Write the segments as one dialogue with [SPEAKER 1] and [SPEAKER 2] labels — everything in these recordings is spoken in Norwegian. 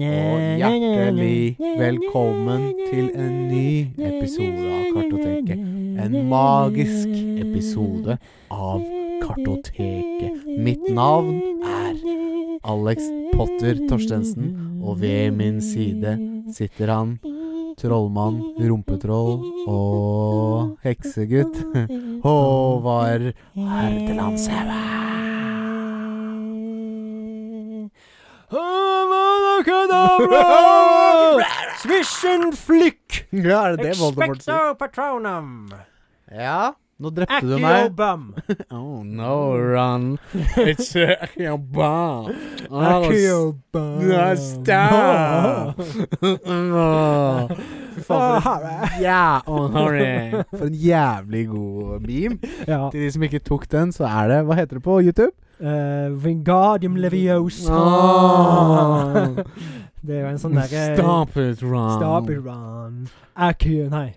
[SPEAKER 1] Og hjertelig velkommen til en ny episode av Kartoteket. En magisk episode av Kartoteket. Mitt navn er Alex Potter Torstensen, og ved min side sitter han, trollmann, rumpetroll og heksegutt. Håvard Herdelandshaugen.
[SPEAKER 2] Abracadabra! Swish and flick!
[SPEAKER 1] Ja, er det det Voldemort sier?
[SPEAKER 2] Expecto patronum!
[SPEAKER 1] Ja, nå drepte du meg.
[SPEAKER 2] Acuobum!
[SPEAKER 1] Oh no, Ron. It's uh, a bomb. stop. Ja, oh, sorry. For en jævlig god beam.
[SPEAKER 2] Ja.
[SPEAKER 1] Til de som ikke tok den, så er det Hva heter det på YouTube?
[SPEAKER 2] eh, Wingardium leviosa.
[SPEAKER 1] Ah.
[SPEAKER 2] Det er jo en sånn derre
[SPEAKER 1] Stop it, Ron.
[SPEAKER 2] Stop it, Ron. Acu... Nei.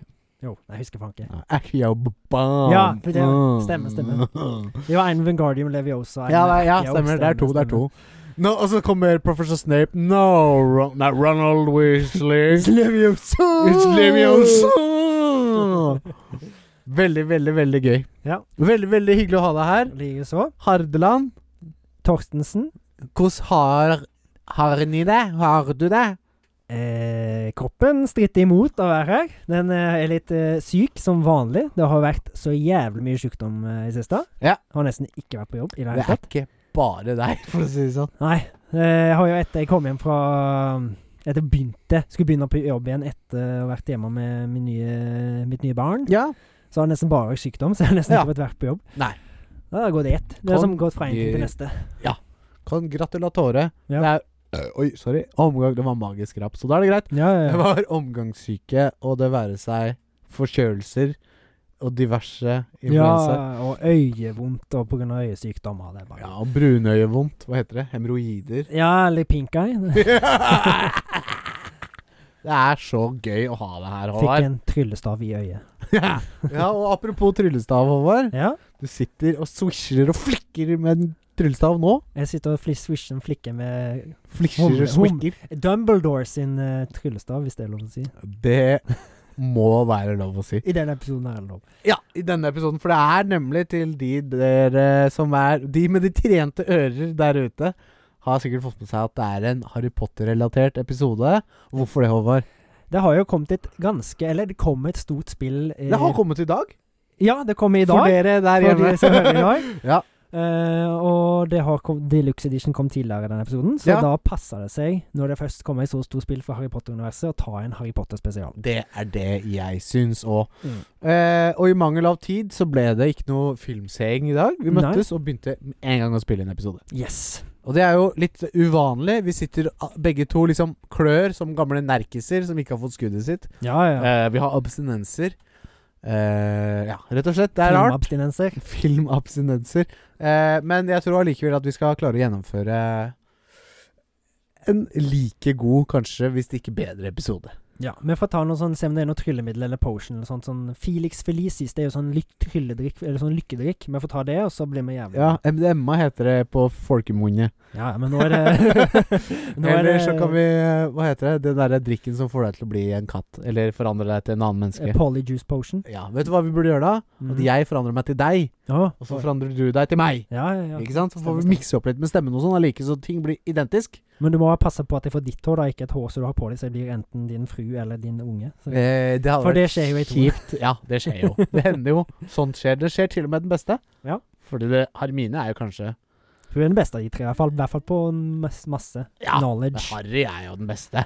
[SPEAKER 2] Jo, jeg husker faen ikke.
[SPEAKER 1] Akiobam.
[SPEAKER 2] Ja, for det-
[SPEAKER 1] Ah.
[SPEAKER 2] stemmer, stemmer. Det var en Wingardium leviosa. en
[SPEAKER 1] Ja, det, ja,
[SPEAKER 2] Accio,
[SPEAKER 1] stemmer. Det er to, det er to. Nå, og så kommer Professor Snape. No, Ron, nei, Ronald Weasley.
[SPEAKER 2] It's Leviosa!
[SPEAKER 1] It's Leviosa! Veldig, veldig, veldig gøy.
[SPEAKER 2] Ja.
[SPEAKER 1] Veldig, veldig hyggelig å ha deg her.
[SPEAKER 2] Likeså.
[SPEAKER 1] Hardeland,
[SPEAKER 2] Torstensen.
[SPEAKER 1] hvordan har Har ni det? Har du det?
[SPEAKER 2] Eh, kroppen stritter imot å være her. Den eh, er litt eh, syk som vanlig. Det har vært så jævlig mye sykdom eh, i siste.
[SPEAKER 1] Ja.
[SPEAKER 2] Har nesten ikke vært på jobb i det
[SPEAKER 1] Det
[SPEAKER 2] hele
[SPEAKER 1] er
[SPEAKER 2] tatt.
[SPEAKER 1] ikke bare deg, for å si det sånn.
[SPEAKER 2] Nei. Eh, jeg har jo etter jeg kom hjem fra eh, Etter jeg begynte Skulle begynne på jobb igjen etter å ha vært hjemme med min nye, mitt nye barn.
[SPEAKER 1] Ja.
[SPEAKER 2] Så har jeg nesten bare vært sykdom, så jeg har nesten
[SPEAKER 1] Ja.
[SPEAKER 2] ikke fått vært på jobb.
[SPEAKER 1] Nei.
[SPEAKER 2] Da går det i ett. Det er
[SPEAKER 1] Kom
[SPEAKER 2] som gått fra en ting
[SPEAKER 1] i-
[SPEAKER 2] til neste.
[SPEAKER 1] Congratulatore.
[SPEAKER 2] Ja.
[SPEAKER 1] Det er Øh, Oi, sorry. Omgang. Det var magisk rapp, så da er det greit.
[SPEAKER 2] Ja, ja,
[SPEAKER 1] Det
[SPEAKER 2] ja.
[SPEAKER 1] var omgangssyke, og det være seg forkjølelser og diverse
[SPEAKER 2] ja
[SPEAKER 1] influensa.
[SPEAKER 2] og øyevondt, og på grunn av øyesykdommer. Det er
[SPEAKER 1] Ja,
[SPEAKER 2] bare
[SPEAKER 1] og brunøyevondt. Hva heter det? Hemoroider.
[SPEAKER 2] Ja, eller pink eye.
[SPEAKER 1] det er så gøy å ha deg her,
[SPEAKER 2] Fikk
[SPEAKER 1] Håvard.
[SPEAKER 2] en tryllestav i øyet.
[SPEAKER 1] ja, og apropos tryllestav, Håvard.
[SPEAKER 2] Ja.
[SPEAKER 1] Du sitter og swisher og flikker med en tryllestav nå.
[SPEAKER 2] Jeg sitter og flis- swisher en flikke med
[SPEAKER 1] Flisjer og
[SPEAKER 2] Hum- hum.
[SPEAKER 1] swikker.
[SPEAKER 2] Dumbledore sin eh, tryllestav, hvis det er lov å si.
[SPEAKER 1] Det må være lov å si.
[SPEAKER 2] I denne episoden er det lov.
[SPEAKER 1] Ja, i denne episoden. For det er nemlig til de dere som er De med de trente ører der ute, har sikkert fått med seg at det er en Harry Potter-relatert episode. Hvorfor det, Håvard?
[SPEAKER 2] Det har jo kommet et ganske Eller det kom et stort spill eh,
[SPEAKER 1] Det har kommet i dag.
[SPEAKER 2] Ja, det kom i dag.
[SPEAKER 1] For dere der
[SPEAKER 2] for
[SPEAKER 1] hjemme.
[SPEAKER 2] de som hører i dag.
[SPEAKER 1] Ja.
[SPEAKER 2] Eh, og det har kom, Deluxe Edition kom tidligere i denne episoden, så
[SPEAKER 1] Ja.
[SPEAKER 2] da passer det seg, når det først kommer et så stort spill for Harry Potter-universet, å ta en Harry Potter-spesial.
[SPEAKER 1] Det er det jeg syns òg.
[SPEAKER 2] Mm.
[SPEAKER 1] Eh, og i mangel av tid så ble det ikke noe filmseing i dag. Vi
[SPEAKER 2] Nei.
[SPEAKER 1] møttes og begynte med en gang å spille en episode.
[SPEAKER 2] Yes.
[SPEAKER 1] Og det er jo litt uvanlig. Vi sitter ah, begge to liksom klør som gamle nerkiser som ikke har fått skuddet sitt.
[SPEAKER 2] Ja, ja.
[SPEAKER 1] Eh, vi har abstinenser. Eh, ja, rett og slett. Det er rart.
[SPEAKER 2] Filmabstinenser.
[SPEAKER 1] Filmabstinenser. Eh, men jeg tror allikevel at vi skal klare å gjennomføre en like god, kanskje, hvis det ikke bedre, episode.
[SPEAKER 2] Ja, vi får ta noe sånn, se om det er noe tryllemiddel eller potion eller sånt. Sånn Felix Felicis, det er jo sånn lyk trylledrikk, eller sånn lykkedrikk. Vi får ta det, og så blir vi jævlig
[SPEAKER 1] Ja, MDMA heter det på folkemunne.
[SPEAKER 2] Ja, men nå er det Nå er
[SPEAKER 1] Eller
[SPEAKER 2] det
[SPEAKER 1] så kan vi eh, Hva heter det? Den derre drikken som får deg til å bli en katt. Eller forandre deg til en annen
[SPEAKER 2] eh,
[SPEAKER 1] menneske.
[SPEAKER 2] Polyjuice potion.
[SPEAKER 1] Ja, Vet du hva vi burde gjøre da?
[SPEAKER 2] Mm.
[SPEAKER 1] At jeg forandrer meg til deg,
[SPEAKER 2] Ja,
[SPEAKER 1] og så forandrer du deg til meg.
[SPEAKER 2] ja, ja, ja.
[SPEAKER 1] Ikke sant? Så
[SPEAKER 2] Stemmer,
[SPEAKER 1] får vi
[SPEAKER 2] stemmer.
[SPEAKER 1] mikse opp litt med stemmen og sånn, allike så ting blir identisk.
[SPEAKER 2] Men du må passe på at jeg får ditt hår, da, ikke et hår som du har på deg, så jeg blir enten din fru eller din unge. Så.
[SPEAKER 1] Eh, det hadde
[SPEAKER 2] For det
[SPEAKER 1] vært
[SPEAKER 2] skjer jo i to.
[SPEAKER 1] kjipt. Ja, det skjer jo. Det hender jo. Sånt skjer. Det skjer til og med den beste.
[SPEAKER 2] Ja.
[SPEAKER 1] Fordi det, Hermine er jo kanskje
[SPEAKER 2] Hun er den beste av de tre, i hvert fall, i hvert fall på masse, masse
[SPEAKER 1] Ja, men
[SPEAKER 2] knowledge.
[SPEAKER 1] Harry er jo den beste.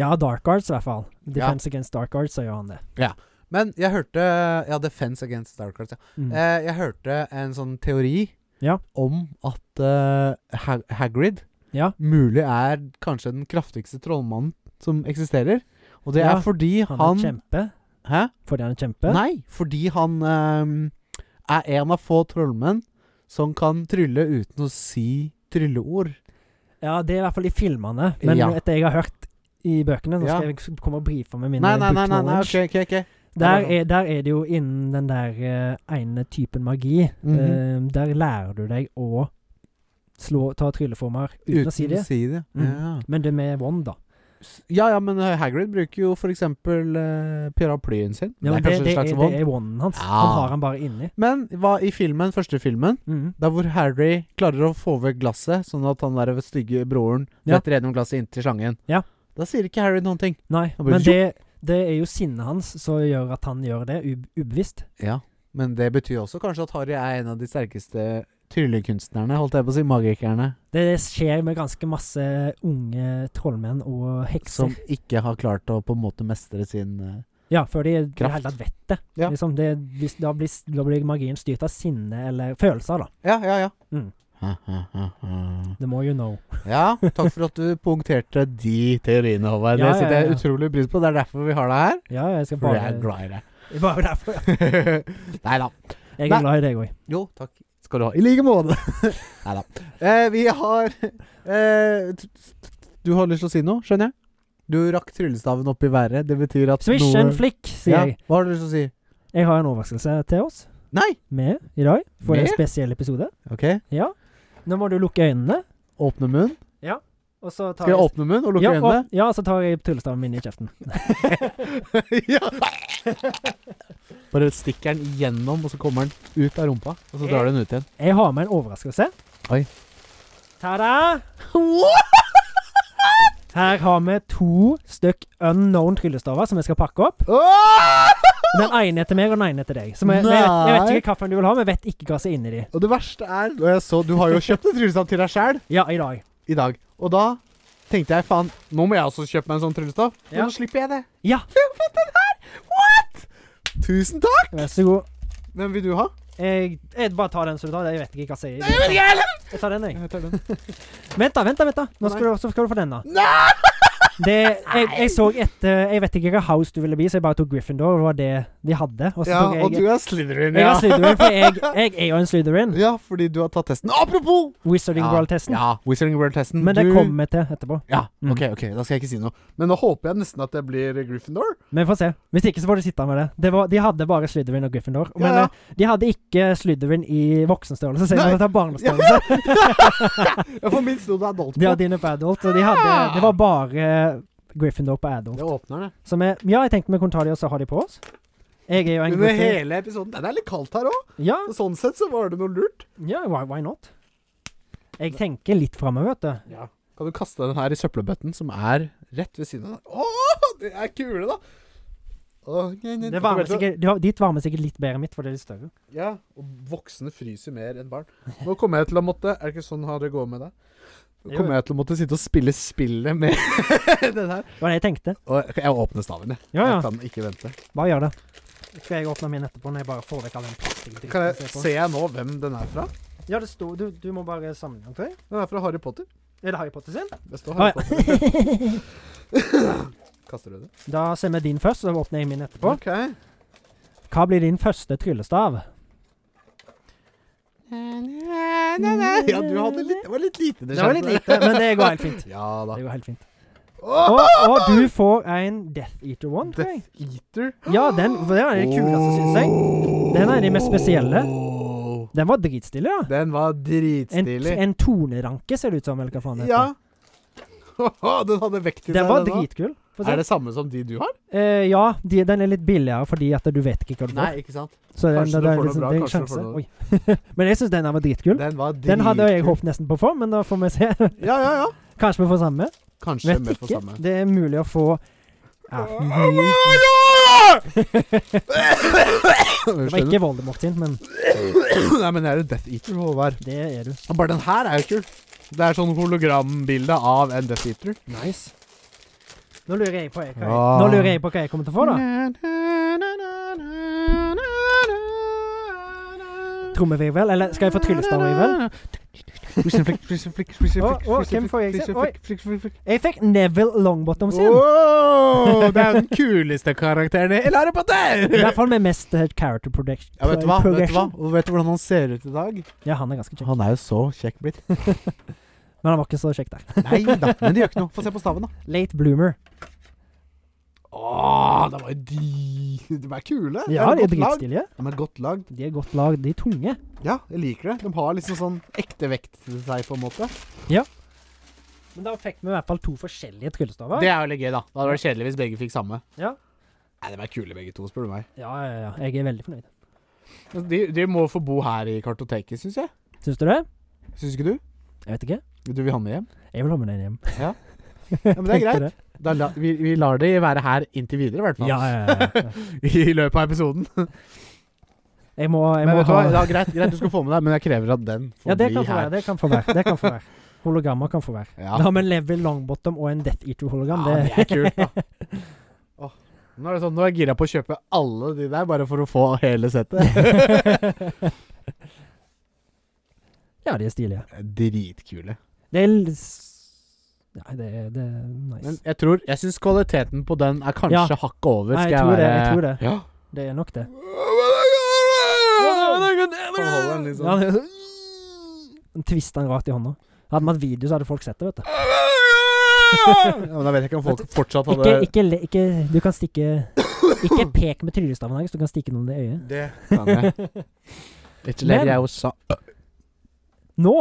[SPEAKER 2] Ja, Dark Arts, i hvert fall. Defense against Dark Arts, så gjør han det.
[SPEAKER 1] Men jeg hørte Ja, Defense Against Starcraft, ja.
[SPEAKER 2] Mm.
[SPEAKER 1] Eh, jeg hørte en sånn teori
[SPEAKER 2] Ja.
[SPEAKER 1] om at eh, Hag Hagrid
[SPEAKER 2] Ja.
[SPEAKER 1] mulig er kanskje den kraftigste trollmannen som eksisterer. Og det
[SPEAKER 2] Ja,
[SPEAKER 1] er fordi
[SPEAKER 2] han
[SPEAKER 1] han,
[SPEAKER 2] er kjempe.
[SPEAKER 1] Hæ?
[SPEAKER 2] Fordi han er kjempe?
[SPEAKER 1] Nei, fordi han ehm, er en av få trollmenn som kan trylle uten å si trylleord.
[SPEAKER 2] Ja, det er i hvert fall i filmene. Men
[SPEAKER 1] Ja.
[SPEAKER 2] etter jeg har hørt i bøkene, så
[SPEAKER 1] Ja.
[SPEAKER 2] skal jeg komme og brife med min eh,
[SPEAKER 1] Nei, nei, nei, nei, nei,
[SPEAKER 2] book Eh,
[SPEAKER 1] ok, ok, ok.
[SPEAKER 2] Der
[SPEAKER 1] Eller sånn.
[SPEAKER 2] er, der er det jo innen den der eh, ene typen magi.
[SPEAKER 1] Mhm.
[SPEAKER 2] eh, der lærer du deg å slå, ta trylleformer uten, å si det. Mm.
[SPEAKER 1] Ja.
[SPEAKER 2] Men det med wand, da.
[SPEAKER 1] S- ja ja, men eh, Hagrid bruker jo for eksempel eh, pyraplyen sin. det
[SPEAKER 2] Ja, men
[SPEAKER 1] er kanskje
[SPEAKER 2] det,
[SPEAKER 1] en
[SPEAKER 2] det,
[SPEAKER 1] slags
[SPEAKER 2] er,
[SPEAKER 1] vond.
[SPEAKER 2] det er wanden hans. Han
[SPEAKER 1] Ja.
[SPEAKER 2] har han bare inni.
[SPEAKER 1] Men hva i filmen, første filmen,
[SPEAKER 2] Mhm.
[SPEAKER 1] der hvor Harry klarer å få vekk glasset, sånn at han der stygge broren
[SPEAKER 2] Ja.
[SPEAKER 1] detter gjennom glasset inntil slangen,
[SPEAKER 2] Ja.
[SPEAKER 1] da sier ikke Harry noen ting.
[SPEAKER 2] Nei,
[SPEAKER 1] Han bare,
[SPEAKER 2] men det, det er jo sinnet hans som gjør at han gjør det, ub ubevisst.
[SPEAKER 1] Ja, Men det betyr også kanskje at Harry er en av de sterkeste tryllekunstnerne, holdt jeg på å si, magikerne,
[SPEAKER 2] Det skjer med ganske masse unge trollmenn og hekser.
[SPEAKER 1] som ikke har klart å på en måte mestre sin eh,
[SPEAKER 2] Ja, før de i det
[SPEAKER 1] Kraft.
[SPEAKER 2] hele tatt vet det.
[SPEAKER 1] Ja.
[SPEAKER 2] Liksom det hvis, da, blir, da blir magien styrt av sinne eller følelser, da.
[SPEAKER 1] Ja, ja, ja.
[SPEAKER 2] Mm.
[SPEAKER 1] Ha, ha, ha, ha.
[SPEAKER 2] The more you know.
[SPEAKER 1] Ja, takk for at du punkterte de teoriene, Håvard.
[SPEAKER 2] Ja,
[SPEAKER 1] det setter
[SPEAKER 2] ja,
[SPEAKER 1] jeg
[SPEAKER 2] ja.
[SPEAKER 1] utrolig pris på. Det er derfor vi har deg her.
[SPEAKER 2] Ja, jeg skal
[SPEAKER 1] For jeg er
[SPEAKER 2] bare
[SPEAKER 1] glad i deg.
[SPEAKER 2] Bare derfor, ja.
[SPEAKER 1] Nei da. Nei.
[SPEAKER 2] Jeg er glad i deg òg.
[SPEAKER 1] Jo, takk skal du ha. I like måte. Nei da. Eh, vi har eh, t- t- Du har lyst til å si noe, skjønner jeg? Du rakk tryllestaven opp i været. Det betyr at
[SPEAKER 2] Swish
[SPEAKER 1] noe
[SPEAKER 2] and flick, sier
[SPEAKER 1] ja.
[SPEAKER 2] jeg.
[SPEAKER 1] Hva har du lyst til å si?
[SPEAKER 2] Jeg har en overraskelse til oss
[SPEAKER 1] Nei!
[SPEAKER 2] med i dag. For
[SPEAKER 1] Med?
[SPEAKER 2] en spesiell episode.
[SPEAKER 1] OK.
[SPEAKER 2] Ja. Nå må du lukke øynene.
[SPEAKER 1] Åpne munn.
[SPEAKER 2] Og så tar
[SPEAKER 1] Skal jeg åpne munn og lukke
[SPEAKER 2] ja,
[SPEAKER 1] øynene?
[SPEAKER 2] Og, ja, så tar jeg tryllestaven min i kjeften.
[SPEAKER 1] ja. Bare stikker den gjennom, og så kommer den ut av rumpa. Og så drar du den ut igjen.
[SPEAKER 2] Jeg har med en overraskelse.
[SPEAKER 1] Oi.
[SPEAKER 2] Ta-da! Her har vi to stykk unknown tryllestaver som jeg skal pakke opp. Den ene er til meg, og den ene er til deg. Så vi, vi vet, jeg vet
[SPEAKER 1] Nei.
[SPEAKER 2] ikke hvilken du vil ha. Vi vet ikke hva som er inni de.
[SPEAKER 1] Og det verste er når jeg så, Du har jo kjøpt en tryllestav til deg sjæl
[SPEAKER 2] Ja, i dag.
[SPEAKER 1] i dag. Og da tenkte jeg faen, nå må jeg også kjøpe meg en sånn tryllestav. Men
[SPEAKER 2] Ja.
[SPEAKER 1] nå slipper jeg det.
[SPEAKER 2] Ja.
[SPEAKER 1] For jeg har fått den her! What?! Tusen takk!
[SPEAKER 2] Vær så god.
[SPEAKER 1] Hvem vil du ha?
[SPEAKER 2] Jeg, jeg bare tar den som du tar. Jeg vet ikke hva jeg
[SPEAKER 1] Jeg vet
[SPEAKER 2] sier.
[SPEAKER 1] ikke, heller!
[SPEAKER 2] Jeg tar den, jeg.
[SPEAKER 1] Jeg tar den.
[SPEAKER 2] Vent, da. vent da, vent da. Nå skal du, så skal du få den, da. Det, jeg, jeg så etter Jeg vet ikke hvilken house du ville bli, så jeg bare tok Gryffindor. Det var det de hadde. Og så
[SPEAKER 1] Ja,
[SPEAKER 2] tok jeg,
[SPEAKER 1] og du er Slytherin,
[SPEAKER 2] jeg
[SPEAKER 1] ja.
[SPEAKER 2] er Slytherin, for jeg, jeg er jo en Slytherin.
[SPEAKER 1] Ja, fordi du har tatt testen. Apropos!
[SPEAKER 2] Wizarding World-testen.
[SPEAKER 1] Ja, Wizarding World-testen.
[SPEAKER 2] Men det
[SPEAKER 1] Du-
[SPEAKER 2] kommer vi til etterpå.
[SPEAKER 1] Ja,
[SPEAKER 2] Mm.
[SPEAKER 1] ok, ok, da skal jeg ikke si noe. Men nå håper jeg nesten at det blir Gryffindor.
[SPEAKER 2] Men vi får se. Hvis ikke, så får du sitte med det. det var, de hadde bare Slytherin og Gryffindor. Men
[SPEAKER 1] Ja, ja.
[SPEAKER 2] eh, de hadde ikke Slytherin i voksenstørrelse, så jeg
[SPEAKER 1] Nei.
[SPEAKER 2] måtte ta barnestørrelse.
[SPEAKER 1] Ja, for minst noe det er dolt
[SPEAKER 2] De
[SPEAKER 1] på.
[SPEAKER 2] hadde inne på adult, og de hadde, det var bare eh, Gryffindor på adult.
[SPEAKER 1] Det åpner det.
[SPEAKER 2] Så vi, ja, jeg tenkte vi kunne ta de, og så ha de på oss. Jeg er jo en
[SPEAKER 1] Under
[SPEAKER 2] Gryffindor.
[SPEAKER 1] hele episoden. Nei, Det er litt kaldt her òg.
[SPEAKER 2] Ja,
[SPEAKER 1] Sånn sett så var det noe lurt.
[SPEAKER 2] ja why, why not? Jeg tenker litt framover, vet du.
[SPEAKER 1] Kan du kaste den her i søppelbøtten, som er rett ved siden av deg? Å, det er kule, da! Å, nei, nei,
[SPEAKER 2] Det varmer
[SPEAKER 1] vet du-
[SPEAKER 2] sikkert, de har- ditt varmer sikkert litt bedre enn mitt, for det er litt større.
[SPEAKER 1] Ja, og voksne fryser mer enn barn. Nå kommer jeg til å måtte Er det ikke sånn det går med deg? Nå
[SPEAKER 2] Jo.
[SPEAKER 1] kommer jeg til å måtte sitte og spille spillet med den her.
[SPEAKER 2] Det var det jeg tenkte.
[SPEAKER 1] Og jeg åpner staven, jeg.
[SPEAKER 2] Ja, ja.
[SPEAKER 1] Jeg kan ikke vente.
[SPEAKER 2] Bare gjør det. Skal jeg åpne min etterpå, når jeg bare får vekk all den plastikken?
[SPEAKER 1] Kan jeg, ser jeg nå hvem den er fra?
[SPEAKER 2] Ja, det står Du, du må bare sammenligne, tror jeg.
[SPEAKER 1] Den er fra Harry Potter.
[SPEAKER 2] Er det Harry Potter sin?
[SPEAKER 1] Det står
[SPEAKER 2] Å,
[SPEAKER 1] Harry Potter. Kaster du det?
[SPEAKER 2] Da ser vi din først, så åpner jeg min etterpå.
[SPEAKER 1] Ok.
[SPEAKER 2] Mm. Hva blir din første tryllestav?
[SPEAKER 1] Ja, du hadde litt Det var litt lite,
[SPEAKER 2] Det var litt lite, men det går helt fint.
[SPEAKER 1] Ja da.
[SPEAKER 2] Det går helt fint. Og,
[SPEAKER 1] Åh!
[SPEAKER 2] og du får en Death Eater One, tror jeg.
[SPEAKER 1] Death Eater.
[SPEAKER 2] Ja, den, for den er den kuleste, syns jeg. Den er de mest spesielle.
[SPEAKER 1] Åh.
[SPEAKER 2] Den var dritstilig, da.
[SPEAKER 1] Den var
[SPEAKER 2] En,
[SPEAKER 1] dritstilig.
[SPEAKER 2] en toneranke, ser det ut som, eller hva faen det
[SPEAKER 1] Ja.
[SPEAKER 2] heter.
[SPEAKER 1] Den hadde vekt i seg,
[SPEAKER 2] Den var
[SPEAKER 1] også.
[SPEAKER 2] dritkul. Få se.
[SPEAKER 1] Er det samme som de du har?
[SPEAKER 2] Eh, ja, de, den er litt billigere fordi at du vet ikke hva du får.
[SPEAKER 1] ikke sant.
[SPEAKER 2] Så den,
[SPEAKER 1] kanskje
[SPEAKER 2] den,
[SPEAKER 1] du
[SPEAKER 2] er
[SPEAKER 1] får noe
[SPEAKER 2] liksom,
[SPEAKER 1] bra,
[SPEAKER 2] det er en
[SPEAKER 1] kanskje du får
[SPEAKER 2] sjanse.
[SPEAKER 1] noe-
[SPEAKER 2] Oi. Men jeg syns den her var dritkul.
[SPEAKER 1] Den var dritkul.
[SPEAKER 2] Den hadde jeg håpet nesten på å få, men da får vi se.
[SPEAKER 1] Ja, ja, ja.
[SPEAKER 2] Kanskje vi får samme.
[SPEAKER 1] Kanskje
[SPEAKER 2] Vet
[SPEAKER 1] vi får
[SPEAKER 2] ikke.
[SPEAKER 1] samme.
[SPEAKER 2] Det er mulig å få ja, mm. mulig. Det var ikke Voldemort sin, men
[SPEAKER 1] Nei, men jeg er jo Death Eater, Håvard.
[SPEAKER 2] det er du.
[SPEAKER 1] Og Bare den her er jo kul. Det er sånn hologrambilde av en Death Eater.
[SPEAKER 2] Nice. Nå lurer jeg på hva jeg,
[SPEAKER 1] Ja.
[SPEAKER 2] nå lurer jeg, på hva jeg kommer til å få, da. Trommevirvel? Eller skal jeg få tryllestavvirvel?
[SPEAKER 1] Twist and flick, twist and flick, twist and
[SPEAKER 2] Å,
[SPEAKER 1] flick, twist
[SPEAKER 2] å,
[SPEAKER 1] and
[SPEAKER 2] hvem
[SPEAKER 1] flick,
[SPEAKER 2] får jeg
[SPEAKER 1] twist
[SPEAKER 2] se?
[SPEAKER 1] and flick, flick, flick, flick.
[SPEAKER 2] Jeg fikk Neville Longbottom sin.
[SPEAKER 1] Wow, Det er jo den kuleste karakteren i Harry Potter!
[SPEAKER 2] I hvert fall med mest eh, character production.
[SPEAKER 1] Ja, vet du hva? Vet du hva? Og vet du hvordan han ser ut i dag?
[SPEAKER 2] Ja, han er ganske kjekk.
[SPEAKER 1] Han er jo så kjekk blitt.
[SPEAKER 2] Men han var ikke så kjekk der.
[SPEAKER 1] Nei da, men det gjør ikke noe. Få se på staven, da.
[SPEAKER 2] Late bloomer.
[SPEAKER 1] Åh, det var jo de De er kule.
[SPEAKER 2] Ja,
[SPEAKER 1] de
[SPEAKER 2] de er
[SPEAKER 1] godt lagd.
[SPEAKER 2] dritstilige.
[SPEAKER 1] De er godt lagd.
[SPEAKER 2] De er godt lagd, de er tunge.
[SPEAKER 1] Ja, jeg liker det. De har liksom sånn ekte vekt til seg, på en måte.
[SPEAKER 2] Men da fikk vi i hvert fall to forskjellige tryllestaver.
[SPEAKER 1] Det er jo litt gøy, da. Det hadde vært kjedelig hvis begge fikk samme.
[SPEAKER 2] Ja.
[SPEAKER 1] Nei, De er kule, begge to, spør du meg.
[SPEAKER 2] Ja, ja, ja. Jeg er veldig fornøyd.
[SPEAKER 1] Altså, De, de må få bo her i kartoteket, syns jeg.
[SPEAKER 2] Syns du det?
[SPEAKER 1] Syns ikke du?
[SPEAKER 2] Jeg vet ikke.
[SPEAKER 1] Du vil ha med hjem?
[SPEAKER 2] Jeg vil ha med den hjem.
[SPEAKER 1] Ja. Ja, men det er
[SPEAKER 2] Tenkte
[SPEAKER 1] greit. Da la, vi, vi lar de være her inntil videre, i hvert fall.
[SPEAKER 2] Ja, ja, ja. ja.
[SPEAKER 1] I løpet av episoden.
[SPEAKER 2] Jeg må, jeg
[SPEAKER 1] Men
[SPEAKER 2] må
[SPEAKER 1] vet du
[SPEAKER 2] ha
[SPEAKER 1] hva? Ja, greit, greit, du skal få med deg, men jeg krever at den får
[SPEAKER 2] Ja, det
[SPEAKER 1] bli
[SPEAKER 2] kan få være.
[SPEAKER 1] her.
[SPEAKER 2] Det kan få være. Det kan få være. Hologrammer kan få være.
[SPEAKER 1] Ja.
[SPEAKER 2] Da har vi en Level Longbottom og en Death Eater-hologram.
[SPEAKER 1] Ja,
[SPEAKER 2] det,
[SPEAKER 1] det er kult, da. Åh, Nå er det sånn, nå er jeg gira på å kjøpe alle de der, bare for å få hele settet.
[SPEAKER 2] ja, de er stilige.
[SPEAKER 1] Dritkule.
[SPEAKER 2] Det er l- s- Nei, det, er- det er nice.
[SPEAKER 1] Men jeg tror, jeg syns kvaliteten på den er kanskje
[SPEAKER 2] Ja.
[SPEAKER 1] hakket over.
[SPEAKER 2] Nei,
[SPEAKER 1] Skal
[SPEAKER 2] jeg tror det,
[SPEAKER 1] være
[SPEAKER 2] jeg tror det.
[SPEAKER 1] Ja.
[SPEAKER 2] det er nok det.
[SPEAKER 1] Sånn holder den liksom.
[SPEAKER 2] Ja, det- Den twister den rart i hånda. Hadde vi hatt video, så hadde folk sett det, vet du.
[SPEAKER 1] Ja, men da vet jeg ikke om folk fortsatt hadde
[SPEAKER 2] Ikke, ikke, le- ikke Du kan stikke Ikke pek med tryllestaven, Alex. Du kan stikke noen i øyet.
[SPEAKER 1] Det kan jeg. Ikke ler
[SPEAKER 2] Men-
[SPEAKER 1] jeg også.
[SPEAKER 2] Nå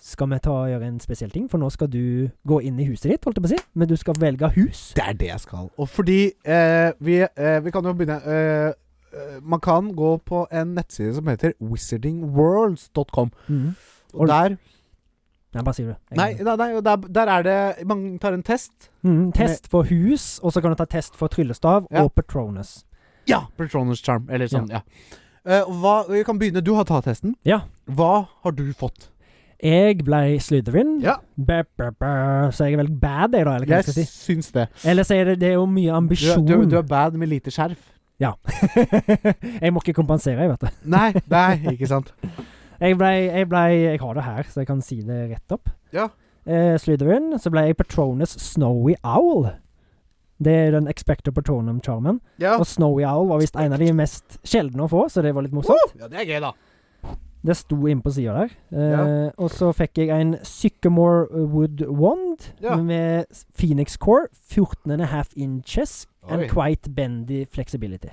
[SPEAKER 2] skal vi ta og gjøre en spesiell ting, for nå skal du gå inn i huset ditt, holdt jeg på å si. Men du skal velge hus.
[SPEAKER 1] Det er det jeg skal. Og fordi eh, vi, eh, vi kan jo begynne eh, eh, Man kan gå på en nettside som heter wizardingworlds.com.
[SPEAKER 2] Mhm.
[SPEAKER 1] Og der
[SPEAKER 2] Nei, bare sier du. Jeg-
[SPEAKER 1] Nei, nei, nei der, der er det Man tar en test.
[SPEAKER 2] Mhm, test for hus, og så kan du ta test for tryllestav
[SPEAKER 1] Ja.
[SPEAKER 2] og Patronus.
[SPEAKER 1] Ja! Patroners Charm. Eller sånn, ja. Eh, og hva, vi kan begynne. Du har tatt testen.
[SPEAKER 2] Ja.
[SPEAKER 1] Hva har du fått?
[SPEAKER 2] Jeg ble Slytherin.
[SPEAKER 1] Ja.
[SPEAKER 2] Bæ, bæ, bæ. Så jeg er vel bad, jeg, da? Eller hva jeg
[SPEAKER 1] Jeg
[SPEAKER 2] skal si.
[SPEAKER 1] syns det.
[SPEAKER 2] Eller så er det, det er jo mye
[SPEAKER 1] Du, er-
[SPEAKER 2] ambisjon.
[SPEAKER 1] du, er- du er bad med lite skjerf.
[SPEAKER 2] jeg må ikke kompensere, jeg, vet du.
[SPEAKER 1] Nei, nei, ikke sant.
[SPEAKER 2] Jeg ble, jeg ble Jeg har det her, så jeg kan si det rett opp.
[SPEAKER 1] Ja.
[SPEAKER 2] Eh, Slytherin. Så ble jeg Patronus Snowy Owl. Det er den Expector Patronum Charmen.
[SPEAKER 1] Ja.
[SPEAKER 2] Og Snowy Owl var visst en av de mest sjeldne å få, så det var litt morsomt.
[SPEAKER 1] ja, det er gøy, da.
[SPEAKER 2] Det sto inne på sida der. Eh, Og så fikk jeg en Sycamore Wood Wand
[SPEAKER 1] Ja.
[SPEAKER 2] med Phoenix Core, 14,5 inches and
[SPEAKER 1] Oi.
[SPEAKER 2] quite bendy flexibility.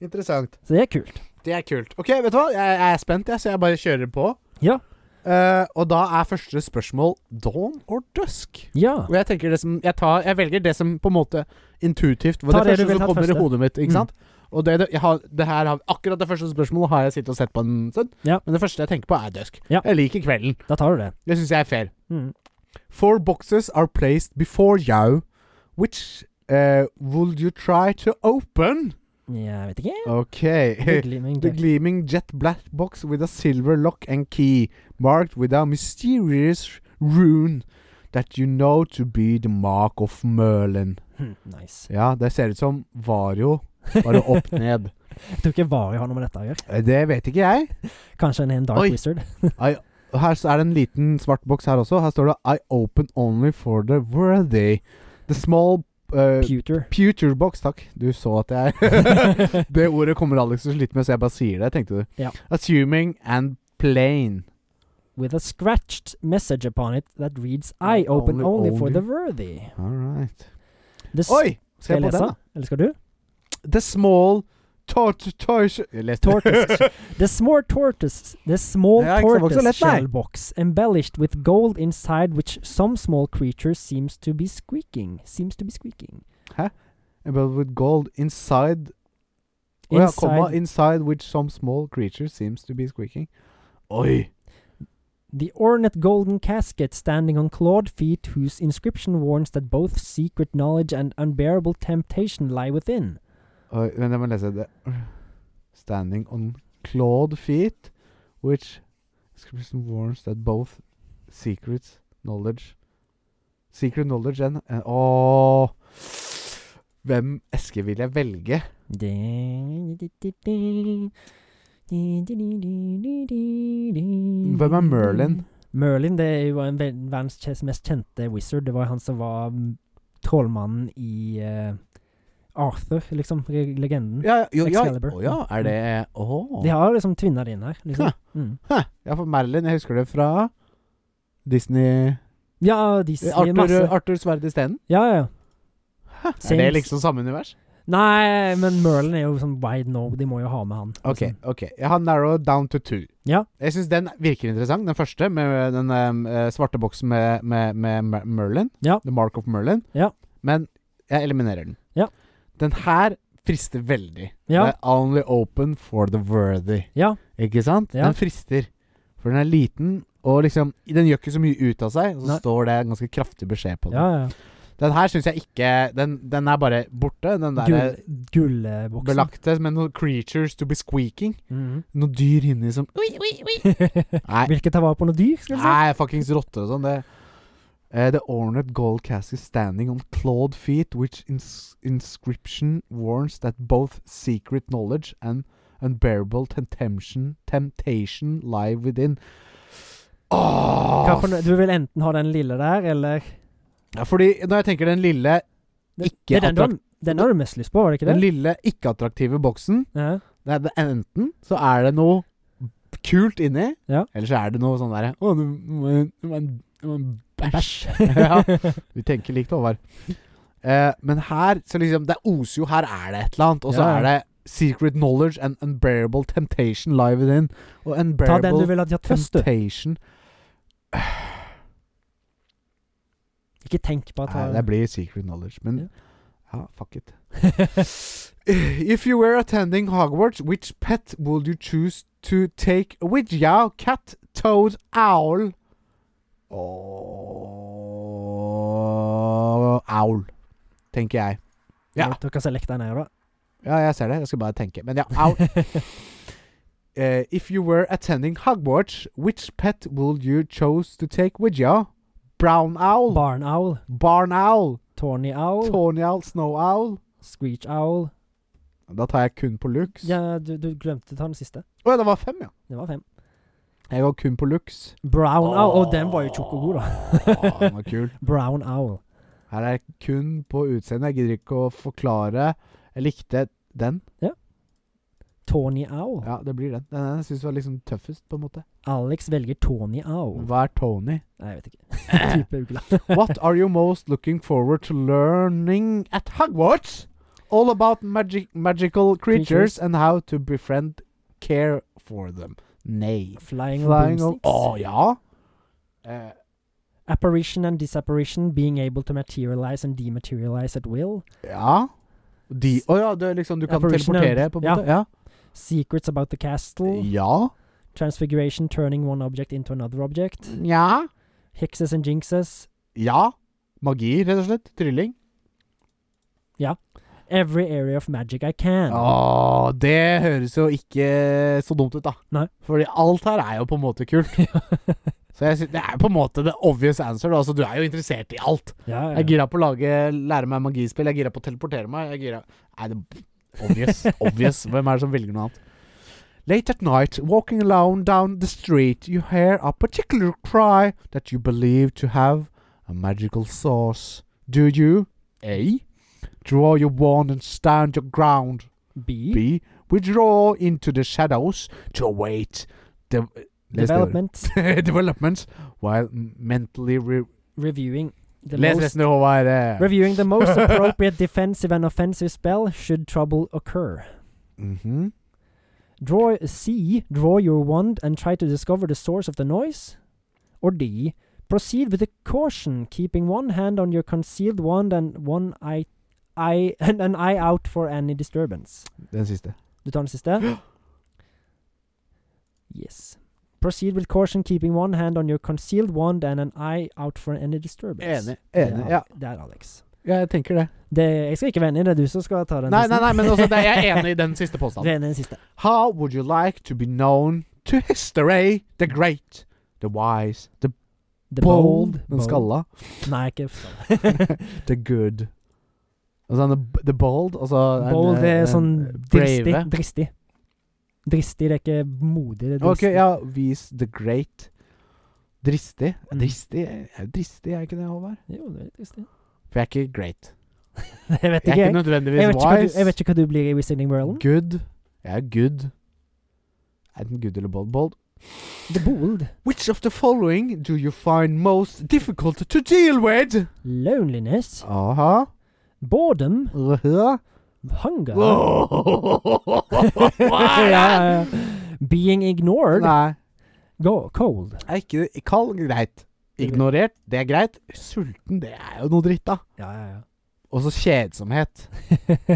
[SPEAKER 1] Interessant.
[SPEAKER 2] Så det er kult.
[SPEAKER 1] Det er kult. Ok, vet du hva? Jeg, jeg er spent, jeg, så jeg bare kjører på.
[SPEAKER 2] Ja.
[SPEAKER 1] Eh, og da er første spørsmål dawn or dusk?
[SPEAKER 2] Ja.
[SPEAKER 1] Og jeg tenker det som Jeg, tar, jeg velger det som på en måte intuitivt var
[SPEAKER 2] Ta
[SPEAKER 1] det,
[SPEAKER 2] det du
[SPEAKER 1] første
[SPEAKER 2] vil
[SPEAKER 1] som
[SPEAKER 2] ha
[SPEAKER 1] kommer
[SPEAKER 2] første.
[SPEAKER 1] i hodet mitt. Ikke
[SPEAKER 2] Mm.
[SPEAKER 1] sant? Og det, det, jeg har, det her har, akkurat det første spørsmålet har jeg sittet og sett på en stund.
[SPEAKER 2] Ja.
[SPEAKER 1] Men det første jeg tenker på, er dusk.
[SPEAKER 2] Ja.
[SPEAKER 1] Jeg liker kvelden.
[SPEAKER 2] Da tar du det.
[SPEAKER 1] Det syns jeg er fair.
[SPEAKER 2] Mm.
[SPEAKER 1] Four boxes are placed before you. Which uh, will you try to open?
[SPEAKER 2] Jeg vet ikke.
[SPEAKER 1] Ok.
[SPEAKER 2] Hyggelig med en
[SPEAKER 1] The
[SPEAKER 2] gøy.
[SPEAKER 1] gleaming jet black box with a silver lock and key, marked with a mysterious rune that you know to be the mark of Merlin.
[SPEAKER 2] Hm, Nice.
[SPEAKER 1] Ja, det ser ut som Vario, bare opp ned.
[SPEAKER 2] Jeg tror ikke Vari har noe med dette å gjøre.
[SPEAKER 1] Eh, Det vet ikke jeg.
[SPEAKER 2] Kanskje han er en dark
[SPEAKER 1] Oi.
[SPEAKER 2] wizard.
[SPEAKER 1] Og Her så er det en liten svart boks her også. Her står det I open only for the worthy. The small uh,
[SPEAKER 2] Pewter.
[SPEAKER 1] Pewter box, takk. Du så at jeg Det ordet kommer Alex til å slite med, så jeg bare sier det, tenkte du.
[SPEAKER 2] Ja.
[SPEAKER 1] Assuming and plain.
[SPEAKER 2] With a scratched message upon it that reads I open
[SPEAKER 1] Only-
[SPEAKER 2] only for
[SPEAKER 1] only.
[SPEAKER 2] the worthy.
[SPEAKER 1] All right.
[SPEAKER 2] The s-
[SPEAKER 1] Oi! Se
[SPEAKER 2] skal jeg
[SPEAKER 1] på den,
[SPEAKER 2] lese?
[SPEAKER 1] da.
[SPEAKER 2] Eller skal du?
[SPEAKER 1] The small tort tortoise Jeg leste
[SPEAKER 2] Tortoise. The small tortoise, the small
[SPEAKER 1] Ja, ikke sant, det var ikke så
[SPEAKER 2] tortoise
[SPEAKER 1] lett, nei.
[SPEAKER 2] shell box embellished with gold inside which some small creature seems to be squeaking. Seems to be squeaking.
[SPEAKER 1] But with gold inside Å ja, komma,
[SPEAKER 2] Inside
[SPEAKER 1] inside which some small creature seems to be squeaking. Oi!
[SPEAKER 2] The ornate golden casket standing on clawed feet, whose inscription warns that both secret knowledge and unbearable temptation lie within.
[SPEAKER 1] Oi, Men jeg må lese det. Standing on clawed feet, which inscription warns that both secrets, knowledge Secret knowledge and and- Åh! Hvem eske vil jeg velge?
[SPEAKER 2] Hvem
[SPEAKER 1] Hvem er
[SPEAKER 2] Mm.
[SPEAKER 1] Merlin?
[SPEAKER 2] Merlin det er jo en ve- verdens kje- mest kjente wizard. Det var han som var mm, trollmannen i eh, Arthur, liksom. re- Legenden.
[SPEAKER 1] Ja, jo, ja.
[SPEAKER 2] Excalibur.
[SPEAKER 1] Å ja, er det Å!
[SPEAKER 2] De har liksom tvinna det inn her. Liksom.
[SPEAKER 1] Hæ.
[SPEAKER 2] Mm.
[SPEAKER 1] Hæ, ja, for Merlin, jeg husker det fra Disney
[SPEAKER 2] Ja, de sier
[SPEAKER 1] Arthur, eh,
[SPEAKER 2] masse.
[SPEAKER 1] Arthur Sverd isteden.
[SPEAKER 2] Ja, ja, ja.
[SPEAKER 1] Er det liksom samme univers?
[SPEAKER 2] Nei, men Merlin er jo sånn wide no, de må jo ha med han.
[SPEAKER 1] Ok,
[SPEAKER 2] Liksom.
[SPEAKER 1] ok. Jeg har narrowed down to two.
[SPEAKER 2] Ja.
[SPEAKER 1] Jeg syns den virker interessant, den første, med den em, eh, svarte boksen med, med, med Mer- Merlin.
[SPEAKER 2] Ja.
[SPEAKER 1] The Mark of Merlin.
[SPEAKER 2] Ja.
[SPEAKER 1] Men jeg eliminerer den.
[SPEAKER 2] Ja.
[SPEAKER 1] Den her frister veldig.
[SPEAKER 2] Ja.
[SPEAKER 1] Det er only open for the worthy.
[SPEAKER 2] Ja.
[SPEAKER 1] Ikke sant?
[SPEAKER 2] Ja.
[SPEAKER 1] Den frister. For den er liten, og liksom Den gjør ikke så mye ut av seg, og så
[SPEAKER 2] Nei.
[SPEAKER 1] står det en ganske kraftig beskjed på den.
[SPEAKER 2] ja, ja.
[SPEAKER 1] Den her syns jeg ikke den, den er bare borte. Den derre
[SPEAKER 2] Gull, gullboksen.
[SPEAKER 1] belagte med noen creatures to be squeaking.
[SPEAKER 2] Mhm.
[SPEAKER 1] Noen dyr inni som Nei.
[SPEAKER 2] Hvilket tar vare på noe dyr, skal vi si.
[SPEAKER 1] Nei, fuckings rotter og sånn. Det Eh, The ornate gold cask is standing on clawed feet, which ins inscription warns that both secret knowledge and unbearable temptation, temptation lie within.
[SPEAKER 2] Hva
[SPEAKER 1] Åh!
[SPEAKER 2] for noe- Du vil enten ha den lille der, eller
[SPEAKER 1] Ja, fordi når jeg tenker den lille,
[SPEAKER 2] Det-
[SPEAKER 1] Ikke
[SPEAKER 2] det er den, du har, den har du mest lyst på, var det ikke
[SPEAKER 1] den
[SPEAKER 2] det?
[SPEAKER 1] lille ikke-attraktive boksen
[SPEAKER 2] Ja.
[SPEAKER 1] det er, Enten så er det noe kult inni,
[SPEAKER 2] Ja.
[SPEAKER 1] eller så er det noe sånn derre Å, det var en- det var en- det var en bæsj. ja. Vi tenker likt, Håvard. Eh, men her så liksom Det oser jo Her er det et eller annet. Og så
[SPEAKER 2] Ja, ja.
[SPEAKER 1] er det Secret knowledge and unbearable temptation live within. Og
[SPEAKER 2] Ta den du
[SPEAKER 1] unbearable
[SPEAKER 2] vil ha først, du.
[SPEAKER 1] temptation
[SPEAKER 2] Ikke tenk på å ta
[SPEAKER 1] Nei, det blir secret knowledge, men
[SPEAKER 2] Ja.
[SPEAKER 1] ja, fuck it. If you were attending Hogwarts, which pet would you choose to take with you? Cat, toad, owl? Åh, owl, tenker jeg. Ja.
[SPEAKER 2] Du kan selekte den her, da.
[SPEAKER 1] Ja, jeg ser det. Jeg skal bare tenke. Men ja, au. Eh, if you were attending Hogwarts, which pet would you chose to take with you? Brown owl,
[SPEAKER 2] Barn owl,
[SPEAKER 1] barn owl,
[SPEAKER 2] Tawny owl,
[SPEAKER 1] tawny owl, snow owl.
[SPEAKER 2] screech owl
[SPEAKER 1] Da tar jeg kun på looks. Å
[SPEAKER 2] Ja, du, du glemte å ta den siste.
[SPEAKER 1] ja, det var fem, ja.
[SPEAKER 2] Det var fem.
[SPEAKER 1] Jeg går kun på looks.
[SPEAKER 2] Brown owl. Og den var jo tjukk og god, da.
[SPEAKER 1] Åh, den var kul.
[SPEAKER 2] Brown owl.
[SPEAKER 1] Her er jeg kun på utseende. Jeg gidder ikke å forklare. Jeg likte den.
[SPEAKER 2] Tawny owl.
[SPEAKER 1] Ja, det blir den. Den jeg syns var liksom tøffest, på en måte.
[SPEAKER 2] Alex velger Tawny owl.
[SPEAKER 1] Hva er Tony?
[SPEAKER 2] Nei, jeg vet ikke. Type ugle.
[SPEAKER 1] What are you most looking forward to learning at Hogwarts? All about magic, magical creatures,
[SPEAKER 2] Creatures.
[SPEAKER 1] and how to befriend, care for them. Nei.
[SPEAKER 2] Flying,
[SPEAKER 1] Flying
[SPEAKER 2] on
[SPEAKER 1] of-
[SPEAKER 2] broomsticks.
[SPEAKER 1] Å, ja. Eh,
[SPEAKER 2] Apparition and disapparition, being able to materialize and dematerialize at will.
[SPEAKER 1] ja. De, å ja, det er liksom du kan
[SPEAKER 2] Apparition and-
[SPEAKER 1] teleportere, på en måte? Ja.
[SPEAKER 2] Secrets about the castle.
[SPEAKER 1] Ja.
[SPEAKER 2] Transfiguration, turning one object into another object.
[SPEAKER 1] Ja.
[SPEAKER 2] Hexes and jinxes.
[SPEAKER 1] ja. Magi, rett og slett. Trylling.
[SPEAKER 2] Every area of magic I can.
[SPEAKER 1] Å, det høres jo ikke så dumt ut, da.
[SPEAKER 2] Nei.
[SPEAKER 1] Fordi alt her er jo på en måte kult. Så jeg sy- Det er jo på en måte the obvious answer. Da. Altså, du er jo interessert i alt.
[SPEAKER 2] ja,
[SPEAKER 1] Jeg er gira på å lage, lære meg magispill. Jeg er gira på å teleportere meg. Jeg er gira Nei, det obvious. obvious. Hvem er det som velger noe annet? Late at night, walking alone down the street, you hear a particular cry that you believe to have a magical source. Do you? A. Draw your wand and stand your ground.
[SPEAKER 2] B.
[SPEAKER 1] B. Withdraw into the shadows to await the uh,
[SPEAKER 2] Development.
[SPEAKER 1] developments while mentally re
[SPEAKER 2] reviewing. The
[SPEAKER 1] Les
[SPEAKER 2] most,
[SPEAKER 1] resten av Håvard. eh.
[SPEAKER 2] reviewing the most appropriate defensive and offensive spell should trouble occur.
[SPEAKER 1] Mhm.
[SPEAKER 2] Draw C. Draw your wand and try to discover the source of the noise. Or D. Proceed with a caution, keeping one hand on your concealed wand and one eye, eye and an eye out for any disturbance.
[SPEAKER 1] Den siste.
[SPEAKER 2] Du tar den siste. Yes. Proceed with caution, keeping one hand on your concealed wand and an eye out for any disturbance.
[SPEAKER 1] Enig.
[SPEAKER 2] Det er
[SPEAKER 1] Enig.
[SPEAKER 2] Al-
[SPEAKER 1] Ja,
[SPEAKER 2] Det er Alex.
[SPEAKER 1] ja jeg tenker det.
[SPEAKER 2] Det, jeg skal ikke være enig, det er du som skal ta den
[SPEAKER 1] Nei,
[SPEAKER 2] siste.
[SPEAKER 1] nei, nei, men også det, jeg er enig i den siste
[SPEAKER 2] Du
[SPEAKER 1] påstanden.
[SPEAKER 2] er enig i den siste.
[SPEAKER 1] How would you like to be known to history? The great, the wise, the
[SPEAKER 2] The
[SPEAKER 1] bold, Den
[SPEAKER 2] bold.
[SPEAKER 1] skalla.
[SPEAKER 2] Nei, ikke skalla.
[SPEAKER 1] The good. Altså, the, the bold, altså en,
[SPEAKER 2] Bold det
[SPEAKER 1] eh,
[SPEAKER 2] er sånn
[SPEAKER 1] en
[SPEAKER 2] dristig.
[SPEAKER 1] brave.
[SPEAKER 2] Dristig. Dristig, det er ikke modig, det er
[SPEAKER 1] Ok,
[SPEAKER 2] dristig.
[SPEAKER 1] ja, vis the great. Dristig.
[SPEAKER 2] Mm.
[SPEAKER 1] Dristig, er dristig, er jeg ikke det, Håvard?
[SPEAKER 2] Jo, det er dristig.
[SPEAKER 1] For jeg er ikke great.
[SPEAKER 2] Jeg vet
[SPEAKER 1] Jeg er
[SPEAKER 2] ikke,
[SPEAKER 1] ikke
[SPEAKER 2] jeg.
[SPEAKER 1] nødvendigvis
[SPEAKER 2] Jeg vet ikke, hva du,
[SPEAKER 1] wise.
[SPEAKER 2] jeg vet ikke hva du blir i Wizarding World.
[SPEAKER 1] Good. Jeg er good. Enten good eller bold. Bold.
[SPEAKER 2] The Bold.
[SPEAKER 1] Which of the following do you find most difficult to deal with?
[SPEAKER 2] Loneliness.
[SPEAKER 1] Aha.
[SPEAKER 2] Boredom,
[SPEAKER 1] Uh-huh.
[SPEAKER 2] hunger ja,
[SPEAKER 1] Nei,
[SPEAKER 2] ja, ja. Being ignored, go cold.
[SPEAKER 1] det er ikke kald, greit. Ignorert, det er greit. Sulten, det er jo noe dritt, da.
[SPEAKER 2] Ja, ja, ja.
[SPEAKER 1] Og så kjedsomhet.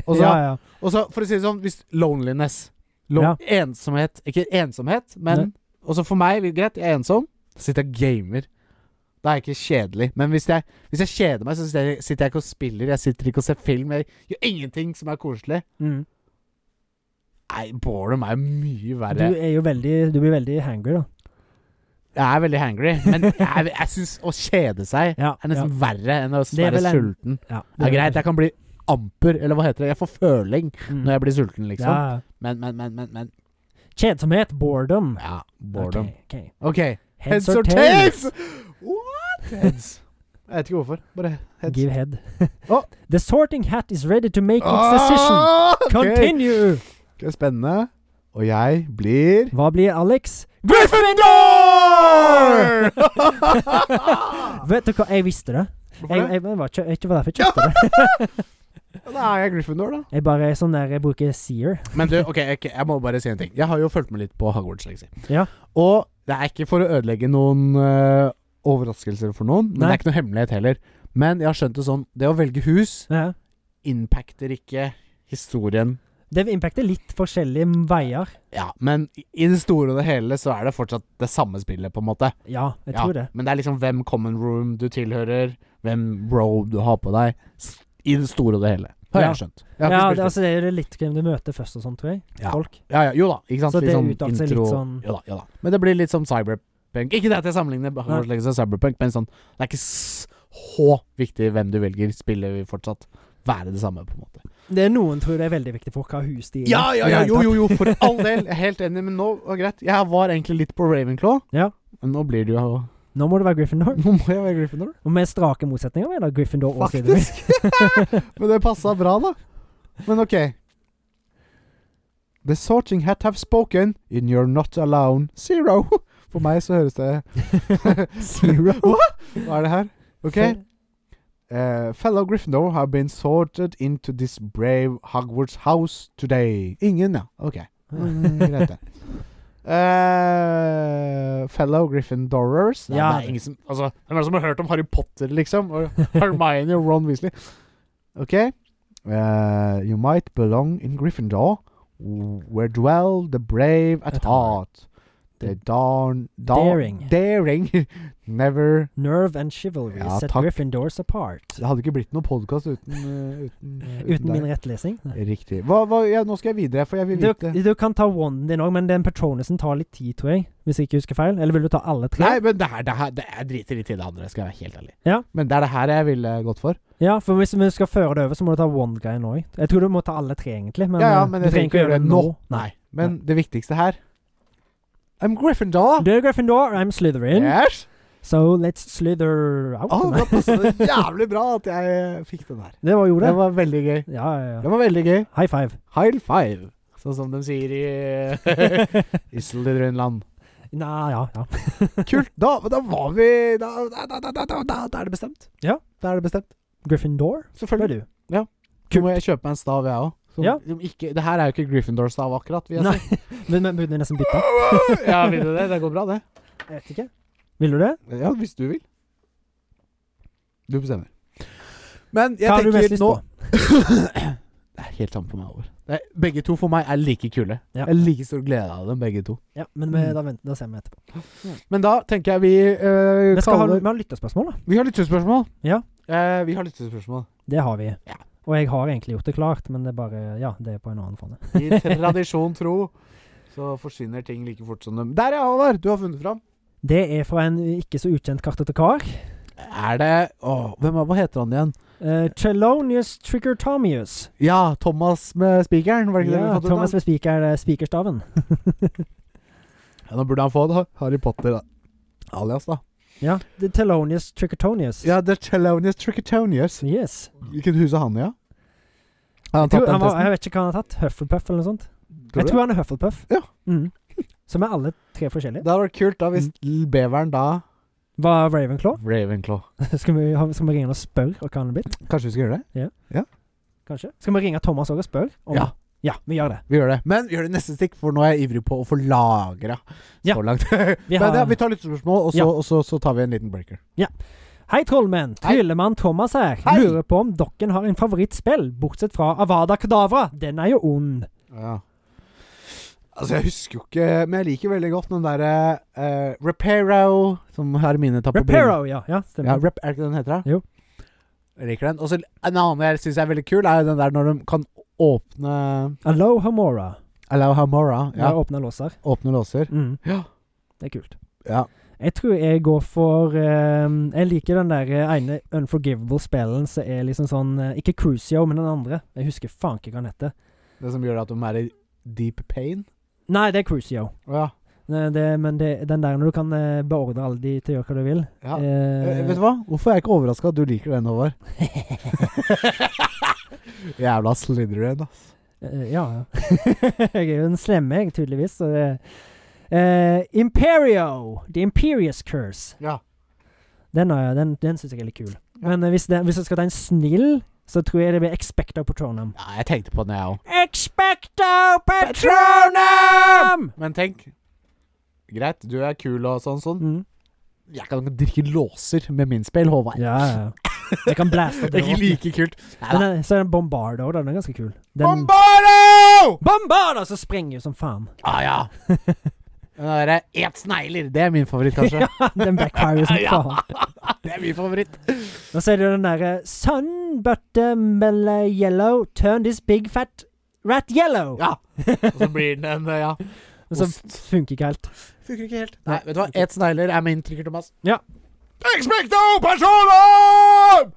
[SPEAKER 1] Og så-
[SPEAKER 2] ja, ja.
[SPEAKER 1] Og så, for å si det sånn, hvis loneliness lo
[SPEAKER 2] Ja.
[SPEAKER 1] Ensomhet. Ikke ensomhet, men Og så for meg, greit, jeg er ensom. Så sitter jeg og gamer. Da er jeg ikke kjedelig. Men hvis jeg, hvis jeg kjeder meg, så sitter jeg, sitter jeg ikke og spiller. Jeg sitter ikke og ser film. Jeg gjør ingenting som er koselig.
[SPEAKER 2] Mm.
[SPEAKER 1] Nei, boredom er mye
[SPEAKER 2] Du
[SPEAKER 1] verre.
[SPEAKER 2] er jo veldig Du blir veldig hangry, da.
[SPEAKER 1] Jeg er veldig hangry, men jeg, jeg syns å kjede seg
[SPEAKER 2] Ja,
[SPEAKER 1] er nesten verre enn å
[SPEAKER 2] er
[SPEAKER 1] være
[SPEAKER 2] vel en-
[SPEAKER 1] sulten.
[SPEAKER 2] ja.
[SPEAKER 1] Det er greit, jeg kan bli amper, eller hva heter det. Jeg får føling
[SPEAKER 2] Mm.
[SPEAKER 1] når jeg blir sulten, liksom.
[SPEAKER 2] Ja.
[SPEAKER 1] Men, men, men, men, men
[SPEAKER 2] Kjedsomhet, boredom.
[SPEAKER 1] Ja, boredom.
[SPEAKER 2] Ok, ok.
[SPEAKER 1] Ok. Heads, or tails? What? Heads. Jeg vet ikke hvorfor. Bare heads.
[SPEAKER 2] Give head.
[SPEAKER 1] Å.
[SPEAKER 2] The sorting hat is ready to make its decision.
[SPEAKER 1] Ah, ok.
[SPEAKER 2] Continue!
[SPEAKER 1] Det er spennende. Og jeg blir
[SPEAKER 2] Hva blir Alex?
[SPEAKER 1] Gryffindor!
[SPEAKER 2] Vet du hva, jeg visste det.
[SPEAKER 1] Hvorfor
[SPEAKER 2] Jeg,
[SPEAKER 1] det?
[SPEAKER 2] jeg, jeg var ikke, jeg vet ikke hva derfor jeg kjøpte det.
[SPEAKER 1] Da er jeg Gryffindor, da.
[SPEAKER 2] Jeg bare er sånn der jeg bruker seer.
[SPEAKER 1] Men du, ok, ok, jeg må bare si en ting. Jeg har jo fulgt med litt på Hogwarts legacy.
[SPEAKER 2] Ja.
[SPEAKER 1] Og det er ikke for å ødelegge noen øh, overraskelser for noen, men det
[SPEAKER 2] Nei.
[SPEAKER 1] er ikke noe hemmelighet heller. Men jeg har skjønt det sånn, det å velge hus
[SPEAKER 2] Ja.
[SPEAKER 1] impacter ikke historien.
[SPEAKER 2] Det impacter litt forskjellige veier.
[SPEAKER 1] Ja, men i- i det store og det hele så er det fortsatt det samme spillet, på en måte.
[SPEAKER 2] Ja, jeg
[SPEAKER 1] Ja,
[SPEAKER 2] tror det.
[SPEAKER 1] Men det er liksom hvem common room du tilhører, hvem road du har på deg, s- i det store og det hele. Har
[SPEAKER 2] Ja.
[SPEAKER 1] jeg skjønt. Jeg har
[SPEAKER 2] Ja,
[SPEAKER 1] ikke
[SPEAKER 2] det,
[SPEAKER 1] spilt
[SPEAKER 2] altså, det er jo litt hvem du møter først og sånn, tror jeg.
[SPEAKER 1] Ja.
[SPEAKER 2] Folk.
[SPEAKER 1] Ja, ja, jo da, ikke sant?
[SPEAKER 2] Så
[SPEAKER 1] Litt
[SPEAKER 2] det
[SPEAKER 1] sånn
[SPEAKER 2] utarter seg litt
[SPEAKER 1] intro-
[SPEAKER 2] sånn-
[SPEAKER 1] Jo da, jo da. Men det blir litt som cyberpunk. Ikke det at jeg sammenligner Hogwarts Legacy og cyberpunk, men sånn, det er ikke så viktig hvem du velger. Spillet vil fortsatt være det samme, på en måte.
[SPEAKER 2] Det er noen tror det er veldig viktig for hva hus de er i.
[SPEAKER 1] Ja, ja, ja,
[SPEAKER 2] I det hele
[SPEAKER 1] jo,
[SPEAKER 2] tatt.
[SPEAKER 1] jo, jo, for all del. Jeg er helt enig, men nå var greit. Jeg var egentlig litt på Ravenclaw,
[SPEAKER 2] Ja.
[SPEAKER 1] men nå blir det jo
[SPEAKER 2] Nå må det være Gryffindor.
[SPEAKER 1] Nå må jeg være é Gryffindor.
[SPEAKER 2] Og med strake motsetninger mener jeg Gryffindor og Slytherin.
[SPEAKER 1] Faktisk. Men det passa bra, da. Men OK. The sorting hat have spoken, and you're not alone. Zero. For meg så høres det Zero? Hva er det her? OK. Eh, fellow Gryffindor have been sorted into this brave Hogwarts house today. Ingen, ja. OK. Mm, greit, det. Eh, fellow Gryffindorers Nei,
[SPEAKER 2] Ja.
[SPEAKER 1] det er ingen som altså, Hvem er det som har hørt om Harry Potter, liksom? Og Hermione og Ron Weasley. OK. Eh, you might belong in Gryffindor, where dwell the brave at,
[SPEAKER 2] At
[SPEAKER 1] heart. The darn, darn
[SPEAKER 2] Daring.
[SPEAKER 1] Daring. Never
[SPEAKER 2] Nerve and chivalry
[SPEAKER 1] Ja,
[SPEAKER 2] set
[SPEAKER 1] takk.
[SPEAKER 2] Gryffindors apart.
[SPEAKER 1] Det hadde ikke blitt noen podkast uten, eh, uten, eh,
[SPEAKER 2] Uten min
[SPEAKER 1] deg.
[SPEAKER 2] rettlesing. Nei.
[SPEAKER 1] Riktig. Hva, hva, ja, nå skal jeg videre, for jeg vil
[SPEAKER 2] Du,
[SPEAKER 1] vite
[SPEAKER 2] du kan ta wanden din òg, men den Patronusen tar litt tid, tror jeg. Hvis jeg ikke husker feil. Eller vil du ta alle tre?
[SPEAKER 1] Nei, men det her, det her det Jeg driter litt i det andre, skal jeg være helt ærlig.
[SPEAKER 2] Ja.
[SPEAKER 1] Men det er det her jeg ville gått for.
[SPEAKER 2] Ja, for hvis vi skal føre det over, så må du ta wand-greien òg. Jeg tror du må ta alle tre, egentlig. Men,
[SPEAKER 1] ja, ja,
[SPEAKER 2] eh,
[SPEAKER 1] men
[SPEAKER 2] du
[SPEAKER 1] jeg trenger ikke gjøre det nå.
[SPEAKER 2] Nei.
[SPEAKER 1] Men det viktigste her I'm Gryffindor!
[SPEAKER 2] Du er Gryffindor, I'm Slytherin.
[SPEAKER 1] Yes!
[SPEAKER 2] So let's slither out.
[SPEAKER 1] Oh, det passet det jævlig bra at jeg eh, fikk den her.
[SPEAKER 2] det var jo det.
[SPEAKER 1] Det var veldig gøy.
[SPEAKER 2] Ja, ja, ja.
[SPEAKER 1] Det var veldig gøy.
[SPEAKER 2] High five.
[SPEAKER 1] High five, sånn som de sier i I Slytherin-land.
[SPEAKER 2] Nei, ja, ja.
[SPEAKER 1] Kult. Da, da var vi da, da, da, da, da, da, da er det bestemt.
[SPEAKER 2] Ja.
[SPEAKER 1] Da er det bestemt.
[SPEAKER 2] Gryffindor, ble
[SPEAKER 1] Selvfølgelig.
[SPEAKER 2] du.
[SPEAKER 1] Så må jeg kjøpe meg en stav, jeg òg.
[SPEAKER 2] Ja.
[SPEAKER 1] Det her er jo ikke Gryffindor-stav, akkurat. Vil jeg
[SPEAKER 2] Nei.
[SPEAKER 1] si.
[SPEAKER 2] Men, men burde jeg nesten bytte?
[SPEAKER 1] ja, vil du det? Det går bra, det.
[SPEAKER 2] Jeg vet ikke. Vil du det?
[SPEAKER 1] Ja, hvis du vil. Du bestemmer. Men jeg
[SPEAKER 2] Hva har du mest
[SPEAKER 1] tenker
[SPEAKER 2] lyst
[SPEAKER 1] nå
[SPEAKER 2] på?
[SPEAKER 1] Det er helt samme for meg over. Det er, begge to for meg er like kule.
[SPEAKER 2] Ja.
[SPEAKER 1] Jeg har like stor glede av dem, begge to.
[SPEAKER 2] Ja, men vi,
[SPEAKER 1] Mm.
[SPEAKER 2] da, venter, da ser vi etterpå.
[SPEAKER 1] Men da tenker jeg vi
[SPEAKER 2] Vi
[SPEAKER 1] uh,
[SPEAKER 2] skal ha,
[SPEAKER 1] kaller
[SPEAKER 2] vi har lytterspørsmål, da.
[SPEAKER 1] Vi har lyttespørsmål.
[SPEAKER 2] Ja.
[SPEAKER 1] Eh, vi har lyttespørsmål.
[SPEAKER 2] Det har vi.
[SPEAKER 1] Ja.
[SPEAKER 2] Og jeg har egentlig gjort det klart, men det er bare Ja, det er på en annen fane.
[SPEAKER 1] I tradisjon tro så forsvinner ting like fort som dem. Der, ja, Håvard! Du har funnet fram.
[SPEAKER 2] Det er fra en ikke så ukjent kartotekar.
[SPEAKER 1] Er det Åh, hvem er, Hva heter han igjen?
[SPEAKER 2] Uh, Chelonius Triggertomius.
[SPEAKER 1] Ja, Thomas med spikeren, var det ikke det vi
[SPEAKER 2] Ja,
[SPEAKER 1] fant ut av?
[SPEAKER 2] Thomas ved spiker, eh, spikerstaven.
[SPEAKER 1] Ja, da burde han få det. Harry Potter da. alias, da.
[SPEAKER 2] Ja. The Telonius Triggertonius.
[SPEAKER 1] Ja, The Chelonius Trichotonius.
[SPEAKER 2] Yes.
[SPEAKER 1] Hvilket hus er han i, ja? Har han
[SPEAKER 2] Jeg, tror,
[SPEAKER 1] tatt den
[SPEAKER 2] han var, jeg
[SPEAKER 1] testen?
[SPEAKER 2] vet ikke hva han har tatt. Hufflepuff eller noe sånt.
[SPEAKER 1] Tror
[SPEAKER 2] jeg
[SPEAKER 1] du
[SPEAKER 2] tror han er Hufflepuff.
[SPEAKER 1] Ja.
[SPEAKER 2] Mm. Som er alle tre forskjellige.
[SPEAKER 1] Det hadde vært kult da hvis l- beveren da
[SPEAKER 2] Var Ravenclaw?
[SPEAKER 1] Ravenclaw.
[SPEAKER 2] Skal vi, ha- skal vi ringe han og spørre hva han er blitt?
[SPEAKER 1] Kanskje vi skal gjøre det?
[SPEAKER 2] Kanskje? Skal vi ringe Thomas òg og spørre? om-
[SPEAKER 1] Ja.
[SPEAKER 2] ja, vi gjør det.
[SPEAKER 1] Vi gjør det. Men vi gjør det i neste stikk, for nå er jeg ivrig på å få lagra
[SPEAKER 2] Ja.
[SPEAKER 1] så langt. Vi, Men,
[SPEAKER 2] har-
[SPEAKER 1] ja, vi tar lyttespørsmål, og, så,
[SPEAKER 2] Ja.
[SPEAKER 1] og så, så tar vi en liten breaker.
[SPEAKER 2] Hei, trollmenn.
[SPEAKER 1] Hei.
[SPEAKER 2] Tryllemann Thomas her.
[SPEAKER 1] Hei.
[SPEAKER 2] Lurer på om dere har en favorittspill, bortsett fra Avada Kedavra. Den er jo ond.
[SPEAKER 1] Ja. Altså, jeg husker jo ikke Men jeg liker veldig godt den derre eh, Reparo, som Hermine tar på bryn.
[SPEAKER 2] Reparo, ja. ja stemmer.
[SPEAKER 1] Ja, rep, er det ikke den heter? da?
[SPEAKER 2] Jo.
[SPEAKER 1] Jeg liker den. Og så en annen jeg syns er veldig kul, er jo den der når de kan åpne
[SPEAKER 2] Alohomora.
[SPEAKER 1] Alauhamora.
[SPEAKER 2] Ja.
[SPEAKER 1] Ja,
[SPEAKER 2] Åpne låser.
[SPEAKER 1] åpne låser.
[SPEAKER 2] Mm.
[SPEAKER 1] Ja.
[SPEAKER 2] Det er kult.
[SPEAKER 1] Ja.
[SPEAKER 2] Jeg tror jeg går for eh, Jeg liker den der eh, ene Unforgivable-spillen som er liksom sånn eh, Ikke Crucio, men den andre. Jeg husker faen ikke hva den heter.
[SPEAKER 1] Det som gjør at de er i deep pain.
[SPEAKER 2] Nei, det er Crucio.
[SPEAKER 1] Å ja.
[SPEAKER 2] Nei, Det, men det, den der når du kan eh, beordre alle de til å gjøre hva du vil.
[SPEAKER 1] ja.
[SPEAKER 2] Eh,
[SPEAKER 1] Eh, vet du hva? Hvorfor er jeg ikke overraska at du liker den, Håvard? Jævla Slytherin, ass.
[SPEAKER 2] Eh, ja, ja. jeg er jo en slemme, jeg, tydeligvis. Så det Eh, Imperio! The Imperious Curse.
[SPEAKER 1] Ja.
[SPEAKER 2] Den, har jeg- den, den syns jeg er litt kul.
[SPEAKER 1] Ja.
[SPEAKER 2] Men eh, hvis, den- hvis jeg skal ta en snill, så tror jeg det blir Expecto Patronum.
[SPEAKER 1] ja jeg tenkte på den, jeg òg.
[SPEAKER 2] Expecto
[SPEAKER 1] Patronum! Men tenk Greit, du er kul og sånn, sånn.
[SPEAKER 2] Mm.
[SPEAKER 1] Jeg kan ikke drikke låser med min spill, Håvard.
[SPEAKER 2] Ja, ja, ja. Jeg kan blaste
[SPEAKER 1] Det er ikke
[SPEAKER 2] opp.
[SPEAKER 1] like kult.
[SPEAKER 2] Men eh, så er det Bombardo, da. Den er ganske kul. Den
[SPEAKER 1] Bombardo!
[SPEAKER 2] Bombardo! Så sprenger jo som faen.
[SPEAKER 1] Ah, ja. Den derre et snegler, det er min favoritt, kanskje.
[SPEAKER 2] Den backfire jo som faen.
[SPEAKER 1] Det er min favoritt.
[SPEAKER 2] Og så er det jo den derre Sun butter mellow yellow, turn this big fat rat yellow.
[SPEAKER 1] Ja. Og så blir den en, ja.
[SPEAKER 2] Og så
[SPEAKER 1] ost.
[SPEAKER 2] funker ikke helt.
[SPEAKER 1] Funker ikke helt.
[SPEAKER 2] Nei,
[SPEAKER 1] Nei, vet du hva? Et snegler er min trykker, Thomas.
[SPEAKER 2] Ja.
[SPEAKER 1] Expecto personum!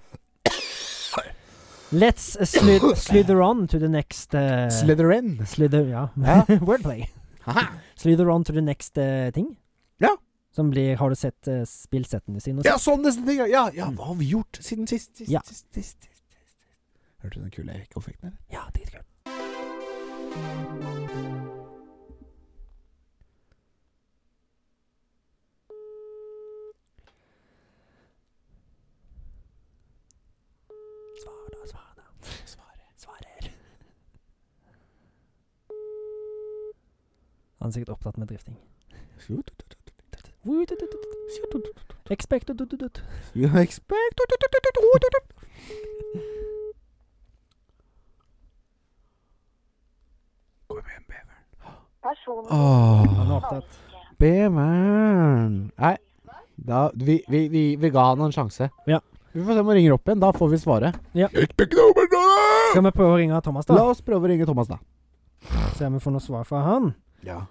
[SPEAKER 2] Let's slid slither on to the next uh,
[SPEAKER 1] Slytherin.
[SPEAKER 2] Slither, ja.
[SPEAKER 1] Ja.
[SPEAKER 2] Wordplay.
[SPEAKER 1] Haha.
[SPEAKER 2] Slither on to the next eh, ting.
[SPEAKER 1] Ja.
[SPEAKER 2] Som blir Har du sett uh, spillsettene sine? og
[SPEAKER 1] Ja,
[SPEAKER 2] sånt?
[SPEAKER 1] sånn nesten ting. Ja, ja, hva har vi gjort siden sist? sist,
[SPEAKER 2] Ja.
[SPEAKER 1] sist, sist, sist, sist. Hørte du den kule Erik-konfekten, eller?
[SPEAKER 2] ja dritkult. Svar da, svar da.
[SPEAKER 1] Svaret.
[SPEAKER 2] Svarer. Han er sikkert opptatt med drifting. Expect
[SPEAKER 1] You expect Kom igjen, beveren.
[SPEAKER 3] Personen
[SPEAKER 2] Han er
[SPEAKER 1] Åh,
[SPEAKER 2] opptatt.
[SPEAKER 1] beveren. Nei, da, vi, vi, vi, vi ga han en sjanse.
[SPEAKER 2] Ja.
[SPEAKER 1] Vi får se om han ringer opp igjen. Da får vi svaret.
[SPEAKER 2] Ja.
[SPEAKER 1] Jeg expect over nå!
[SPEAKER 2] Skal vi prøve å ringe Thomas,
[SPEAKER 1] La
[SPEAKER 2] da?
[SPEAKER 1] oss prøve å ringe Thomas, da.
[SPEAKER 2] Se om vi får noe svar fra han.
[SPEAKER 1] Ja.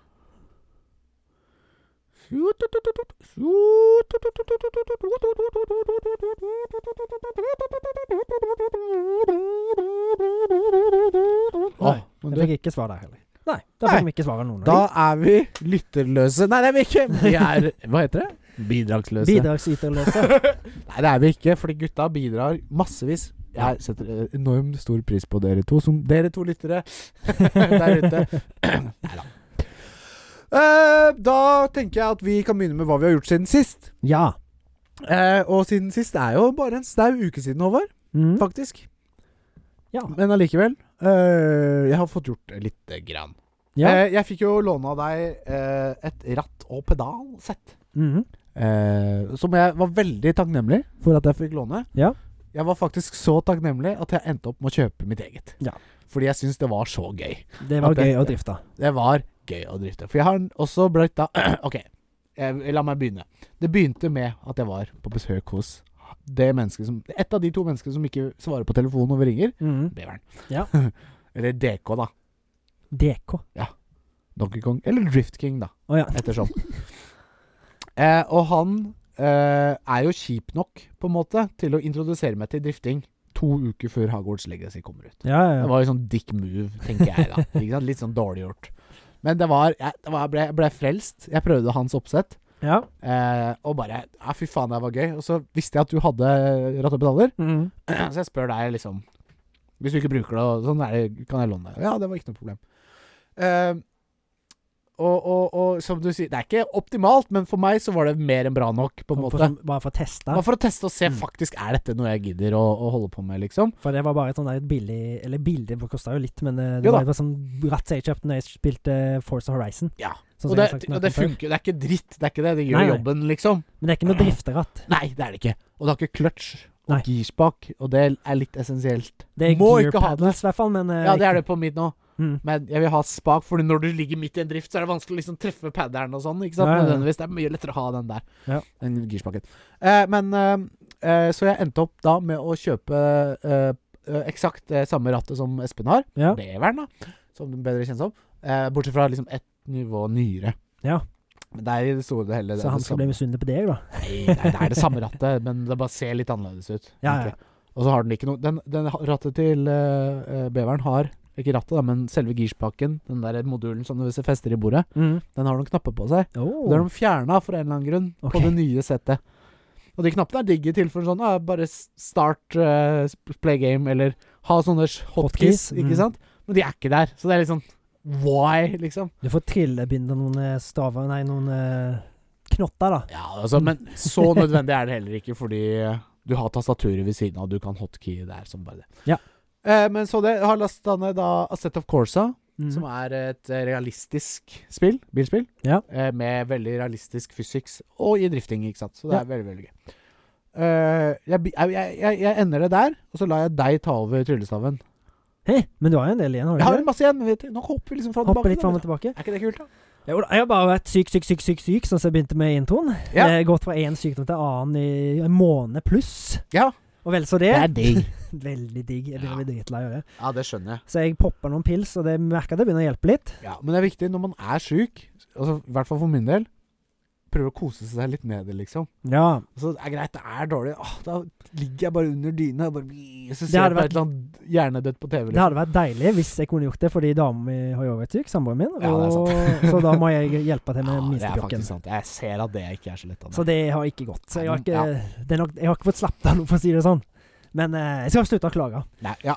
[SPEAKER 2] Nei, jeg fikk ikke svar der heller. Nei, da fikk
[SPEAKER 1] Nei.
[SPEAKER 2] vi ikke svar av noen. av
[SPEAKER 1] da
[SPEAKER 2] de.
[SPEAKER 1] er vi lytterløse Nei, det er vi ikke! Vi er Hva heter det? Bidragsløse.
[SPEAKER 2] Bidragsyterløse.
[SPEAKER 1] Nei, det er vi ikke, fordi gutta bidrar massevis. Jeg setter eh, enormt stor pris på dere to, som dere to lyttere der ute. Neida. Eh, da tenker jeg at vi kan begynne med hva vi har gjort siden sist.
[SPEAKER 2] Ja.
[SPEAKER 1] Eh, og siden sist er jo bare en snau uke siden, Håvard.
[SPEAKER 2] Mm.
[SPEAKER 1] Faktisk.
[SPEAKER 2] Ja.
[SPEAKER 1] Men allikevel. eh, jeg har fått gjort lite grann.
[SPEAKER 2] ja.
[SPEAKER 1] Eh, jeg fikk jo låne av deg eh, et ratt- og pedalsett.
[SPEAKER 2] Mhm.
[SPEAKER 1] Eh, som jeg var veldig takknemlig for at jeg fikk låne.
[SPEAKER 2] Ja.
[SPEAKER 1] Jeg var faktisk så takknemlig at jeg endte opp med å kjøpe mitt eget.
[SPEAKER 2] Ja.
[SPEAKER 1] Fordi jeg syns det var så gøy.
[SPEAKER 2] Det var
[SPEAKER 1] At det-
[SPEAKER 2] gøy å drifte.
[SPEAKER 1] Det var gøy å drifte. For jeg har også blitt da Ok, jeg, la meg begynne. Det begynte med at jeg var på besøk hos det mennesket som Et av de to menneskene som ikke svarer på telefonen når vi ringer.
[SPEAKER 2] Mhm.
[SPEAKER 1] Beveren.
[SPEAKER 2] Ja.
[SPEAKER 1] Eller DK, da.
[SPEAKER 2] DK. Å
[SPEAKER 1] Donkey Kong. Eller Drift King, da.
[SPEAKER 2] ja.
[SPEAKER 1] ettersom. Eh, og han eh, er jo kjip nok, på en måte, til å introdusere meg til drifting to uker før Hogwarts Legacy kommer ut.
[SPEAKER 2] Ja, ja,
[SPEAKER 1] Det
[SPEAKER 2] ja.
[SPEAKER 1] var jo sånn dick move, tenker jeg da. Ikke sant? Litt sånn dårlig gjort. Men det var, jeg, det var, jeg, ble, jeg ble frelst. Jeg prøvde hans oppsett.
[SPEAKER 2] ja.
[SPEAKER 1] Eh, og bare Ja, fy faen, det var gøy. Og så visste jeg at du hadde ratt og pedaler,
[SPEAKER 2] Mhm.
[SPEAKER 1] så jeg spør deg liksom Hvis du ikke bruker det, og sånn er det, kan jeg låne det. Ja, det var ikke noe problem. Eh, Ehm, og, og, og som du sier, det er ikke optimalt, men for meg så var det mer enn bra nok, på en
[SPEAKER 2] Og
[SPEAKER 1] måte.
[SPEAKER 2] som- Bare for å teste.
[SPEAKER 1] Bare for å teste og se,
[SPEAKER 2] Mm.
[SPEAKER 1] faktisk er dette noe jeg gidder å, å holde på med, liksom?
[SPEAKER 2] For det var bare et sånn der et billig Eller billig, det kosta jo litt, men eh, det
[SPEAKER 1] Jo da.
[SPEAKER 2] var jo bare sånn ratt jeg kjøpte når jeg spilte Force Horizon.
[SPEAKER 1] Ja.
[SPEAKER 2] sånn som
[SPEAKER 1] og
[SPEAKER 2] jeg
[SPEAKER 1] det,
[SPEAKER 2] har sagt
[SPEAKER 1] og
[SPEAKER 2] noen
[SPEAKER 1] det
[SPEAKER 2] før.
[SPEAKER 1] funker, det er ikke dritt, det er ikke det. Det gjør
[SPEAKER 2] Nei, nei.
[SPEAKER 1] jobben, liksom.
[SPEAKER 2] Men det er ikke noe drifteratt.
[SPEAKER 1] Nei, det er det ikke. Og det har ikke clutch og
[SPEAKER 2] Nei.
[SPEAKER 1] girspak, og det er litt essensielt.
[SPEAKER 2] Det er
[SPEAKER 1] Må
[SPEAKER 2] gear
[SPEAKER 1] ikke ha det.
[SPEAKER 2] paddles, i hvert fall, men eh,
[SPEAKER 1] Ja, det er
[SPEAKER 2] ikke-
[SPEAKER 1] det på mitt nå,
[SPEAKER 2] Mm.
[SPEAKER 1] men jeg vil ha spak, Fordi når du ligger midt i en drift, så er det vanskelig å liksom treffe padderen og sånn. Ikke sant?
[SPEAKER 2] Ja, ja, ja.
[SPEAKER 1] Nødvendigvis. Det er mye lettere å ha den der,
[SPEAKER 2] Ja.
[SPEAKER 1] den girspaken. Eh, men eh, eh, Så jeg endte opp da med å kjøpe eh, eh, eksakt det samme rattet som Espen har.
[SPEAKER 2] Ja.
[SPEAKER 1] Beveren, da, som den bedre kjennes som. Eh, bortsett fra liksom ett nivå nyere.
[SPEAKER 2] Ja.
[SPEAKER 1] Men det er i det store og hele det
[SPEAKER 2] Så han skal bli misunnelig på deg, da.
[SPEAKER 1] Nei, nei, det er det samme rattet, men det bare ser litt annerledes ut.
[SPEAKER 2] Ja,
[SPEAKER 1] egentlig. Og så har den ikke noe Den, den ha- rattet til eh, eh, beveren har Ikke rattet, da, men selve girspaken, den der modulen som du ser fester i bordet,
[SPEAKER 2] Mm.
[SPEAKER 1] den har noen knapper på seg. Og
[SPEAKER 2] Oh.
[SPEAKER 1] Det har de fjerna for en eller annen grunn
[SPEAKER 2] Ok.
[SPEAKER 1] på det nye settet. Og de knappene er digge til for sånn ah, bare s- start eh, sp- play game, eller ha sånne s- hotkeys,
[SPEAKER 2] Hotkeys,
[SPEAKER 1] ikke
[SPEAKER 2] mm.
[SPEAKER 1] sant? Men de er ikke der, så det er litt sånn why, liksom?
[SPEAKER 2] Du får trillebinde noen eh, staver Nei, noen eh, knotter, da.
[SPEAKER 1] Ja, altså, men så nødvendig er det heller ikke, fordi du har tastaturet ved siden av, du kan hotkey der som bare det.
[SPEAKER 2] Ja.
[SPEAKER 1] Eh, men så det, jeg har lasta ned da Asset of Corsa,
[SPEAKER 2] Mm.
[SPEAKER 1] som er et eh, realistisk spill, bilspill,
[SPEAKER 2] Ja.
[SPEAKER 1] eh, med veldig realistisk fysiks, og i drifting, ikke sant. Så det
[SPEAKER 2] Ja.
[SPEAKER 1] er veldig, veldig gøy. Eh, jeg, bi- jeg, jeg, jeg ender det der, og så lar jeg deg ta over tryllestaven.
[SPEAKER 2] Hei, men du har jo en del igjen, har
[SPEAKER 1] Jeg
[SPEAKER 2] du
[SPEAKER 1] har
[SPEAKER 2] ikke? det?
[SPEAKER 1] en masse igjen, men vet du. Nå hopper vi liksom fra
[SPEAKER 2] Hopper litt
[SPEAKER 1] da,
[SPEAKER 2] fram og
[SPEAKER 1] vet du.
[SPEAKER 2] tilbake.
[SPEAKER 1] Er ikke det kult, da?
[SPEAKER 2] Jo da, Jeg har bare vært syk, syk, syk, syk, syk sånn som jeg begynte med introen.
[SPEAKER 1] Ja.
[SPEAKER 2] Eh, Gått fra én sykdom til annen i en måned pluss.
[SPEAKER 1] Ja.
[SPEAKER 2] Og vel så det.
[SPEAKER 1] Det er digg.
[SPEAKER 2] Veldig digg. Jeg begynner å bli dritlei av det.
[SPEAKER 1] Ja, det skjønner jeg.
[SPEAKER 2] Så jeg poppa noen pils, og det merka det begynner å hjelpe litt.
[SPEAKER 1] Ja, men det er viktig når man er syk, altså, i hvert fall for min del, prøve å kose seg litt med det, liksom.
[SPEAKER 2] Ja.
[SPEAKER 1] Så det er greit, det er dårlig. Åh, da ligger jeg bare under dyna og bare bli- Så
[SPEAKER 2] Det
[SPEAKER 1] ser jeg
[SPEAKER 2] hadde
[SPEAKER 1] på
[SPEAKER 2] vært-
[SPEAKER 1] et eller annet hjernedødt på TV.
[SPEAKER 2] Det
[SPEAKER 1] Liksom.
[SPEAKER 2] hadde vært deilig hvis jeg kunne gjort det, fordi dama mi har jo vært syk, samboeren min.
[SPEAKER 1] Ja, det er
[SPEAKER 2] Og, så da må jeg hjelpe til med
[SPEAKER 1] det er faktisk
[SPEAKER 2] minstepjokken.
[SPEAKER 1] sant. Jeg ser at det ikke er så lett. Anne.
[SPEAKER 2] Så det har ikke gått. Så jeg har
[SPEAKER 1] Nei,
[SPEAKER 2] ikke,
[SPEAKER 1] men-
[SPEAKER 2] det er nok, jeg har ikke fått slappet av noe, for å si det sånn. Men eh, jeg skal slutte å klage.
[SPEAKER 1] Nei, ja.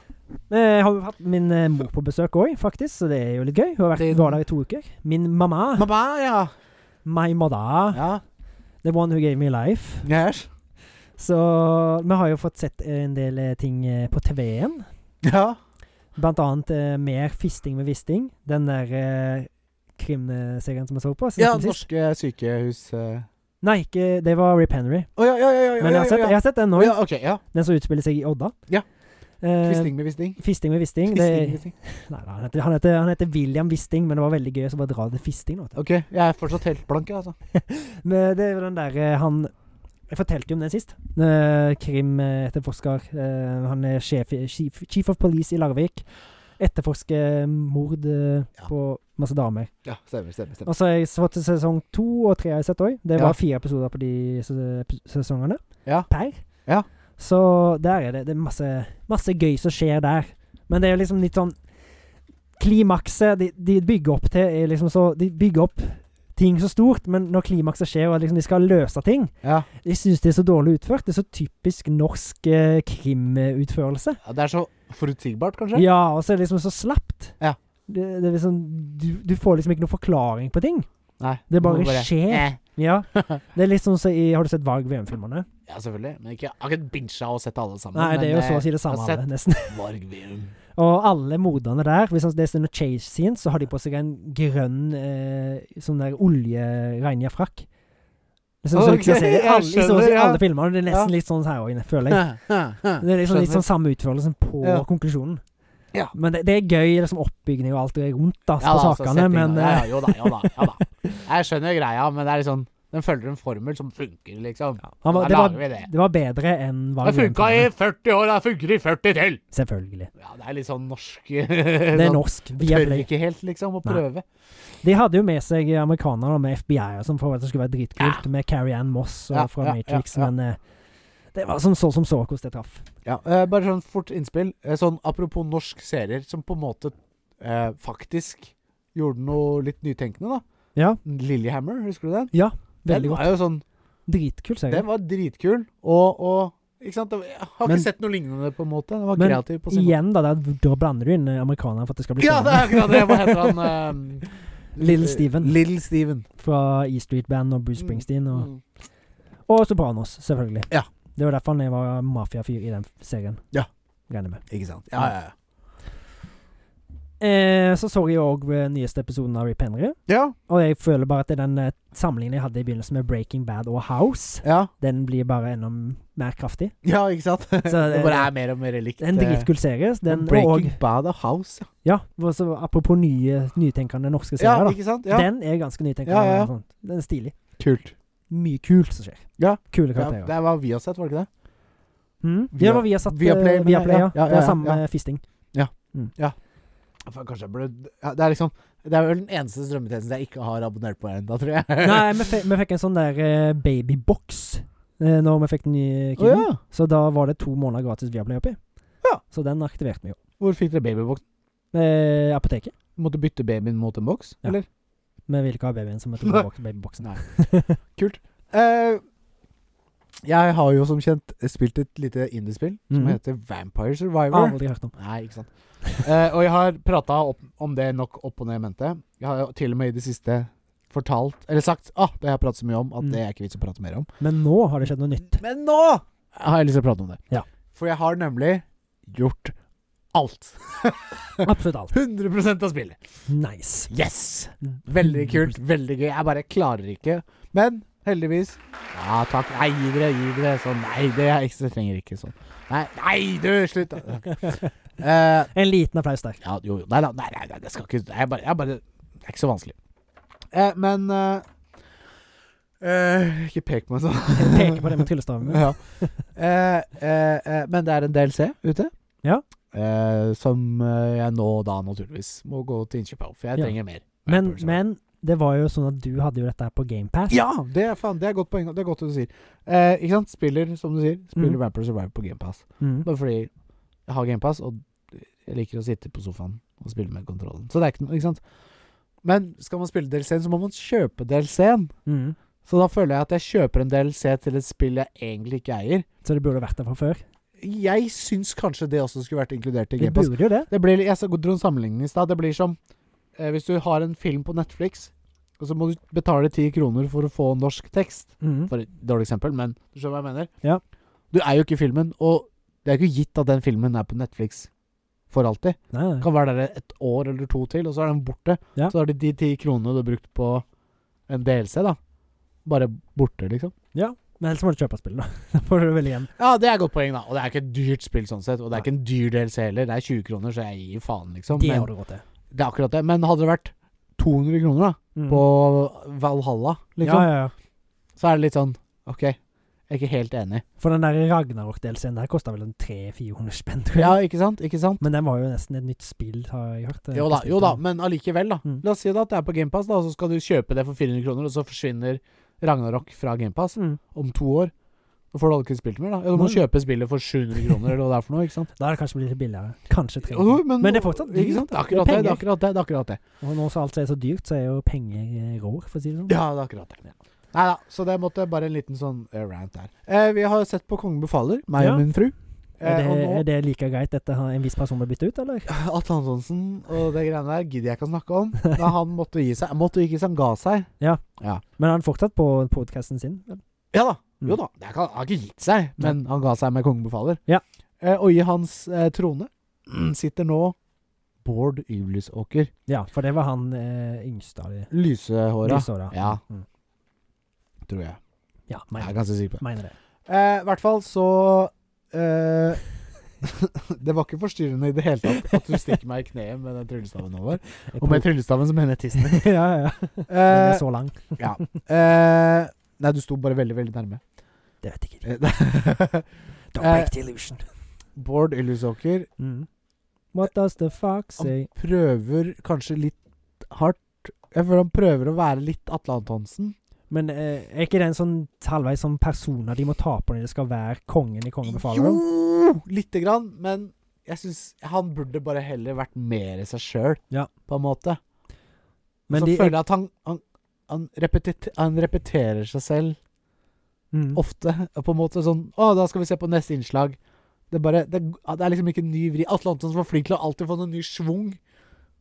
[SPEAKER 2] Eh, Jeg har jo hatt min eh, mor på besøk òg, faktisk, så det er jo litt gøy. Hun har vært,
[SPEAKER 1] Din-
[SPEAKER 2] var der i to uker. Min mamma,
[SPEAKER 1] Mamma, ja.
[SPEAKER 2] my mother,
[SPEAKER 1] ja.
[SPEAKER 2] the one who gave me life.
[SPEAKER 1] Yes.
[SPEAKER 2] Så vi har jo fått sett en del eh, ting eh, på TV-en.
[SPEAKER 1] Ja.
[SPEAKER 2] Blant annet eh, mer fisting med visting. Den der eh, krimserien som jeg så på.
[SPEAKER 1] ja,
[SPEAKER 2] snakket vi sist.
[SPEAKER 1] norske sykehus eh.
[SPEAKER 2] Nei, ikke, det var Rip Henry.
[SPEAKER 1] Å ja, ja, ja. ja, ja,
[SPEAKER 2] Men jeg har sett,
[SPEAKER 1] ja,
[SPEAKER 2] jeg
[SPEAKER 1] ja.
[SPEAKER 2] har sett den nå.
[SPEAKER 1] ja, ok, ja.
[SPEAKER 2] Den som utspiller seg i Odda.
[SPEAKER 1] Ja.
[SPEAKER 2] Eh,
[SPEAKER 1] Kvisting med visting.
[SPEAKER 2] Fisting med visting.
[SPEAKER 1] Kvisting med
[SPEAKER 2] Det,
[SPEAKER 1] visting.
[SPEAKER 2] nei, da, han, heter, han, heter, han heter William Wisting, men det var veldig gøy å så bare dra det fisting. Nå,
[SPEAKER 1] Ok, jeg er fortsatt helt blank, jeg, altså.
[SPEAKER 2] men det er jo den der eh, han Jeg fortalte jo om den sist. Eh, Krim eh, etterforsker. Eh, han er sjef, i- chief, chief of police i Larvik. Etterforsker mord eh,
[SPEAKER 1] Ja.
[SPEAKER 2] på masse damer.
[SPEAKER 1] Ja, stemmer, stemmer. stemmer.
[SPEAKER 2] Og så har jeg fått til sesong to og tre har jeg sett òg. Det
[SPEAKER 1] Ja.
[SPEAKER 2] var fire episoder på de se- sesongene
[SPEAKER 1] Ja.
[SPEAKER 2] per.
[SPEAKER 1] Ja.
[SPEAKER 2] Så der er det, det er masse, masse gøy som skjer der. Men det er jo liksom litt sånn Klimakset de, de bygger opp til er liksom så De bygger opp ting så stort, men når klimakset skjer og liksom de skal løse ting
[SPEAKER 1] Ja.
[SPEAKER 2] Jeg syns det er så dårlig utført. Det er så typisk norsk eh, krimutførelse.
[SPEAKER 1] ja, Det er så forutsigbart, kanskje?
[SPEAKER 2] Ja, og så er det liksom så slapt.
[SPEAKER 1] Ja.
[SPEAKER 2] Det, det er liksom, du, du får liksom ikke noen forklaring på ting.
[SPEAKER 1] Nei.
[SPEAKER 2] Det bare
[SPEAKER 1] må
[SPEAKER 2] skjer.
[SPEAKER 1] Eh.
[SPEAKER 2] Ja. Det er litt sånn som i Har du sett Varg VM-filmerne?
[SPEAKER 1] Ja, selvfølgelig. Men ikke, jeg har ikke bincha og sett alle sammen.
[SPEAKER 2] Nei,
[SPEAKER 1] men,
[SPEAKER 2] det er jo
[SPEAKER 1] eh,
[SPEAKER 2] så å si det samme,
[SPEAKER 1] jeg har
[SPEAKER 2] alle, nesten.
[SPEAKER 1] Varg Veum.
[SPEAKER 2] Og alle morderne der, hvis det er sånne chase scenes, så har de på seg en grønn eh, sånn der oljeregna frakk. Liksom,
[SPEAKER 1] Ok,
[SPEAKER 2] så, så,
[SPEAKER 1] jeg
[SPEAKER 2] alle, i så å si
[SPEAKER 1] skjønner, ja.
[SPEAKER 2] alle filmer, og det er nesten
[SPEAKER 1] Ja.
[SPEAKER 2] litt sånn her òg, føler jeg. Det
[SPEAKER 1] Det
[SPEAKER 2] er liksom litt sånn samme utførelsen på
[SPEAKER 1] Ja.
[SPEAKER 2] konklusjonen.
[SPEAKER 1] Ja.
[SPEAKER 2] Men det, det er gøy, liksom oppbygning og alt det rundt da,
[SPEAKER 1] ja,
[SPEAKER 2] på
[SPEAKER 1] da, altså,
[SPEAKER 2] sakene,
[SPEAKER 1] setting,
[SPEAKER 2] men
[SPEAKER 1] da. ja,
[SPEAKER 2] eh,
[SPEAKER 1] ja, Jo da, jo da. Ja, da. Jeg skjønner greia, men det er liksom Den følger en formel som funker, liksom.
[SPEAKER 2] ja. Han var,
[SPEAKER 1] Da
[SPEAKER 2] det,
[SPEAKER 1] lager
[SPEAKER 2] var,
[SPEAKER 1] vi det.
[SPEAKER 2] det var bedre enn
[SPEAKER 1] Det
[SPEAKER 2] Varg
[SPEAKER 1] funka i
[SPEAKER 2] VM-filmerne.
[SPEAKER 1] 40 år, da funker det i 40 til!
[SPEAKER 2] Selvfølgelig.
[SPEAKER 1] Ja, det er litt sånn norsk
[SPEAKER 2] Det er
[SPEAKER 1] sånn,
[SPEAKER 2] norsk. Via
[SPEAKER 1] Tør
[SPEAKER 2] Play.
[SPEAKER 1] ikke helt, liksom, å
[SPEAKER 2] Nei.
[SPEAKER 1] prøve.
[SPEAKER 2] De hadde jo med seg amerikanere og med FBI og sånn for at det skulle være dritkult, med Carrie Ann Moss og
[SPEAKER 1] Ja,
[SPEAKER 2] fra
[SPEAKER 1] ja,
[SPEAKER 2] Matrix,
[SPEAKER 1] ja, ja.
[SPEAKER 2] men eh, det var som så som så hvordan det traff.
[SPEAKER 1] Ja, eh, bare sånn fort innspill. Eh, sånn apropos norsk serier som på en måte eh, faktisk gjorde noe litt nytenkende, da.
[SPEAKER 2] Ja.
[SPEAKER 1] Lillehammer, husker du den?
[SPEAKER 2] Veldig
[SPEAKER 1] den
[SPEAKER 2] godt.
[SPEAKER 1] var jo sånn
[SPEAKER 2] Dritkul serie.
[SPEAKER 1] Den var dritkul, og, og ikke sant? Jeg har ikke
[SPEAKER 2] Men-
[SPEAKER 1] sett noe lignende, på en måte. Den var
[SPEAKER 2] Men
[SPEAKER 1] kreativ på sin måte.
[SPEAKER 2] Igjen, da, der, da blander du inn eh, amerikanere for at det skal bli
[SPEAKER 1] Ja, det
[SPEAKER 2] spennende.
[SPEAKER 1] er akkurat det! Hva heter han? eh,
[SPEAKER 2] Little Steven.
[SPEAKER 1] Little Steven.
[SPEAKER 2] fra E Street Band og Bruce Springsteen. Og,
[SPEAKER 1] Mm.
[SPEAKER 2] og Sopranos, selvfølgelig.
[SPEAKER 1] Ja.
[SPEAKER 2] Det var derfor han var mafiafyr i den serien.
[SPEAKER 1] Ja.
[SPEAKER 2] Regner jeg med.
[SPEAKER 1] Ikke sant. Ja, ja, ja.
[SPEAKER 2] Eh, så så jeg òg nyeste episoden av Rip Henry.
[SPEAKER 1] Ja,
[SPEAKER 2] Og jeg føler bare at den eh, sammenligningen jeg hadde i begynnelsen med Breaking Bad og House,
[SPEAKER 1] ja,
[SPEAKER 2] den blir bare enda mer kraftig.
[SPEAKER 1] ja ikke sant? det,
[SPEAKER 2] det-
[SPEAKER 1] bare er mer og mer likt.
[SPEAKER 2] Det er en
[SPEAKER 1] eh,
[SPEAKER 2] dritkul serie. Den, og,
[SPEAKER 1] Breaking Bad og House, ja.
[SPEAKER 2] ja, og så apropos nye, nytenkende norske
[SPEAKER 1] Ja,
[SPEAKER 2] serier, da.
[SPEAKER 1] ikke sant? Ja.
[SPEAKER 2] Den er ganske nytenkende.
[SPEAKER 1] Ja, ja.
[SPEAKER 2] og sånt. Den er stilig.
[SPEAKER 1] Kult.
[SPEAKER 2] Mye kult som skjer.
[SPEAKER 1] Ja.
[SPEAKER 2] Kule
[SPEAKER 1] Ja,
[SPEAKER 2] karakterer.
[SPEAKER 1] det var vi har sett, var det ikke det?
[SPEAKER 2] Mm.
[SPEAKER 1] Via-
[SPEAKER 2] ja, det var via satt
[SPEAKER 1] Viaplay,
[SPEAKER 2] Viaplay,
[SPEAKER 1] men-
[SPEAKER 2] Viaplay ja.
[SPEAKER 1] ja, ja,
[SPEAKER 2] Det er
[SPEAKER 1] ja,
[SPEAKER 2] samme eh,
[SPEAKER 1] ja.
[SPEAKER 2] fisting.
[SPEAKER 1] Faen, Kanskje jeg burde ja, Det er liksom Det er vel den eneste strømmetjenesten jeg ikke har abonnert på ennå, tror jeg.
[SPEAKER 2] Nei, vi, fe- vi fikk en sånn der eh, babybox eh, når vi fikk den nye
[SPEAKER 1] Å
[SPEAKER 2] kiden.
[SPEAKER 1] ja.
[SPEAKER 2] Så da var det to måneder gratis Viaplay oppi.
[SPEAKER 1] Ja.
[SPEAKER 2] Så den aktiverte vi jo.
[SPEAKER 1] Hvor fikk dere babybox?
[SPEAKER 2] Eh, apoteket.
[SPEAKER 1] Måtte bytte babyen mot en boks,
[SPEAKER 2] Ja.
[SPEAKER 1] eller?
[SPEAKER 2] Vi ville ikke ha babyen som heter babybox- babyboksen.
[SPEAKER 1] Nei. Eh, jeg har jo som kjent spilt et lite indiespill som
[SPEAKER 2] Mhm.
[SPEAKER 1] heter Vampire Survivor.
[SPEAKER 2] Aldri hørt om.
[SPEAKER 1] Nei, ikke sant. Eh, og jeg har prata om det nok opp og ned i mente. Jeg har jo til og med i det siste fortalt, eller sagt, ah, det har jeg pratet så mye om at
[SPEAKER 2] Mm.
[SPEAKER 1] det er ikke vits å prate mer om.
[SPEAKER 2] Men nå har det skjedd noe nytt.
[SPEAKER 1] Men nå har jeg lyst til å prate om det.
[SPEAKER 2] Ja.
[SPEAKER 1] For jeg har nemlig gjort alt.
[SPEAKER 2] Absolutt alt.
[SPEAKER 1] 100 av spillet.
[SPEAKER 2] Nice.
[SPEAKER 1] Yes! Veldig kult. Veldig gøy. Jeg bare klarer ikke. Men heldigvis Ja, takk. Nei, gi dere, gi dere. Sånn. Nei, det er ikke, det trenger ikke sånn. Nei, nei du, slutt! Eh,
[SPEAKER 2] En liten applaus der.
[SPEAKER 1] ja, jo, jo. Nei, da, nei, nei, nei, det skal ikke Det er bare, jeg bare Det er ikke så vanskelig. Eh, men eh, eh, Ikke pek på meg sånn.
[SPEAKER 2] Jeg peker på det med tryllestaven min.
[SPEAKER 1] ja. eh, eh, eh, men det er en DLC ute.
[SPEAKER 2] Ja.
[SPEAKER 1] Eh, som eh, jeg nå da naturligvis må gå til innkjøp av, for jeg
[SPEAKER 2] Ja.
[SPEAKER 1] trenger mer.
[SPEAKER 2] Men,
[SPEAKER 1] Vampire Survivor.
[SPEAKER 2] men det var jo sånn at du hadde jo dette her på GamePass.
[SPEAKER 1] Ja! Det er, faen, det er godt poeng. Det er godt du sier. Eh, ikke sant? Spiller, som du sier, spiller
[SPEAKER 2] Mhm.
[SPEAKER 1] Vampire Survivor på GamePass.
[SPEAKER 2] Mm.
[SPEAKER 1] Bare fordi jeg har GamePass, og jeg liker å sitte på sofaen og spille med kontrollen. Så det er ikke noe, ikke sant? Men skal man spille DLC-en, så må man kjøpe DLC-en.
[SPEAKER 2] Mm.
[SPEAKER 1] Så da føler jeg at jeg kjøper en DLC til et spill jeg egentlig ikke eier.
[SPEAKER 2] Så det burde vært der fra før.
[SPEAKER 1] Jeg syns kanskje det også skulle vært inkludert i
[SPEAKER 2] Det
[SPEAKER 1] GamePass.
[SPEAKER 2] burde jo det.
[SPEAKER 1] Det blir, jeg sa- dro en sammenligning i stad. Det blir som eh, hvis du har en film på Netflix, og så må du betale ti kroner for å få norsk tekst.
[SPEAKER 2] Mm.
[SPEAKER 1] For et dårlig eksempel, men du skjønner hva jeg mener?
[SPEAKER 2] Ja.
[SPEAKER 1] Du eier jo ikke filmen, og det er ikke gitt at den filmen er på Netflix for alltid.
[SPEAKER 2] Nei,
[SPEAKER 1] Den
[SPEAKER 2] nei.
[SPEAKER 1] kan være der et år eller to til, og så er den borte.
[SPEAKER 2] Ja.
[SPEAKER 1] Så er det de ti kronene du har brukt på en DLC, da. Bare borte, liksom.
[SPEAKER 2] Men ellers må du kjøpe spillet, da. Da får du vel igjen.
[SPEAKER 1] Ja, det er et godt poeng, da. Og det er ikke et dyrt spill sånn sett. Og det er ikke en dyr DLC heller. Det er 20 kroner, så jeg gir faen, liksom.
[SPEAKER 2] Det
[SPEAKER 1] Men,
[SPEAKER 2] har du råd til.
[SPEAKER 1] det er akkurat det. Men hadde det vært 200 kroner, da,
[SPEAKER 2] Mm.
[SPEAKER 1] på Valhalla,
[SPEAKER 2] Ja,
[SPEAKER 1] liksom,
[SPEAKER 2] ja, ja.
[SPEAKER 1] så er det litt sånn OK, jeg er ikke helt enig.
[SPEAKER 2] For den der Ragnarok-delscenen der kosta vel en 300-400 spenn, tror jeg.
[SPEAKER 1] Ja, ikke sant? Ikke sant?
[SPEAKER 2] Men den var jo nesten et nytt spill, har jeg hørt.
[SPEAKER 1] Jo da, jo da, men allikevel, da.
[SPEAKER 2] Mm.
[SPEAKER 1] La oss si da at det er på GamePass, da, og så skal du kjøpe det for 400 kroner, og så forsvinner Ragnarok fra GamePass
[SPEAKER 2] Mm.
[SPEAKER 1] om to år. Da får du aldri spilt mer, da. Ja, du må
[SPEAKER 2] Nei.
[SPEAKER 1] kjøpe spillet for 700 kroner, eller hva det er for noe, ikke sant?
[SPEAKER 2] Da er det kanskje blitt litt billigere. Kanskje tre.
[SPEAKER 1] Jo,
[SPEAKER 2] men, det er fortsatt
[SPEAKER 1] ikke sant?
[SPEAKER 2] dyrt.
[SPEAKER 1] Det er akkurat det.
[SPEAKER 2] penger.
[SPEAKER 1] Det er akkurat det. det, er akkurat det.
[SPEAKER 2] Og nå som alt er så dyrt, så er jo penger eh, rår, for å si det sånn.
[SPEAKER 1] Ja, det er akkurat det. Nei da, så det måtte bare en liten sånn eh, rant der. Eh, vi har sett på Kongen befaler, meg
[SPEAKER 2] Ja.
[SPEAKER 1] og min fru.
[SPEAKER 2] Er,
[SPEAKER 1] Eh, og
[SPEAKER 2] det,
[SPEAKER 1] nå
[SPEAKER 2] er det like greit at en viss person blir byttet ut, eller?
[SPEAKER 1] Atle Antonsen og det greiene der gidder jeg ikke å snakke om. Da han måtte gi seg. Måtte ikke, så han ga seg.
[SPEAKER 2] Men han fortsatt på podkasten sin. vel?
[SPEAKER 1] Ja da.
[SPEAKER 2] Mm.
[SPEAKER 1] Jo da. Det kan, han har ikke gitt seg, men han ga seg med kongen befaler.
[SPEAKER 2] Ja.
[SPEAKER 1] Eh, og i hans eh, trone sitter nå Bård Ylvisåker.
[SPEAKER 2] Ja, for det var han eh, yngste av de
[SPEAKER 1] Lysehåra,
[SPEAKER 2] lysåra.
[SPEAKER 1] Ja.
[SPEAKER 2] Mm.
[SPEAKER 1] tror jeg.
[SPEAKER 2] ja
[SPEAKER 1] Jeg
[SPEAKER 2] mener,
[SPEAKER 1] er ganske sikker på det.
[SPEAKER 2] mener det.
[SPEAKER 1] Eh, I hvert fall så eh, Det var ikke forstyrrende i det hele tatt at du stikker meg i kneet med den tryllestaven over.
[SPEAKER 2] Jeg
[SPEAKER 1] Og med tryllestaven så mener jeg tissen.
[SPEAKER 2] prøver- ja, ja. Den
[SPEAKER 1] Eh,
[SPEAKER 2] er så lang.
[SPEAKER 1] ja. eh, nei, du sto bare veldig, veldig nærme.
[SPEAKER 2] Det vet jeg ikke.
[SPEAKER 1] Eh,
[SPEAKER 2] Don't
[SPEAKER 1] Eh,
[SPEAKER 2] break the illusion.
[SPEAKER 1] Bård Ylvisåker
[SPEAKER 2] Mm. What does the fuck say?
[SPEAKER 1] prøver kanskje litt hardt Jeg føler han prøver å være litt Atle Antonsen.
[SPEAKER 2] Men eh, er ikke det en sånn halvveis sånn personer de må ta på når de skal være kongen i Kongen befaler? dem?
[SPEAKER 1] Jo! Lite grann, men jeg syns han burde bare heller vært mer seg sjøl,
[SPEAKER 2] Ja.
[SPEAKER 1] på en måte.
[SPEAKER 2] Men
[SPEAKER 1] så
[SPEAKER 2] de,
[SPEAKER 1] føler jeg at han, han, han, repetit, han repeterer seg selv
[SPEAKER 2] mm,
[SPEAKER 1] ofte. På en måte sånn Å, da skal vi se på neste innslag. Det er, bare, det, er- det er liksom ikke en ny vri. Atle Antonsen var flink til å alltid få en ny schwung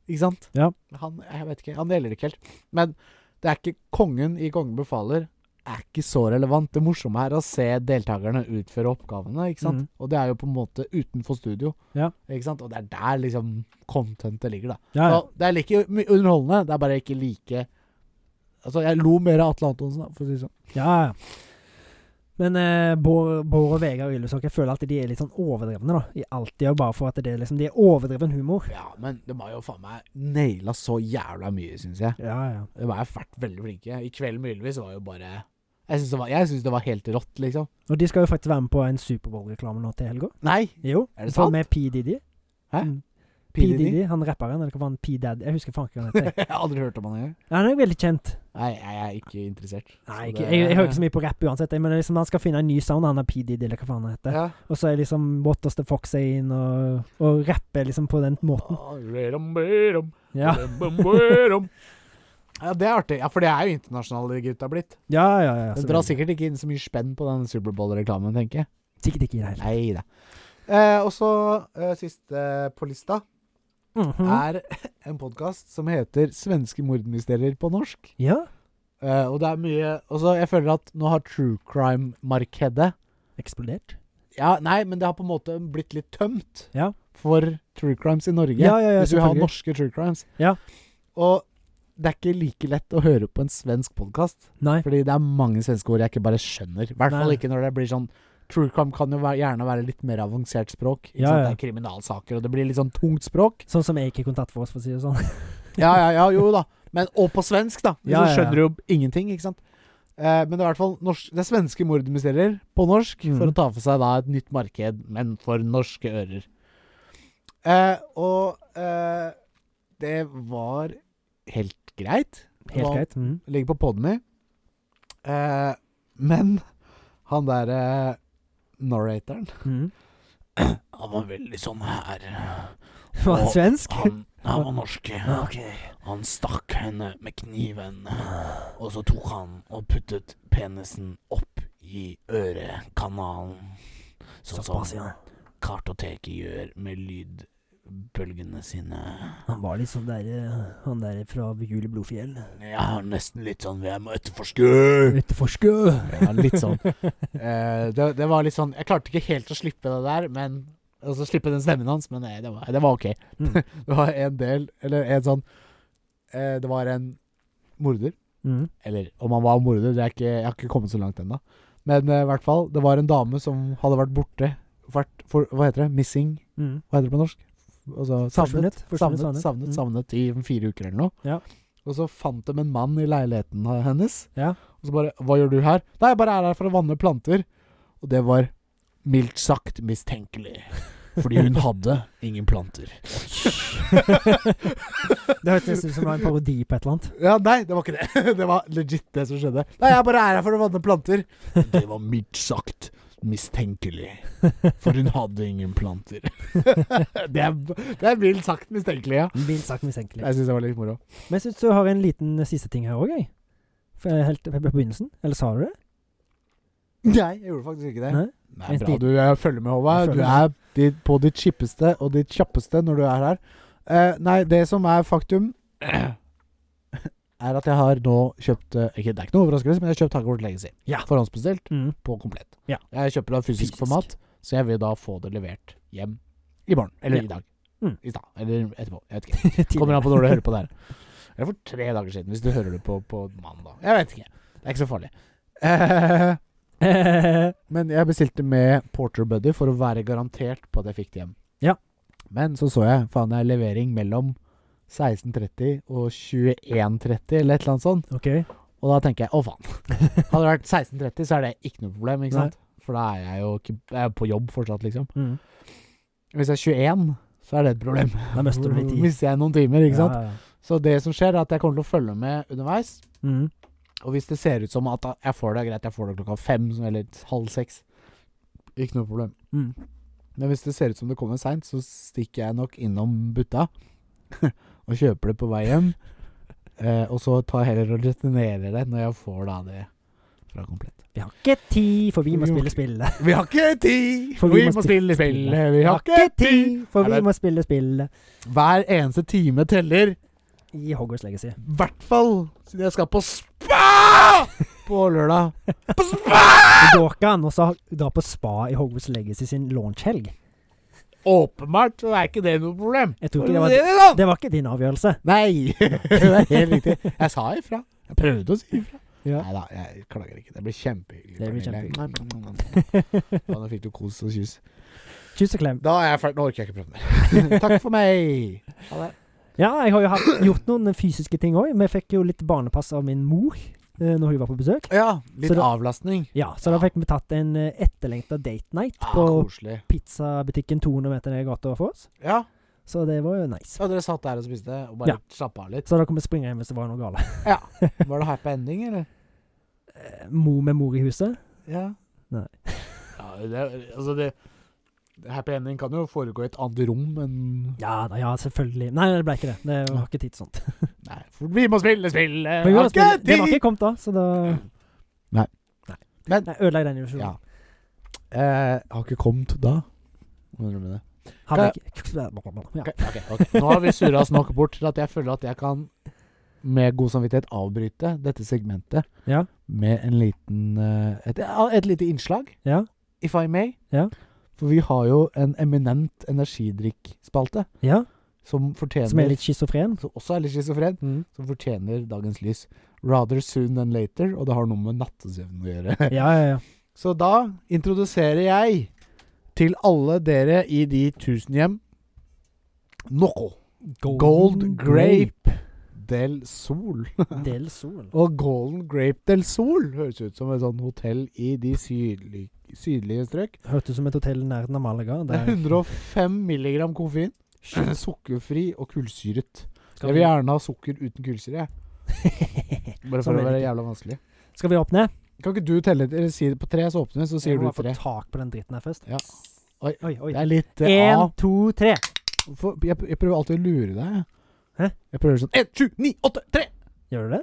[SPEAKER 1] Ikke sant?
[SPEAKER 2] Ja.
[SPEAKER 1] Han, jeg vet ikke, han deler det ikke helt. Men det er ikke kongen i Kongen befaler er ikke så relevant. Det morsomme er å se deltakerne utføre oppgavene. ikke sant?
[SPEAKER 2] Mhm.
[SPEAKER 1] Og det er jo på en måte utenfor studio.
[SPEAKER 2] Ja.
[SPEAKER 1] Ikke sant? Og det er der liksom contentet ligger, da.
[SPEAKER 2] Ja, ja.
[SPEAKER 1] Og det er like my- underholdende, det er bare ikke like Altså, jeg lo mer av Atle Antonsen, da, for å si det sånn.
[SPEAKER 2] ja, ja. Men eh, Bård, Bård og Vegard Ylvesåker føler alltid de er litt sånn overdrevne, da. I alt de gjør, bare for at det er liksom De er overdreven humor.
[SPEAKER 1] Ja, men de har jo faen meg naila så jævla mye, syns jeg.
[SPEAKER 2] Ja, ja.
[SPEAKER 1] De har vært veldig flinke. I kveld med Ylvis var jo bare Jeg syns det, var- jeg synes det var helt rått, liksom.
[SPEAKER 2] Og de skal jo faktisk være med på en Superbowl-reklame nå til helga.
[SPEAKER 1] Nei!
[SPEAKER 2] Jo.
[SPEAKER 1] Er det
[SPEAKER 2] for
[SPEAKER 1] sant?
[SPEAKER 2] Med P. Diddy.
[SPEAKER 1] Mm. Hæ?
[SPEAKER 2] Mm. P.
[SPEAKER 1] PDD?
[SPEAKER 2] Diddy, han rapperen, eller hva var han? P. Daddy? Jeg husker faen ikke hva han heter.
[SPEAKER 1] jeg har aldri hørt om han engang.
[SPEAKER 2] Ja, Han er jo veldig kjent.
[SPEAKER 1] Nei, jeg er ikke interessert.
[SPEAKER 2] Nei, ikke, jeg, jeg hører ikke så mye på rapp uansett, jeg, men det er liksom, han skal finne en ny sound, han er P. Diddy, eller hva faen han heter.
[SPEAKER 1] Ja.
[SPEAKER 2] Og så er liksom Waters the Fox er inn og, og rapper liksom på den måten. Ja,
[SPEAKER 1] ja, det er artig. Ja, For det er jo internasjonale gutta blitt.
[SPEAKER 2] ja, ja. ja
[SPEAKER 1] Den drar sikkert ikke inn så mye spenn på den Superbowl-reklamen, tenker jeg.
[SPEAKER 2] Sikkert ikke i det hele
[SPEAKER 1] Nei da. Eh, og så eh, siste på lista
[SPEAKER 2] Mhm.
[SPEAKER 1] er en podkast som heter 'Svenske mordmysterier' på norsk.
[SPEAKER 2] Ja,
[SPEAKER 1] Eh, og det er mye Og så jeg føler at nå har true crime-markedet
[SPEAKER 2] eksplodert.
[SPEAKER 1] Ja, nei, men det har på en måte blitt litt tømt
[SPEAKER 2] Ja.
[SPEAKER 1] for true crimes i Norge.
[SPEAKER 2] Ja, ja, ja,
[SPEAKER 1] hvis vi har
[SPEAKER 2] selvfølgelig.
[SPEAKER 1] norske true crimes.
[SPEAKER 2] Ja.
[SPEAKER 1] Og det er ikke like lett å høre på en svensk podkast.
[SPEAKER 2] Nei.
[SPEAKER 1] Fordi det er mange svenske ord jeg ikke bare skjønner. I hvert fall
[SPEAKER 2] Nei.
[SPEAKER 1] ikke når det blir sånn True crime kan jo være, gjerne være litt mer avansert språk. Ikke
[SPEAKER 2] Ja,
[SPEAKER 1] sant?
[SPEAKER 2] ja.
[SPEAKER 1] Det er kriminalsaker, og det blir litt sånn tungt språk.
[SPEAKER 2] Sånn som jeg ikke har kontakt for oss, for å si det sånn.
[SPEAKER 1] Ja, ja, ja, jo da. Men, og på svensk, da.
[SPEAKER 2] Ja, ja,
[SPEAKER 1] Så
[SPEAKER 2] ja.
[SPEAKER 1] skjønner du jo ingenting, ikke sant. Eh, men det er i hvert fall norsk, det er svenske mordmysterier på norsk
[SPEAKER 2] Mm.
[SPEAKER 1] for å ta for seg da et nytt marked, men for norske ører. Eh, og eh, det var helt greit.
[SPEAKER 2] Helt
[SPEAKER 1] Ja.
[SPEAKER 2] greit. mhm.
[SPEAKER 1] Det ligger på poden min. Eh, men han derre eh, narratoren
[SPEAKER 2] Mhm.
[SPEAKER 1] Han var veldig sånn her.
[SPEAKER 2] Var han
[SPEAKER 1] Og
[SPEAKER 2] svensk?
[SPEAKER 1] Han, han var norsk.
[SPEAKER 2] Ok.
[SPEAKER 1] Han stakk henne med kniven, og så tok han og puttet penisen opp i ørekanalen. Sånn
[SPEAKER 2] Såpass,
[SPEAKER 1] som
[SPEAKER 2] ja.
[SPEAKER 1] kartoteket gjør med lydbølgene sine.
[SPEAKER 2] Han var litt sånn der, eh, han der fra Jul i Blodfjell.
[SPEAKER 1] Jeg har nesten litt sånn Jeg må etterforske!
[SPEAKER 2] Etterforske!
[SPEAKER 1] Ja, litt sånn. Eh, det, det var litt sånn Jeg klarte ikke helt å slippe det der, men Altså slippe den stemmen hans, men eh, det var, det var ok.
[SPEAKER 2] Mm.
[SPEAKER 1] det var en del Eller en sånn eh, Det var en morder.
[SPEAKER 2] Mhm.
[SPEAKER 1] Eller om han var morder, det er ikke, jeg har ikke kommet så langt ennå. Men eh, i hvert fall, det var en dame som hadde vært borte. Vært for, hva heter det? Missing?
[SPEAKER 2] Mhm.
[SPEAKER 1] Hva heter det på norsk? Altså, savnet.
[SPEAKER 2] Forsvunnet.
[SPEAKER 1] Savnet,
[SPEAKER 2] Forsvunnet.
[SPEAKER 1] savnet, Mm. savnet,
[SPEAKER 2] Mhm.
[SPEAKER 1] i fire uker eller noe.
[SPEAKER 2] Ja.
[SPEAKER 1] Og så fant de en mann i leiligheten av hennes.
[SPEAKER 2] Ja.
[SPEAKER 1] Og så bare 'Hva gjør du her?' 'Nei, jeg bare er her for å vanne planter'. Og det var mildt sagt mistenkelig. Fordi hun hadde ingen planter.
[SPEAKER 2] Mm. Det hørtes nesten ut som det var en parodi på et eller annet.
[SPEAKER 1] Ja, nei, det var ikke det. Det var legit det som skjedde. Nei, jeg bare er her for å vanne planter. Det var mildt sagt mistenkelig, for hun hadde ingen planter. Det er, det er mildt sagt mistenkelig, ja.
[SPEAKER 2] Mildt sagt mistenkelig.
[SPEAKER 1] Jeg syns det var litt moro.
[SPEAKER 2] Men jeg syns du har en liten eh, siste ting her òg, jeg. For, eh, Helt på begynnelsen. Eller sa du det?
[SPEAKER 1] Nei, jeg gjorde faktisk ikke det.
[SPEAKER 2] Nei?
[SPEAKER 1] Nei, bra du eh, følger med, Håvard.
[SPEAKER 2] Jeg
[SPEAKER 1] Du
[SPEAKER 2] følger
[SPEAKER 1] er ditt, på ditt kjippeste og ditt kjappeste når du er her. Eh, nei, det som er faktum er at jeg har nå kjøpt eh, ikke, Det er ikke noe overraskelse, men jeg har kjøpt Hogwarts Legacy.
[SPEAKER 2] Ja.
[SPEAKER 1] Forhåndsbestilt.
[SPEAKER 2] Mm.
[SPEAKER 1] på komplett.
[SPEAKER 2] Ja.
[SPEAKER 1] Jeg kjøper det av fysisk,
[SPEAKER 2] Fysisk.
[SPEAKER 1] format, så jeg vil da få det levert hjem i morgen. Eller
[SPEAKER 2] Ja.
[SPEAKER 1] i dag.
[SPEAKER 2] Mm.
[SPEAKER 1] I stad. Eller etterpå. Jeg vet ikke. Kommer
[SPEAKER 2] Tidligere.
[SPEAKER 1] an på når du hører på det her. Eller for tre dager siden, hvis du hører det på, på mandag. Jeg vet ikke. Det er ikke så farlig. Eh, men jeg bestilte med Porter Buddy for å være garantert på at jeg fikk det hjem.
[SPEAKER 2] Ja.
[SPEAKER 1] Men så så jeg faen det er levering mellom 16.30 og 21.30 eller et eller annet sånt.
[SPEAKER 2] ok.
[SPEAKER 1] Og da tenker jeg å faen. Hadde det vært 16.30, så er det ikke noe problem. ikke
[SPEAKER 2] Nei.
[SPEAKER 1] sant? For da er jeg jo ikke, jeg er på jobb fortsatt, liksom.
[SPEAKER 2] Mm.
[SPEAKER 1] Hvis jeg er 21, så er det et problem.
[SPEAKER 2] Da mister du litt tid.
[SPEAKER 1] Mister jeg noen timer, ikke sant.
[SPEAKER 2] Ja, ja, ja.
[SPEAKER 1] Så det som skjer, er at jeg kommer til å følge med underveis.
[SPEAKER 2] Mm.
[SPEAKER 1] Og hvis det ser ut som at jeg får det, greit, jeg får det klokka fem eller halv seks. Ikke noe problem.
[SPEAKER 2] Mm.
[SPEAKER 1] Men hvis det ser ut som det kommer seint, så stikker jeg nok innom butta og kjøper det på vei hjem. Eh, og så tar jeg heller og returnerer det når jeg får da det fra Komplett.
[SPEAKER 2] Vi har ikke tid, for vi må
[SPEAKER 1] Vi må
[SPEAKER 2] spille spillet.
[SPEAKER 1] Vi har ikke tid!
[SPEAKER 2] For
[SPEAKER 1] vi, må spille
[SPEAKER 2] spille.
[SPEAKER 1] spillet! Vi har ikke tid!
[SPEAKER 2] for
[SPEAKER 1] Er
[SPEAKER 2] vi
[SPEAKER 1] det-
[SPEAKER 2] må spille spillet
[SPEAKER 1] Hver eneste time teller.
[SPEAKER 2] i Hogwarts Legacy.
[SPEAKER 1] I hvert fall siden jeg skal på spa på lørdag. På spa!
[SPEAKER 2] Det går ikke an å så dra på spa i Hogwarts Legacy sin launchhelg.
[SPEAKER 1] Åpenbart så er ikke det noe problem.
[SPEAKER 2] Jeg tror ikke det var,
[SPEAKER 1] det, da?
[SPEAKER 2] det var ikke din avgjørelse.
[SPEAKER 1] Nei! det er helt riktig. Jeg sa ifra. Jeg prøvde å si ifra.
[SPEAKER 2] Ja.
[SPEAKER 1] Nei da, jeg klager ikke. Det blir kjempehyggelig.
[SPEAKER 2] Det blir
[SPEAKER 1] Pernille. Ja, nå fikk du kos og kyss.
[SPEAKER 2] Kyss og klem.
[SPEAKER 1] Da er jeg ferdig. Nå orker jeg ikke prate mer. Takk for meg. Ha det.
[SPEAKER 2] Ja, jeg har jo hatt, gjort noen fysiske ting òg. Vi fikk jo litt barnepass av min mor eh, når hun var på besøk.
[SPEAKER 1] Ja, litt
[SPEAKER 2] Så da-
[SPEAKER 1] avlastning.
[SPEAKER 2] Ja, Så da fikk vi tatt en eh, etterlengta date night
[SPEAKER 1] Ah,
[SPEAKER 2] på
[SPEAKER 1] koselig.
[SPEAKER 2] pizzabutikken 200 meter ned i gata for oss.
[SPEAKER 1] Ja,
[SPEAKER 2] Så det var jo nice.
[SPEAKER 1] så dere satt der og spiste og bare
[SPEAKER 2] Ja.
[SPEAKER 1] slappa av litt.
[SPEAKER 2] Så da kan vi springe hjem hvis det var noe galt.
[SPEAKER 1] Var det happy ending, eller?
[SPEAKER 2] Mor med mor i huset.
[SPEAKER 1] Ja.
[SPEAKER 2] Nei.
[SPEAKER 1] ja det, altså det Happy ending kan jo foregå i et annet rom enn
[SPEAKER 2] Ja da, ja, selvfølgelig. Nei, det ble ikke det. Det var ikke tid til sånt.
[SPEAKER 1] Nei, for vi må spille spillet!
[SPEAKER 2] Men vi var
[SPEAKER 1] Har ikke
[SPEAKER 2] spille, det var
[SPEAKER 1] tid!
[SPEAKER 2] ikke kommet da, så da
[SPEAKER 1] Nei.
[SPEAKER 2] Nei.
[SPEAKER 1] Men-
[SPEAKER 2] Jeg ødela den illusjonen.
[SPEAKER 1] Ja. Eh, har ikke kommet da. Må innrømme det.
[SPEAKER 2] Hadde ikke ja.
[SPEAKER 1] Ok, ok, ok. Nå har vi surra oss nok bort til at jeg føler at jeg kan med god samvittighet avbryte dette segmentet
[SPEAKER 2] Ja.
[SPEAKER 1] med en liten eh, et, et lite innslag,
[SPEAKER 2] Ja.
[SPEAKER 1] if I may.
[SPEAKER 2] Ja.
[SPEAKER 1] For vi har jo en eminent energidrikkspalte
[SPEAKER 2] ja.
[SPEAKER 1] som fortjener
[SPEAKER 2] Som er litt Mm. schizofren.
[SPEAKER 1] som også er litt schizofren, som fortjener dagens lys. Rather soon than later, og det har noe med nattesøvn å gjøre.
[SPEAKER 2] Ja, ja, ja.
[SPEAKER 1] Så da introduserer jeg til alle dere i de tusen hjem noe. Gold Grape del Sol.
[SPEAKER 2] Del Sol.
[SPEAKER 1] Og Golden Grape del Sol høres ut som et sånt hotell i de sydlige, sydlige strøk.
[SPEAKER 2] Hørtes ut som et hotell i nærheten av Malaga.
[SPEAKER 1] Det er 105 milligram koffein.
[SPEAKER 2] Skal
[SPEAKER 1] Sukkerfri og kullsyret. Jeg vil
[SPEAKER 2] vi,
[SPEAKER 1] gjerne ha sukker uten kullsyre, jeg. Bare for
[SPEAKER 2] Sånn
[SPEAKER 1] å
[SPEAKER 2] er
[SPEAKER 1] være
[SPEAKER 2] det.
[SPEAKER 1] jævla vanskelig.
[SPEAKER 2] skal vi opp ned?
[SPEAKER 1] Kan ikke du telle eller si det på tre, så åpner vi, så sier
[SPEAKER 2] Jeg
[SPEAKER 1] du
[SPEAKER 2] må bare
[SPEAKER 1] tre.
[SPEAKER 2] få tak på den dritten her først.
[SPEAKER 1] Ja. Oi.
[SPEAKER 2] Oi, oi. oi.
[SPEAKER 1] Det er litt eh,
[SPEAKER 2] En,
[SPEAKER 1] A.
[SPEAKER 2] to, tre.
[SPEAKER 1] For, jeg, jeg prøver alltid å lure deg. jeg.
[SPEAKER 2] Hæ?
[SPEAKER 1] Jeg prøver sånn 1, 7, 9, 8, 3!
[SPEAKER 2] Gjør du det?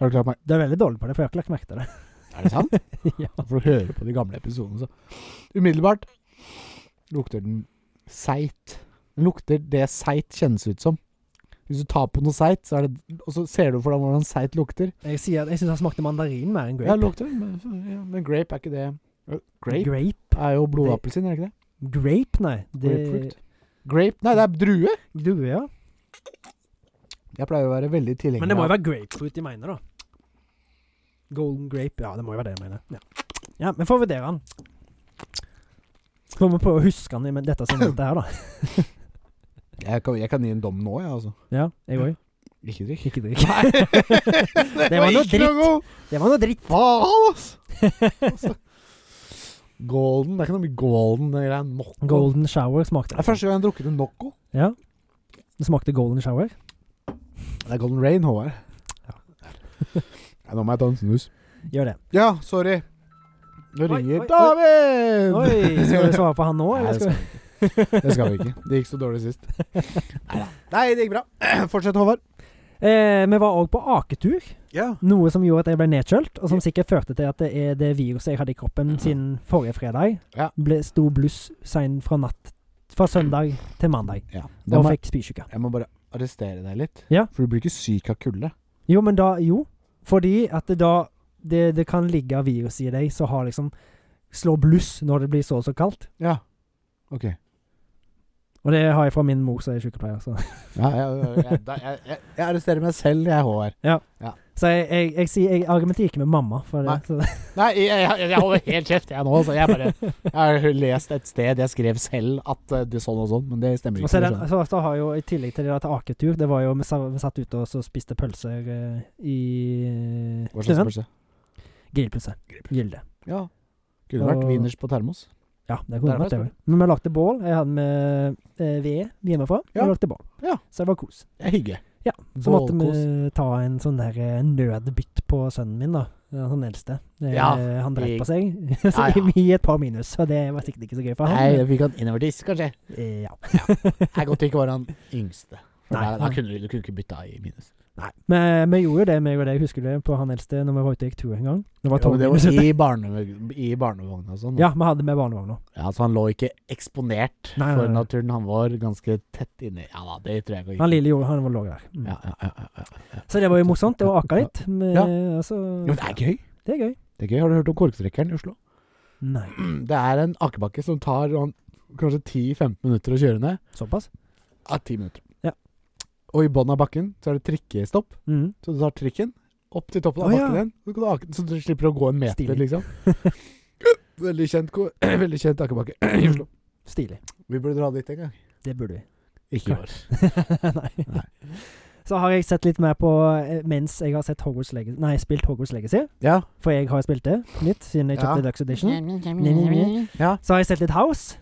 [SPEAKER 1] Har du klart meg?
[SPEAKER 2] Du er veldig dårlig på det, for jeg har ikke lagt merke til det.
[SPEAKER 1] Er det sant?
[SPEAKER 2] ja.
[SPEAKER 1] Da får du høre på de gamle episodene. Så. Umiddelbart lukter den seigt. Den lukter det seigt kjennes ut som. Hvis du tar på noe seigt, så er det Og så ser du for deg hvordan seigt lukter.
[SPEAKER 2] Jeg, sier at jeg syns han smakte mandarin mer enn grape.
[SPEAKER 1] Ja, lukter det, men, ja, men grape er ikke det Grape
[SPEAKER 2] grape.
[SPEAKER 1] er jo blodappelsin, er det ikke det?
[SPEAKER 2] Grape, nei. Det,
[SPEAKER 1] Grapefruit. Grape Nei, det er drue.
[SPEAKER 2] Drue, ja.
[SPEAKER 1] Jeg pleier å være veldig tilhenger
[SPEAKER 2] Men det må jo
[SPEAKER 1] av
[SPEAKER 2] være grapefruit de mener, da. Golden grape. Ja, det må jo være det de mener. Ja, ja men får vurdere den. Så må vi prøve å huske den i men dette segmentet her, da.
[SPEAKER 1] jeg kan, jeg kan gi en dom nå, jeg, ja, altså.
[SPEAKER 2] Ja, jeg òg.
[SPEAKER 1] Ikke drikk.
[SPEAKER 2] Ikke drikk.
[SPEAKER 1] Nei! det
[SPEAKER 2] var noe dritt.
[SPEAKER 1] god
[SPEAKER 2] Det var noe dritt.
[SPEAKER 1] Faen, ass! Altså. Golden Det er ikke noe mye golden det greia. Nocco.
[SPEAKER 2] Golden shower
[SPEAKER 1] Det
[SPEAKER 2] smakte
[SPEAKER 1] er første gang jeg har drukket en Nocco.
[SPEAKER 2] Ja. Det smakte golden shower.
[SPEAKER 1] Det er Golden Rain, Håvard.
[SPEAKER 2] Ja.
[SPEAKER 1] Nei, nå må jeg ta en snus.
[SPEAKER 2] Gjør det.
[SPEAKER 1] Ja, sorry. Nå
[SPEAKER 2] Oi,
[SPEAKER 1] ringer
[SPEAKER 2] oi, oi.
[SPEAKER 1] David!
[SPEAKER 2] Oi, skal vi svare på han nå,
[SPEAKER 1] Nei, det
[SPEAKER 2] eller skal
[SPEAKER 1] skal, vi ikke.
[SPEAKER 2] vi
[SPEAKER 1] det skal vi ikke. Det gikk så dårlig sist. Neida. Nei, det gikk bra. Fortsett, Håvard.
[SPEAKER 2] eh, Vi var òg på aketur,
[SPEAKER 1] Ja.
[SPEAKER 2] noe som gjorde at jeg ble nedkjølt, og som sikkert førte til at det, er det viruset jeg hadde i kroppen siden forrige fredag,
[SPEAKER 1] Ja.
[SPEAKER 2] ble sto bluss seint fra natt Fra søndag til mandag,
[SPEAKER 1] Da
[SPEAKER 2] og
[SPEAKER 1] må,
[SPEAKER 2] fikk spysjuke.
[SPEAKER 1] jeg må bare arrestere deg litt.
[SPEAKER 2] Ja.
[SPEAKER 1] For du blir ikke syk av kulde.
[SPEAKER 2] Jo, men da Jo. Fordi at det da det, det kan ligge virus i deg som har liksom Slå bluss når det blir så og så kaldt.
[SPEAKER 1] Ja. Ok.
[SPEAKER 2] Og det har jeg fra min mor, som er sykepleier. Så,
[SPEAKER 1] Ja, jeg, jeg, jeg, jeg, jeg, jeg arresterer meg selv, jeg, Håvard.
[SPEAKER 2] så jeg, jeg, jeg, sier jeg argumenterer ikke med mamma. For det,
[SPEAKER 1] Nei.
[SPEAKER 2] så,
[SPEAKER 1] Nei, jeg, jeg, jeg holder helt kjeft, jeg nå. Så jeg, bare, jeg har lest et sted jeg skrev selv at eh, det er sånn og sånn, men det stemmer
[SPEAKER 2] Og
[SPEAKER 1] ikke.
[SPEAKER 2] så, er
[SPEAKER 1] det
[SPEAKER 2] den, så, så har jo I tillegg til det der til aketur Det var jo Vi, sa, vi satt ute og så spiste pølser eh, i
[SPEAKER 1] skjønner. Hva slags
[SPEAKER 2] snøen.
[SPEAKER 1] spørsmål?
[SPEAKER 2] Grillpølse. Gilde.
[SPEAKER 1] Ja. Kunne vært
[SPEAKER 2] Og-
[SPEAKER 1] wieners på termos.
[SPEAKER 2] Ja, det kunne
[SPEAKER 1] Der var
[SPEAKER 2] vært det.
[SPEAKER 1] jeg
[SPEAKER 2] vel. Men vi lagde bål. Jeg hadde med eh, ved hjemmefra.
[SPEAKER 1] Ja.
[SPEAKER 2] Og lagde bål.
[SPEAKER 1] Ja.
[SPEAKER 2] Så det var kos.
[SPEAKER 1] Det er hygge.
[SPEAKER 2] Ja, Så måtte vi ta en sånn der eh, nødbytt på sønnen min, da. Ja, Han eldste. Eh,
[SPEAKER 1] Ja,
[SPEAKER 2] han dreit
[SPEAKER 1] jeg-
[SPEAKER 2] på seg.
[SPEAKER 1] Ja,
[SPEAKER 2] så
[SPEAKER 1] ja.
[SPEAKER 2] i et par minus, og det var sikkert ikke så gøy for
[SPEAKER 1] Nei,
[SPEAKER 2] han.
[SPEAKER 1] jeg fikk han innoverdisk, kanskje.
[SPEAKER 2] Eh, ja.
[SPEAKER 1] Jeg godt det ikke var han yngste. For
[SPEAKER 2] Nei,
[SPEAKER 1] da, da
[SPEAKER 2] han-
[SPEAKER 1] kunne du, du kunne ikke bytta i minus.
[SPEAKER 2] Nei, men eh, vi gjorde jo det, meg og deg, husker du det, på han eldste når vi var ute og gikk tur en gang? Det var
[SPEAKER 1] Jo, men det
[SPEAKER 2] tolv-
[SPEAKER 1] var i, barnevog- i barnevogna og sånn. da.
[SPEAKER 2] Ja, vi hadde med barnevogna.
[SPEAKER 1] Ja, så han lå ikke eksponert
[SPEAKER 2] Nei, nei,
[SPEAKER 1] for
[SPEAKER 2] nei.
[SPEAKER 1] naturen. Han var ganske tett inni Ja da, det tror jeg går
[SPEAKER 2] Han lille gjorde, han var lå der. Mm.
[SPEAKER 1] Ja, ja, ja, ja, ja.
[SPEAKER 2] Så det var jo morsomt. Det var aka litt. Men,
[SPEAKER 1] Ja.
[SPEAKER 2] altså,
[SPEAKER 1] Jo, men det er gøy.
[SPEAKER 2] det er gøy.
[SPEAKER 1] Det er gøy. Har du hørt om korktrekkeren i Oslo?
[SPEAKER 2] Nei.
[SPEAKER 1] Det er en akebakke som tar sånn kanskje 10-15 minutter å kjøre ned.
[SPEAKER 2] Såpass?
[SPEAKER 1] Ja, 10 minutter.
[SPEAKER 2] Ja.
[SPEAKER 1] Og i bunnen av bakken så er det trikkestopp.
[SPEAKER 2] Mm.
[SPEAKER 1] Så du tar trikken opp til toppen av
[SPEAKER 2] Å, ja.
[SPEAKER 1] bakken igjen, så, kan du ake, så du slipper å gå en meter,
[SPEAKER 2] Stilig.
[SPEAKER 1] liksom. Veldig kjent, ko- veldig kjent akebakke i Oslo.
[SPEAKER 2] Stilig.
[SPEAKER 1] Vi burde dra dit en gang.
[SPEAKER 2] Det burde vi.
[SPEAKER 1] Ikke i år.
[SPEAKER 2] Nei. Så har jeg sett litt mer på eh, mens jeg har sett Hogwarts Legacy Nei, spilt Hogwarts Legacy.
[SPEAKER 1] Ja.
[SPEAKER 2] For jeg har spilt det nytt siden jeg
[SPEAKER 1] Ja.
[SPEAKER 2] kjøpte Deluxe Edition.
[SPEAKER 1] Ja.
[SPEAKER 2] Så har jeg sett litt House.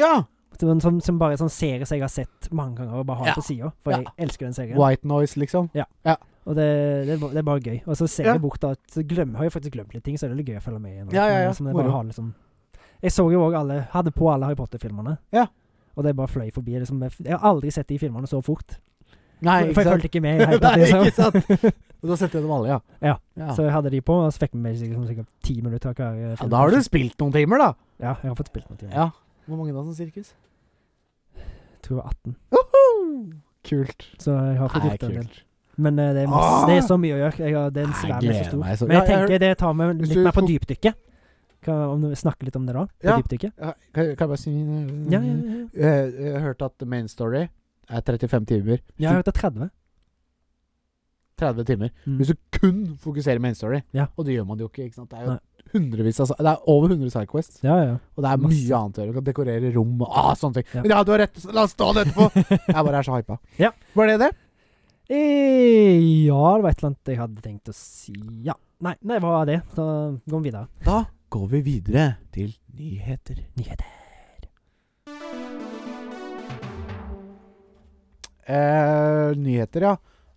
[SPEAKER 1] ja.
[SPEAKER 2] Som, som, som bare er sånn serie som jeg har sett mange ganger og bare
[SPEAKER 1] Ja.
[SPEAKER 2] har på sida. For
[SPEAKER 1] Ja.
[SPEAKER 2] jeg elsker den serien.
[SPEAKER 1] White noise, liksom.
[SPEAKER 2] Og det, det, er ba- det er bare gøy. Og så ser
[SPEAKER 1] Ja.
[SPEAKER 2] jeg bort da at så glem, har jeg faktisk glemt litt ting, så er det litt gøy å følge med igjen.
[SPEAKER 1] Ja, ja, ja.
[SPEAKER 2] Som jeg,
[SPEAKER 1] Moro.
[SPEAKER 2] bare har, liksom. jeg så jo òg alle Hadde på alle Harry Potter-filmene.
[SPEAKER 1] Ja.
[SPEAKER 2] Og det bare fløy forbi. Liksom. Jeg f- jeg har aldri sett de filmene så fort.
[SPEAKER 1] Nei, ikke
[SPEAKER 2] for jeg
[SPEAKER 1] sant?
[SPEAKER 2] fulgte ikke med. i det hele tatt,
[SPEAKER 1] Nei,
[SPEAKER 2] liksom.
[SPEAKER 1] ikke sant? Og da setter jeg dem alle, ja.
[SPEAKER 2] Ja.
[SPEAKER 1] ja.
[SPEAKER 2] Så jeg hadde de på, og så fikk vi med sikkert, sånn sikkert ti minutter av hver eh,
[SPEAKER 1] ja
[SPEAKER 2] film.
[SPEAKER 1] da har du spilt noen timer, da.
[SPEAKER 2] Ja, jeg har fått spilt noen timer.
[SPEAKER 1] Ja. Hvor mange da som sirkus?
[SPEAKER 2] Jeg tror jeg var 18.
[SPEAKER 1] Kult.
[SPEAKER 2] Så jeg har fått
[SPEAKER 1] Nei,
[SPEAKER 2] gjort en del.
[SPEAKER 1] kult.
[SPEAKER 2] Men eh, det, er masse,
[SPEAKER 1] Åh!
[SPEAKER 2] det er så mye å gjøre. Jeg har, det er en
[SPEAKER 1] Nei, jeg
[SPEAKER 2] svær messe
[SPEAKER 1] gleder
[SPEAKER 2] stor.
[SPEAKER 1] meg så-
[SPEAKER 2] Men jeg
[SPEAKER 1] Ja, jeg
[SPEAKER 2] tenker det tar vi litt
[SPEAKER 1] du
[SPEAKER 2] mer på
[SPEAKER 1] fok-
[SPEAKER 2] dypdykket. Kan- Om vi snakker litt om det da? På
[SPEAKER 1] Ja.
[SPEAKER 2] dypdykket?
[SPEAKER 1] Ja, Kan, kan jeg bare si
[SPEAKER 2] Ja, ja, ja. ja.
[SPEAKER 1] Jeg, jeg har hørt at the main story er 35 timer.
[SPEAKER 2] Jeg har hørt det er 30.
[SPEAKER 1] 30 timer.
[SPEAKER 2] Mm.
[SPEAKER 1] Hvis du kun fokuserer main story,
[SPEAKER 2] Ja.
[SPEAKER 1] og det gjør man jo ikke, ikke sant? Det er jo
[SPEAKER 2] Nei.
[SPEAKER 1] hundrevis av Det er over 100 Sidequests,
[SPEAKER 2] Ja, ja.
[SPEAKER 1] og det er
[SPEAKER 2] Masse.
[SPEAKER 1] mye annet å gjøre. Du kan dekorere rom og ah, sånne ting.
[SPEAKER 2] Ja.
[SPEAKER 1] Men ja, du har rett! La oss ta det etterpå! jeg bare er så hypa.
[SPEAKER 2] Ja.
[SPEAKER 1] Var det det?
[SPEAKER 2] Eh, ja, det var et eller annet jeg hadde tenkt å si. Ja. Nei, det var det. Da går vi videre.
[SPEAKER 1] Da går vi videre til nyheter.
[SPEAKER 2] Nyheter.
[SPEAKER 1] Eh, nyheter, ja.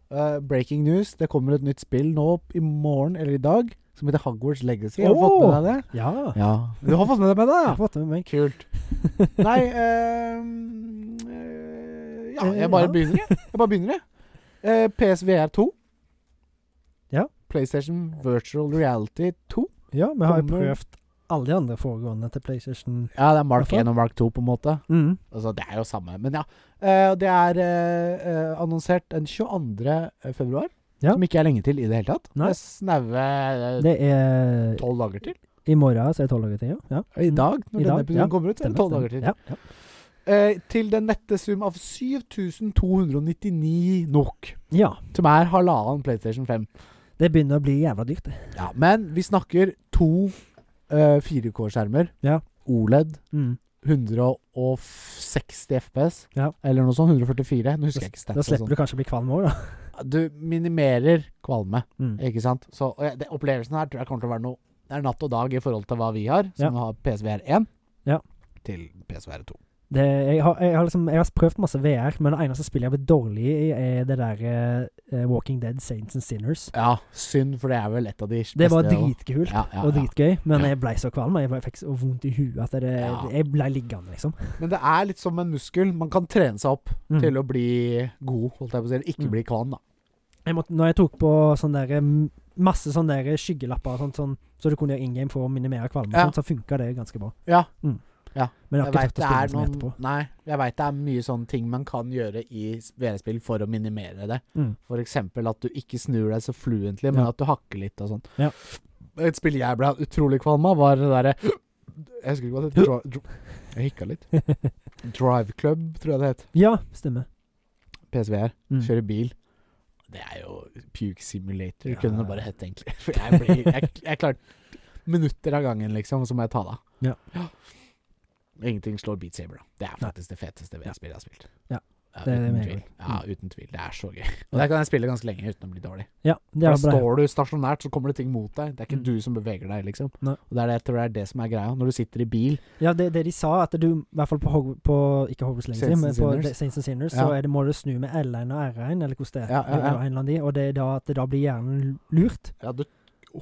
[SPEAKER 1] Eh, breaking news. Det kommer et nytt spill nå opp i morgen eller i dag som heter Hogwarts Legacy. Har du fått med deg det?
[SPEAKER 2] Ja.
[SPEAKER 1] Ja. Du har fått med deg med det,
[SPEAKER 2] Jeg
[SPEAKER 1] ja?
[SPEAKER 2] har fått det med meg.
[SPEAKER 1] Kult. Nei ehm, eh, Ja,
[SPEAKER 2] Eh,
[SPEAKER 1] jeg bare
[SPEAKER 2] ja.
[SPEAKER 1] begynner, jeg. Jeg bare begynner, jeg. Eh, PSVR 2.
[SPEAKER 2] Ja.
[SPEAKER 1] PlayStation Virtual Reality 2.
[SPEAKER 2] Ja, vi har jo
[SPEAKER 1] Kommer-
[SPEAKER 2] prøvd alle de andre foregående til PlayStation.
[SPEAKER 1] Ja, det er Mark
[SPEAKER 2] Hvorfor?
[SPEAKER 1] 1 og Mark 2, på en måte.
[SPEAKER 2] Mm.
[SPEAKER 1] Altså, det er jo samme, men ja. Eh, og det er eh, eh, annonsert den 22. februar,
[SPEAKER 2] Ja.
[SPEAKER 1] som ikke er lenge til i det hele tatt.
[SPEAKER 2] Nei.
[SPEAKER 1] Det er snaue eh,
[SPEAKER 2] Det er
[SPEAKER 1] tolv dager til. Mm.
[SPEAKER 2] I morgen så er det tolv dager til, ja. ja.
[SPEAKER 1] I dag, når
[SPEAKER 2] I
[SPEAKER 1] denne
[SPEAKER 2] dag,
[SPEAKER 1] episoden
[SPEAKER 2] ja.
[SPEAKER 1] kommer ut, så er det tolv dager til.
[SPEAKER 2] Ja. ja.
[SPEAKER 1] Eh, til den nette sum av 7299 nok.
[SPEAKER 2] ja.
[SPEAKER 1] Som er halvannen PlayStation 5.
[SPEAKER 2] Det begynner å bli jævla dyrt, det.
[SPEAKER 1] Ja, men vi snakker to eh, 4K-skjermer.
[SPEAKER 2] Ja.
[SPEAKER 1] OLED.
[SPEAKER 2] Mm.
[SPEAKER 1] 160 FPS,
[SPEAKER 2] Ja.
[SPEAKER 1] eller noe sånt. 144. Nå husker jeg ikke
[SPEAKER 2] Da
[SPEAKER 1] stats. og
[SPEAKER 2] slipper du kanskje å bli kvalm òg, da.
[SPEAKER 1] sånt. Du minimerer kvalme,
[SPEAKER 2] Mm.
[SPEAKER 1] ikke sant. Så og jeg- det, opplevelsen her tror jeg kommer til å være noe Det er natt og dag i forhold til hva vi har, som har PSVR 1
[SPEAKER 2] Ja.
[SPEAKER 1] til PSVR 2.
[SPEAKER 2] Det, jeg, har, jeg, har liksom, jeg har prøvd masse VR, men det eneste spillet jeg har blitt dårlig i, er det der eh, Walking Dead Saints and Sinners.
[SPEAKER 1] Ja, synd, for det er vel et av de
[SPEAKER 2] Det var
[SPEAKER 1] beste-
[SPEAKER 2] dritkult
[SPEAKER 1] Ja, Ah, ja,
[SPEAKER 2] og
[SPEAKER 1] ja.
[SPEAKER 2] dritgøy, men
[SPEAKER 1] Ja.
[SPEAKER 2] jeg blei så kvalm. og Jeg ble- fikk så vondt i huet at det,
[SPEAKER 1] Ja.
[SPEAKER 2] jeg blei liggende, liksom.
[SPEAKER 1] Men det er litt som en muskel. Man kan trene seg opp
[SPEAKER 2] Mm.
[SPEAKER 1] til å bli god, holdt jeg på å si. eller Ikke
[SPEAKER 2] Mm.
[SPEAKER 1] bli kvalm, da.
[SPEAKER 2] Jeg måtte, når jeg tok på sånn der, mm, masse sånne der skyggelapper og sånt, sånn, så du kunne gjøre in game for å minimere kvalme, og
[SPEAKER 1] Ja.
[SPEAKER 2] sånt, så funka det ganske bra.
[SPEAKER 1] Ja.
[SPEAKER 2] Mm.
[SPEAKER 1] Ja.
[SPEAKER 2] Men jeg har
[SPEAKER 1] Jeg
[SPEAKER 2] ikke
[SPEAKER 1] vet
[SPEAKER 2] tatt å
[SPEAKER 1] det er
[SPEAKER 2] spille det som etterpå.
[SPEAKER 1] noen Nei, jeg vet det er mye sånne ting man kan gjøre i VR-spill for å minimere det.
[SPEAKER 2] Mm.
[SPEAKER 1] For eksempel at du ikke snur deg så fluently, men
[SPEAKER 2] Ja.
[SPEAKER 1] at du hakker litt og sånn.
[SPEAKER 2] Ja.
[SPEAKER 1] Et spill jeg ble utrolig kvalm av, var det derre Jeg husker ikke hva det het. Dri- dri- Jeg hikka litt. Drive Club, tror jeg det het.
[SPEAKER 2] Ja, stemmer.
[SPEAKER 1] PSVR.
[SPEAKER 2] Mm.
[SPEAKER 1] Kjøre bil. Det er jo puke simulator,
[SPEAKER 2] Ja.
[SPEAKER 1] kunne det bare hett, egentlig. For jeg, blir, jeg, jeg klarte minutter av gangen, liksom, og så må jeg ta det av.
[SPEAKER 2] Ja.
[SPEAKER 1] Ingenting slår Beat Saber, da. Det er
[SPEAKER 2] Nei.
[SPEAKER 1] faktisk det feteste VR-spillet jeg har spilt.
[SPEAKER 2] Ja. Det Mm. er det
[SPEAKER 1] uten
[SPEAKER 2] jeg
[SPEAKER 1] tvil.
[SPEAKER 2] mener.
[SPEAKER 1] Ja, uten tvil. Det er så gøy. Og der kan jeg spille ganske lenge uten å bli dårlig.
[SPEAKER 2] Ja, det
[SPEAKER 1] For
[SPEAKER 2] er
[SPEAKER 1] da
[SPEAKER 2] bra.
[SPEAKER 1] står du stasjonært, så kommer det ting mot deg. Det er ikke
[SPEAKER 2] Mm.
[SPEAKER 1] du som beveger deg, liksom.
[SPEAKER 2] Nei.
[SPEAKER 1] Og det er det jeg tror det er det som er greia. Når du sitter i bil
[SPEAKER 2] Ja, det, det de sa, at du, i hvert fall på, Hog, på ikke Hogwarts lenger,
[SPEAKER 1] Saints
[SPEAKER 2] men
[SPEAKER 1] and
[SPEAKER 2] på
[SPEAKER 1] Sinners.
[SPEAKER 2] The Saints and Sinners,
[SPEAKER 1] Ja.
[SPEAKER 2] så er det, må du snu med L1 og R1, eller hvordan det er.
[SPEAKER 1] Ja, ja, ja.
[SPEAKER 2] eller en eller annen de, og det er da at det da blir hjernen lurt.
[SPEAKER 1] ja, du,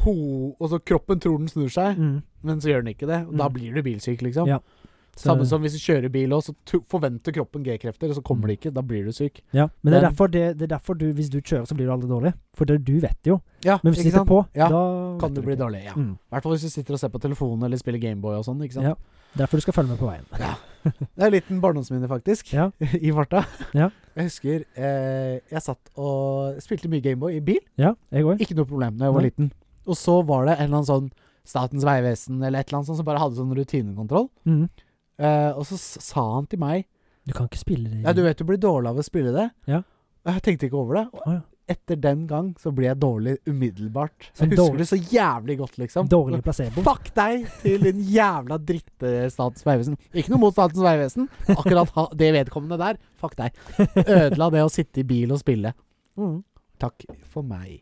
[SPEAKER 1] ho, Og så kroppen tror den snur seg,
[SPEAKER 2] Mm.
[SPEAKER 1] men så gjør den ikke det. Og da
[SPEAKER 2] Mm.
[SPEAKER 1] blir du bilsyk, liksom.
[SPEAKER 2] Ja. Så-
[SPEAKER 1] Samme som hvis du kjører bil også, så tu- forventer kroppen G-krefter, og så
[SPEAKER 2] Mm.
[SPEAKER 1] kommer det ikke. Da blir du syk.
[SPEAKER 2] Ja, men det
[SPEAKER 1] Men-
[SPEAKER 2] er derfor, det, det er derfor du, hvis du kjører, så blir du aldri dårlig. For det, du vet jo.
[SPEAKER 1] Ja,
[SPEAKER 2] Men hvis du
[SPEAKER 1] ikke
[SPEAKER 2] sitter
[SPEAKER 1] sant?
[SPEAKER 2] på,
[SPEAKER 1] Ja,
[SPEAKER 2] da
[SPEAKER 1] Kan
[SPEAKER 2] vet
[SPEAKER 1] du bli
[SPEAKER 2] ikke.
[SPEAKER 1] dårlig, ja. I
[SPEAKER 2] Mm.
[SPEAKER 1] hvert fall hvis du sitter og ser på telefonen eller spiller Gameboy og sånn. ikke sant?
[SPEAKER 2] Ja. Derfor du skal følge med på veien.
[SPEAKER 1] Det er en liten barndomsminne, faktisk.
[SPEAKER 2] Ja.
[SPEAKER 1] I farta.
[SPEAKER 2] Ja.
[SPEAKER 1] Jeg husker eh, jeg satt og spilte mye Gameboy i bil.
[SPEAKER 2] Ja, jeg òg.
[SPEAKER 1] Ikke noe problem da jeg var
[SPEAKER 2] Nei.
[SPEAKER 1] liten. Og så var det en eller annen sånn Statens vegvesen eller et eller annet sånt som bare hadde sånn rutinekontroll.
[SPEAKER 2] Mm.
[SPEAKER 1] Eh, og så s- sa han til meg
[SPEAKER 2] Du kan ikke spille det.
[SPEAKER 1] Ja, du vet du blir dårlig av å spille det.
[SPEAKER 2] Ja.
[SPEAKER 1] Og Jeg tenkte ikke over det. Og
[SPEAKER 2] Å, ja.
[SPEAKER 1] etter den gang så ble jeg dårlig umiddelbart.
[SPEAKER 2] Som
[SPEAKER 1] Jeg husker
[SPEAKER 2] dårlig-
[SPEAKER 1] det så jævlig godt, liksom.
[SPEAKER 2] Dårlig placebo.
[SPEAKER 1] Fuck deg til din jævla dritte Statens vegvesen. Ikke noe mot Statens vegvesen. Akkurat ha, det vedkommende der, fuck deg. Ødela det å sitte i bil og spille.
[SPEAKER 2] Mm.
[SPEAKER 1] Takk for meg.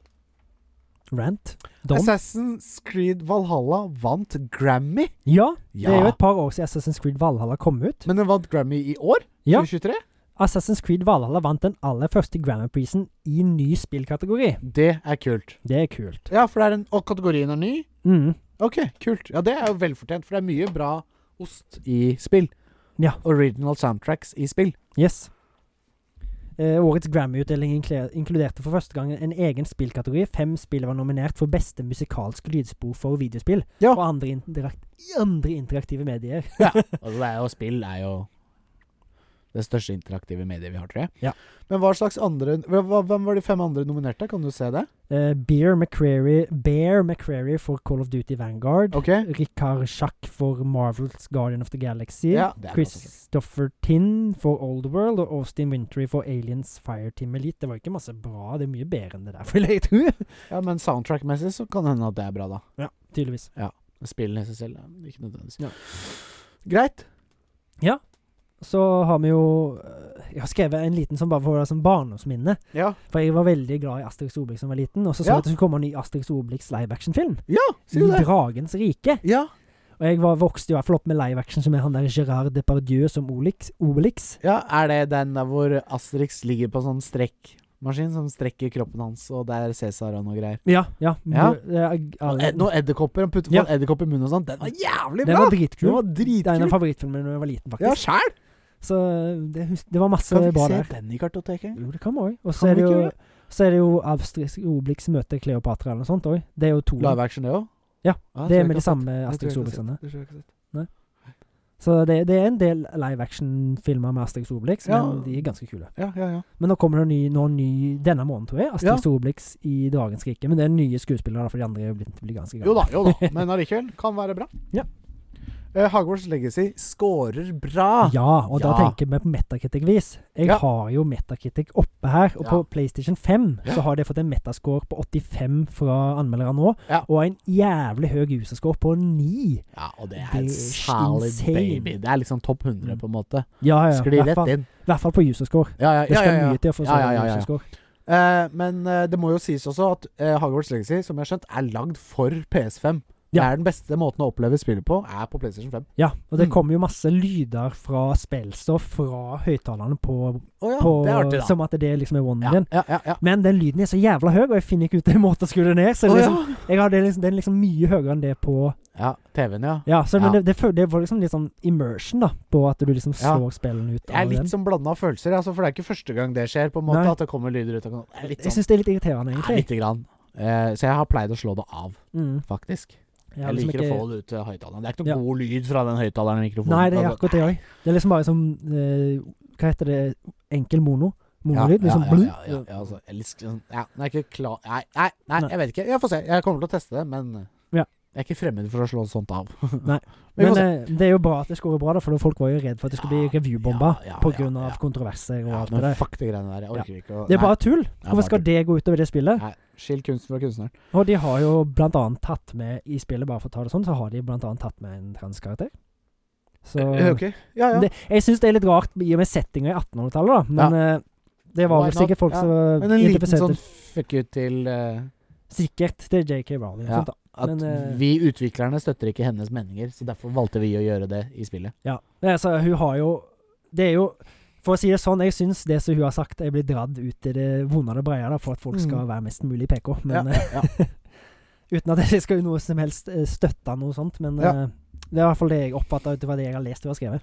[SPEAKER 2] Rant. Dom.
[SPEAKER 1] Assassin's Creed Valhalla vant Grammy.
[SPEAKER 2] Ja, det er jo et par år siden Assassin's Creed Valhalla kom ut.
[SPEAKER 1] Men den vant Grammy i år?
[SPEAKER 2] Ja.
[SPEAKER 1] 2023?
[SPEAKER 2] Assassin's Creed Valhalla vant den aller første Grammy Prisen i ny spillkategori.
[SPEAKER 1] Det er kult.
[SPEAKER 2] Det er kult.
[SPEAKER 1] Ja, for det er en, og kategorien er ny.
[SPEAKER 2] Mm.
[SPEAKER 1] Ok, kult. Ja, det er jo velfortjent, for det er mye bra ost i spill.
[SPEAKER 2] Ja.
[SPEAKER 1] Original soundtracks i spill.
[SPEAKER 2] Yes. Eh, årets Grammy-utdeling inkle- inkluderte for første gang en egen spillkategori. Fem spill var nominert for beste musikalske lydspor for videospill
[SPEAKER 1] Ja.
[SPEAKER 2] og andre, interakt andre interaktive medier.
[SPEAKER 1] Altså, det er jo spill er jo det største interaktive mediet vi har, tror jeg.
[SPEAKER 2] Ja.
[SPEAKER 1] Men hva slags andre hva- hva- Hvem var de fem andre nominerte? Kan du se det?
[SPEAKER 2] Eh, Bear McCreary Bear McCreary for Call of Duty Vanguard.
[SPEAKER 1] Ok.
[SPEAKER 2] Rikard Schack for Marvels Guardian of the Galaxy.
[SPEAKER 1] Ja, det er
[SPEAKER 2] Christopher Tin for Old World og Austin Wintry for Aliens Fireteam Elite. Det var ikke masse bra, det er mye bedre enn det der, vil jeg tro.
[SPEAKER 1] Ja, Men soundtrack-messig så kan det hende at det er bra, da.
[SPEAKER 2] Tydeligvis.
[SPEAKER 1] Spillene i seg selv er ikke nødvendigvis
[SPEAKER 2] Ja.
[SPEAKER 1] Greit.
[SPEAKER 2] Så har vi jo eh, Jeg har skrevet en liten som bare for som barndomsminne.
[SPEAKER 1] Ja.
[SPEAKER 2] For jeg var veldig glad i Asterix Obelix da jeg var liten, og så så jeg
[SPEAKER 1] Ja.
[SPEAKER 2] at det skulle komme en ny Asterix Obelix live action-film.
[SPEAKER 1] Sier
[SPEAKER 2] I
[SPEAKER 1] du det?
[SPEAKER 2] Dragens rike.
[SPEAKER 1] Ja.
[SPEAKER 2] Og jeg var, vokste i hvert fall opp med live action som er han der Gerard Depardieu som Olix, Obelix.
[SPEAKER 1] ja. Er det den der hvor Asterix ligger på sånn strekkmaskin som strekker kroppen hans, og det er Cæsar og noe greier?
[SPEAKER 2] Ja. ja.
[SPEAKER 1] Ja.
[SPEAKER 2] Du- det er-
[SPEAKER 1] Og
[SPEAKER 2] alle-
[SPEAKER 1] ed- Eh, Noen edderkopper. Han putter
[SPEAKER 2] Ja.
[SPEAKER 1] ja. edderkopp i munnen og sånn. Den var jævlig
[SPEAKER 2] Den
[SPEAKER 1] bra!
[SPEAKER 2] var dritkul.
[SPEAKER 1] Den var
[SPEAKER 2] Det er en av
[SPEAKER 1] dritkul.
[SPEAKER 2] favorittfilmene da jeg var liten,
[SPEAKER 1] Ja,
[SPEAKER 2] faktisk.
[SPEAKER 1] sjæl!
[SPEAKER 2] Så eh, det, hus- det var masse
[SPEAKER 1] Kan vi ikke
[SPEAKER 2] bra
[SPEAKER 1] se
[SPEAKER 2] der.
[SPEAKER 1] den i kartoteket?
[SPEAKER 2] Jo, det kan vi òg. Og så
[SPEAKER 1] Kan
[SPEAKER 2] er
[SPEAKER 1] vi
[SPEAKER 2] det
[SPEAKER 1] ikke
[SPEAKER 2] jo
[SPEAKER 1] gjøre
[SPEAKER 2] så er det jo Asterix Obelix møter Kleopatra eller noe sånt òg. Det er jo to.
[SPEAKER 1] Live action, det òg?
[SPEAKER 2] Mm. Ja, Det er med de
[SPEAKER 1] samme
[SPEAKER 2] samme Asterix Obelixene.
[SPEAKER 1] Det tror jeg ikke jeg har sett.
[SPEAKER 2] Så det, det er en del live action-filmer med Asterix Obelix, men
[SPEAKER 1] Ja.
[SPEAKER 2] de er ganske kule.
[SPEAKER 1] Ja, ja, ja.
[SPEAKER 2] Men nå kommer det en ny, nå en ny denne måneden, tror jeg. Asterix Obelix i Dragens rike. Men det er nye skuespillere, da, for de andre er jo blitt, blitt ganske gamle.
[SPEAKER 1] Jo da, jo da. Men allikevel kan være bra.
[SPEAKER 2] Ja.
[SPEAKER 1] Eh, Hogwarts Legacy scorer bra.
[SPEAKER 2] Ja, og da
[SPEAKER 1] Ja.
[SPEAKER 2] tenker vi på Metacritic-vis. Jeg
[SPEAKER 1] Ja.
[SPEAKER 2] har jo Metacritic oppe her, og på
[SPEAKER 1] Ja.
[SPEAKER 2] PlayStation 5
[SPEAKER 1] Ja.
[SPEAKER 2] så har det fått en metascore på 85 fra anmeldere nå,
[SPEAKER 1] Ja.
[SPEAKER 2] og en jævlig høy userscore på 9.
[SPEAKER 1] Ja, og det
[SPEAKER 2] Det er
[SPEAKER 1] er solid
[SPEAKER 2] insane.
[SPEAKER 1] baby. Det er liksom topp 100,
[SPEAKER 2] Mm.
[SPEAKER 1] på en måte.
[SPEAKER 2] Ja, ja,
[SPEAKER 1] Sklir
[SPEAKER 2] I
[SPEAKER 1] rett
[SPEAKER 2] hvert fall-
[SPEAKER 1] inn.
[SPEAKER 2] i hvert fall på userscore.
[SPEAKER 1] Ja, ja,
[SPEAKER 2] Det skal mye til å få sånn
[SPEAKER 1] Ja,
[SPEAKER 2] så
[SPEAKER 1] ja,
[SPEAKER 2] høy
[SPEAKER 1] ja, ja.
[SPEAKER 2] userscore.
[SPEAKER 1] Eh, men eh, det må jo sies også at eh, Hogwarts Legacy, som jeg har skjønt, er lagd for PS5. Det
[SPEAKER 2] Ja.
[SPEAKER 1] er den beste måten å oppleve spillet på, er på PlayStation 5.
[SPEAKER 2] Ja, og det
[SPEAKER 1] Mm.
[SPEAKER 2] kommer jo masse lyder fra spillstoff fra høyttalerne på,
[SPEAKER 1] Å ja,
[SPEAKER 2] på
[SPEAKER 1] det er artig, da.
[SPEAKER 2] Som at det liksom er one
[SPEAKER 1] Ja,
[SPEAKER 2] din.
[SPEAKER 1] ja, ja, ja.
[SPEAKER 2] Men den lyden er så jævla høy, og jeg finner ikke ut en måte å skru det ned. Så det
[SPEAKER 1] Å
[SPEAKER 2] er
[SPEAKER 1] ja.
[SPEAKER 2] liksom, jeg har det liksom, den er liksom mye høyere enn det på
[SPEAKER 1] ja, TV-en, ja.
[SPEAKER 2] Ja, så, men
[SPEAKER 1] Ja.
[SPEAKER 2] Det, det, føl- det var liksom litt sånn immersion, da, på at du liksom
[SPEAKER 1] Ja.
[SPEAKER 2] slår spillene ut.
[SPEAKER 1] Det er
[SPEAKER 2] av den.
[SPEAKER 1] litt sånn- som blanda følelser, altså, for det er ikke første gang det skjer. på en måte
[SPEAKER 2] Nei.
[SPEAKER 1] At det kommer lyder ut av kanalen. Det er litt
[SPEAKER 2] Jeg
[SPEAKER 1] sånn,
[SPEAKER 2] syns det er litt irriterende,
[SPEAKER 1] ja,
[SPEAKER 2] egentlig.
[SPEAKER 1] lite grann. Eh, så jeg har pleid å slå det av,
[SPEAKER 2] Mm.
[SPEAKER 1] faktisk.
[SPEAKER 2] Jeg,
[SPEAKER 1] Jeg,
[SPEAKER 2] har liksom
[SPEAKER 1] liker
[SPEAKER 2] ikke-
[SPEAKER 1] å få det ut til høyttaleren. Det er ikke noe
[SPEAKER 2] Ja.
[SPEAKER 1] god lyd fra den høyttaleren i mikrofonen.
[SPEAKER 2] Nei, det er
[SPEAKER 1] Altså,
[SPEAKER 2] akkurat det òg. Det er liksom bare som eh, Hva heter det? Enkel mono?
[SPEAKER 1] ja,
[SPEAKER 2] Monolyd?
[SPEAKER 1] ja,
[SPEAKER 2] liksom
[SPEAKER 1] ja, ja, ja, ja, altså, jeg litt- sånn- ja, den er ikke klar nei, nei, nei,
[SPEAKER 2] Nei.
[SPEAKER 1] jeg vet ikke. Jeg får se. Jeg kommer til å teste det, men
[SPEAKER 2] Ja.
[SPEAKER 1] jeg er ikke fremmed for å slå sånt av.
[SPEAKER 2] Nei.
[SPEAKER 1] Men,
[SPEAKER 2] Men
[SPEAKER 1] vi får se.
[SPEAKER 2] eh, det er jo bra at det skårer bra, da, for folk var jo redd for at det skulle
[SPEAKER 1] Ja,
[SPEAKER 2] bli revyrbomba
[SPEAKER 1] ja, ja,
[SPEAKER 2] eh, på
[SPEAKER 1] ja,
[SPEAKER 2] grunn av
[SPEAKER 1] ja.
[SPEAKER 2] kontroverser og
[SPEAKER 1] ja,
[SPEAKER 2] alt det
[SPEAKER 1] men
[SPEAKER 2] der.
[SPEAKER 1] fuck de greiene der. Jeg orker ikke å
[SPEAKER 2] Det er
[SPEAKER 1] nei,
[SPEAKER 2] bare tull.
[SPEAKER 1] jeg
[SPEAKER 2] Hvorfor
[SPEAKER 1] bare
[SPEAKER 2] skal
[SPEAKER 1] tull.
[SPEAKER 2] det gå utover det spillet?
[SPEAKER 1] Nei, Skill kunst fra kunstneren.
[SPEAKER 2] Og de har jo blant annet tatt med i spillet, bare for å ta det sånn, så har de blant annet tatt med en transkarakter. Så
[SPEAKER 1] Ok. Eh, Ja, ja.
[SPEAKER 2] Det, jeg syns det er litt rart i og med settinga i 1800-tallet, da. Men eh, det var
[SPEAKER 1] Why
[SPEAKER 2] vel sikkert
[SPEAKER 1] not?
[SPEAKER 2] folk
[SPEAKER 1] Ja.
[SPEAKER 2] som var
[SPEAKER 1] Men en liten
[SPEAKER 2] identifiserte
[SPEAKER 1] sånn fuck you til eh,
[SPEAKER 2] Sikkert til JK Rowling.
[SPEAKER 1] Ja.
[SPEAKER 2] og sånt da.
[SPEAKER 1] At
[SPEAKER 2] Men, eh,
[SPEAKER 1] vi utviklerne støtter ikke hennes meninger, så derfor valgte vi å gjøre det i spillet.
[SPEAKER 2] Ja. Nei, altså, hun har jo Det er jo For å si det sånn, jeg syns det som hun har sagt, er blitt dratt ut i det vonde og det brede da, for at folk skal
[SPEAKER 1] Mm.
[SPEAKER 2] være mest mulig PK. Men
[SPEAKER 1] Ja,
[SPEAKER 2] eh, uten at jeg skal jo noe som helst eh, støtte noe sånt. Men
[SPEAKER 1] Ja.
[SPEAKER 2] eh, Det er i hvert fall det jeg oppfatta ut ifra det jeg har lest og skrevet.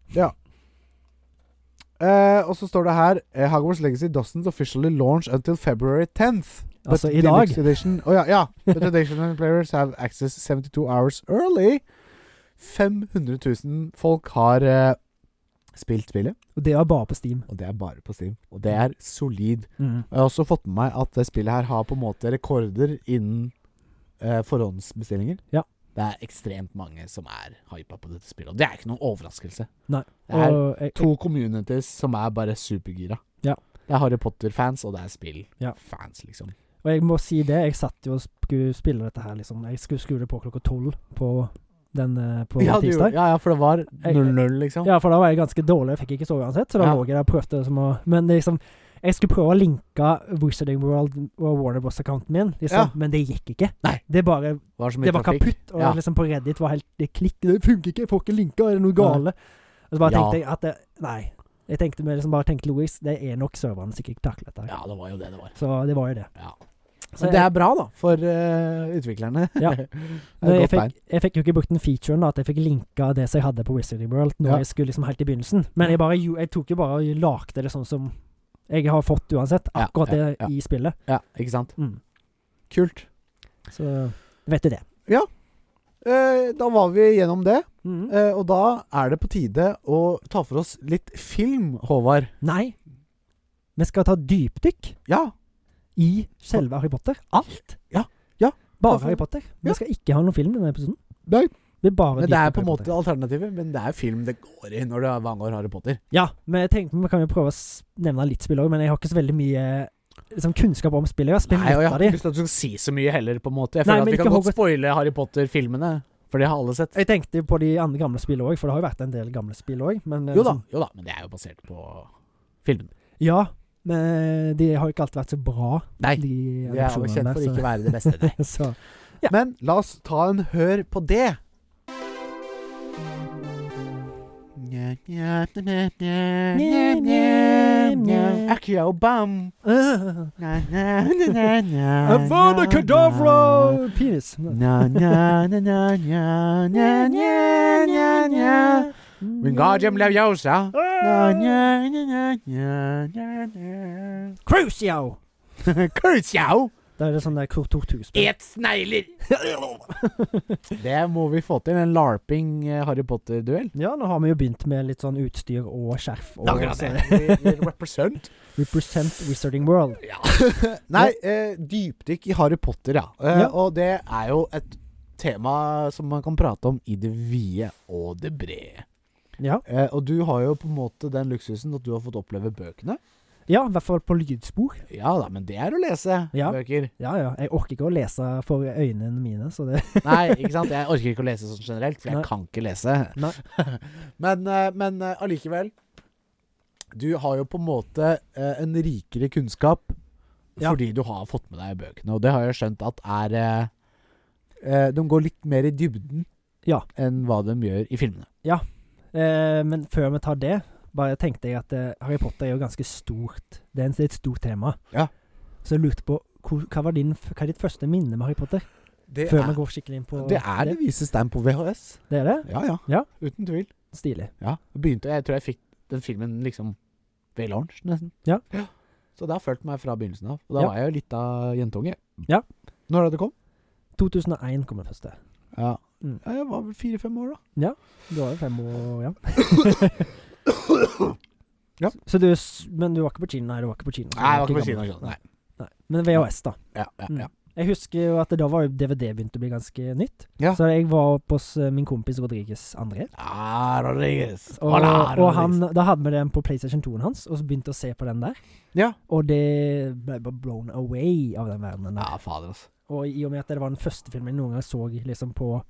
[SPEAKER 1] Eh, og så står det her eh, Hogwarts Legacy doesn't officially launch until February 10th. but
[SPEAKER 2] Altså i dag.
[SPEAKER 1] deluxe Edition, oh, ja, ja. But additional players have access 72 hours early. 500 000 folk har eh, spilt spillet,
[SPEAKER 2] Og det var bare på Steam.
[SPEAKER 1] og det er bare på Steam. Og det er solid.
[SPEAKER 2] Mm.
[SPEAKER 1] Jeg har også fått med meg at det spillet her har på en måte rekorder innen eh, forhåndsbestillinger.
[SPEAKER 2] Ja.
[SPEAKER 1] Det er ekstremt mange som er hypa på dette spillet, og det er ikke noen overraskelse.
[SPEAKER 2] Nei.
[SPEAKER 1] Det er
[SPEAKER 2] Og jeg,
[SPEAKER 1] to communities som er bare supergira.
[SPEAKER 2] Ja.
[SPEAKER 1] Det er Harry Potter-fans, og det er
[SPEAKER 2] Ja.
[SPEAKER 1] spill-fans, liksom.
[SPEAKER 2] og jeg må si det, jeg satt jo og skulle spille dette her, liksom. Jeg skulle skru det på klokka tolv på den eh, på
[SPEAKER 1] Ja, du,
[SPEAKER 2] tirsdag.
[SPEAKER 1] ja, ja, for det var 0-0, liksom.
[SPEAKER 2] Ja, for da var jeg ganske dårlig. Jeg fikk ikke sove uansett, så da
[SPEAKER 1] Ja.
[SPEAKER 2] lå jeg der og prøvde som å Men liksom jeg skulle prøve å linke Wizarding World og Warner Bros.-accounten min, liksom,
[SPEAKER 1] Ja.
[SPEAKER 2] men det gikk ikke.
[SPEAKER 1] Nei.
[SPEAKER 2] Det bare
[SPEAKER 1] Det var så
[SPEAKER 2] Det
[SPEAKER 1] mye
[SPEAKER 2] var
[SPEAKER 1] trafikk.
[SPEAKER 2] kaputt, og
[SPEAKER 1] Ja.
[SPEAKER 2] liksom på Reddit var helt Det klikk, det funker ikke, jeg får ikke linka, er det noe gale? Og så bare
[SPEAKER 1] Ja.
[SPEAKER 2] tenkte jeg at det, Nei. Jeg tenkte med liksom bare tenkte Louis, det er nok serverne som ikke taklet dette. her.
[SPEAKER 1] Ja, det var jo det det var.
[SPEAKER 2] Så det var jo det.
[SPEAKER 1] Ja.
[SPEAKER 2] Så
[SPEAKER 1] Men det er bra, da, for eh, utviklerne.
[SPEAKER 2] Ja.
[SPEAKER 1] det
[SPEAKER 2] Men
[SPEAKER 1] er
[SPEAKER 2] jeg,
[SPEAKER 1] godt
[SPEAKER 2] fikk,
[SPEAKER 1] tegn.
[SPEAKER 2] jeg fikk jo ikke brukt den featuren, da, at jeg fikk linka det som jeg hadde på Wizarding World, når
[SPEAKER 1] Ja.
[SPEAKER 2] jeg skulle liksom helt i begynnelsen. Men jeg, bare, jo- jeg tok jo bare og lagde det sånn som jeg har fått uansett,
[SPEAKER 1] Ja,
[SPEAKER 2] akkurat
[SPEAKER 1] ja,
[SPEAKER 2] det
[SPEAKER 1] ja.
[SPEAKER 2] i spillet.
[SPEAKER 1] Ja, ikke sant?
[SPEAKER 2] Mm.
[SPEAKER 1] Kult.
[SPEAKER 2] Så vet du det.
[SPEAKER 1] Eh, da var vi gjennom det,
[SPEAKER 2] Mm.
[SPEAKER 1] eh, og da er det på tide å ta for oss litt film, Håvard.
[SPEAKER 2] Nei, vi skal ta dypdykk
[SPEAKER 1] Ja.
[SPEAKER 2] i selve Harry Potter. Alt.
[SPEAKER 1] Ja, ja.
[SPEAKER 2] Bare
[SPEAKER 1] Hvorfor-
[SPEAKER 2] Harry Potter.
[SPEAKER 1] Ja.
[SPEAKER 2] Vi skal ikke ha noen film i denne episoden.
[SPEAKER 1] Nei.
[SPEAKER 2] Det er bare
[SPEAKER 1] Men det er
[SPEAKER 2] dypdykk
[SPEAKER 1] på en
[SPEAKER 2] Harry
[SPEAKER 1] måte alternativet, men det er film det går i når det angår Harry Potter.
[SPEAKER 2] Ja, men jeg tenkte vi kan jo prøve å s- nevne litt spill òg, men jeg har ikke så veldig mye liksom, kunnskap om spillet. Jeg har spilt
[SPEAKER 1] Nei, og
[SPEAKER 2] litt
[SPEAKER 1] jeg
[SPEAKER 2] av
[SPEAKER 1] har
[SPEAKER 2] de.
[SPEAKER 1] ikke lyst til at du skal si så mye heller, på en måte. Jeg
[SPEAKER 2] Nei,
[SPEAKER 1] føler
[SPEAKER 2] men
[SPEAKER 1] at vi
[SPEAKER 2] ikke
[SPEAKER 1] kan godt
[SPEAKER 2] Hogwarts-
[SPEAKER 1] spoile Harry Potter-filmene, for det har alle sett.
[SPEAKER 2] Jeg tenkte på de andre gamle spillene òg, for det har jo vært en del gamle spill eh, òg.
[SPEAKER 1] Jo da, jo da, men det er jo basert på filmen.
[SPEAKER 2] liksom- Ja, men eh, de har jo ikke alltid vært så bra,
[SPEAKER 1] Nei,
[SPEAKER 2] de
[SPEAKER 1] vi er jo kjent for
[SPEAKER 2] så-
[SPEAKER 1] ikke å være det beste, nei.
[SPEAKER 2] så,
[SPEAKER 1] Men la oss ta en hør på det. Akiobam.
[SPEAKER 2] Ah, Avada Kedavra! Penis.
[SPEAKER 1] Wingardium Leviosa.
[SPEAKER 2] Ah! Crucio!
[SPEAKER 1] Kurtzjau!
[SPEAKER 2] Da er det sånn der Kurt 2000-spill.
[SPEAKER 1] Et snegler! Det må vi få til. En larping eh, Harry Potter-duell.
[SPEAKER 2] Ja, nå har vi jo begynt med litt sånn utstyr og skjerf. Og så-
[SPEAKER 1] Represent.
[SPEAKER 2] Represent Wizarding World.
[SPEAKER 1] Nei, eh, dypdykk i Harry Potter, ja. Eh,
[SPEAKER 2] Ja.
[SPEAKER 1] Og det er jo et tema som man kan prate om i det vide og det brede.
[SPEAKER 2] Ja,
[SPEAKER 1] Eh, og du har jo på en måte den luksusen at du har fått oppleve bøkene.
[SPEAKER 2] ja i hvert fall på lydspor.
[SPEAKER 1] Ja da, men det er å lese
[SPEAKER 2] Ja.
[SPEAKER 1] bøker.
[SPEAKER 2] Ja, ja. Jeg orker ikke å lese for øynene mine, så det
[SPEAKER 1] Nei, ikke sant? Jeg orker ikke å lese sånn generelt, for jeg
[SPEAKER 2] Nei.
[SPEAKER 1] kan ikke lese.
[SPEAKER 2] Nei.
[SPEAKER 1] men, eh, men eh, allikevel Du har jo på en måte eh, en rikere kunnskap
[SPEAKER 2] Ja.
[SPEAKER 1] fordi du har fått med deg bøkene, og det har jeg skjønt at er eh, eh, De går litt mer i dybden
[SPEAKER 2] Ja.
[SPEAKER 1] enn hva de gjør i filmene.
[SPEAKER 2] Eh, men før vi tar det, bare tenkte jeg at eh, Harry Potter er jo ganske stort. Det er en- det er et stort tema.
[SPEAKER 1] Ja.
[SPEAKER 2] Så jeg lurte på hvor, hva, var din, f- hva er ditt første minne med Harry Potter?
[SPEAKER 1] Det
[SPEAKER 2] før
[SPEAKER 1] er
[SPEAKER 2] vi går skikkelig inn på
[SPEAKER 1] det, er det vises tegn på VHS.
[SPEAKER 2] Det er det?
[SPEAKER 1] Ja, ja.
[SPEAKER 2] Ja.
[SPEAKER 1] Uten tvil.
[SPEAKER 2] Stilig.
[SPEAKER 1] Ja, jeg begynte, Jeg tror jeg fikk den filmen liksom ved lunsj, nesten.
[SPEAKER 2] Ja.
[SPEAKER 1] Så det har fulgt meg fra begynnelsen av. Og da
[SPEAKER 2] Ja.
[SPEAKER 1] var jeg jo litt av jentunge.
[SPEAKER 2] Ja.
[SPEAKER 1] Når da det kom?
[SPEAKER 2] 2001 kom den første.
[SPEAKER 1] Ja.
[SPEAKER 2] Mm.
[SPEAKER 1] ja jeg var vel fire-fem år, da.
[SPEAKER 2] Du var jo fem år, ja.
[SPEAKER 1] Ja.
[SPEAKER 2] Så du, s- men du var ikke på kino? Nei, du var ikke på kino. så du gammel.
[SPEAKER 1] Nei.
[SPEAKER 2] Nei. Men VHS, da.
[SPEAKER 1] Ja, ja,
[SPEAKER 2] Mm.
[SPEAKER 1] ja.
[SPEAKER 2] Jeg husker jo at da var jo DVD begynte å bli ganske nytt.
[SPEAKER 1] Ja.
[SPEAKER 2] Så jeg var oppe hos eh, min kompis Rodriguez André.
[SPEAKER 1] Ah, Rodriguez.
[SPEAKER 2] Og,
[SPEAKER 1] Hola,
[SPEAKER 2] og
[SPEAKER 1] Rodriguez.
[SPEAKER 2] han, da hadde vi den på PlayStation 2-en hans, og så begynte å se på den der.
[SPEAKER 1] Ja.
[SPEAKER 2] Og det ble bare blown away av den verdenen der.
[SPEAKER 1] Ja, fader, altså.
[SPEAKER 2] Og i og med at det var den første filmen jeg noen gang så liksom på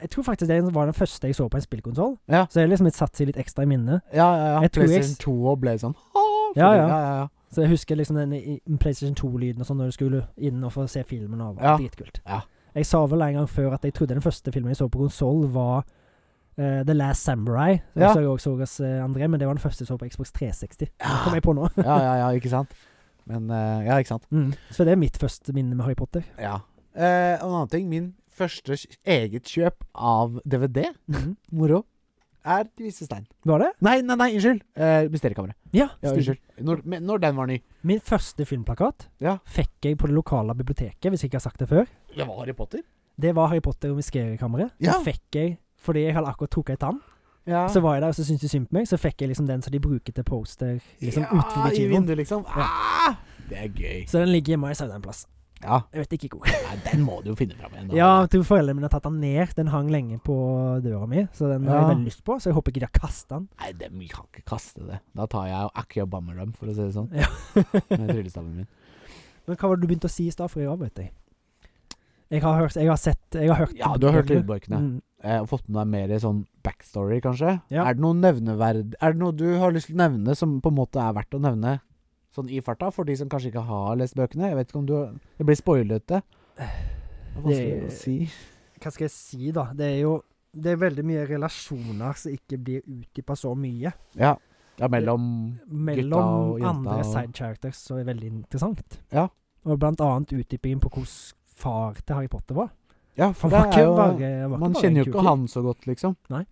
[SPEAKER 2] Jeg tror faktisk det var den første jeg så på en spillkonsoll.
[SPEAKER 1] Ja.
[SPEAKER 2] Så det har liksom satt seg litt ekstra i minnet.
[SPEAKER 1] Ja, ja, ja.
[SPEAKER 2] Jeg tror jeg-
[SPEAKER 1] PlayStation 2 og ble sånn ah, fordi-
[SPEAKER 2] Ja, ja.
[SPEAKER 1] ja, ja,
[SPEAKER 2] Så jeg husker liksom den i- i PlayStation 2-lyden og sånn når du skulle inn og få se filmen. Og det var
[SPEAKER 1] Ja.
[SPEAKER 2] Dritkult.
[SPEAKER 1] Ja.
[SPEAKER 2] Jeg sa vel en gang før at jeg trodde den første filmen jeg så på konsoll, var eh, The Last Samurai. Som
[SPEAKER 1] Ja.
[SPEAKER 2] jeg også så hos eh, André, men det var den første jeg så på Xbox 360.
[SPEAKER 1] ja.
[SPEAKER 2] Kom jeg på nå.
[SPEAKER 1] ja, ja, ja, ikke sant. Men eh, Ja, ikke sant.
[SPEAKER 2] Mm. Så det er mitt første minne med Harry Potter.
[SPEAKER 1] Ja. Eh, og en annen ting, min første kj- eget kjøp av DVD,
[SPEAKER 2] Mhm.
[SPEAKER 1] moro, er til Visse Stein.
[SPEAKER 2] Var det?
[SPEAKER 1] Nei, nei, nei, unnskyld. Eh, Mysteriekammeret.
[SPEAKER 2] Ja.
[SPEAKER 1] Ja,
[SPEAKER 2] stemmer.
[SPEAKER 1] unnskyld. Når, men når den var ny.
[SPEAKER 2] Min første filmplakat
[SPEAKER 1] Ja.
[SPEAKER 2] fikk jeg på det lokale biblioteket, hvis jeg ikke har sagt det før.
[SPEAKER 1] Det var Harry Potter.
[SPEAKER 2] Det var Harry Potter og Mysteriekammeret.
[SPEAKER 1] Ja.
[SPEAKER 2] Den Fikk jeg fordi jeg hadde akkurat trukket ei tann.
[SPEAKER 1] Ja.
[SPEAKER 2] Så var jeg der, og så syntes de synd på meg. Så fikk jeg liksom den som de bruker til poster liksom
[SPEAKER 1] ja,
[SPEAKER 2] utenfor
[SPEAKER 1] i
[SPEAKER 2] kinoen.
[SPEAKER 1] vinduet, liksom.
[SPEAKER 2] Ja.
[SPEAKER 1] Ah, det er gøy.
[SPEAKER 2] Så den ligger hjemme i Sauda en plass.
[SPEAKER 1] Ja,
[SPEAKER 2] Jeg vet ikke hvor.
[SPEAKER 1] nei, den må du jo finne fram igjen. da.
[SPEAKER 2] Ja, jeg tror foreldrene mine har tatt den ned. Den hang lenge på døra mi, så den har
[SPEAKER 1] Ja.
[SPEAKER 2] jeg veldig lyst på. Så jeg håper ikke de har kastet den.
[SPEAKER 1] Nei, dem vi kan ikke kaste det. Da tar jeg og Aki og bammer dem, for å si det sånn.
[SPEAKER 2] Ja.
[SPEAKER 1] Med tryllestaven min.
[SPEAKER 2] Men hva var det du begynte å si i stad, for jeg avbrøt deg? Jeg har hørt Jeg har sett Jeg har hørt
[SPEAKER 1] Ja, du har hørt
[SPEAKER 2] lydbøkene.
[SPEAKER 1] lydbøkene.
[SPEAKER 2] Mm.
[SPEAKER 1] Eh, og fått med deg mer sånn backstory, kanskje?
[SPEAKER 2] Ja.
[SPEAKER 1] Er det noe nevneverd Er det noe du har lyst til å nevne som på en måte er verdt å nevne sånn i farta, for de som kanskje ikke har lest bøkene? Jeg vet ikke om du Det blir spoilete. Det er vanskelig
[SPEAKER 2] Det-
[SPEAKER 1] å si.
[SPEAKER 2] Hva skal jeg si, da? Det er jo Det er veldig mye relasjoner som ikke blir utdypa så mye.
[SPEAKER 1] Ja. Ja, mellom
[SPEAKER 2] Mellom
[SPEAKER 1] og jenta
[SPEAKER 2] andre
[SPEAKER 1] og-
[SPEAKER 2] side characters som er veldig interessant.
[SPEAKER 1] Ja.
[SPEAKER 2] Og blant annet utdypingen på hvordan far til Harry Potter var.
[SPEAKER 1] Ja,
[SPEAKER 2] Han
[SPEAKER 1] for det
[SPEAKER 2] var
[SPEAKER 1] er
[SPEAKER 2] ikke
[SPEAKER 1] jo
[SPEAKER 2] bare, han var
[SPEAKER 1] Man
[SPEAKER 2] ikke bare en
[SPEAKER 1] kjenner jo
[SPEAKER 2] kul
[SPEAKER 1] ikke
[SPEAKER 2] fyr.
[SPEAKER 1] han så godt, liksom.
[SPEAKER 2] Han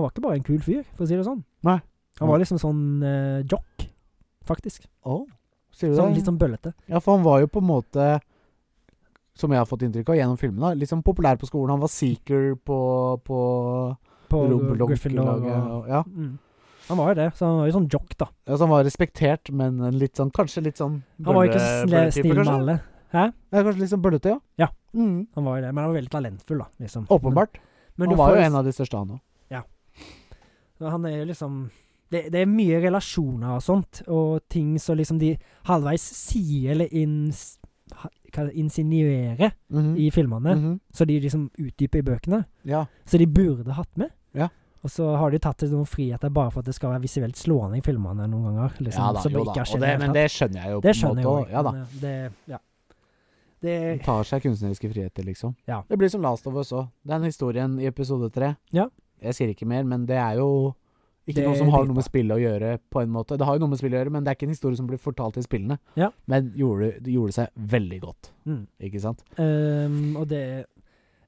[SPEAKER 2] var ikke bare en kul fyr, for å si det sånn.
[SPEAKER 1] Nei.
[SPEAKER 2] Han var liksom sånn eh, jock, faktisk.
[SPEAKER 1] Å, sier du
[SPEAKER 2] Sånn,
[SPEAKER 1] det?
[SPEAKER 2] litt sånn bøllete.
[SPEAKER 1] Ja, for han var jo på en måte som jeg har fått inntrykk av gjennom filmene, litt sånn populær på skolen. Han var seeker på, på
[SPEAKER 2] På
[SPEAKER 1] Roblox-
[SPEAKER 2] Gryffindor og
[SPEAKER 1] laget, og- Ja.
[SPEAKER 2] mm. Han var jo det, så han var jo sånn jock, da.
[SPEAKER 1] Ja, så han var respektert, men en litt sånn, kanskje litt sånn
[SPEAKER 2] Han var jo ikke eh, så
[SPEAKER 1] bølle-
[SPEAKER 2] sle-
[SPEAKER 1] bølletype,
[SPEAKER 2] snill med
[SPEAKER 1] kanskje?
[SPEAKER 2] alle.
[SPEAKER 1] Ja, kanskje litt sånn bøllete, ja.
[SPEAKER 2] Ja.
[SPEAKER 1] Mm,
[SPEAKER 2] Han var jo det, men han var veldig talentfull, da. Liksom.
[SPEAKER 1] åpenbart.
[SPEAKER 2] Men,
[SPEAKER 1] han
[SPEAKER 2] men du
[SPEAKER 1] var jo
[SPEAKER 2] får jo
[SPEAKER 1] en av de største, han òg.
[SPEAKER 2] Han er jo liksom det, det er mye relasjoner og sånt, og ting som liksom de halvveis sier eller ins, ha- hva er det, insinuerer
[SPEAKER 1] Mm.
[SPEAKER 2] i filmene, så de liksom utdyper i bøkene.
[SPEAKER 1] Mm-hmm. Ja.
[SPEAKER 2] Så de burde hatt med.
[SPEAKER 1] Ja.
[SPEAKER 2] Og så har de tatt seg noen friheter bare for at det skal være visuelt slående i filmene noen ganger. Liksom,
[SPEAKER 1] ja da,
[SPEAKER 2] som
[SPEAKER 1] jo
[SPEAKER 2] ikke
[SPEAKER 1] da.
[SPEAKER 2] har
[SPEAKER 1] Og
[SPEAKER 2] skjedd i
[SPEAKER 1] det,
[SPEAKER 2] hele
[SPEAKER 1] men
[SPEAKER 2] tatt.
[SPEAKER 1] det skjønner jeg jo på en
[SPEAKER 2] det
[SPEAKER 1] måte
[SPEAKER 2] skjønner jeg jo.
[SPEAKER 1] også. Ja da.
[SPEAKER 2] men, eh, Det, ja. det,
[SPEAKER 1] Han tar seg kunstneriske friheter, liksom.
[SPEAKER 2] Ja.
[SPEAKER 1] Det blir som Last of Us òg. Den historien i episode tre.
[SPEAKER 2] Ja.
[SPEAKER 1] Jeg sier ikke mer, men det er jo ikke
[SPEAKER 2] Det
[SPEAKER 1] noe som har
[SPEAKER 2] blir
[SPEAKER 1] noe med
[SPEAKER 2] bra.
[SPEAKER 1] spillet å gjøre, på en måte. Det har jo noe med spillet å gjøre, men det er ikke en historie som blir fortalt i spillene.
[SPEAKER 2] Ja.
[SPEAKER 1] Men gjorde, det gjorde seg veldig godt,
[SPEAKER 2] mm.
[SPEAKER 1] ikke sant?
[SPEAKER 2] Ehm, og det,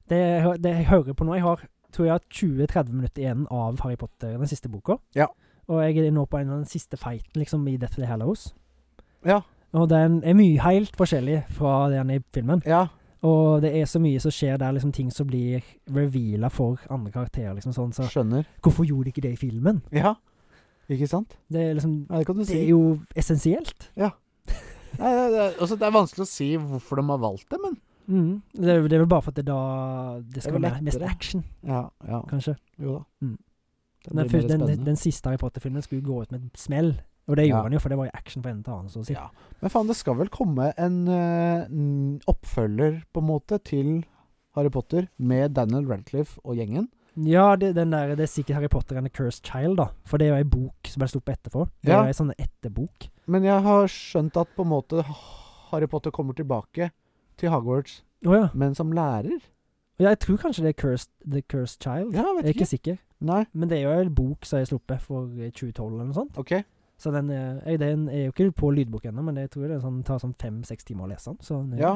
[SPEAKER 2] det Det jeg hører på nå Jeg har tror jeg har 20-30 minutter igjen av Harry Potter, den siste boka.
[SPEAKER 1] Ja.
[SPEAKER 2] Og jeg er nå på en av den siste fighten liksom, i Deathly Hallows.
[SPEAKER 1] Ja.
[SPEAKER 2] Og den er mye helt forskjellig fra den i filmen.
[SPEAKER 1] Ja.
[SPEAKER 2] Og det er så mye som skjer der, liksom ting som blir reveala for andre karakterer. liksom sånn, så
[SPEAKER 1] Skjønner.
[SPEAKER 2] Hvorfor gjorde de ikke det i filmen?
[SPEAKER 1] Ja. Ikke sant?
[SPEAKER 2] Det er, liksom,
[SPEAKER 1] Ja, det kan du
[SPEAKER 2] det
[SPEAKER 1] si.
[SPEAKER 2] er jo essensielt.
[SPEAKER 1] Nei, det, det, altså, det er vanskelig å si hvorfor de har valgt det, men
[SPEAKER 2] Mm. Det, er, det er vel bare for at det da Det skal
[SPEAKER 1] vel
[SPEAKER 2] være mest
[SPEAKER 1] lettere.
[SPEAKER 2] action,
[SPEAKER 1] Ja, ja.
[SPEAKER 2] kanskje.
[SPEAKER 1] Jo da.
[SPEAKER 2] Mm.
[SPEAKER 1] Det
[SPEAKER 2] Den,
[SPEAKER 1] blir
[SPEAKER 2] fyr-
[SPEAKER 1] mer
[SPEAKER 2] den,
[SPEAKER 1] spennende.
[SPEAKER 2] den siste Harry Potter-filmen skulle gå ut med et smell, og det
[SPEAKER 1] Ja.
[SPEAKER 2] gjorde han jo, for det var jo action fra ende til annen. Så å si.
[SPEAKER 1] Ja. Men faen, det skal vel komme en eh, n- oppfølger, på en måte, til Harry Potter med Daniel Radcliffe og gjengen.
[SPEAKER 2] Ja, det, den der, det er sikkert Harry Potter and the Cursed Child, da. For det er jo ei bok som ble sluppet etterpå. Det
[SPEAKER 1] Ja.
[SPEAKER 2] er jo ei sånn etterbok.
[SPEAKER 1] Men jeg har skjønt at på en måte ha- Harry Potter kommer tilbake til Hogwarts,
[SPEAKER 2] Å ja.
[SPEAKER 1] men som lærer?
[SPEAKER 2] ja. Jeg tror kanskje det er Cursed, The Cursed Child.
[SPEAKER 1] Ja, jeg
[SPEAKER 2] jeg er
[SPEAKER 1] vet
[SPEAKER 2] ikke
[SPEAKER 1] ikke.
[SPEAKER 2] sikker.
[SPEAKER 1] Nei,
[SPEAKER 2] Men det er jo en bok som jeg sluppet for eh, 2012 eller noe sånt.
[SPEAKER 1] OK.
[SPEAKER 2] Så den er, jeg- den er jo ikke på lydbok ennå, men jeg tror det er sånn, tar sånn fem-seks timer å lese den. Så den er-
[SPEAKER 1] Ja.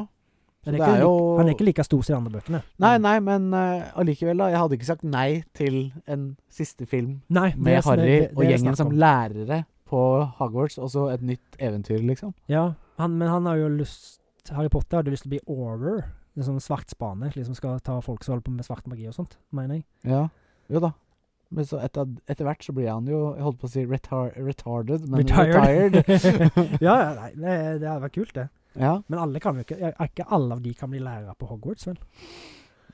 [SPEAKER 2] den er
[SPEAKER 1] det
[SPEAKER 2] ikke
[SPEAKER 1] er
[SPEAKER 2] lik-
[SPEAKER 1] jo-
[SPEAKER 2] Han er ikke like stor som de andre bøkene.
[SPEAKER 1] Nei, nei, men eh, allikevel, da. Jeg hadde ikke sagt nei til en siste film
[SPEAKER 2] Nei, det
[SPEAKER 1] med
[SPEAKER 2] er som-
[SPEAKER 1] Harry
[SPEAKER 2] det- det
[SPEAKER 1] og
[SPEAKER 2] er det
[SPEAKER 1] gjengen
[SPEAKER 2] snakk
[SPEAKER 1] som
[SPEAKER 2] om.
[SPEAKER 1] lærere på Hogwarts, og så et nytt eventyr, liksom.
[SPEAKER 2] Ja, han, men han har jo lyst Harry Potter hadde lyst til å bli Auror. En sånn svart spane, liksom skal ta folk som holder på med svart magi og sånt, mener jeg.
[SPEAKER 1] Ja, jo da. Men så etter, etter hvert så blir han jo Jeg holdt på å si retar retarded, men
[SPEAKER 2] Retired.
[SPEAKER 1] retired.
[SPEAKER 2] Ja, ja, nei, det, det hadde vært kult, det.
[SPEAKER 1] ja.
[SPEAKER 2] Men alle kan jo ikke ja, Ikke alle av de kan bli lærere på Hogwarts, vel?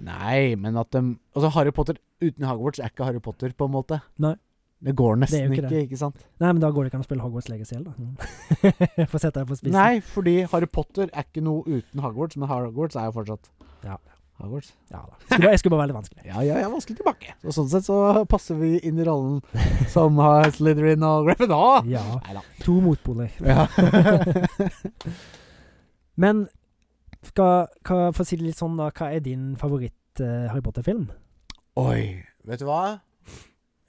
[SPEAKER 1] Nei, men at dem Altså, Harry Potter uten Hogwarts er ikke Harry Potter, på en måte.
[SPEAKER 2] Nei.
[SPEAKER 1] Det går
[SPEAKER 2] Det er
[SPEAKER 1] nesten
[SPEAKER 2] jo ikke
[SPEAKER 1] ikke,
[SPEAKER 2] det.
[SPEAKER 1] ikke, sant?
[SPEAKER 2] Nei, men da går det ikke an å spille Hogwarts Legacy heller, da. Få sette deg på spissen.
[SPEAKER 1] Nei, fordi Harry Potter er ikke noe uten Hogwarts, men Hogwarts er jo fortsatt
[SPEAKER 2] Ja.
[SPEAKER 1] Hogwarts.
[SPEAKER 2] Ja, da. Skulle bare- Jeg skulle bare være litt vanskelig.
[SPEAKER 1] Ja, ja, jeg er vanskelig tilbake. Så sånn sett så passer vi inn i rollen som har Slytherin og Gryffindor.
[SPEAKER 2] Ja.
[SPEAKER 1] Neida.
[SPEAKER 2] To motpoler.
[SPEAKER 1] Ja.
[SPEAKER 2] Men skal, hva, for å si det litt sånn, da, hva er din favoritt-Harry Potter-film?
[SPEAKER 1] Oi. Vet du hva?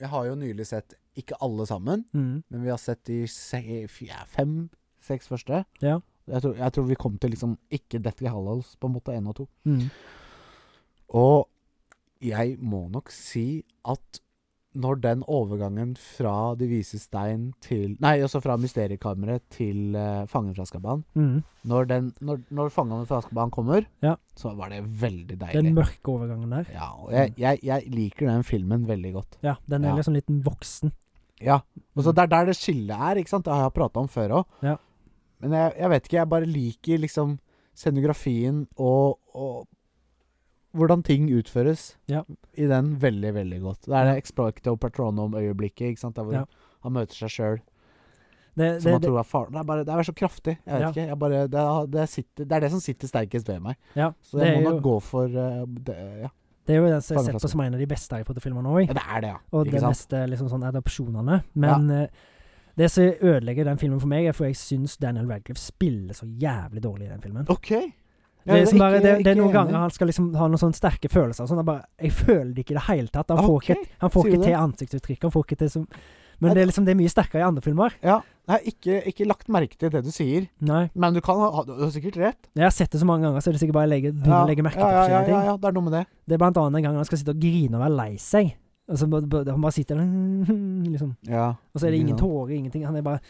[SPEAKER 1] Jeg har jo nylig sett ikke alle sammen,
[SPEAKER 2] Mm.
[SPEAKER 1] men vi har sett de se- f- ja, fem-seks første.
[SPEAKER 2] Ja. Mm.
[SPEAKER 1] Jeg tror, jeg tror vi kom til liksom ikke Deathly Hallows, på en måte, én og to. jeg må nok si at når den overgangen fra De vise stein til Nei, altså fra mysteriekammeret til eh, Fangen fra Azkaban
[SPEAKER 2] Mm.
[SPEAKER 1] Når, den- når, når Fangen fra Azkaban kommer,
[SPEAKER 2] Ja.
[SPEAKER 1] så var det veldig
[SPEAKER 2] Den Mm.
[SPEAKER 1] deilig.
[SPEAKER 2] mørke overgangen der.
[SPEAKER 1] Ja, og jeg, jeg, jeg liker den filmen veldig godt.
[SPEAKER 2] Ja, den er
[SPEAKER 1] Ja.
[SPEAKER 2] liksom litt voksen.
[SPEAKER 1] Ja, og så
[SPEAKER 2] Mm.
[SPEAKER 1] Det er der det skillet er, ikke sant? Det har jeg prata om før òg.
[SPEAKER 2] Ja.
[SPEAKER 1] Men jeg, jeg vet ikke, jeg bare liker liksom scenografien og, og hvordan ting utføres
[SPEAKER 2] Ja.
[SPEAKER 1] i den veldig, veldig godt. Det er det Exploicto Patronum-øyeblikket, ikke sant? Der hvor
[SPEAKER 2] Ja.
[SPEAKER 1] han møter seg sjøl,
[SPEAKER 2] Det,
[SPEAKER 1] som
[SPEAKER 2] det,
[SPEAKER 1] han
[SPEAKER 2] det,
[SPEAKER 1] tror er faren. Det er bare det er så kraftig. Jeg vet
[SPEAKER 2] Ja.
[SPEAKER 1] ikke. Jeg bare, det, er- det, sitter, det er det som sitter sterkest ved meg.
[SPEAKER 2] ja,
[SPEAKER 1] Så
[SPEAKER 2] det,
[SPEAKER 1] jeg må
[SPEAKER 2] er jo,
[SPEAKER 1] nok gå for eh, det, ja.
[SPEAKER 2] det er jo den som jeg
[SPEAKER 1] Fangen
[SPEAKER 2] ser
[SPEAKER 1] fra
[SPEAKER 2] på som en av de beste Harry Potter-filmene òg.
[SPEAKER 1] ja, det er det, ja.
[SPEAKER 2] Og de
[SPEAKER 1] ikke sant?
[SPEAKER 2] beste liksom, sånn adopsjonene. Men eh, det som ødelegger den filmen for meg, er for jeg syns Daniel Radcliffe spiller så jævlig dårlig i den filmen.
[SPEAKER 1] OK. Ja,
[SPEAKER 2] Det er, liksom
[SPEAKER 1] ikke-
[SPEAKER 2] bare, det, det er
[SPEAKER 1] ikke
[SPEAKER 2] noen
[SPEAKER 1] enig.
[SPEAKER 2] ganger han skal liksom ha noen sånne sterke følelser. og Sånn, jeg, bare, jeg føler det ikke i det hele tatt. Han får
[SPEAKER 1] Ok,
[SPEAKER 2] ikke, han får
[SPEAKER 1] sier
[SPEAKER 2] ikke
[SPEAKER 1] du det?
[SPEAKER 2] til ansiktsuttrykk. Han får ikke til som, men
[SPEAKER 1] Nei,
[SPEAKER 2] det er, liksom, det er mye sterkere i andre filmer.
[SPEAKER 1] Ja, jeg har ikke, ikke lagt merke til det du sier,
[SPEAKER 2] Nei.
[SPEAKER 1] men du kan ha ha- Du har sikkert rett.
[SPEAKER 2] Jeg har sett det så mange ganger, så er det sikkert bare å legge, begynne å legge
[SPEAKER 1] ja,
[SPEAKER 2] merke til
[SPEAKER 1] ja, ja,
[SPEAKER 2] forskjellige ting.
[SPEAKER 1] ja, ja, det er noe med det.
[SPEAKER 2] Det er blant annet en gang han skal sitte og grine og være lei seg. Og så bare, bare- han bare sitter der liksom.
[SPEAKER 1] Ja.
[SPEAKER 2] Og så er det ingen tårer, ingenting. Han er bare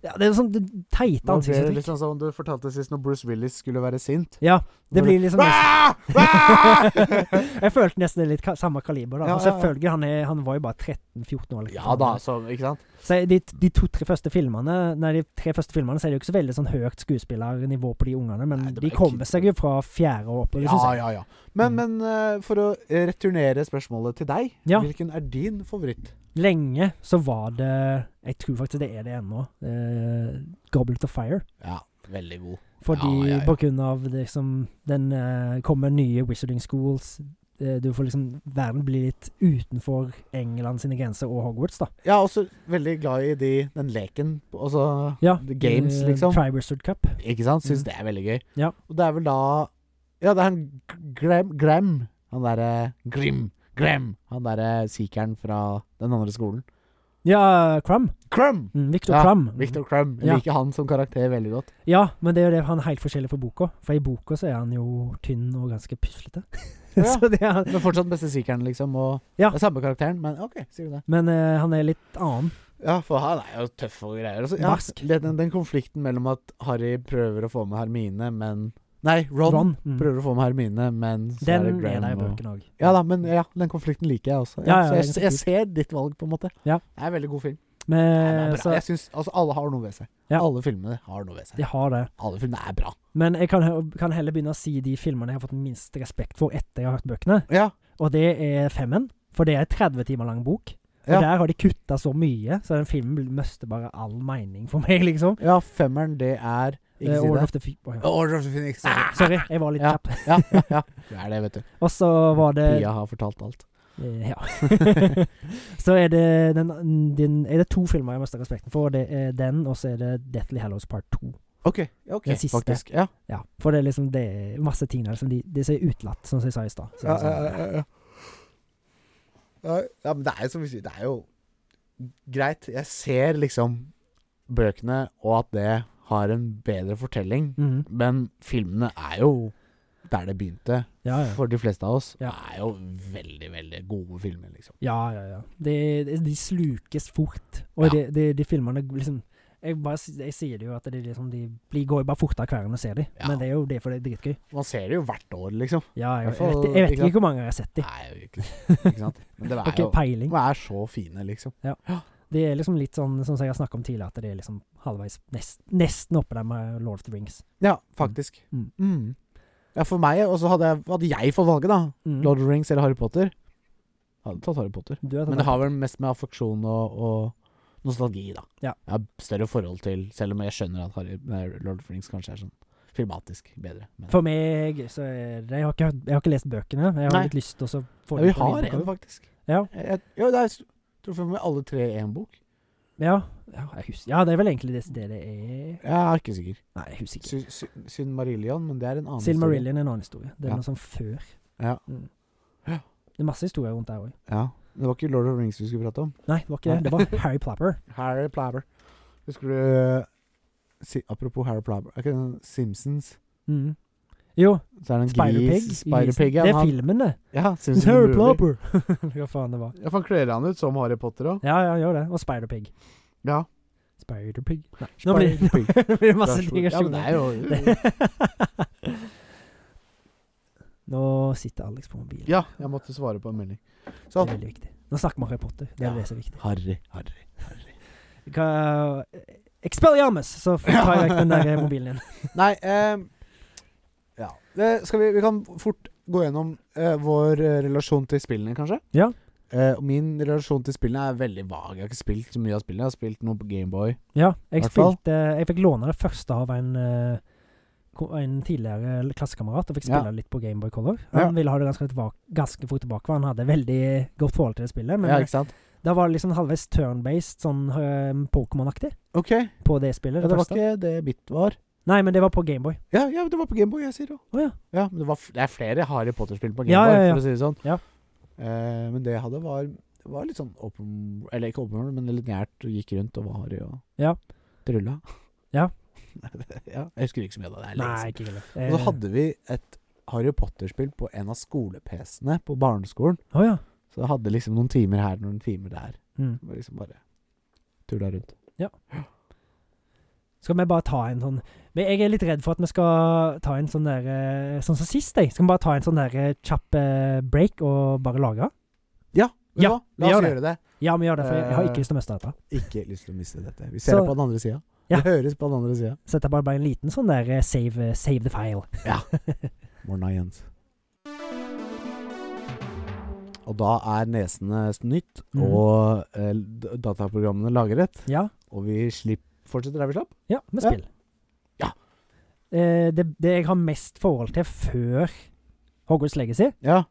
[SPEAKER 2] ja, Det er sånn det teite
[SPEAKER 1] Nå blir det litt
[SPEAKER 2] ansiktsuttrykk.
[SPEAKER 1] sånn som du fortalte sist når Bruce Willis skulle være sint.
[SPEAKER 2] Ja, det blir liksom
[SPEAKER 1] Wah! Wah!
[SPEAKER 2] Jeg følte nesten det er litt ka samme kaliber.
[SPEAKER 1] Ja,
[SPEAKER 2] da Og
[SPEAKER 1] ja, ja.
[SPEAKER 2] Selvfølgelig, han, er, han var jo bare 13-14 år. eller hva
[SPEAKER 1] Ja
[SPEAKER 2] faen
[SPEAKER 1] da,
[SPEAKER 2] det er.
[SPEAKER 1] så, ikke sant?
[SPEAKER 2] Så de, de to-tre første filmene Nei, de tre første filmene Så er det jo ikke så veldig sånn høyt skuespillernivå på de ungene, men
[SPEAKER 1] Nei, det
[SPEAKER 2] de
[SPEAKER 1] var
[SPEAKER 2] kommer
[SPEAKER 1] ikke-
[SPEAKER 2] seg jo fra fjerde og oppover,
[SPEAKER 1] Ja,
[SPEAKER 2] syns jeg. Mm.
[SPEAKER 1] ja, ja. Men, men eh, for å eh, returnere spørsmålet til deg,
[SPEAKER 2] Ja.
[SPEAKER 1] hvilken er din favoritt?
[SPEAKER 2] Lenge så var det Jeg tror faktisk det er det ennå. Eh, Goblet of Fire.
[SPEAKER 1] Ja, veldig god.
[SPEAKER 2] Fordi
[SPEAKER 1] Ja, ja, ja.
[SPEAKER 2] på grunn av liksom Den eh, kommer nye Wizarding Schools. eh, Du får liksom Verden blir litt utenfor England sine grenser og Hogwarts, da.
[SPEAKER 1] Jeg er også veldig glad i de, den leken, altså
[SPEAKER 2] Ja.
[SPEAKER 1] the games,
[SPEAKER 2] eh,
[SPEAKER 1] liksom.
[SPEAKER 2] Triwizard Cup.
[SPEAKER 1] Ikke sant? Syns
[SPEAKER 2] Mm.
[SPEAKER 1] det er veldig gøy.
[SPEAKER 2] Ja.
[SPEAKER 1] Og det er vel da Ja, det er han G- Graham, Graham Han derre Grim. Graham. Han derre seekeren fra den andre skolen.
[SPEAKER 2] Ja, Crumb.
[SPEAKER 1] Crumb!
[SPEAKER 2] Mm, Victor
[SPEAKER 1] Ja,
[SPEAKER 2] Crumb.
[SPEAKER 1] Victor Crumb. Jeg
[SPEAKER 2] Ja.
[SPEAKER 1] liker han som karakter veldig godt.
[SPEAKER 2] Ja, men det er jo det han er helt forskjellig fra boka. For i boka så er han jo tynn og ganske puslete.
[SPEAKER 1] Ja.
[SPEAKER 2] så det er han.
[SPEAKER 1] Men fortsatt beste seekeren, liksom. Og
[SPEAKER 2] Ja.
[SPEAKER 1] det er samme karakteren, men OK, sier du det.
[SPEAKER 2] Men eh, han er litt annen.
[SPEAKER 1] Ja, for han er jo tøff og greier. Altså, ja,
[SPEAKER 2] Barsk.
[SPEAKER 1] det- den, den konflikten mellom at Harry prøver å få med Hermine, men Nei, Ron,
[SPEAKER 2] mm.
[SPEAKER 1] prøver å få med Hermine, men så
[SPEAKER 2] Den
[SPEAKER 1] er det
[SPEAKER 2] er
[SPEAKER 1] Graham
[SPEAKER 2] der i
[SPEAKER 1] og
[SPEAKER 2] bøkene òg.
[SPEAKER 1] Ja da, men ja, den konflikten liker jeg også. Ja,
[SPEAKER 2] Ja, ja,
[SPEAKER 1] så jeg,
[SPEAKER 2] det er
[SPEAKER 1] jeg ser ditt valg, på en måte.
[SPEAKER 2] Ja.
[SPEAKER 1] Det er en veldig god film. Den er
[SPEAKER 2] Men, eh,
[SPEAKER 1] bra.
[SPEAKER 2] så,
[SPEAKER 1] jeg synes, altså, Alle har noe ved seg.
[SPEAKER 2] Ja.
[SPEAKER 1] Alle filmene har noe ved seg.
[SPEAKER 2] de har det.
[SPEAKER 1] Alle filmene er bra.
[SPEAKER 2] Men jeg kan, he- kan heller begynne å si de filmene jeg har fått minst respekt for etter jeg har hørt bøkene.
[SPEAKER 1] Ja,
[SPEAKER 2] Og det er Femmen. For det er en 30 timer lang bok. Og
[SPEAKER 1] Ja.
[SPEAKER 2] der har de kutta så mye, så den filmen mister bare all mening for meg, liksom.
[SPEAKER 1] ja femmeren, det er Ikke
[SPEAKER 2] Eh,
[SPEAKER 1] si
[SPEAKER 2] Order
[SPEAKER 1] det.
[SPEAKER 2] of the Ah! Fi- Oi, ja.
[SPEAKER 1] Order of the Phoenix.
[SPEAKER 2] Sorry. Sorry, jeg var litt
[SPEAKER 1] Ja.
[SPEAKER 2] kjapp.
[SPEAKER 1] Ja, ja, ja. Det er det, vet du.
[SPEAKER 2] Og så var det
[SPEAKER 1] Pia har fortalt alt.
[SPEAKER 2] Eh, Ja. så er det, den, den, er det to filmer jeg har mest respekten for. Det er den, og så er det 'Deathly Hallows Part 2'.
[SPEAKER 1] OK. ja, ok,
[SPEAKER 2] Den siste.
[SPEAKER 1] Faktisk. Ja.
[SPEAKER 2] Ja, for det er liksom det er masse ting der som de, de som er utelatt, som jeg sa i stad. Så det
[SPEAKER 1] Ja,
[SPEAKER 2] er
[SPEAKER 1] ja,
[SPEAKER 2] sånn,
[SPEAKER 1] ja, ja. Ja, ja, men det er jo som vi sier, det er jo greit. Jeg ser liksom bøkene, og at det har en bedre fortelling.
[SPEAKER 2] Mhm.
[SPEAKER 1] Men filmene er jo der det begynte,
[SPEAKER 2] ja, ja.
[SPEAKER 1] for de fleste av oss.
[SPEAKER 2] Ja.
[SPEAKER 1] er jo veldig, veldig gode filmer, liksom.
[SPEAKER 2] Ja, ja, ja. De, de, de slukes fort. Og
[SPEAKER 1] Ja.
[SPEAKER 2] de, de, de filmene liksom jeg, bare, s- jeg sier det jo at de, liksom, de blir, går jo bare fortere hver gang du ser dem.
[SPEAKER 1] Ja.
[SPEAKER 2] Men det er jo det for det er dritgøy.
[SPEAKER 1] Man ser det jo hvert år, liksom.
[SPEAKER 2] Ja, jeg, jeg,
[SPEAKER 1] Hvertfall,
[SPEAKER 2] vet, jeg vet
[SPEAKER 1] ikke sant?
[SPEAKER 2] ikke hvor mange jeg har sett dem.
[SPEAKER 1] Nei, ikke, ikke sant. Men det er
[SPEAKER 2] Har ikke
[SPEAKER 1] jo
[SPEAKER 2] peiling.
[SPEAKER 1] de er så fine, liksom.
[SPEAKER 2] Det er liksom litt sånn som jeg har snakka om tidligere, at det er liksom halvveis nest, Nesten oppe der med Lord of the Rings.
[SPEAKER 1] Ja, faktisk.
[SPEAKER 2] Mm.
[SPEAKER 1] Mm. Ja, for meg, og så hadde jeg, hadde jeg fått valget, da.
[SPEAKER 2] Mm.
[SPEAKER 1] Lord of the Rings eller Harry Potter. Jeg hadde tatt Harry Potter.
[SPEAKER 2] Du vet at
[SPEAKER 1] Men det har vel mest med affeksjon og, og nostalgi, da.
[SPEAKER 2] Ja.
[SPEAKER 1] Jeg har større forhold til, selv om jeg skjønner at Harry, nei, Lord of the Rings kanskje er sånn filmatisk bedre. Men.
[SPEAKER 2] For meg så er det Jeg har ikke, hørt- jeg har ikke lest bøkene. men Jeg har
[SPEAKER 1] Nei.
[SPEAKER 2] litt lyst til å så få
[SPEAKER 1] Ja, vi
[SPEAKER 2] dem på
[SPEAKER 1] har
[SPEAKER 2] lydbok
[SPEAKER 1] en,
[SPEAKER 2] også.
[SPEAKER 1] faktisk.
[SPEAKER 2] Ja.
[SPEAKER 1] Jeg, jeg, jo, det er, jeg tror for meg alle tre er en bok.
[SPEAKER 2] Ja, ja, jeg husker. ja, det er vel egentlig det det, det
[SPEAKER 1] Jeg
[SPEAKER 2] er
[SPEAKER 1] er ikke sikker.
[SPEAKER 2] Nei, jeg husker ikke.
[SPEAKER 1] Sy- sy- Silmarillion, men det er en annen
[SPEAKER 2] Silmarillion er en annen historie. Det er
[SPEAKER 1] Ja.
[SPEAKER 2] noe sånn før.
[SPEAKER 1] Ja.
[SPEAKER 2] Mm.
[SPEAKER 1] Ja.
[SPEAKER 2] Det er masse historier rundt der òg.
[SPEAKER 1] historie. Ja. Det var ikke Lord of the Rings vi skulle prate om.
[SPEAKER 2] Nei, det var ikke det. Det var Harry Plapper.
[SPEAKER 1] Harry Plabber. Husker du si, Apropos Harry Plabber Er ikke det Simpsons?
[SPEAKER 2] Mm. Jo,
[SPEAKER 1] Så er det en
[SPEAKER 2] Spider-Pig.
[SPEAKER 1] gris.
[SPEAKER 2] i grisen.
[SPEAKER 1] Spider-Pig. Ja,
[SPEAKER 2] det er
[SPEAKER 1] han-
[SPEAKER 2] filmen, det.
[SPEAKER 1] Ja, syns du
[SPEAKER 2] Terry
[SPEAKER 1] det mulig?
[SPEAKER 2] Plopper. Hva faen det var.
[SPEAKER 1] Ja, for han kler han ut som Harry Potter òg.
[SPEAKER 2] Ja, ja, gjør det. Og Spider-Pig.
[SPEAKER 1] Ja.
[SPEAKER 2] Spider-Pig. Nei, nå blir
[SPEAKER 1] Spider-Pig.
[SPEAKER 2] det blir masse
[SPEAKER 1] Vær så god. Ja, men det
[SPEAKER 2] digresjoner.
[SPEAKER 1] er jo
[SPEAKER 2] nå sitter Alex på mobilen.
[SPEAKER 1] Ja, jeg måtte svare på en melding.
[SPEAKER 2] Det
[SPEAKER 1] Sånn.
[SPEAKER 2] er veldig viktig. Nå snakker vi om Harry Potter. Det er
[SPEAKER 1] Ja.
[SPEAKER 2] det som er viktig.
[SPEAKER 1] Harry, Harry.
[SPEAKER 2] Hva, Expelliarmus! Så tar jeg vekk den der mobilen igjen.
[SPEAKER 1] Nei ehm, Ja. Det skal vi, vi kan fort gå gjennom eh, vår eh, relasjon til spillene, kanskje.
[SPEAKER 2] Ja.
[SPEAKER 1] Eh, og min relasjon til spillene er veldig vag. Jeg har ikke spilt så mye av spillene. Jeg har spilt noe på Gameboy.
[SPEAKER 2] Ja, jeg
[SPEAKER 1] Hvertfall.
[SPEAKER 2] spilte Jeg fikk låne det første av en eh, ko- en tidligere klassekamerat og fikk spille
[SPEAKER 1] Ja.
[SPEAKER 2] litt på Gameboy Color. Han
[SPEAKER 1] Ja.
[SPEAKER 2] ville ha det ganske, litt bak, ganske fort tilbake, for han hadde veldig godt forhold til det spillet. Men
[SPEAKER 1] Ja, ikke sant?
[SPEAKER 2] da var det liksom halvveis turn-based, sånn eh, Pokémon-aktig,
[SPEAKER 1] OK. Ja,
[SPEAKER 2] på det spillet.
[SPEAKER 1] det
[SPEAKER 2] det
[SPEAKER 1] var
[SPEAKER 2] første.
[SPEAKER 1] ikke det mitt var.
[SPEAKER 2] Nei, men det var på Gameboy.
[SPEAKER 1] Ja, ja, det var på Gameboy, jeg sier det.
[SPEAKER 2] Å ja.
[SPEAKER 1] Ja, men det, var f det er flere Harry Potter-spill på Gameboy,
[SPEAKER 2] Ja, ja, ja.
[SPEAKER 1] for å si det sånn.
[SPEAKER 2] Ja.
[SPEAKER 1] Eh, men det jeg hadde, var, var litt sånn open Eller ikke open world, men litt nært. og Gikk rundt og var Harry og
[SPEAKER 2] Ja.
[SPEAKER 1] Det rulla.
[SPEAKER 2] Ja.
[SPEAKER 1] ja. Jeg husker ikke så mye av det. det er lenge
[SPEAKER 2] Nei,
[SPEAKER 1] siden.
[SPEAKER 2] ikke
[SPEAKER 1] Og
[SPEAKER 2] heller.
[SPEAKER 1] så hadde vi et Harry Potter-spill på en av skole-PC-ene på barneskolen.
[SPEAKER 2] Eh, Å ja.
[SPEAKER 1] Så jeg hadde liksom noen timer her noen timer der.
[SPEAKER 2] Mm.
[SPEAKER 1] Det var liksom bare tulla rundt.
[SPEAKER 2] Skal vi bare ta en sånn Men Jeg er litt redd for at vi skal ta en sånn der eh, Sånn som sist, jeg. Skal vi bare ta en sånn der eh, kjapp eh, break og bare lagre?
[SPEAKER 1] Vet du
[SPEAKER 2] Ja,
[SPEAKER 1] hva?
[SPEAKER 2] vi
[SPEAKER 1] La oss
[SPEAKER 2] gjør
[SPEAKER 1] gjøre det.
[SPEAKER 2] Ja, vi gjør det, for jeg, jeg har
[SPEAKER 1] Eh.
[SPEAKER 2] ikke lyst til å miste dette.
[SPEAKER 1] Ikke lyst til å miste dette. Vi ser
[SPEAKER 2] Så-
[SPEAKER 1] det på den andre sida.
[SPEAKER 2] Ja.
[SPEAKER 1] Det høres på den andre sida.
[SPEAKER 2] Så dette er bare, bare en liten sånn der eh, save, eh, save the file.
[SPEAKER 1] Morna, Jens. Og da er nesene snytt
[SPEAKER 2] Mhm.
[SPEAKER 1] og eh, d- dataprogrammene lagret,
[SPEAKER 2] Ja,
[SPEAKER 1] og vi slipp, fortsetter der vi slapp.
[SPEAKER 2] ja med
[SPEAKER 1] Ja.
[SPEAKER 2] spill.
[SPEAKER 1] Ja.
[SPEAKER 2] Eh, det, det jeg har mest forhold til før Hogwarts Legacy,
[SPEAKER 1] Ja.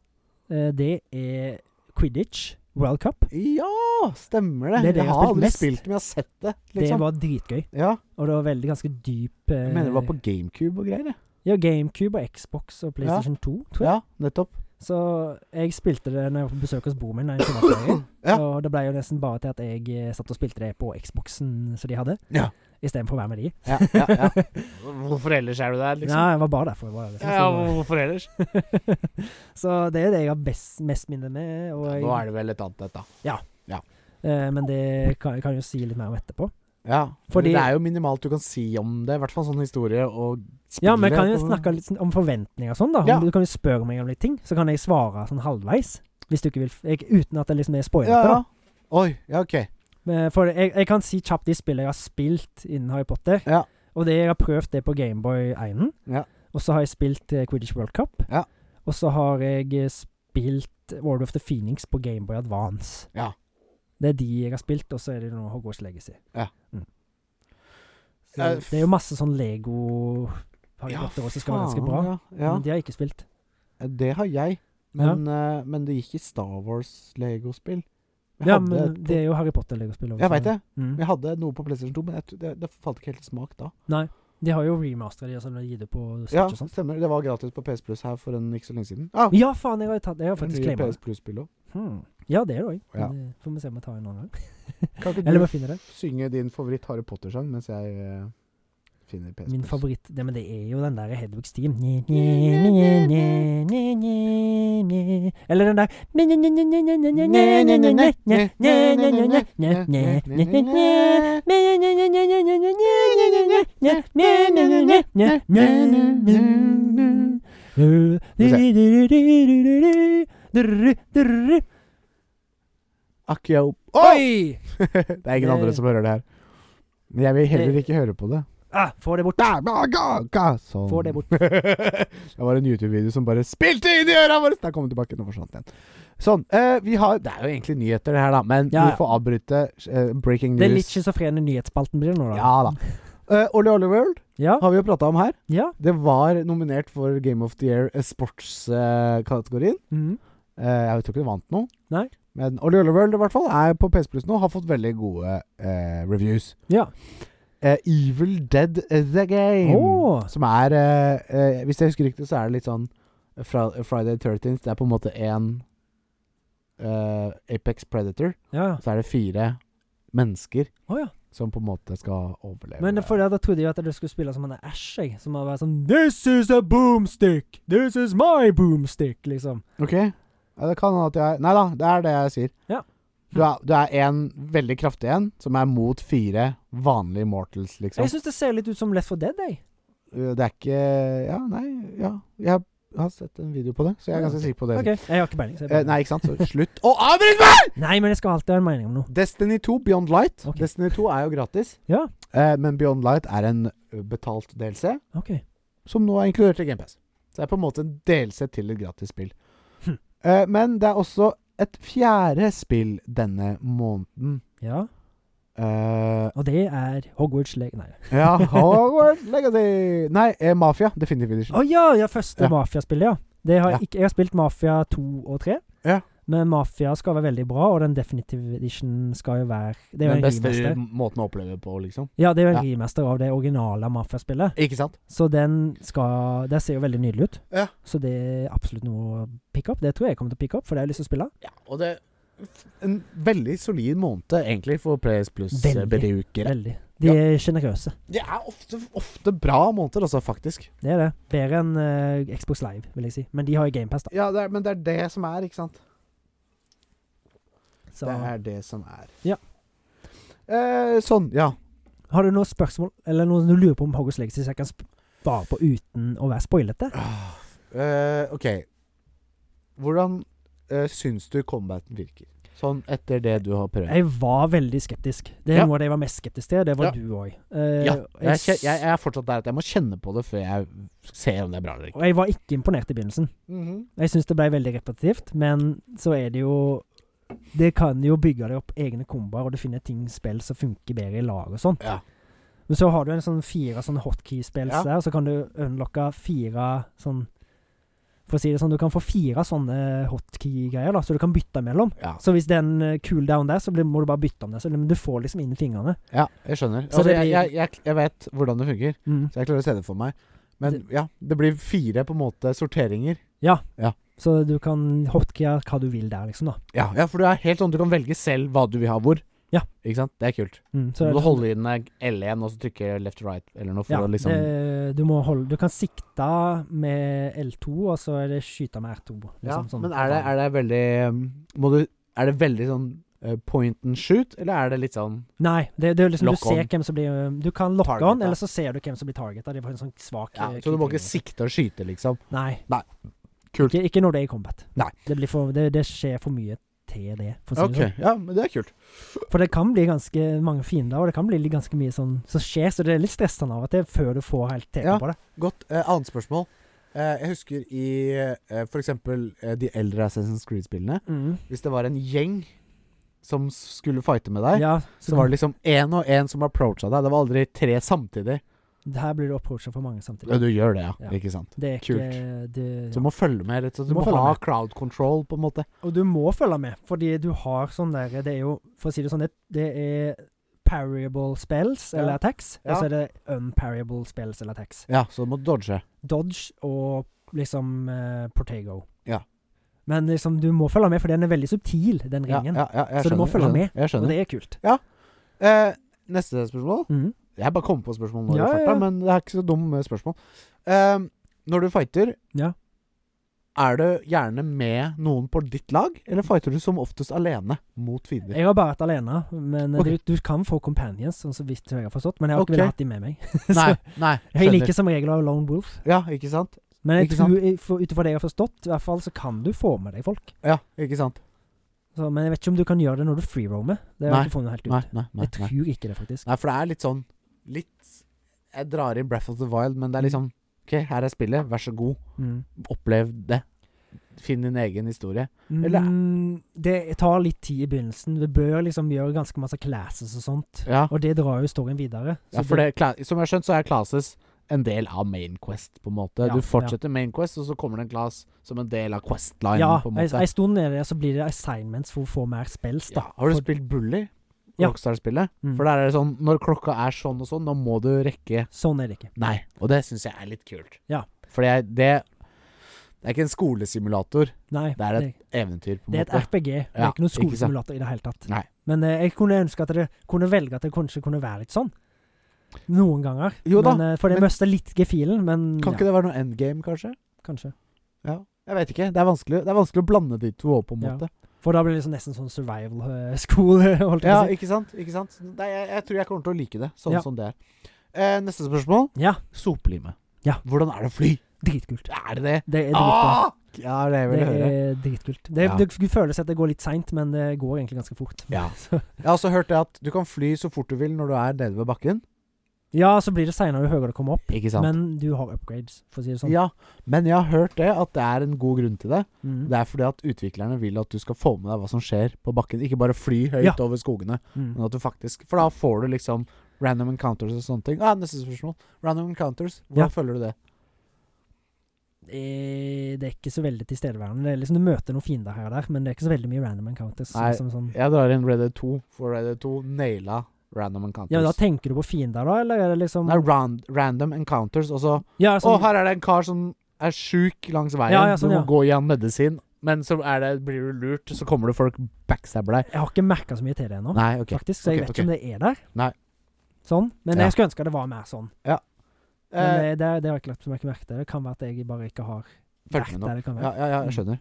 [SPEAKER 2] eh, det er Quidditch World Cup.
[SPEAKER 1] ja, stemmer det.
[SPEAKER 2] Det er det jeg
[SPEAKER 1] jeg
[SPEAKER 2] har
[SPEAKER 1] har
[SPEAKER 2] spilt
[SPEAKER 1] aldri
[SPEAKER 2] mest.
[SPEAKER 1] spilt det, men jeg har sett det.
[SPEAKER 2] Det
[SPEAKER 1] Liksom.
[SPEAKER 2] var dritgøy,
[SPEAKER 1] ja.
[SPEAKER 2] og det var veldig ganske dyp eh,
[SPEAKER 1] Jeg mener det var på GameCube og greier. jeg.
[SPEAKER 2] Ja, GameCube og Xbox og PlayStation 2, tror jeg.
[SPEAKER 1] Ja, nettopp.
[SPEAKER 2] Så jeg spilte det når jeg var på besøk hos broren min. når jeg kom opp der.
[SPEAKER 1] Ja.
[SPEAKER 2] Og det ble jo nesten bare til at jeg eh, satt og spilte det på Xboxen som de hadde,
[SPEAKER 1] Ja.
[SPEAKER 2] istedenfor å være med de.
[SPEAKER 1] Ja, ja, ja. Hvorfor ellers er du der, liksom?
[SPEAKER 2] Ja, jeg var bare derfor. jeg Var der, liksom.
[SPEAKER 1] hvorfor ellers?
[SPEAKER 2] så, så det er jo det jeg har best, mest minner med. Og jeg,
[SPEAKER 1] Nå er det vel et annet et, da.
[SPEAKER 2] eh, men det kan, jeg kan jo si litt mer om etterpå.
[SPEAKER 1] Ja, Fordi,
[SPEAKER 2] Fordi-
[SPEAKER 1] det er jo minimalt du kan si om det, i hvert fall sånn historie og
[SPEAKER 2] Ja, men jeg kan jo
[SPEAKER 1] og-
[SPEAKER 2] snakke litt sånn om forventninger og sånn, da. Om
[SPEAKER 1] Ja.
[SPEAKER 2] Du kan jo spørre meg om litt ting, så kan jeg svare sånn halvveis. Hvis du ikke vil f- jeg, Uten at det liksom er spoilete,
[SPEAKER 1] Ja,
[SPEAKER 2] da.
[SPEAKER 1] ja. Oi, ja, ok.
[SPEAKER 2] Eh, For jeg, jeg kan si kjapt de spillene jeg har spilt innen Harry Potter.
[SPEAKER 1] Ja.
[SPEAKER 2] Og det jeg har prøvd det på Gameboy 1.
[SPEAKER 1] Ja.
[SPEAKER 2] Og så har jeg spilt eh, Quidditch World Cup.
[SPEAKER 1] Ja.
[SPEAKER 2] Og så har jeg eh, spilt World of the Phoenix på Gameboy Advance.
[SPEAKER 1] Ja.
[SPEAKER 2] Det er de jeg har spilt, og så er det noe Hogwarts Legacy.
[SPEAKER 1] Ja.
[SPEAKER 2] Mm. Så
[SPEAKER 1] Eh,
[SPEAKER 2] det er jo masse sånn Lego Harry
[SPEAKER 1] Ja,
[SPEAKER 2] Potter også som skal være ganske
[SPEAKER 1] faen,
[SPEAKER 2] bra.
[SPEAKER 1] Ja,
[SPEAKER 2] Men de har jeg ikke spilt.
[SPEAKER 1] ja. Det har jeg. Men, eh, men det gikk i Star Wars-legospill. Jeg,
[SPEAKER 2] Ja,
[SPEAKER 1] hadde
[SPEAKER 2] men
[SPEAKER 1] et på-
[SPEAKER 2] det er jo Harry Potter-legospill. også.
[SPEAKER 1] jeg veit det.
[SPEAKER 2] Mm.
[SPEAKER 1] Jeg hadde noe på PlayStation 2, men jeg, tro- det, det falt ikke helt i smak da.
[SPEAKER 2] De har jo remasteret de, og sånn, og gitt det på Switch
[SPEAKER 1] Ja,
[SPEAKER 2] og sånn.
[SPEAKER 1] stemmer. Det var gratis på PS Plus her for en ikke så lenge siden. Ah,
[SPEAKER 2] Ja, faen, jeg har, jo tatt, jeg har faktisk
[SPEAKER 1] nye
[SPEAKER 2] claima det.
[SPEAKER 1] PS Plus-spill òg.
[SPEAKER 2] Hmm. Ja, det er det òg.
[SPEAKER 1] Ja.
[SPEAKER 2] Får vi se om vi tar en annen gang.
[SPEAKER 1] Kan ikke
[SPEAKER 2] Eller
[SPEAKER 1] du
[SPEAKER 2] vi finner det.
[SPEAKER 1] synge din favoritt-Harry Potter-sang mens jeg eh, finner PS
[SPEAKER 2] Min
[SPEAKER 1] Plus?
[SPEAKER 2] favoritt det, Men det er jo den der Hedvigs Team. Nye, nye, nye, nye, nye, nye, nye. Eller den der Nye, nye, nye, nye, nye, nye, nye, nye, nye, nye, nye, nye, nye, nye, nye, nye, nye, nye. Nye, nye, nye, nye, nye, nye, nye, nye, nye, nye, nye, nye, nye, nye, nye, nye, nye. Durr, durr.
[SPEAKER 1] Akio.
[SPEAKER 2] Oi!
[SPEAKER 1] Det er ingen andre som hører det her. Men jeg vil heller ikke høre på det.
[SPEAKER 2] Ah, Få det bort.
[SPEAKER 1] Eh. Da, da, ga, ga, sånn.
[SPEAKER 2] Få det bort.
[SPEAKER 1] det var en YouTube-video som bare spilte inn i øra våre! Da kom den tilbake. Nå forsvant den. Sånn. eh, vi har Det er jo egentlig nyheter, det her, da. Men
[SPEAKER 2] Ja, ja.
[SPEAKER 1] vi får avbryte eh, breaking
[SPEAKER 2] Det er litt
[SPEAKER 1] news.
[SPEAKER 2] schizofrene nyhetsspalten blir det nå, da.
[SPEAKER 1] ja da. Uh, Ollie World
[SPEAKER 2] Ja,
[SPEAKER 1] har vi jo prata om her.
[SPEAKER 2] ja.
[SPEAKER 1] Det var nominert for Game of the Year eh, sports-kategorien.
[SPEAKER 2] Mhm.
[SPEAKER 1] Eh, jeg tror ikke det vant noe.
[SPEAKER 2] Nei.
[SPEAKER 1] Men Ollie World i hvert fall er på PS Plus nå. Har fått veldig gode eh, reviews.
[SPEAKER 2] ja.
[SPEAKER 1] Eh, Evil Dead The Game.
[SPEAKER 2] Åh.
[SPEAKER 1] Som er eh, eh, Hvis jeg husker riktig, så er det litt sånn fra, Friday 13th. Det er på en måte én eh, Apex Predator.
[SPEAKER 2] ja.
[SPEAKER 1] Så er det fire mennesker
[SPEAKER 2] Å ja.
[SPEAKER 1] som på en måte skal overleve.
[SPEAKER 2] Men for da trodde jeg at dere skulle spille som han der Ash, jeg. Som var sånn This is a boomstick! This is my boomstick! Liksom.
[SPEAKER 1] Ok. Ja, det kan hende at jeg Nei da, det er det jeg sier.
[SPEAKER 2] Ja.
[SPEAKER 1] Du er, du er en veldig kraftig en, som er mot fire vanlige mortals, liksom.
[SPEAKER 2] Jeg syns det ser litt ut som Left for Dead, jeg.
[SPEAKER 1] Uh, Det er ikke Ja, nei, ja. Jeg har sett en video på det, så jeg er
[SPEAKER 2] Ja,
[SPEAKER 1] ganske sikker på det.
[SPEAKER 2] Ok, jeg har ikke peiling. så jeg
[SPEAKER 1] Eh,
[SPEAKER 2] bare-
[SPEAKER 1] nei, ikke sant? Så slutt å avbryte meg!
[SPEAKER 2] Nei, men jeg skal alltid ha en mening om noe.
[SPEAKER 1] Destiny 2 Beyond Light.
[SPEAKER 2] Ok.
[SPEAKER 1] Destiny 2 er jo gratis.
[SPEAKER 2] Ja.
[SPEAKER 1] Eh, men Beyond Light er en ø, betalt DLC,
[SPEAKER 2] Ok.
[SPEAKER 1] som nå er inkludert i GamePass. Så det er på en måte en DLC til et gratis spill.
[SPEAKER 2] Hm.
[SPEAKER 1] Eh, men det er også et fjerde spill denne måneden.
[SPEAKER 2] Ja.
[SPEAKER 1] Eh,
[SPEAKER 2] Og det er Hogwarts Leg... Nei.
[SPEAKER 1] ja, Hogwarts Legacy Nei, eh, Mafia. Definitive Edition.
[SPEAKER 2] Å ja! ja første
[SPEAKER 1] Ja.
[SPEAKER 2] Mafia-spillet, ja. Det har
[SPEAKER 1] Ja.
[SPEAKER 2] jeg Ikke, jeg har spilt Mafia 2 og 3.
[SPEAKER 1] Ja.
[SPEAKER 2] Men Mafia skal være veldig bra, og den Definitive Edition skal jo være Det er jo
[SPEAKER 1] Den
[SPEAKER 2] en
[SPEAKER 1] beste
[SPEAKER 2] remaster.
[SPEAKER 1] måten å oppleve det på, liksom.
[SPEAKER 2] Ja, det er jo en remaster av det originale Mafia-spillet.
[SPEAKER 1] Ikke sant?
[SPEAKER 2] Så den skal Det ser jo veldig nydelig ut.
[SPEAKER 1] Ja.
[SPEAKER 2] Så det er absolutt noe å pick up. Det tror jeg jeg kommer til å pick up, for det har jeg lyst til å spille.
[SPEAKER 1] Ja, og det En veldig solid måned, egentlig, for PS
[SPEAKER 2] Veldig,
[SPEAKER 1] Plus-brukere.
[SPEAKER 2] Veldig. De
[SPEAKER 1] Ja.
[SPEAKER 2] er sjenerøse.
[SPEAKER 1] Det er ofte, ofte bra måneder, altså, faktisk.
[SPEAKER 2] Det er det. Bedre enn eh, Xbox Live, vil jeg si. Men de har jo GamePass, da.
[SPEAKER 1] Ja, det er, men det er det som er, ikke sant?
[SPEAKER 2] Så
[SPEAKER 1] Det er det som er.
[SPEAKER 2] Ja.
[SPEAKER 1] Eh, sånn, ja.
[SPEAKER 2] har du noen spørsmål, eller noe du lurer på om Hogwarts Legacy, så jeg kan sp- svare på uten å være spoilete?
[SPEAKER 1] Eh, OK. Hvordan eh, syns du combaten virker? Sånn etter det du har prøvd.
[SPEAKER 2] Jeg var veldig skeptisk. Det er
[SPEAKER 1] Ja.
[SPEAKER 2] noe av det jeg var mest skeptisk til. Det var
[SPEAKER 1] Ja.
[SPEAKER 2] du Eh, òg.
[SPEAKER 1] ja, jeg, kje- jeg, jeg er fortsatt der at jeg må kjenne på det før jeg ser om det er bra eller ikke.
[SPEAKER 2] og jeg var ikke imponert i begynnelsen. Jeg syns det ble veldig repetitivt, men så er det jo Det kan jo bygge deg opp egne komboer, og du finner ting, spill som funker bedre i lag og sånn.
[SPEAKER 1] Ja.
[SPEAKER 2] Men så har du en sånn fire sånn hotkey-spill
[SPEAKER 1] Ja.
[SPEAKER 2] der, og så kan du unlocke fire sånn For å si det sånn, du kan få fire sånne hotkey-greier, da, så du kan bytte mellom.
[SPEAKER 1] Ja.
[SPEAKER 2] Så hvis det er en eh, cooldown der, så blir, må du bare bytte om det. Så men du får liksom inn i fingrene.
[SPEAKER 1] ja, jeg skjønner.
[SPEAKER 2] Så
[SPEAKER 1] Altså,
[SPEAKER 2] det
[SPEAKER 1] jeg,
[SPEAKER 2] blir-
[SPEAKER 1] jeg, jeg, jeg vet hvordan det funker,
[SPEAKER 2] Mm.
[SPEAKER 1] så jeg klarer å se det for meg. Men ja, det blir fire på en måte sorteringer.
[SPEAKER 2] Så du kan hotkeya hva du vil der, liksom, da.
[SPEAKER 1] Ja, ja for du er helt sånn du kan velge selv hva du vil ha hvor.
[SPEAKER 2] Ja.
[SPEAKER 1] Ikke sant? Det er kult.
[SPEAKER 2] Mm.
[SPEAKER 1] Så
[SPEAKER 2] er
[SPEAKER 1] du
[SPEAKER 2] det-
[SPEAKER 1] holder inn eh, L1 og så trykker left right eller noe for
[SPEAKER 2] Ja,
[SPEAKER 1] å liksom
[SPEAKER 2] det, du må holde Du kan sikte med L2, og så er det skyte med R2.
[SPEAKER 1] Ja,
[SPEAKER 2] Liksom, sånn.
[SPEAKER 1] men er det, er det veldig um, Må du Er det veldig sånn eh, point and shoot, eller er det litt sånn
[SPEAKER 2] Nei, det, det er liksom
[SPEAKER 1] Lock
[SPEAKER 2] du ser
[SPEAKER 1] on.
[SPEAKER 2] hvem som blir um, Du kan lokke
[SPEAKER 1] Targeta.
[SPEAKER 2] on, eller så ser du hvem som blir targeta. Det var en sånn svak
[SPEAKER 1] ja,
[SPEAKER 2] eh,
[SPEAKER 1] Så du må ikke
[SPEAKER 2] knytning.
[SPEAKER 1] sikte og skyte, liksom?
[SPEAKER 2] Nei.
[SPEAKER 1] Nei. Kult.
[SPEAKER 2] Ikke, ikke når det er i combat.
[SPEAKER 1] Nei.
[SPEAKER 2] Det, blir for, det, det skjer for mye til det. For, å si
[SPEAKER 1] Ok,
[SPEAKER 2] det sånn.
[SPEAKER 1] ja, men det er kult.
[SPEAKER 2] for det kan bli ganske mange fiender, og det kan bli litt ganske mye sånn som skjer, så det er litt stressende av og til før du får helt teken
[SPEAKER 1] Ja.
[SPEAKER 2] på det.
[SPEAKER 1] Godt. Eh, annet spørsmål. Eh, jeg husker i eh, for eksempel eh, de eldre Assassin's Creed-spillene.
[SPEAKER 2] Mm.
[SPEAKER 1] Hvis det var en gjeng som skulle fighte med deg,
[SPEAKER 2] Ja,
[SPEAKER 1] så var det liksom én og én som approacha deg. Det var aldri tre samtidig.
[SPEAKER 2] Her blir du approacha for mange samtidig.
[SPEAKER 1] Ja, du gjør det, ja.
[SPEAKER 2] Ja.
[SPEAKER 1] Ikke sant.
[SPEAKER 2] Det er ikke det,
[SPEAKER 1] Så du må følge med, rett og slett. Du
[SPEAKER 2] Du må
[SPEAKER 1] må,
[SPEAKER 2] følge
[SPEAKER 1] ha
[SPEAKER 2] med.
[SPEAKER 1] crowd control, på en måte.
[SPEAKER 2] Og du må følge med, fordi du har sånn der Det er jo, for å si det sånn, det, det er parable spells
[SPEAKER 1] Ja.
[SPEAKER 2] eller attacks,
[SPEAKER 1] Ja.
[SPEAKER 2] og så er det unparable spells eller attacks.
[SPEAKER 1] Ja, så du må dodge.
[SPEAKER 2] Dodge og liksom eh, Portego.
[SPEAKER 1] Ja.
[SPEAKER 2] Men liksom, du må følge med, for den er veldig subtil, den
[SPEAKER 1] Ja,
[SPEAKER 2] ringen.
[SPEAKER 1] ja, ja, jeg
[SPEAKER 2] Så du må
[SPEAKER 1] skjønner, jeg
[SPEAKER 2] følge med.
[SPEAKER 1] skjønner, Jeg
[SPEAKER 2] Og
[SPEAKER 1] skjønner.
[SPEAKER 2] det er kult.
[SPEAKER 1] Eh, neste spørsmål.
[SPEAKER 2] Mhm.
[SPEAKER 1] Jeg bare kom på spørsmål nå, i
[SPEAKER 2] Ja, ja,
[SPEAKER 1] farta,
[SPEAKER 2] ja.
[SPEAKER 1] men det er ikke så dumt spørsmål. Eh, når du fighter,
[SPEAKER 2] Ja.
[SPEAKER 1] er du gjerne med noen på ditt lag, eller fighter du som oftest alene mot fiender?
[SPEAKER 2] Mhm. Jeg har bare vært alene, men eh,
[SPEAKER 1] Ok.
[SPEAKER 2] du, du kan få companions, sånn så vidt jeg har forstått, men jeg har
[SPEAKER 1] Ok.
[SPEAKER 2] ikke villet hatt de med meg.
[SPEAKER 1] Nei, nei.
[SPEAKER 2] så jeg
[SPEAKER 1] skjønner.
[SPEAKER 2] liker som regel å ha lone wolf,
[SPEAKER 1] Ja, ikke sant?
[SPEAKER 2] men jeg
[SPEAKER 1] Ikke sant?
[SPEAKER 2] tror, jeg- for- ut ifra det jeg har forstått, i hvert fall, så kan du få med deg folk.
[SPEAKER 1] Ja, ikke sant?
[SPEAKER 2] Så, men jeg vet ikke om du kan gjøre det når du freeroamer.
[SPEAKER 1] Nei.
[SPEAKER 2] Det har jeg ikke funnet helt ut.
[SPEAKER 1] Nei, nei, nei.
[SPEAKER 2] jeg
[SPEAKER 1] nei.
[SPEAKER 2] tror ikke det, faktisk.
[SPEAKER 1] Nei, for det er litt sånn Litt Jeg drar inn Breath of the Wild, men det er liksom OK, her er spillet, vær så god.
[SPEAKER 2] Mm.
[SPEAKER 1] Opplev det. Finn din egen historie. Eller-
[SPEAKER 2] Mm, det tar litt tid i begynnelsen. Du bør liksom gjøre ganske masse classes og sånt.
[SPEAKER 1] Ja,
[SPEAKER 2] Og det drar jo storyen videre. Så
[SPEAKER 1] ja for det, kla- Som jeg har skjønt, så er classes en del av main quest, på en måte.
[SPEAKER 2] Ja,
[SPEAKER 1] du fortsetter main quest, og så kommer det en class som en del av quest-linen,
[SPEAKER 2] ja,
[SPEAKER 1] på en
[SPEAKER 2] ei
[SPEAKER 1] måte.
[SPEAKER 2] ei stund er det, så blir det assignments for å få mer spells,
[SPEAKER 1] ja.
[SPEAKER 2] da.
[SPEAKER 1] Har du
[SPEAKER 2] For-
[SPEAKER 1] spilt Bully?
[SPEAKER 2] Ja.
[SPEAKER 1] Rockstar-spillet?
[SPEAKER 2] Mm.
[SPEAKER 1] For der er det sånn Når klokka er sånn og sånn, nå må du rekke
[SPEAKER 2] Sånn er det ikke.
[SPEAKER 1] Nei. Og det syns jeg er litt kult.
[SPEAKER 2] Ja.
[SPEAKER 1] Fordi jeg, det Det er ikke en skolesimulator.
[SPEAKER 2] Nei,
[SPEAKER 1] Det er et eventyr, på en
[SPEAKER 2] det er et
[SPEAKER 1] måte.
[SPEAKER 2] RPG. Det er
[SPEAKER 1] Ja,
[SPEAKER 2] ikke noen
[SPEAKER 1] ikke sant.
[SPEAKER 2] skolesimulator i det hele tatt.
[SPEAKER 1] Nei.
[SPEAKER 2] Men eh, jeg kunne ønske at det kunne velge at det kanskje kunne være litt sånn. Noen ganger.
[SPEAKER 1] Jo da,
[SPEAKER 2] men, eh, for det
[SPEAKER 1] men-
[SPEAKER 2] mister litt gefühlen, men
[SPEAKER 1] Kan
[SPEAKER 2] ja,
[SPEAKER 1] ikke det være noe endgame, kanskje?
[SPEAKER 2] kanskje.
[SPEAKER 1] Ja. Jeg vet ikke. Det er vanskelig, det er vanskelig å blande de to òg, på en
[SPEAKER 2] Ja.
[SPEAKER 1] måte.
[SPEAKER 2] For da blir det liksom nesten sånn survival-skole, eh, holdt jeg
[SPEAKER 1] Ja,
[SPEAKER 2] på å si.
[SPEAKER 1] ikke sant? Ikke sant? Nei, jeg, jeg tror jeg kommer til å like det, sånn
[SPEAKER 2] Ja.
[SPEAKER 1] som det er. Eh, neste spørsmål.
[SPEAKER 2] Ja,
[SPEAKER 1] Soplime.
[SPEAKER 2] Ja.
[SPEAKER 1] Hvordan er det å fly?
[SPEAKER 2] dritkult.
[SPEAKER 1] Er det det?
[SPEAKER 2] Det er dritbra.
[SPEAKER 1] Ah! Ja, det vil
[SPEAKER 2] Det
[SPEAKER 1] jeg høre.
[SPEAKER 2] er dritkult. Det,
[SPEAKER 1] Ja.
[SPEAKER 2] det skulle føles at det går litt seint, men det går egentlig ganske fort.
[SPEAKER 1] Ja.
[SPEAKER 2] Så,
[SPEAKER 1] Jeg har også hørt det at du kan fly så fort du vil når du er nede ved bakken.
[SPEAKER 2] ja, så blir det seinere jo høyere det kommer opp.
[SPEAKER 1] Ikke sant?
[SPEAKER 2] Men du har upgrades, for å si det sånn.
[SPEAKER 1] ja, men jeg har hørt det at det er en god grunn til det.
[SPEAKER 2] Mm.
[SPEAKER 1] Det er fordi at utviklerne vil at du skal få med deg hva som skjer på bakken. Ikke bare fly høyt
[SPEAKER 2] Ja.
[SPEAKER 1] over skogene,
[SPEAKER 2] Mm.
[SPEAKER 1] men at du faktisk For da får du liksom random encounters og sånne ting. Ah, neste spørsmål. Random encounters.
[SPEAKER 2] Ja.
[SPEAKER 1] Hvordan føler du det?
[SPEAKER 2] Eh, Det er ikke så veldig tilstedeværende. Det er liksom Du møter noen fiender her og der, men det er ikke så veldig mye random encounters.
[SPEAKER 1] Nei.
[SPEAKER 2] Liksom sånn.
[SPEAKER 1] Jeg drar inn Red Dead 2, for Red Dead 2 naila random
[SPEAKER 2] Ja, men Da
[SPEAKER 1] encounters.
[SPEAKER 2] tenker du på fiender, da? Eller er det liksom
[SPEAKER 1] Nei, ran random encounters, og så
[SPEAKER 2] ja,
[SPEAKER 1] Å,
[SPEAKER 2] sånn,
[SPEAKER 1] her er det en kar som er sjuk langs veien.
[SPEAKER 2] Ja, ja, sånn,
[SPEAKER 1] du må
[SPEAKER 2] ja.
[SPEAKER 1] gå i han medisin. Men så er det, blir du lurt, så kommer det folk backstabber deg.
[SPEAKER 2] Jeg har ikke merka så mye til det ennå,
[SPEAKER 1] Nei, ok.
[SPEAKER 2] faktisk. Så
[SPEAKER 1] Ok,
[SPEAKER 2] jeg vet
[SPEAKER 1] ok.
[SPEAKER 2] ikke om det er der.
[SPEAKER 1] Nei.
[SPEAKER 2] Sånn. Men
[SPEAKER 1] Ja.
[SPEAKER 2] jeg skulle ønske det var mer sånn. Men
[SPEAKER 1] Eh,
[SPEAKER 2] det, det, det har jeg ikke lagt så mye merke til. Det kan være at jeg bare ikke har
[SPEAKER 1] Eh, Følg med nå.
[SPEAKER 2] der det kan
[SPEAKER 1] ja,
[SPEAKER 2] være.
[SPEAKER 1] ja, ja, jeg skjønner.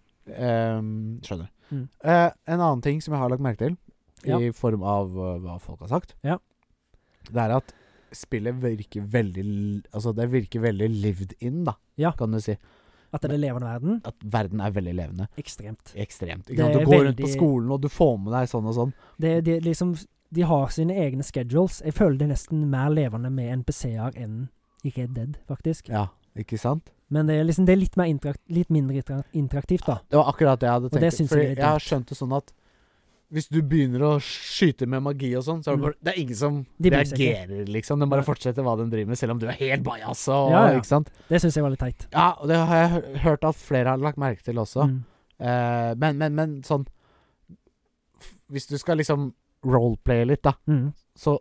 [SPEAKER 1] Ehm, skjønner.
[SPEAKER 2] Mm.
[SPEAKER 1] Eh, en annen ting som jeg har lagt merke til,
[SPEAKER 2] Ja.
[SPEAKER 1] i form av eh, hva folk har sagt,
[SPEAKER 2] Ja.
[SPEAKER 1] det er at spillet virker veldig l- Altså, det virker veldig lived in, da,
[SPEAKER 2] Ja.
[SPEAKER 1] kan du si.
[SPEAKER 2] At det er levende verden.
[SPEAKER 1] At verden er veldig levende.
[SPEAKER 2] Ekstremt.
[SPEAKER 1] Ekstremt.
[SPEAKER 2] Det
[SPEAKER 1] Ikke sant?
[SPEAKER 2] er
[SPEAKER 1] Du går rundt på
[SPEAKER 2] veldig-
[SPEAKER 1] skolen, og du får med deg sånn og sånn.
[SPEAKER 2] Det, det, liksom, de har sine egne schedules. Jeg føler det er nesten mer levende med NPC-er enn i Red Dead, faktisk.
[SPEAKER 1] Ja, ikke sant?
[SPEAKER 2] Men det er, liksom, det er litt, mer interakt, litt mindre intera- interaktivt, da.
[SPEAKER 1] Det var akkurat det jeg hadde
[SPEAKER 2] Og det
[SPEAKER 1] tenkt.
[SPEAKER 2] syns jeg
[SPEAKER 1] Fordi
[SPEAKER 2] er litt
[SPEAKER 1] jeg har skjønt det sånn at hvis du begynner å skyte med magi og sånn, så er det
[SPEAKER 2] Mm.
[SPEAKER 1] bare Det er ingen som
[SPEAKER 2] De bryr seg ikke.
[SPEAKER 1] reagerer, liksom. Den bare
[SPEAKER 2] Nei.
[SPEAKER 1] fortsetter hva den driver med, selv om du er helt bajas og
[SPEAKER 2] Ja, ja.
[SPEAKER 1] Ikke sant?
[SPEAKER 2] Det syns jeg var litt teit.
[SPEAKER 1] Ja, og det har jeg hø- hørt at flere har lagt merke til også.
[SPEAKER 2] Mm.
[SPEAKER 1] Eh, men, men, men sånn f- Hvis du skal liksom roleplaye litt, da,
[SPEAKER 2] Mm.
[SPEAKER 1] så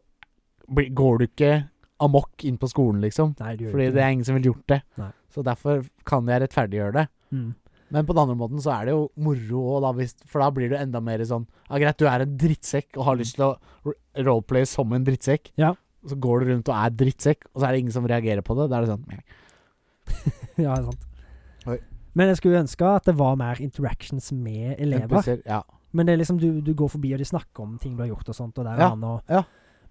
[SPEAKER 1] blir- går du ikke amok inn på skolen, liksom.
[SPEAKER 2] Nei, du gjør
[SPEAKER 1] Fordi
[SPEAKER 2] ikke
[SPEAKER 1] det er ingen som ville gjort det.
[SPEAKER 2] Nei.
[SPEAKER 1] Så derfor kan jeg rettferdiggjøre det.
[SPEAKER 2] Mm.
[SPEAKER 1] Men på den andre måten så er det jo moro òg, da, hvis, for da blir du enda mer sånn Ja, greit, du er en drittsekk og har lyst til å ro- roleplay som en drittsekk.
[SPEAKER 2] Mm. Ja.
[SPEAKER 1] Så går du rundt og er drittsekk, og så er det ingen som reagerer på det. Da er det sånn
[SPEAKER 2] ja, det er sant.
[SPEAKER 1] Oi.
[SPEAKER 2] Men jeg skulle ønske at det var mer interactions med elever.
[SPEAKER 1] NPC-er, Ja.
[SPEAKER 2] Men det er liksom du, du går forbi, og de snakker om ting du har gjort og sånt. Og der
[SPEAKER 1] Ja,
[SPEAKER 2] er han og
[SPEAKER 1] ja.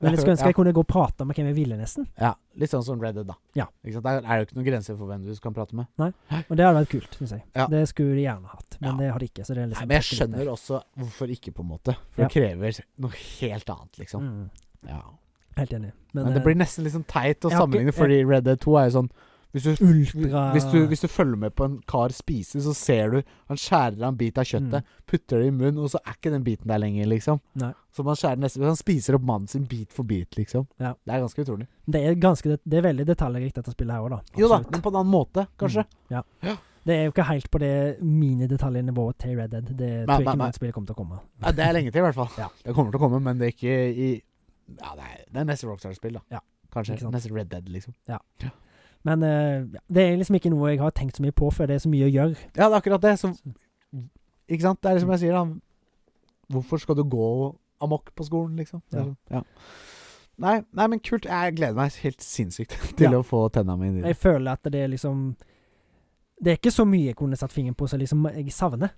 [SPEAKER 2] Men jeg skulle ønske
[SPEAKER 1] ja,
[SPEAKER 2] jeg kunne gå og prate med hvem jeg ville, nesten.
[SPEAKER 1] ja, Litt sånn som Red Dead, da.
[SPEAKER 2] Ja.
[SPEAKER 1] Ikke sant? Der er det jo ikke noen grenser for hvem du kan prate med.
[SPEAKER 2] Og det hadde vært kult, syns jeg.
[SPEAKER 1] Ja.
[SPEAKER 2] Det skulle de gjerne hatt. Men
[SPEAKER 1] Ja.
[SPEAKER 2] det har de ikke. Så det er
[SPEAKER 1] Nei,
[SPEAKER 2] liksom
[SPEAKER 1] men jeg skjønner også hvorfor ikke, på en måte. For
[SPEAKER 2] Ja.
[SPEAKER 1] det krever noe helt annet, liksom.
[SPEAKER 2] Mm,
[SPEAKER 1] Ja.
[SPEAKER 2] helt enig. Men,
[SPEAKER 1] Men det
[SPEAKER 2] eh,
[SPEAKER 1] blir nesten litt sånn teit å
[SPEAKER 2] jeg har
[SPEAKER 1] sammenligne,
[SPEAKER 2] ikke-
[SPEAKER 1] fordi Red Dead 2 er jo sånn Hvis du
[SPEAKER 2] ultra
[SPEAKER 1] Hvis du, hvis du følger med på en kar spise, så ser du han skjærer av en bit av
[SPEAKER 2] mm.
[SPEAKER 1] kjøttet, putter det i munnen, og så er ikke den biten der lenger, liksom.
[SPEAKER 2] Nei.
[SPEAKER 1] Så man skjærer nesten Han spiser opp mannen sin bit for bit, liksom.
[SPEAKER 2] Ja.
[SPEAKER 1] Det er ganske utrolig.
[SPEAKER 2] Det er, ganske, det, det er veldig detaljrikt, dette spillet her òg, da.
[SPEAKER 1] Jo da,
[SPEAKER 2] Absolutt.
[SPEAKER 1] men på en annen måte, kanskje.
[SPEAKER 2] Ja.
[SPEAKER 1] Ja.
[SPEAKER 2] Det er jo ikke helt på det minidetaljnivået til Red Dead. Det
[SPEAKER 1] nei,
[SPEAKER 2] tror jeg ikke
[SPEAKER 1] nei.
[SPEAKER 2] noe spill kommer til å komme.
[SPEAKER 1] Ja, det er lenge til, i hvert fall.
[SPEAKER 2] Mm. Ja.
[SPEAKER 1] Det kommer til å komme, men det er ikke i Ja, det er, det er neste Rockstar-spill, da.
[SPEAKER 2] Ja.
[SPEAKER 1] Kanskje.
[SPEAKER 2] Ikke sant.
[SPEAKER 1] Neste Red Dead, liksom.
[SPEAKER 2] Men eh, ja, det er liksom ikke noe jeg har tenkt så mye på, for det er så mye å gjøre.
[SPEAKER 1] Ja, det er akkurat det. Så, ikke sant? Det er som jeg sier, da. Hvorfor skal du gå amok på skolen, liksom? Det er
[SPEAKER 2] Ja.
[SPEAKER 1] sånn, ja. Nei, nei, men kult. Jeg gleder meg helt sinnssykt til
[SPEAKER 2] Ja.
[SPEAKER 1] å få tenna mine i det.
[SPEAKER 2] Jeg føler at det er liksom Det er ikke så mye jeg kunne satt fingeren på som liksom jeg savner.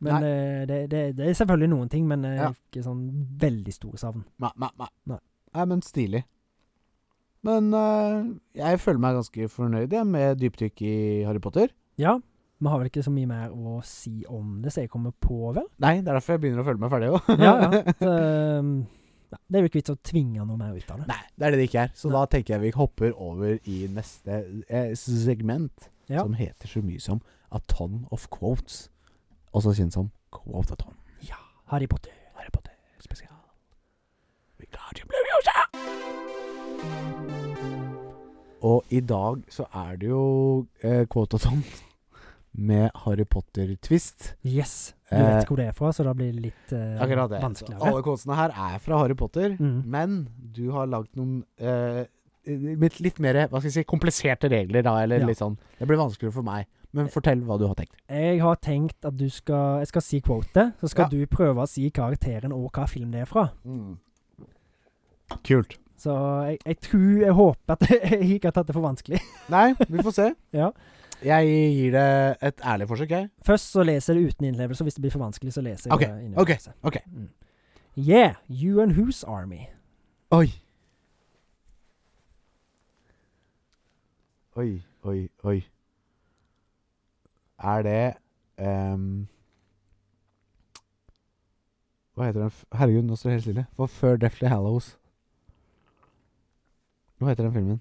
[SPEAKER 2] Men eh, det, det, det er selvfølgelig noen ting, men eh,
[SPEAKER 1] Ja.
[SPEAKER 2] ikke sånn veldig store savn.
[SPEAKER 1] Nei, nei, nei.
[SPEAKER 2] Nei.
[SPEAKER 1] Nei, men stilig. Men eh, jeg føler meg ganske fornøyd jeg, med dypdykk i Harry Potter.
[SPEAKER 2] Ja, vi har vel ikke så mye mer å si om det, så jeg kommer på, vel?
[SPEAKER 1] Nei, det er derfor jeg begynner å føle meg ferdig òg.
[SPEAKER 2] Ja, ja. Så, um, ja, det er jo ikke vits å tvinge noe mer ut av det.
[SPEAKER 1] Nei, det er det det ikke er. Så da tenker jeg vi hopper over i neste eh, segment,
[SPEAKER 2] Ja.
[SPEAKER 1] som heter så mye som A Ton of Quotes. Også kjent som Quotaton.
[SPEAKER 2] Harry Potter.
[SPEAKER 1] Harry Potter spesial. Wingardium Leviosa! Og i dag så er det jo eh, Quotaton med Harry Potter-twist.
[SPEAKER 2] Yes. Du
[SPEAKER 1] Eh,
[SPEAKER 2] vet hvor det er fra, så da blir det litt eh,
[SPEAKER 1] Akkurat det. Så
[SPEAKER 2] vanskeligere.
[SPEAKER 1] Alle quotesene her er fra Harry Potter,
[SPEAKER 2] Mm.
[SPEAKER 1] men du har lagd noen eh, litt, litt mer hva skal jeg si, kompliserte regler, da, eller
[SPEAKER 2] Ja.
[SPEAKER 1] litt sånn Det blir vanskeligere for meg. Men fortell hva du har tenkt.
[SPEAKER 2] Jeg har tenkt at du skal Jeg skal si quote, så skal
[SPEAKER 1] Ja.
[SPEAKER 2] du prøve å si karakteren og hva film det er fra.
[SPEAKER 1] Mm. Kult.
[SPEAKER 2] Så jeg, jeg tror Jeg håper at jeg ikke har tatt det for vanskelig.
[SPEAKER 1] Nei, vi får se.
[SPEAKER 2] Ja.
[SPEAKER 1] Jeg gir det et ærlig forsøk, jeg.
[SPEAKER 2] Først så leser jeg det uten innlevelse, og hvis det blir for vanskelig, så leser jeg
[SPEAKER 1] Ok,
[SPEAKER 2] det innlevelse.
[SPEAKER 1] ok.
[SPEAKER 2] Mm. Yeah, you and whose army?
[SPEAKER 1] Oi. Oi, oi, oi. Er det ehm, Hva heter den f- Herregud, nå står det helt stille. For før Deathly Hallows. Hva heter den filmen?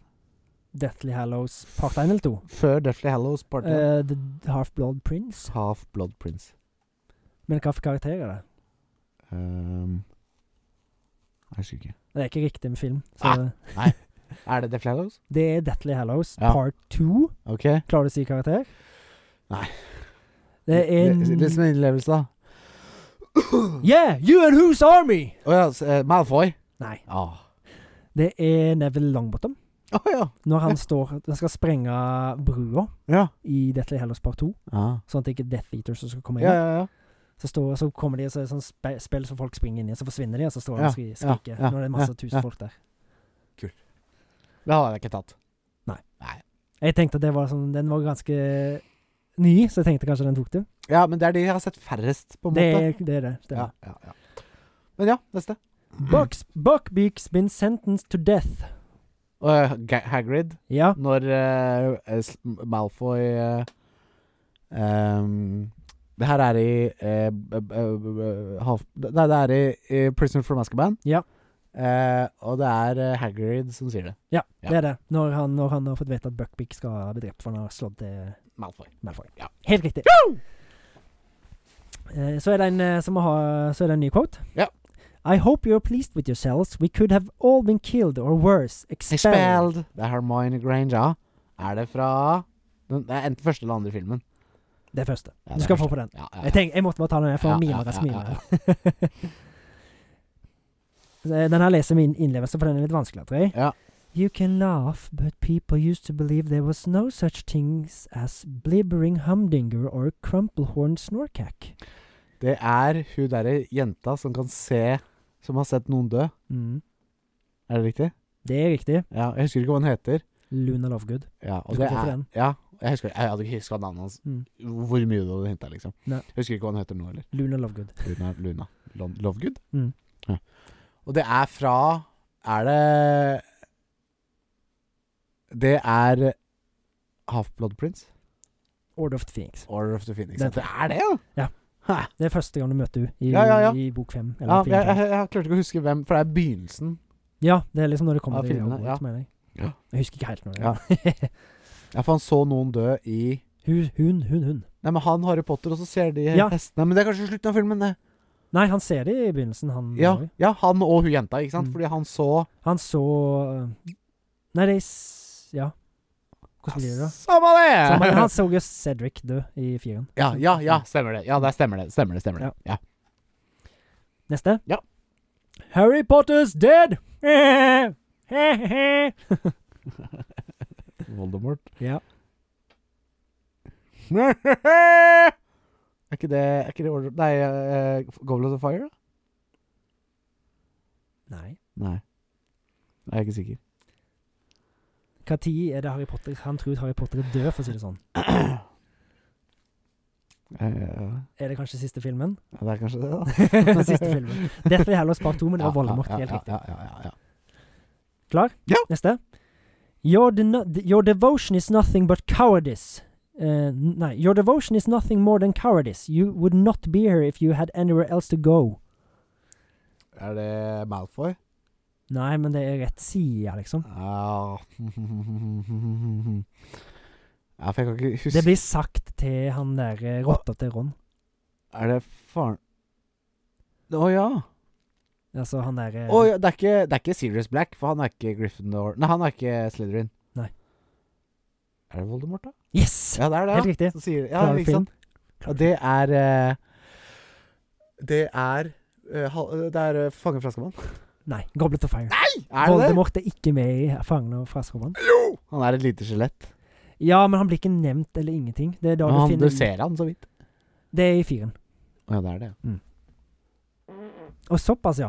[SPEAKER 2] Deathly Hallows part 1 eller 2?
[SPEAKER 1] Før Deathly Hallows Part 1.
[SPEAKER 2] the Half-Blood Prince?
[SPEAKER 1] Half Blood Prince.
[SPEAKER 2] Men hva for karakter er det?
[SPEAKER 1] Ehm, jeg husker ikke.
[SPEAKER 2] Det er ikke riktig med film. Så
[SPEAKER 1] Ah. Er det Deathly Hallows?
[SPEAKER 2] Det er Deathly Hallows
[SPEAKER 1] Ja.
[SPEAKER 2] part 2.
[SPEAKER 1] Ok.
[SPEAKER 2] Klarer du å si karakter?
[SPEAKER 1] Nei.
[SPEAKER 2] Det er en
[SPEAKER 1] Litt som en innlevelse, da.
[SPEAKER 2] Yeah, you and whose army?
[SPEAKER 1] Å ja, s- eh, Malfoy.
[SPEAKER 2] Nei.
[SPEAKER 1] Ah.
[SPEAKER 2] Det er Neville Longbottom.
[SPEAKER 1] Å ja.
[SPEAKER 2] Når han står Han skal sprenge brua
[SPEAKER 1] Ja.
[SPEAKER 2] i Deathly Hallows part 2,
[SPEAKER 1] Ah.
[SPEAKER 2] sånn at det ikke er Death Eaters som skal komme inn.
[SPEAKER 1] Ja, ja, ja.
[SPEAKER 2] Så, står, så kommer de og så er det sånn spe, spill som folk springer inn i, og så forsvinner de, og så står de og skri,
[SPEAKER 1] Ja, ja,
[SPEAKER 2] skriker.
[SPEAKER 1] ja,
[SPEAKER 2] Når det er masse
[SPEAKER 1] ja,
[SPEAKER 2] tusen
[SPEAKER 1] ja.
[SPEAKER 2] folk der.
[SPEAKER 1] Det har jeg ikke tatt.
[SPEAKER 2] Jeg tenkte at det var sånn Den var ganske ny, så jeg tenkte kanskje den tok du.
[SPEAKER 1] Ja, men det er de jeg har sett færrest, på en
[SPEAKER 2] Det,
[SPEAKER 1] måte.
[SPEAKER 2] er- det er det.
[SPEAKER 1] Ja,
[SPEAKER 2] Stemmer.
[SPEAKER 1] ja, ja. Men ja, neste.
[SPEAKER 2] Bucks, Buckbeak's been sentenced to death.
[SPEAKER 1] Uh, Hagrid,
[SPEAKER 2] Ja.
[SPEAKER 1] når eh, eh, s- Malfoy eh, ehm, Det her er i eh, b- b- b- half, Nei, det er i, i Prisoner from Azkaban.
[SPEAKER 2] Ja.
[SPEAKER 1] Eh, og det er eh, Hagrid som sier det.
[SPEAKER 2] Ja,
[SPEAKER 1] Ja.
[SPEAKER 2] det er det. Når han, når han har fått vite at Buckbeak skal bli drept, for han har slått til
[SPEAKER 1] Malfoy.
[SPEAKER 2] Malfoy.
[SPEAKER 1] Ja.
[SPEAKER 2] Helt riktig. Eh, Så er det en eh, som har Så er det en ny quote.
[SPEAKER 1] Ja.
[SPEAKER 2] I hope you're pleased with yourselves. We could have all been killed or worse, expelled.
[SPEAKER 1] Expelled. Det er Hermione Granger. Er det fra den, Det er enten første eller andre filmen.
[SPEAKER 2] Det første.
[SPEAKER 1] Ja,
[SPEAKER 2] du
[SPEAKER 1] det
[SPEAKER 2] skal
[SPEAKER 1] er
[SPEAKER 2] få
[SPEAKER 1] første.
[SPEAKER 2] på den.
[SPEAKER 1] Ja, ja, ja.
[SPEAKER 2] Jeg, tenk, jeg måtte bare ta den her, for
[SPEAKER 1] Ja,
[SPEAKER 2] han
[SPEAKER 1] ja,
[SPEAKER 2] mimer er og
[SPEAKER 1] ja,
[SPEAKER 2] smiler. Så, eh, den her leser min innlevelse, for den er litt vanskelig, tror jeg.
[SPEAKER 1] Ja.
[SPEAKER 2] You can laugh, but people used to believe there was no such things as blibbering humdinger or crumplehorn snorkack.
[SPEAKER 1] Det er hun derre jenta som kan se Som har sett noen dø.
[SPEAKER 2] Mm.
[SPEAKER 1] Er det riktig?
[SPEAKER 2] Det er riktig.
[SPEAKER 1] Ja, jeg husker ikke hva hun heter.
[SPEAKER 2] Luna Lovegood.
[SPEAKER 1] Ja, og
[SPEAKER 2] Du
[SPEAKER 1] det
[SPEAKER 2] kan få
[SPEAKER 1] er,
[SPEAKER 2] den.
[SPEAKER 1] ja, jeg, husker, jeg hadde ikke huska navnet hans.
[SPEAKER 2] Mm.
[SPEAKER 1] Hvor mye du hadde henta, liksom.
[SPEAKER 2] Nei.
[SPEAKER 1] Jeg husker ikke hva hun heter nå heller.
[SPEAKER 2] Luna Lovegood.
[SPEAKER 1] Luna, Luna. Lon- Lovegood?
[SPEAKER 2] Mm.
[SPEAKER 1] Ja. Og det er fra Er det Det er Half-Blood Prince?
[SPEAKER 2] Order of the Phoenix.
[SPEAKER 1] Order of the Phoenix.
[SPEAKER 2] Den-
[SPEAKER 1] Det er det, ja!
[SPEAKER 2] Det er første gang du møter henne i,
[SPEAKER 1] Ja, ja, ja.
[SPEAKER 2] i bok fem.
[SPEAKER 1] ja
[SPEAKER 2] Eller
[SPEAKER 1] jeg,
[SPEAKER 2] film fem.
[SPEAKER 1] jeg, jeg klarte ikke å huske hvem, for det er begynnelsen.
[SPEAKER 2] ja, det er liksom når det kommer
[SPEAKER 1] Av
[SPEAKER 2] til
[SPEAKER 1] filmene,
[SPEAKER 2] Hogwarts,
[SPEAKER 1] ja.
[SPEAKER 2] mener jeg.
[SPEAKER 1] Ja.
[SPEAKER 2] Jeg husker ikke helt når det
[SPEAKER 1] Ja.
[SPEAKER 2] er.
[SPEAKER 1] Ja, for han så noen dø i
[SPEAKER 2] Hun, hun, hun, hun.
[SPEAKER 1] Nei, men han Harry Potter, og så ser de
[SPEAKER 2] Ja.
[SPEAKER 1] hestene. Men det er kanskje slutten av filmen, det.
[SPEAKER 2] Nei, han ser det i begynnelsen, han
[SPEAKER 1] Ja,
[SPEAKER 2] Roy.
[SPEAKER 1] ja han og hun jenta, ikke sant?
[SPEAKER 2] Mm.
[SPEAKER 1] Fordi han så
[SPEAKER 2] Han så øh, Nei, det er s- Ja. Hvordan blir det, da?
[SPEAKER 1] Samme det!
[SPEAKER 2] Samme, han så jo Cedric dø i firen.
[SPEAKER 1] ja, ja, ja, stemmer det. Ja, det stemmer det. Stemmer det, stemmer det. Ja.
[SPEAKER 2] Neste.
[SPEAKER 1] Ja.
[SPEAKER 2] Harry Potter's dead!
[SPEAKER 1] Voldemort.
[SPEAKER 2] ja.
[SPEAKER 1] er ikke det Er ikke det Order Nei, uh, Goblet of Fire, da?
[SPEAKER 2] Nei.
[SPEAKER 1] Nei. Nei, Jeg er ikke sikker.
[SPEAKER 2] Hva tid er det Harry Potter Han tror Harry Potter er død, for å si det sånn.
[SPEAKER 1] Eh,
[SPEAKER 2] Er det kanskje siste filmen?
[SPEAKER 1] ja, det er kanskje det, da.
[SPEAKER 2] Den siste filmen. Dette er Hallows part 2, men det var
[SPEAKER 1] Ja,
[SPEAKER 2] Voldemort.
[SPEAKER 1] ja,
[SPEAKER 2] Helt
[SPEAKER 1] ja,
[SPEAKER 2] riktig.
[SPEAKER 1] Ja, ja, ja, ja.
[SPEAKER 2] Klar?
[SPEAKER 1] Ja.
[SPEAKER 2] Neste. Your, deno- your devotion is nothing but cowardice. Eh, n- nei, your devotion is nothing more than cowardice. You would not be here if you had anywhere else to go.
[SPEAKER 1] Er det Malfoy?
[SPEAKER 2] Nei, men det er rett side, liksom.
[SPEAKER 1] Ja Ja, for jeg kan ikke huske
[SPEAKER 2] Det blir sagt til han der eh, rotta til Ron.
[SPEAKER 1] Er det faren Å ja.
[SPEAKER 2] Altså han der eh,
[SPEAKER 1] Å ja det, er ikke, det er ikke Sirius Black, for han er ikke Gryffindor Nei, han er ikke Slytherin.
[SPEAKER 2] Nei.
[SPEAKER 1] Er det Voldemort, da?
[SPEAKER 2] Yes!
[SPEAKER 1] Ja, det er det.
[SPEAKER 2] Helt riktig.
[SPEAKER 1] Så sier, ja,
[SPEAKER 2] Klarer du
[SPEAKER 1] ikke
[SPEAKER 2] filmen?
[SPEAKER 1] sant? Og det er eh, Det er eh, hal- eh, Det er uh, Fangen fra Azkaban.
[SPEAKER 2] Nei. Goblet of Fire.
[SPEAKER 1] Er det det?
[SPEAKER 2] Voldemort er ikke med i Fangene og fraskerommene.
[SPEAKER 1] Han er et lite skjelett.
[SPEAKER 2] Ja, men han blir ikke nevnt eller ingenting. Det er da
[SPEAKER 1] Men
[SPEAKER 2] du
[SPEAKER 1] han, du
[SPEAKER 2] finner
[SPEAKER 1] ser han så vidt.
[SPEAKER 2] Det er i firen.
[SPEAKER 1] Ja, det er det.
[SPEAKER 2] Og såpass, ja.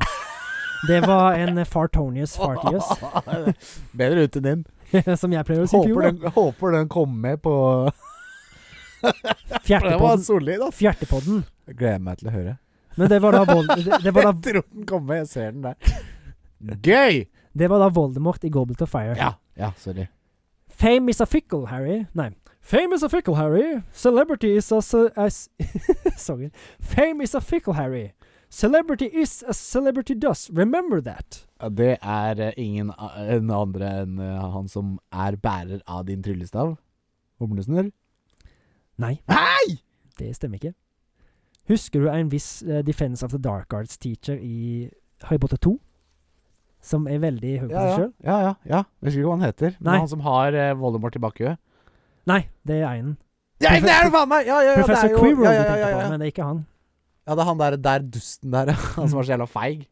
[SPEAKER 2] Det var en eh, fartonius fartius,
[SPEAKER 1] Bedre ut enn din.
[SPEAKER 2] som jeg pleier å si i
[SPEAKER 1] Håper
[SPEAKER 2] fjor.
[SPEAKER 1] den, håper den kommer med på
[SPEAKER 2] da.
[SPEAKER 1] For Den var
[SPEAKER 2] Fjertepodden.
[SPEAKER 1] solid, ass.
[SPEAKER 2] Fjertepodden.
[SPEAKER 1] Jeg gleder meg til å høre.
[SPEAKER 2] Men det var da, Vol det, det var
[SPEAKER 1] Jeg
[SPEAKER 2] da,
[SPEAKER 1] tror den kommer, jeg ser den der. Gøy!
[SPEAKER 2] det var da Voldemort i Goblet of Fire.
[SPEAKER 1] Ja, ja, sorry.
[SPEAKER 2] Fame is a fickle, Harry. Nei. Fame is a fickle, Harry. Celebrity is a... ce- a s- Sorry. Fame is a fickle, Harry. Celebrity is as celebrity does. Remember that.
[SPEAKER 1] Ja, Det er eh, ingen a- en andre enn eh, han som er bærer av din tryllestav. Humlesnurr.
[SPEAKER 2] Nei,
[SPEAKER 1] Hei!
[SPEAKER 2] det stemmer ikke. Husker du en viss eh, Defense of the Dark Arts teacher i Harry Potter 2? Som er veldig høy på
[SPEAKER 1] Ja,
[SPEAKER 2] seg
[SPEAKER 1] ja,
[SPEAKER 2] sjøl?
[SPEAKER 1] ja. ja, ja. Jeg husker ikke hva han heter. Men
[SPEAKER 2] Nei.
[SPEAKER 1] han som har eh, Voldemort i bakhuet.
[SPEAKER 2] Nei, det er einen.
[SPEAKER 1] Ja, det er det faen meg! Ja, ja, ja, det
[SPEAKER 2] Professor
[SPEAKER 1] er jo
[SPEAKER 2] Quirrell
[SPEAKER 1] ja, ja, ja,
[SPEAKER 2] du tenker
[SPEAKER 1] ja,
[SPEAKER 2] på,
[SPEAKER 1] ja.
[SPEAKER 2] men det er ikke han.
[SPEAKER 1] ja, det er han der, der dusten der, han som var så jævla feig.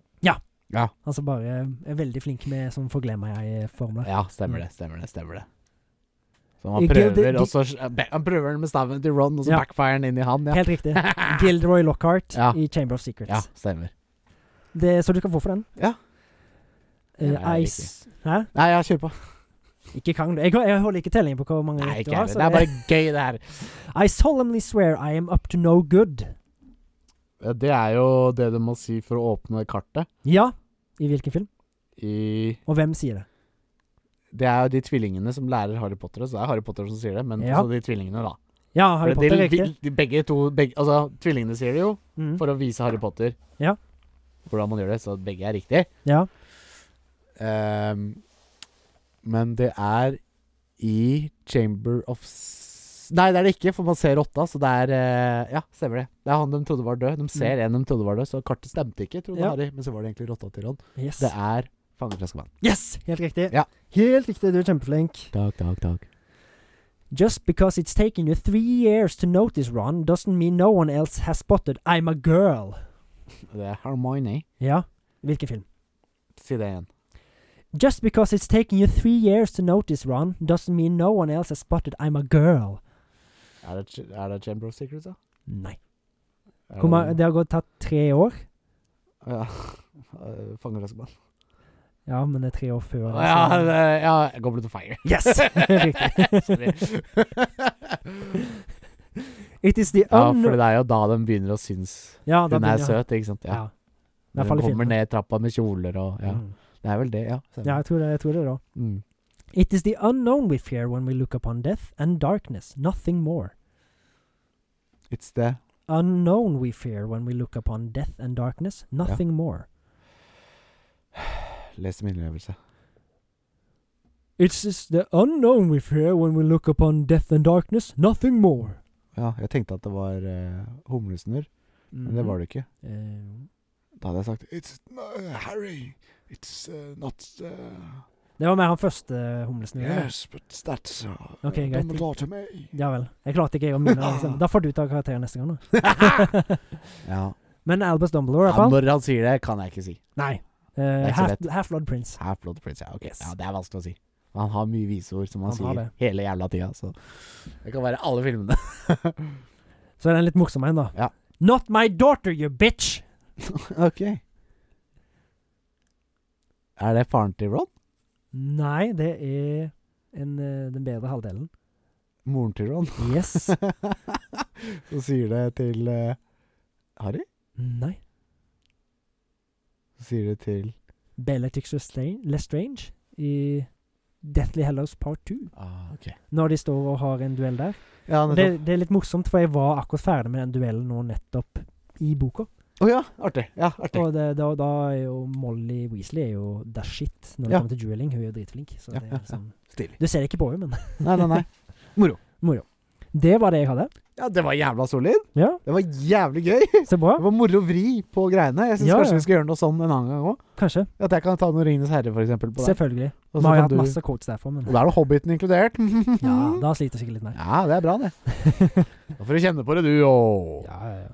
[SPEAKER 2] Han som bare er veldig flink med sånn forglemmer-jeg-formler.
[SPEAKER 1] Ja, stemmer det, stemmer det, stemmer det. Så han
[SPEAKER 2] I
[SPEAKER 1] prøver,
[SPEAKER 2] Gildi-
[SPEAKER 1] og så han prøver den med staven til Ron, og så
[SPEAKER 2] Ja.
[SPEAKER 1] backfirer den inn i han. Ja.
[SPEAKER 2] Helt riktig. Gilderoy Lockhart
[SPEAKER 1] Ja.
[SPEAKER 2] i Chamber of Secrets.
[SPEAKER 1] ja, stemmer.
[SPEAKER 2] Det, så du kan få for den.
[SPEAKER 1] Ja. Ja,
[SPEAKER 2] Eh,
[SPEAKER 1] jeg er
[SPEAKER 2] Ice Hæ?
[SPEAKER 1] Nei, ja, kjør på.
[SPEAKER 2] Ikke Kang. Jeg, jeg holder ikke telling på hvor mange
[SPEAKER 1] Nei,
[SPEAKER 2] rett du
[SPEAKER 1] ikke
[SPEAKER 2] har.
[SPEAKER 1] heller.
[SPEAKER 2] så
[SPEAKER 1] Det er bare gøy, det her.
[SPEAKER 2] I solemnly swear I am up to no good.
[SPEAKER 1] Det er jo det du må si for å åpne kartet
[SPEAKER 2] Ja. I hvilken film?
[SPEAKER 1] i
[SPEAKER 2] Og hvem sier det?
[SPEAKER 1] Det er jo de tvillingene som lærer Harry Potter, så det er Harry Potter som sier det, men
[SPEAKER 2] Ja.
[SPEAKER 1] også de tvillingene, da.
[SPEAKER 2] Ja, Harry
[SPEAKER 1] For
[SPEAKER 2] Potter,
[SPEAKER 1] de,
[SPEAKER 2] riktig.
[SPEAKER 1] de, begge to begge, Altså, tvillingene sier det jo
[SPEAKER 2] Mm.
[SPEAKER 1] for å vise Harry Potter
[SPEAKER 2] Ja.
[SPEAKER 1] hvordan man gjør det, så at begge er riktig.
[SPEAKER 2] Ja.
[SPEAKER 1] Ehm, men det er i Chamber of S Nei, det er det ikke, for man ser åtta, så det er eh, Ja, stemmer det. Det er han de trodde var død. De ser en de trodde var død, så kartet stemte ikke, trodde
[SPEAKER 2] Ja.
[SPEAKER 1] Harry. Men så var det egentlig rotta til han.
[SPEAKER 2] Yes.
[SPEAKER 1] Det er Fangen fra Skaban.
[SPEAKER 2] yes! Helt riktig.
[SPEAKER 1] Ja.
[SPEAKER 2] Helt riktig, du er kjempeflink.
[SPEAKER 1] Takk, takk, takk.
[SPEAKER 2] Just because it's taken you three years to notice, Ron, doesn't mean no one else has spotted I'm a girl.
[SPEAKER 1] Det er Harmony.
[SPEAKER 2] Ja. Hvilken film?
[SPEAKER 1] Si det igjen.
[SPEAKER 2] Just because it's taken you three years to notice, Ron, doesn't mean no one else has spotted I'm a girl.
[SPEAKER 1] Er det, Ch- er det Chamber of Secrets, da?
[SPEAKER 2] Nei.
[SPEAKER 1] Er
[SPEAKER 2] Hvor ma- det har gått tatt tre år.
[SPEAKER 1] Ja. Eh, Fangen fra Skaban.
[SPEAKER 2] Ja, men det er tre år før.
[SPEAKER 1] Å,
[SPEAKER 2] altså.
[SPEAKER 1] Ja, det, ja, Goblet of Fire.
[SPEAKER 2] Yes! Riktig.
[SPEAKER 1] Sorry.
[SPEAKER 2] It is the
[SPEAKER 1] Ja,
[SPEAKER 2] un...
[SPEAKER 1] for det er jo da de begynner å synes
[SPEAKER 2] Ja, da
[SPEAKER 1] hun er
[SPEAKER 2] begynner jeg-
[SPEAKER 1] søt, ikke sant?
[SPEAKER 2] Ja.
[SPEAKER 1] Ja.
[SPEAKER 2] I hvert
[SPEAKER 1] Når
[SPEAKER 2] fall
[SPEAKER 1] hun
[SPEAKER 2] i
[SPEAKER 1] kommer
[SPEAKER 2] filmen.
[SPEAKER 1] ned trappa med kjoler og Ja,
[SPEAKER 2] Mm.
[SPEAKER 1] det er vel det, ja.
[SPEAKER 2] ja, jeg tror det, jeg tror det er da.
[SPEAKER 1] Mm.
[SPEAKER 2] It is the unknown we fear when we look upon death and darkness, nothing more.
[SPEAKER 1] It's the
[SPEAKER 2] Unknown we fear when we look upon death and darkness, nothing more.
[SPEAKER 1] Les min innlevelse.
[SPEAKER 2] It is the unknown we fear when we look upon death and darkness, nothing more.
[SPEAKER 1] Ja, jeg tenkte at det var eh, humlesnurr, men
[SPEAKER 2] Mhm.
[SPEAKER 1] det var det ikke.
[SPEAKER 2] Eh,
[SPEAKER 1] Da hadde jeg sagt It's uh, Harry. It's uh, not uh,
[SPEAKER 2] det var mer han første eh, humlesnurren. da.
[SPEAKER 1] Yes, but that's uh,
[SPEAKER 2] Ok, greit.
[SPEAKER 1] Dumbledore to me.
[SPEAKER 2] Ja vel. Jeg klarte ikke å minne meg selv. Da får du ta karakteren neste gang, da.
[SPEAKER 1] Ja.
[SPEAKER 2] Men Albus Dumbledore, i
[SPEAKER 1] ja,
[SPEAKER 2] hvert fall.
[SPEAKER 1] når han sier det, kan jeg ikke si.
[SPEAKER 2] Nei.
[SPEAKER 1] er
[SPEAKER 2] Eh,
[SPEAKER 1] ikke så
[SPEAKER 2] Half-
[SPEAKER 1] lett.
[SPEAKER 2] Half-Blood Prince.
[SPEAKER 1] Half-Blood Prince, ja. ok.
[SPEAKER 2] Yes.
[SPEAKER 1] Ja, det er vanskelig å si. Han har mye viseord som han,
[SPEAKER 2] Han har
[SPEAKER 1] sier hele jævla tida, så det kan være alle filmene.
[SPEAKER 2] Så er det en litt morsom en, da.
[SPEAKER 1] Ja.
[SPEAKER 2] Not my daughter, you bitch!
[SPEAKER 1] Ok. Er det faren til Ron?
[SPEAKER 2] Nei, det er en, eh, den bedre halvdelen.
[SPEAKER 1] Moren til Ron?
[SPEAKER 2] Yes.
[SPEAKER 1] Så sier det til eh, Harry?
[SPEAKER 2] Nei.
[SPEAKER 1] Så sier det til
[SPEAKER 2] Bellatrix Lestra- Lestrange i Deathly Hallows Part 2.
[SPEAKER 1] ah, ok.
[SPEAKER 2] Når de står og har en duell der.
[SPEAKER 1] Ja,
[SPEAKER 2] Og
[SPEAKER 1] nettopp.
[SPEAKER 2] Det, det er litt morsomt, for jeg var akkurat ferdig med den duellen nå nettopp i boka.
[SPEAKER 1] Å ja, artig. Ja, artig.
[SPEAKER 2] Og det, da, da er jo Molly Weasley er jo the shit når det
[SPEAKER 1] Ja.
[SPEAKER 2] kommer til dueling. Hun er jo dritflink. Så
[SPEAKER 1] Ja,
[SPEAKER 2] det
[SPEAKER 1] ja,
[SPEAKER 2] er liksom,
[SPEAKER 1] Stilig.
[SPEAKER 2] du ser det ikke på henne, men
[SPEAKER 1] Nei, nei, nei.
[SPEAKER 2] moro. Det var det jeg hadde.
[SPEAKER 1] Ja, det var jævla solid.
[SPEAKER 2] Ja,
[SPEAKER 1] Det var jævlig gøy.
[SPEAKER 2] Så bra.
[SPEAKER 1] Det var moro å vri på greiene. Jeg syns
[SPEAKER 2] Ja,
[SPEAKER 1] kanskje
[SPEAKER 2] ja.
[SPEAKER 1] vi skal gjøre noe sånn en annen gang òg.
[SPEAKER 2] Kanskje.
[SPEAKER 1] At jeg kan ta noen Ringenes herre, for eksempel, på deg.
[SPEAKER 2] Selvfølgelig.
[SPEAKER 1] Og
[SPEAKER 2] Vi
[SPEAKER 1] så
[SPEAKER 2] har jo
[SPEAKER 1] kan
[SPEAKER 2] hatt
[SPEAKER 1] du-
[SPEAKER 2] masse quotes derfra, men
[SPEAKER 1] Og da er det Hobbiten inkludert.
[SPEAKER 2] ja, da sliter jeg sikkert litt mer.
[SPEAKER 1] Ja, det er bra, det. Da får du kjenne på det, du òg.
[SPEAKER 2] Ja, ja, ja.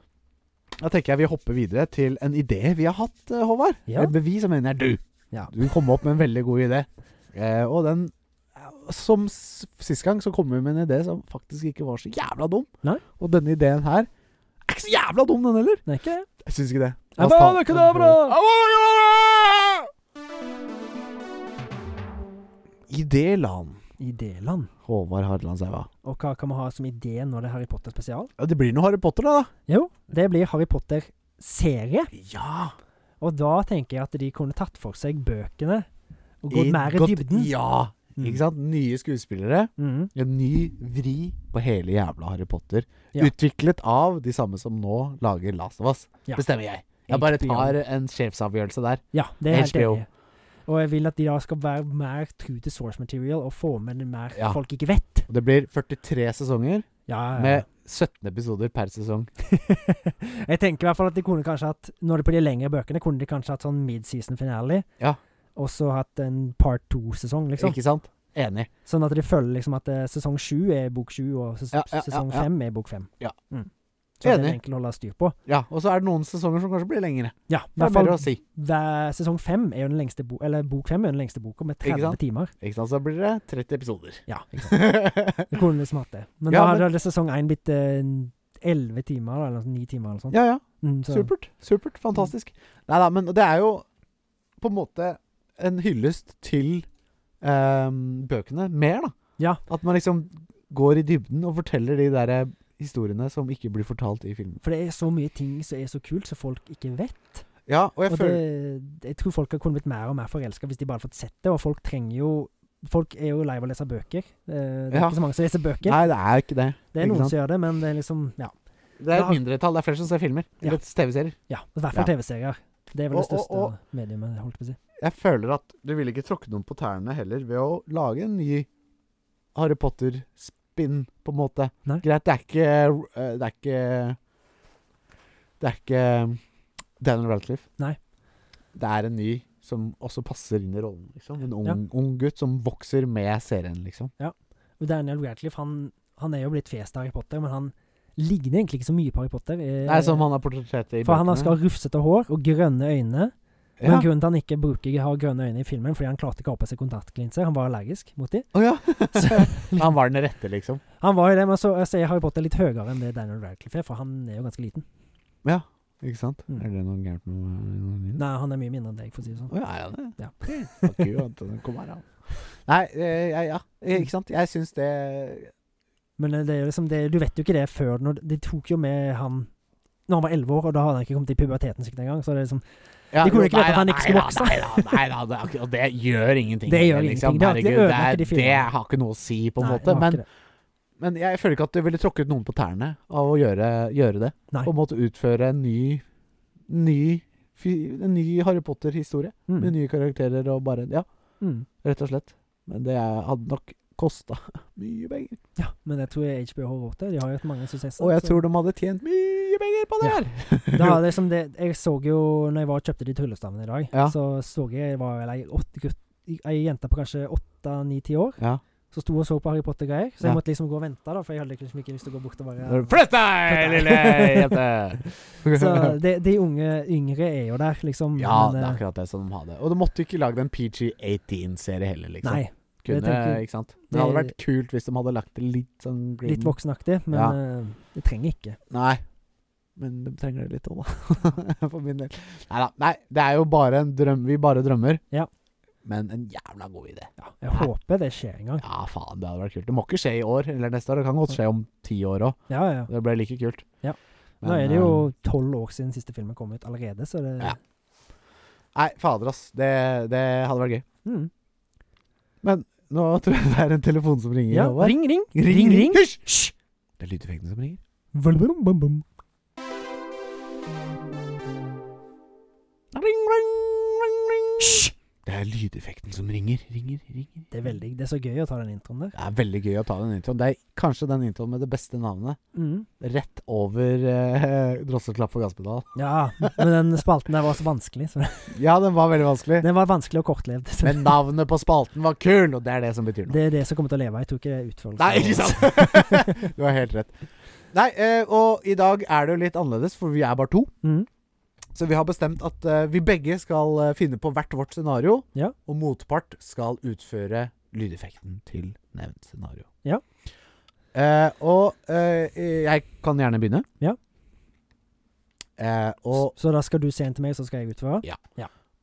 [SPEAKER 1] Da tenker jeg vi hopper videre til en idé vi har hatt, eh, Håvard.
[SPEAKER 2] Ja.
[SPEAKER 1] Et bevis, jeg mener, er du.
[SPEAKER 2] Ja.
[SPEAKER 1] Du kom opp med en veldig god idé. Eh, og den som s- sist gang, så kom vi med en idé som faktisk ikke var så jævla dum.
[SPEAKER 2] Nei.
[SPEAKER 1] Og denne ideen her er ikke så jævla dum, den heller.
[SPEAKER 2] Det er ikke det.
[SPEAKER 1] Jeg syns ikke det. La oss ta-
[SPEAKER 2] Abrakadabra!
[SPEAKER 1] Idéland.
[SPEAKER 2] Idéland.
[SPEAKER 1] Håvard Hardeland Sæva.
[SPEAKER 2] Og hva kan vi ha som idé når det er Harry Potter spesial?
[SPEAKER 1] Ja, det blir noe Harry Potter, da. da.
[SPEAKER 2] Jo, det blir Harry Potter-serie.
[SPEAKER 1] Ja.
[SPEAKER 2] Og da tenker jeg at de kunne tatt for seg bøkene og gått mer i
[SPEAKER 1] Godt-
[SPEAKER 2] dybden.
[SPEAKER 1] Ja. Ikke sant? Nye skuespillere.
[SPEAKER 2] Mm.
[SPEAKER 1] En ny vri på hele jævla Harry Potter.
[SPEAKER 2] Ja.
[SPEAKER 1] Utviklet av de samme som nå lager Last of Us.
[SPEAKER 2] Ja.
[SPEAKER 1] Bestemmer jeg. Jeg bare
[SPEAKER 2] HBO.
[SPEAKER 1] tar en sjefsavgjørelse der.
[SPEAKER 2] Ja, det er jeg helt
[SPEAKER 1] HBO.
[SPEAKER 2] enig. i. Og jeg vil at de da skal være mer true til source material og få med mer
[SPEAKER 1] Ja.
[SPEAKER 2] folk ikke vet.
[SPEAKER 1] Og det blir 43 sesonger
[SPEAKER 2] Ja,
[SPEAKER 1] med 17 episoder per sesong.
[SPEAKER 2] jeg tenker i hvert fall at de kunne kanskje hatt Når det på de lengre bøkene, kunne de kanskje hatt sånn mid-season finale.
[SPEAKER 1] Ja.
[SPEAKER 2] Og så hatt en part two-sesong, liksom.
[SPEAKER 1] Ikke sant? Enig.
[SPEAKER 2] Sånn at de følger liksom at eh, sesong sju er bok sju, og ses
[SPEAKER 1] Ja, ja, ja,
[SPEAKER 2] sesong
[SPEAKER 1] ja.
[SPEAKER 2] fem er bok fem.
[SPEAKER 1] Ja.
[SPEAKER 2] Mm. Så det
[SPEAKER 1] Enig.
[SPEAKER 2] er enkelt å holde styr på.
[SPEAKER 1] Ja, og så er det noen sesonger som kanskje blir lengre.
[SPEAKER 2] Ja, i
[SPEAKER 1] Det er
[SPEAKER 2] hvert fall
[SPEAKER 1] mer å si.
[SPEAKER 2] hver, sesong fem er jo den lengste bo eller bok fem er den lengste boka, med
[SPEAKER 1] Ikke
[SPEAKER 2] 30
[SPEAKER 1] sant?
[SPEAKER 2] timer.
[SPEAKER 1] Ikke sant? Så blir det 30 episoder.
[SPEAKER 2] Ja.
[SPEAKER 1] ja,
[SPEAKER 2] Det kunne liksom hatt det. Men
[SPEAKER 1] Ja,
[SPEAKER 2] da hadde sesong én blitt eh, 11 timer, eller noe sånt, 9 timer, eller noe sånt.
[SPEAKER 1] ja.
[SPEAKER 2] Mm, så-
[SPEAKER 1] Supert. Supert. Fantastisk. Nei da, Mm. men det er jo på en måte en hyllest til ehm, bøkene mer, da.
[SPEAKER 2] Ja.
[SPEAKER 1] At man liksom går i dybden og forteller de der eh, historiene som ikke blir fortalt i filmen.
[SPEAKER 2] For det er så mye ting som er så kult, som folk ikke vet.
[SPEAKER 1] Ja, og jeg
[SPEAKER 2] og
[SPEAKER 1] føler
[SPEAKER 2] det, jeg tror folk har kunnet blitt mer og mer forelska hvis de bare har fått sett det. Og folk trenger jo Folk er jo lei av å lese bøker. Eh, Det er
[SPEAKER 1] Ja.
[SPEAKER 2] ikke så mange som leser bøker.
[SPEAKER 1] Nei, det er ikke det.
[SPEAKER 2] det er
[SPEAKER 1] ikke
[SPEAKER 2] noen
[SPEAKER 1] sant?
[SPEAKER 2] som gjør det, men det er liksom Ja.
[SPEAKER 1] Det er
[SPEAKER 2] Da-
[SPEAKER 1] et mindretall. Det er flere som ser filmer.
[SPEAKER 2] Ja.
[SPEAKER 1] Eller TV-serier.
[SPEAKER 2] ja I hvert fall
[SPEAKER 1] Ja.
[SPEAKER 2] TV-serier. Det er vel
[SPEAKER 1] Og-
[SPEAKER 2] det største
[SPEAKER 1] og- og-
[SPEAKER 2] mediumet, holdt jeg på å si.
[SPEAKER 1] Jeg føler at du ville ikke tråkke noen på tærne heller ved å lage en ny Harry Potter-spinn, på en måte.
[SPEAKER 2] Nei.
[SPEAKER 1] Greit, det er ikke eh, Det er ikke Det er ikke um, Daniel Radcliffe.
[SPEAKER 2] Nei.
[SPEAKER 1] Det er en ny som også passer inn i rollen. liksom. En ung,
[SPEAKER 2] Ja.
[SPEAKER 1] ung gutt som vokser med serien, liksom.
[SPEAKER 2] Og Daniel Radcliffe, han, han er jo blitt fjes til Harry Potter, men han ligner egentlig ikke så mye på Harry Potter. eh,
[SPEAKER 1] Nei, som han har portrettert i
[SPEAKER 2] for han skal ha rufsete hår og grønne øyne.
[SPEAKER 1] ja.
[SPEAKER 2] Men grunnen til han ikke bruker har grønne øyne i filmen, fordi han klarte ikke å ha på seg kontaktlinser. Han var allergisk mot de.
[SPEAKER 1] Å, ja.
[SPEAKER 2] Så-
[SPEAKER 1] han var den rette, liksom.
[SPEAKER 2] Han var jo det, men så jeg ser Harry Potter litt høyere enn det Daniel Radcliffe er, for han er jo ganske liten.
[SPEAKER 1] Ja, ikke sant?
[SPEAKER 2] Mm.
[SPEAKER 1] Er det noe gærent med noen min?
[SPEAKER 2] Nei, han er mye mindre enn deg, for å si det sånn.
[SPEAKER 1] Å ja, er han det?
[SPEAKER 2] Ja.
[SPEAKER 1] Fuck you, Anton. Kom her, han. Nei, eh, ja, ja. Eh, Ikke sant? Jeg syns det
[SPEAKER 2] Men eh, det er jo liksom det, du vet jo ikke det før når De tok jo med han når han var elleve år, og da hadde han ikke kommet i puberteten sikkert engang. Så det er liksom
[SPEAKER 1] ja,
[SPEAKER 2] De kunne ikke
[SPEAKER 1] nei
[SPEAKER 2] vite at
[SPEAKER 1] da,
[SPEAKER 2] han ikke skulle
[SPEAKER 1] nei da,
[SPEAKER 2] vokse.
[SPEAKER 1] Nei da, nei da, det, er akkurat- og det gjør ingenting. liksom.
[SPEAKER 2] Det gjør ingenting. Det- det
[SPEAKER 1] Herregud, det,
[SPEAKER 2] ødelegger de
[SPEAKER 1] er,
[SPEAKER 2] filmene.
[SPEAKER 1] det har ikke noe å si, på en
[SPEAKER 2] nei,
[SPEAKER 1] måte.
[SPEAKER 2] det var
[SPEAKER 1] Men,
[SPEAKER 2] ikke det.
[SPEAKER 1] men jeg føler ikke at du ville tråkket noen på tærne av å gjøre, gjøre det.
[SPEAKER 2] Nei.
[SPEAKER 1] På en måte utføre en ny, ny fi- en ny Harry Potter-historie. Med nye karakterer og bare Ja,
[SPEAKER 2] mm. Mm.
[SPEAKER 1] rett og slett. Men det er- hadde nok kosta mye penger.
[SPEAKER 2] Ja, men jeg tror jeg HBO har råd til det. De har jo hatt mange suksesser.
[SPEAKER 1] Og jeg
[SPEAKER 2] så-
[SPEAKER 1] tror de hadde tjent mye penger på det
[SPEAKER 2] Ja.
[SPEAKER 1] her!
[SPEAKER 2] da, det er som det, jeg så jo Når jeg var og kjøpte de tryllestavene i dag,
[SPEAKER 1] Ja.
[SPEAKER 2] så så jeg det var vel ei, åtte gutt, ei jente på kanskje åtte-ni-ti år
[SPEAKER 1] Ja.
[SPEAKER 2] som sto og så på Harry Potter-greier. Så jeg
[SPEAKER 1] Ja.
[SPEAKER 2] måtte liksom gå og vente, da, for jeg hadde liksom ikke lyst til å gå bort og bare
[SPEAKER 1] Flytt deg, lille jente!
[SPEAKER 2] Så de, de unge yngre er jo der, liksom.
[SPEAKER 1] ja,
[SPEAKER 2] men,
[SPEAKER 1] det er
[SPEAKER 2] eh,
[SPEAKER 1] akkurat det som de hadde. Og du måtte ikke lage den PG-18-serie heller, liksom.
[SPEAKER 2] Nei,
[SPEAKER 1] Kunne,
[SPEAKER 2] det tenker-
[SPEAKER 1] ikke sant? Men det hadde vært
[SPEAKER 2] det-
[SPEAKER 1] kult hvis de hadde lagt det litt sånn grim.
[SPEAKER 2] litt voksenaktig, men
[SPEAKER 1] Ja.
[SPEAKER 2] eh, det trenger ikke.
[SPEAKER 1] Nei. Men de trenger det litt òg, da. For min del. Nei da. Nei, det er jo bare en drøm. Vi bare drømmer.
[SPEAKER 2] Ja.
[SPEAKER 1] Men en jævla god idé.
[SPEAKER 2] Ja, jeg håper det skjer en gang.
[SPEAKER 1] Ja, faen, det hadde vært kult. Det må ikke skje i år eller neste år. Det kan godt skje om ti år òg.
[SPEAKER 2] Ja, ja.
[SPEAKER 1] Det ble like kult.
[SPEAKER 2] Ja.
[SPEAKER 1] Men,
[SPEAKER 2] Nå er det jo
[SPEAKER 1] eh,
[SPEAKER 2] tolv år siden siste filmen kom ut allerede, så det
[SPEAKER 1] Ja. Nei, fader, ass. Det, det hadde vært gøy.
[SPEAKER 2] mm.
[SPEAKER 1] Nå tror jeg det er en telefon som ringer.
[SPEAKER 2] ja.
[SPEAKER 1] Håvard.
[SPEAKER 2] Ring, ring!
[SPEAKER 1] Ring, ring. Hysj!
[SPEAKER 2] Hysj!
[SPEAKER 1] Det er lydeffekten som ringer.
[SPEAKER 2] Valbum, bum, bum.
[SPEAKER 1] Ring, ring, ring, ring. Hysj! Det er lydeffekten som ringer. Ringer, ringer.
[SPEAKER 2] Det er veldig, det er så gøy å ta den introen der.
[SPEAKER 1] Det er veldig gøy å ta den introen. Det er kanskje den introen med det beste navnet.
[SPEAKER 2] Mm.
[SPEAKER 1] Rett over eh, drosseklapp for gasspedal.
[SPEAKER 2] Ja, men den spalten der var så vanskelig. Så
[SPEAKER 1] Ja, den var veldig vanskelig.
[SPEAKER 2] den var vanskelig og kortlevd. Så
[SPEAKER 1] Men navnet på spalten var kul, og det er det som betyr noe.
[SPEAKER 2] det er det som kommer til å leve. Jeg tror ikke det er utførelse.
[SPEAKER 1] Nei, ikke sant? du har helt rett. Nei, eh, og i dag er det jo litt annerledes, for vi er bare to.
[SPEAKER 2] Mm.
[SPEAKER 1] Så vi har bestemt at eh, vi begge skal eh, finne på hvert vårt scenario,
[SPEAKER 2] Ja.
[SPEAKER 1] og motpart skal utføre lydeffekten til nevnt scenario.
[SPEAKER 2] Ja.
[SPEAKER 1] Eh, og eh, jeg kan gjerne begynne.
[SPEAKER 2] Ja.
[SPEAKER 1] Eh, og
[SPEAKER 2] Så da skal du se en til meg, så skal jeg ut fra?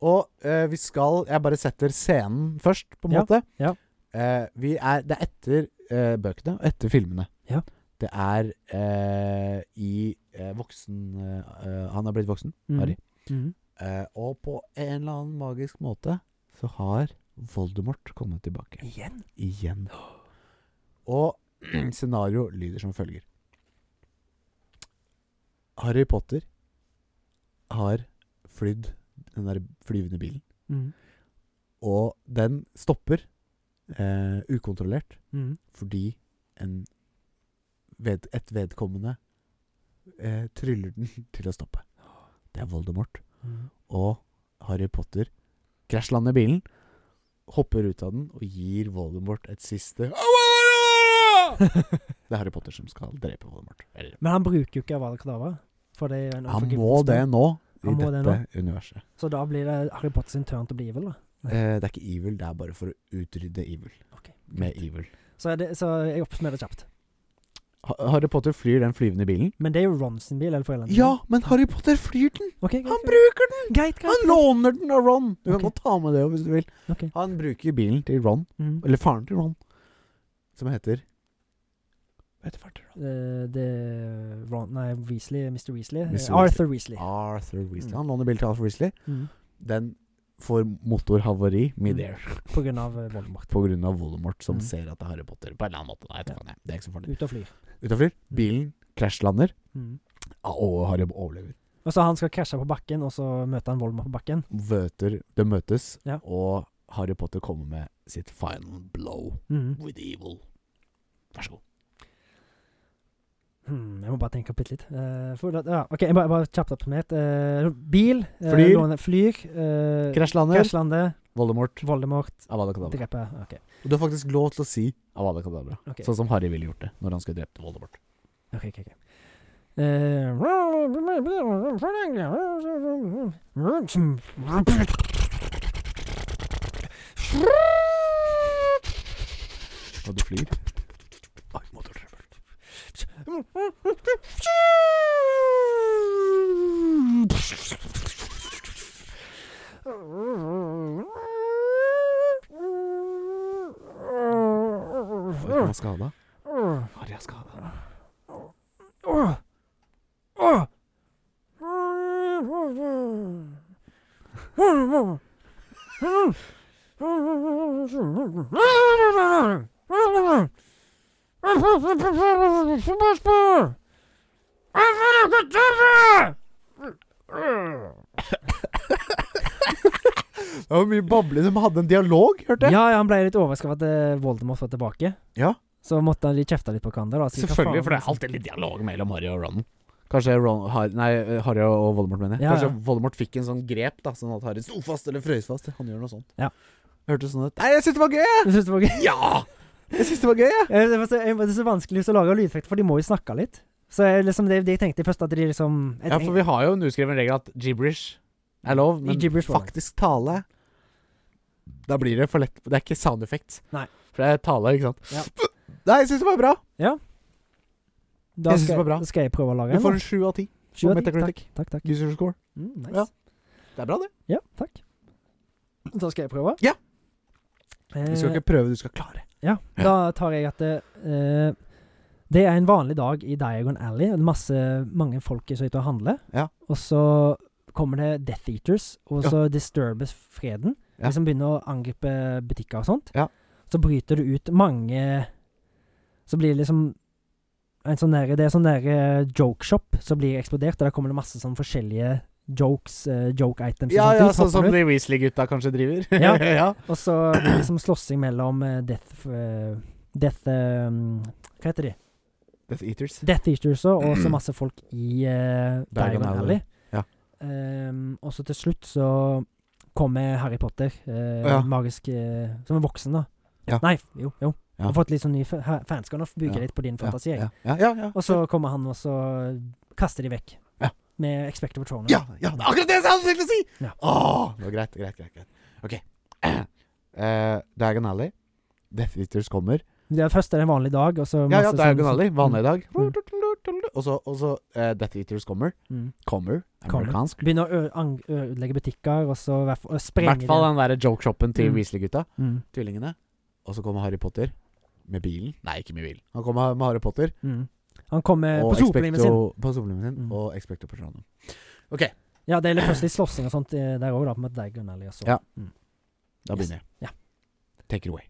[SPEAKER 1] og eh, vi skal Jeg bare setter scenen først, på en
[SPEAKER 2] Ja,
[SPEAKER 1] måte.
[SPEAKER 2] ja.
[SPEAKER 1] Eh, vi er Det er etter eh, bøkene og etter filmene.
[SPEAKER 2] Ja.
[SPEAKER 1] Det er eh, i eh, voksen eh, eh, Han har blitt voksen,
[SPEAKER 2] Mhm.
[SPEAKER 1] Harry.
[SPEAKER 2] Mhm.
[SPEAKER 1] Eh, og på en eller annen magisk måte så har Voldemort kommet tilbake
[SPEAKER 2] Igjen?
[SPEAKER 1] igjen. Og scenario lyder som følger. Harry Potter har flydd den der flyvende bilen,
[SPEAKER 2] Mhm.
[SPEAKER 1] og den stopper eh, ukontrollert
[SPEAKER 2] Mhm.
[SPEAKER 1] fordi en ved, et vedkommende eh, tryller den til å stoppe. Det er Voldemort.
[SPEAKER 2] Mhm.
[SPEAKER 1] Og Harry Potter krasjlander bilen, hopper ut av den og gir Voldemort et siste Det er Harry Potter som skal drepe Voldemort. Eller,
[SPEAKER 2] Men han bruker jo ikke Avada Kedavra. for det er en
[SPEAKER 1] han må
[SPEAKER 2] unforgivable
[SPEAKER 1] det
[SPEAKER 2] spell.
[SPEAKER 1] nå, i
[SPEAKER 2] Han må det
[SPEAKER 1] dette universet.
[SPEAKER 2] Så da blir det Harry Potter sin turn til å bli evil, da.
[SPEAKER 1] Eh, det er ikke evil, det er bare for å utrydde evil.
[SPEAKER 2] Ok,
[SPEAKER 1] Med evil.
[SPEAKER 2] Så, er det, så jeg oppsummerer kjapt.
[SPEAKER 1] Ha Harry Potter flyr den flyvende bilen.
[SPEAKER 2] Men det er jo Ron sin bil, eller foreldrene
[SPEAKER 1] Ja, men Harry Potter flyr den!
[SPEAKER 2] okay, greit,
[SPEAKER 1] Han
[SPEAKER 2] greit.
[SPEAKER 1] bruker den!
[SPEAKER 2] Greit, greit.
[SPEAKER 1] Han låner den av Ron! Du kan
[SPEAKER 2] Ok.
[SPEAKER 1] godt ta med det hvis du vil.
[SPEAKER 2] Ok.
[SPEAKER 1] Han bruker bilen til Ron,
[SPEAKER 2] Mhm.
[SPEAKER 1] eller faren til Ron, som heter Hva heter faren til Ron?
[SPEAKER 2] Eh, det er Ron Nei, Weasley. Mr. Weasley. eh,
[SPEAKER 1] Mr.
[SPEAKER 2] Arthur Weasley.
[SPEAKER 1] Arthur Weasley.
[SPEAKER 2] Mm.
[SPEAKER 1] Han låner bil til Arthur Weasley.
[SPEAKER 2] Mhm.
[SPEAKER 1] Den får motorhavari midair
[SPEAKER 2] På grunn av eh, Voldemort.
[SPEAKER 1] på grunn av Voldemort, som
[SPEAKER 2] Mm.
[SPEAKER 1] ser at det er Harry Potter. På en eller annen måte. Nei, jeg vet ikke faen, jeg. det er ikke så farlig.
[SPEAKER 2] Ute og flyr.
[SPEAKER 1] Utenfor, bilen krasjlander,
[SPEAKER 2] Mhm.
[SPEAKER 1] ja, og Harry overlever.
[SPEAKER 2] Og så han skal krasje på bakken, og så møter han Voldemort på bakken.
[SPEAKER 1] Vøter, de møtes,
[SPEAKER 2] Ja.
[SPEAKER 1] og Harry Potter kommer med sitt final blow
[SPEAKER 2] Mhm.
[SPEAKER 1] with evil. Vær så god.
[SPEAKER 2] Hmm, jeg må bare tenke opp litt. litt. Eh, for, da- ja, ok, jeg bare, bare kjapt opp med uh, Bil. eh,
[SPEAKER 1] Flyr.
[SPEAKER 2] låne- flyr eh,
[SPEAKER 1] Krasjlander,
[SPEAKER 2] Krasjlande.
[SPEAKER 1] Voldemort,
[SPEAKER 2] Voldemort.
[SPEAKER 1] Avada Kedavra.
[SPEAKER 2] Drepe. Ok.
[SPEAKER 1] Og du har faktisk lov til å si Avada Kedavra,
[SPEAKER 2] Ok.
[SPEAKER 1] sånn som Harry ville gjort det når han skulle drept Voldemort.
[SPEAKER 2] Ok, ok, ok. Eh, Eh,
[SPEAKER 1] Og du flyr. Oi, motortrøbbel. Oi, han var skada. Harry er skada. Det var mye babling. De hadde en dialog, hørte jeg.
[SPEAKER 2] Ja, ja, han ble litt overraska over at eh, Voldemort var tilbake.
[SPEAKER 1] Ja.
[SPEAKER 2] Så måtte han de kjefte litt på hverandre. da, så de, hva
[SPEAKER 1] Selvfølgelig,
[SPEAKER 2] faen,
[SPEAKER 1] for det er
[SPEAKER 2] liksom.
[SPEAKER 1] alltid litt dialog mellom Harry og Ron. Kanskje Ron, Har- nei, Harry og Voldemort, mener jeg.
[SPEAKER 2] Ja,
[SPEAKER 1] Kanskje
[SPEAKER 2] ja.
[SPEAKER 1] Voldemort fikk en sånn grep, da sånn at Harry sto fast eller frøys fast. Han gjør noe sånt.
[SPEAKER 2] Ja.
[SPEAKER 1] Hørtes sånn ut. Nei, jeg syns det var gøy! jeg!
[SPEAKER 2] Jeg synes det var gøy.
[SPEAKER 1] Ja! Jeg syns det var gøy, jeg.
[SPEAKER 2] Eh, Det var så, jeg- det er så vanskelig å lage lydeffekter, for de må jo snakke litt. Så jeg, liksom, det, det jeg tenkte først, at de liksom jeg
[SPEAKER 1] Ja, for
[SPEAKER 2] tenk-
[SPEAKER 1] vi har jo en uskreven regel at gibberish er lov, men
[SPEAKER 2] Gibberish var lov.
[SPEAKER 1] faktisk tale Da blir det for lett. Det er ikke sound effect.
[SPEAKER 2] Nei.
[SPEAKER 1] For det er tale, ikke sant. Nei, jeg syns det var bra.
[SPEAKER 2] da
[SPEAKER 1] jeg synes
[SPEAKER 2] skal,
[SPEAKER 1] det var bra.
[SPEAKER 2] Da skal jeg prøve å lage
[SPEAKER 1] Du
[SPEAKER 2] en.
[SPEAKER 1] får
[SPEAKER 2] da.
[SPEAKER 1] en sju av ti.
[SPEAKER 2] Sju av ti.
[SPEAKER 1] Metacritic.
[SPEAKER 2] Takk, takk. takk.
[SPEAKER 1] User score.
[SPEAKER 2] Mm, nice.
[SPEAKER 1] Ja.
[SPEAKER 2] ja.
[SPEAKER 1] Det er bra, det.
[SPEAKER 2] takk. Da skal jeg prøve.
[SPEAKER 1] Ja.
[SPEAKER 2] Eh,
[SPEAKER 1] Du skal ikke prøve, du skal klare.
[SPEAKER 2] Ja, da tar jeg at det, eh, det er en vanlig dag i Diagon Alley. og det er Masse, mange folk er så ute og handler.
[SPEAKER 1] Ja.
[SPEAKER 2] Og så kommer det Death Eaters, og så disturbes freden.
[SPEAKER 1] Ja.
[SPEAKER 2] De som begynner å angripe butikker og sånt.
[SPEAKER 1] Ja.
[SPEAKER 2] Så bryter det ut mange Så blir det liksom en sånn der, Det er sånn der jokeshop som blir eksplodert, og der kommer det masse sånn forskjellige jokes, eh, joke items. og
[SPEAKER 1] Ja,
[SPEAKER 2] sånt
[SPEAKER 1] ja,
[SPEAKER 2] ut,
[SPEAKER 1] sånn
[SPEAKER 2] hopper
[SPEAKER 1] som
[SPEAKER 2] ut.
[SPEAKER 1] de Weasley-gutta kanskje driver.
[SPEAKER 2] Ja.
[SPEAKER 1] ja.
[SPEAKER 2] Og så blir det liksom slåssing mellom eh, Death eh, Death eh, Hva heter de?
[SPEAKER 1] Death Eaters.
[SPEAKER 2] Death Eaters og og så masse folk i uh,
[SPEAKER 1] Diagon
[SPEAKER 2] Diagon
[SPEAKER 1] Alley.
[SPEAKER 2] Alley.
[SPEAKER 1] Ja.
[SPEAKER 2] Ehm, og så til slutt så kommer Harry Potter, eh,
[SPEAKER 1] Ja.
[SPEAKER 2] magisk eh, Som er voksen, da.
[SPEAKER 1] Ja.
[SPEAKER 2] Nei, jo. jo.
[SPEAKER 1] Ja.
[SPEAKER 2] Har fått litt sånn ny fa- ha- fanskap. Nå bygger
[SPEAKER 1] Ja.
[SPEAKER 2] litt på din
[SPEAKER 1] Ja,
[SPEAKER 2] fantasi. jeg.
[SPEAKER 1] ja, ja, ja, ja.
[SPEAKER 2] Og så kommer han, og så kaster de vekk.
[SPEAKER 1] Ja.
[SPEAKER 2] Med Expecto Patroner.
[SPEAKER 1] Ja, ja, det er akkurat det jeg hadde tenkt å si!
[SPEAKER 2] Ja.
[SPEAKER 1] Åh, det var greit, greit, greit, greit. Ok. Eh, Diagon Alley Death Eaters kommer.
[SPEAKER 2] Det er først er det en vanlig dag, og så
[SPEAKER 1] Ja, ja,
[SPEAKER 2] masse sånn-
[SPEAKER 1] Diagon Alley. Vanlig i dag.
[SPEAKER 2] Mm.
[SPEAKER 1] Og så, og så eh, Death Eaters kommer.
[SPEAKER 2] Mm.
[SPEAKER 1] Kommer.
[SPEAKER 2] Kommer.
[SPEAKER 1] Amerikansk. I
[SPEAKER 2] Begynne å ø- ang- ødelegge butikker, og så hvert fall- og sprenge
[SPEAKER 1] hvert fall den derre joke-shoppen til
[SPEAKER 2] Mm.
[SPEAKER 1] Weasley-gutta.
[SPEAKER 2] det. Mm.
[SPEAKER 1] Tvillingene. Og så kommer Harry Potter med bilen. Nei, ikke med bilen. Han kommer med Harry Potter
[SPEAKER 2] Mm. Han kommer
[SPEAKER 1] og
[SPEAKER 2] på sopelinjen sin.
[SPEAKER 1] Expecto- på sopelinjen sin
[SPEAKER 2] Mm.
[SPEAKER 1] og Expecto Patronum.
[SPEAKER 2] Ja, det er litt plutselig slåssing og sånt eh, der òg, da. Med Diagon Alley og så.
[SPEAKER 1] Ja.
[SPEAKER 2] Mm.
[SPEAKER 1] Da
[SPEAKER 2] Yes.
[SPEAKER 1] begynner jeg.
[SPEAKER 2] Ja.
[SPEAKER 1] Take it away.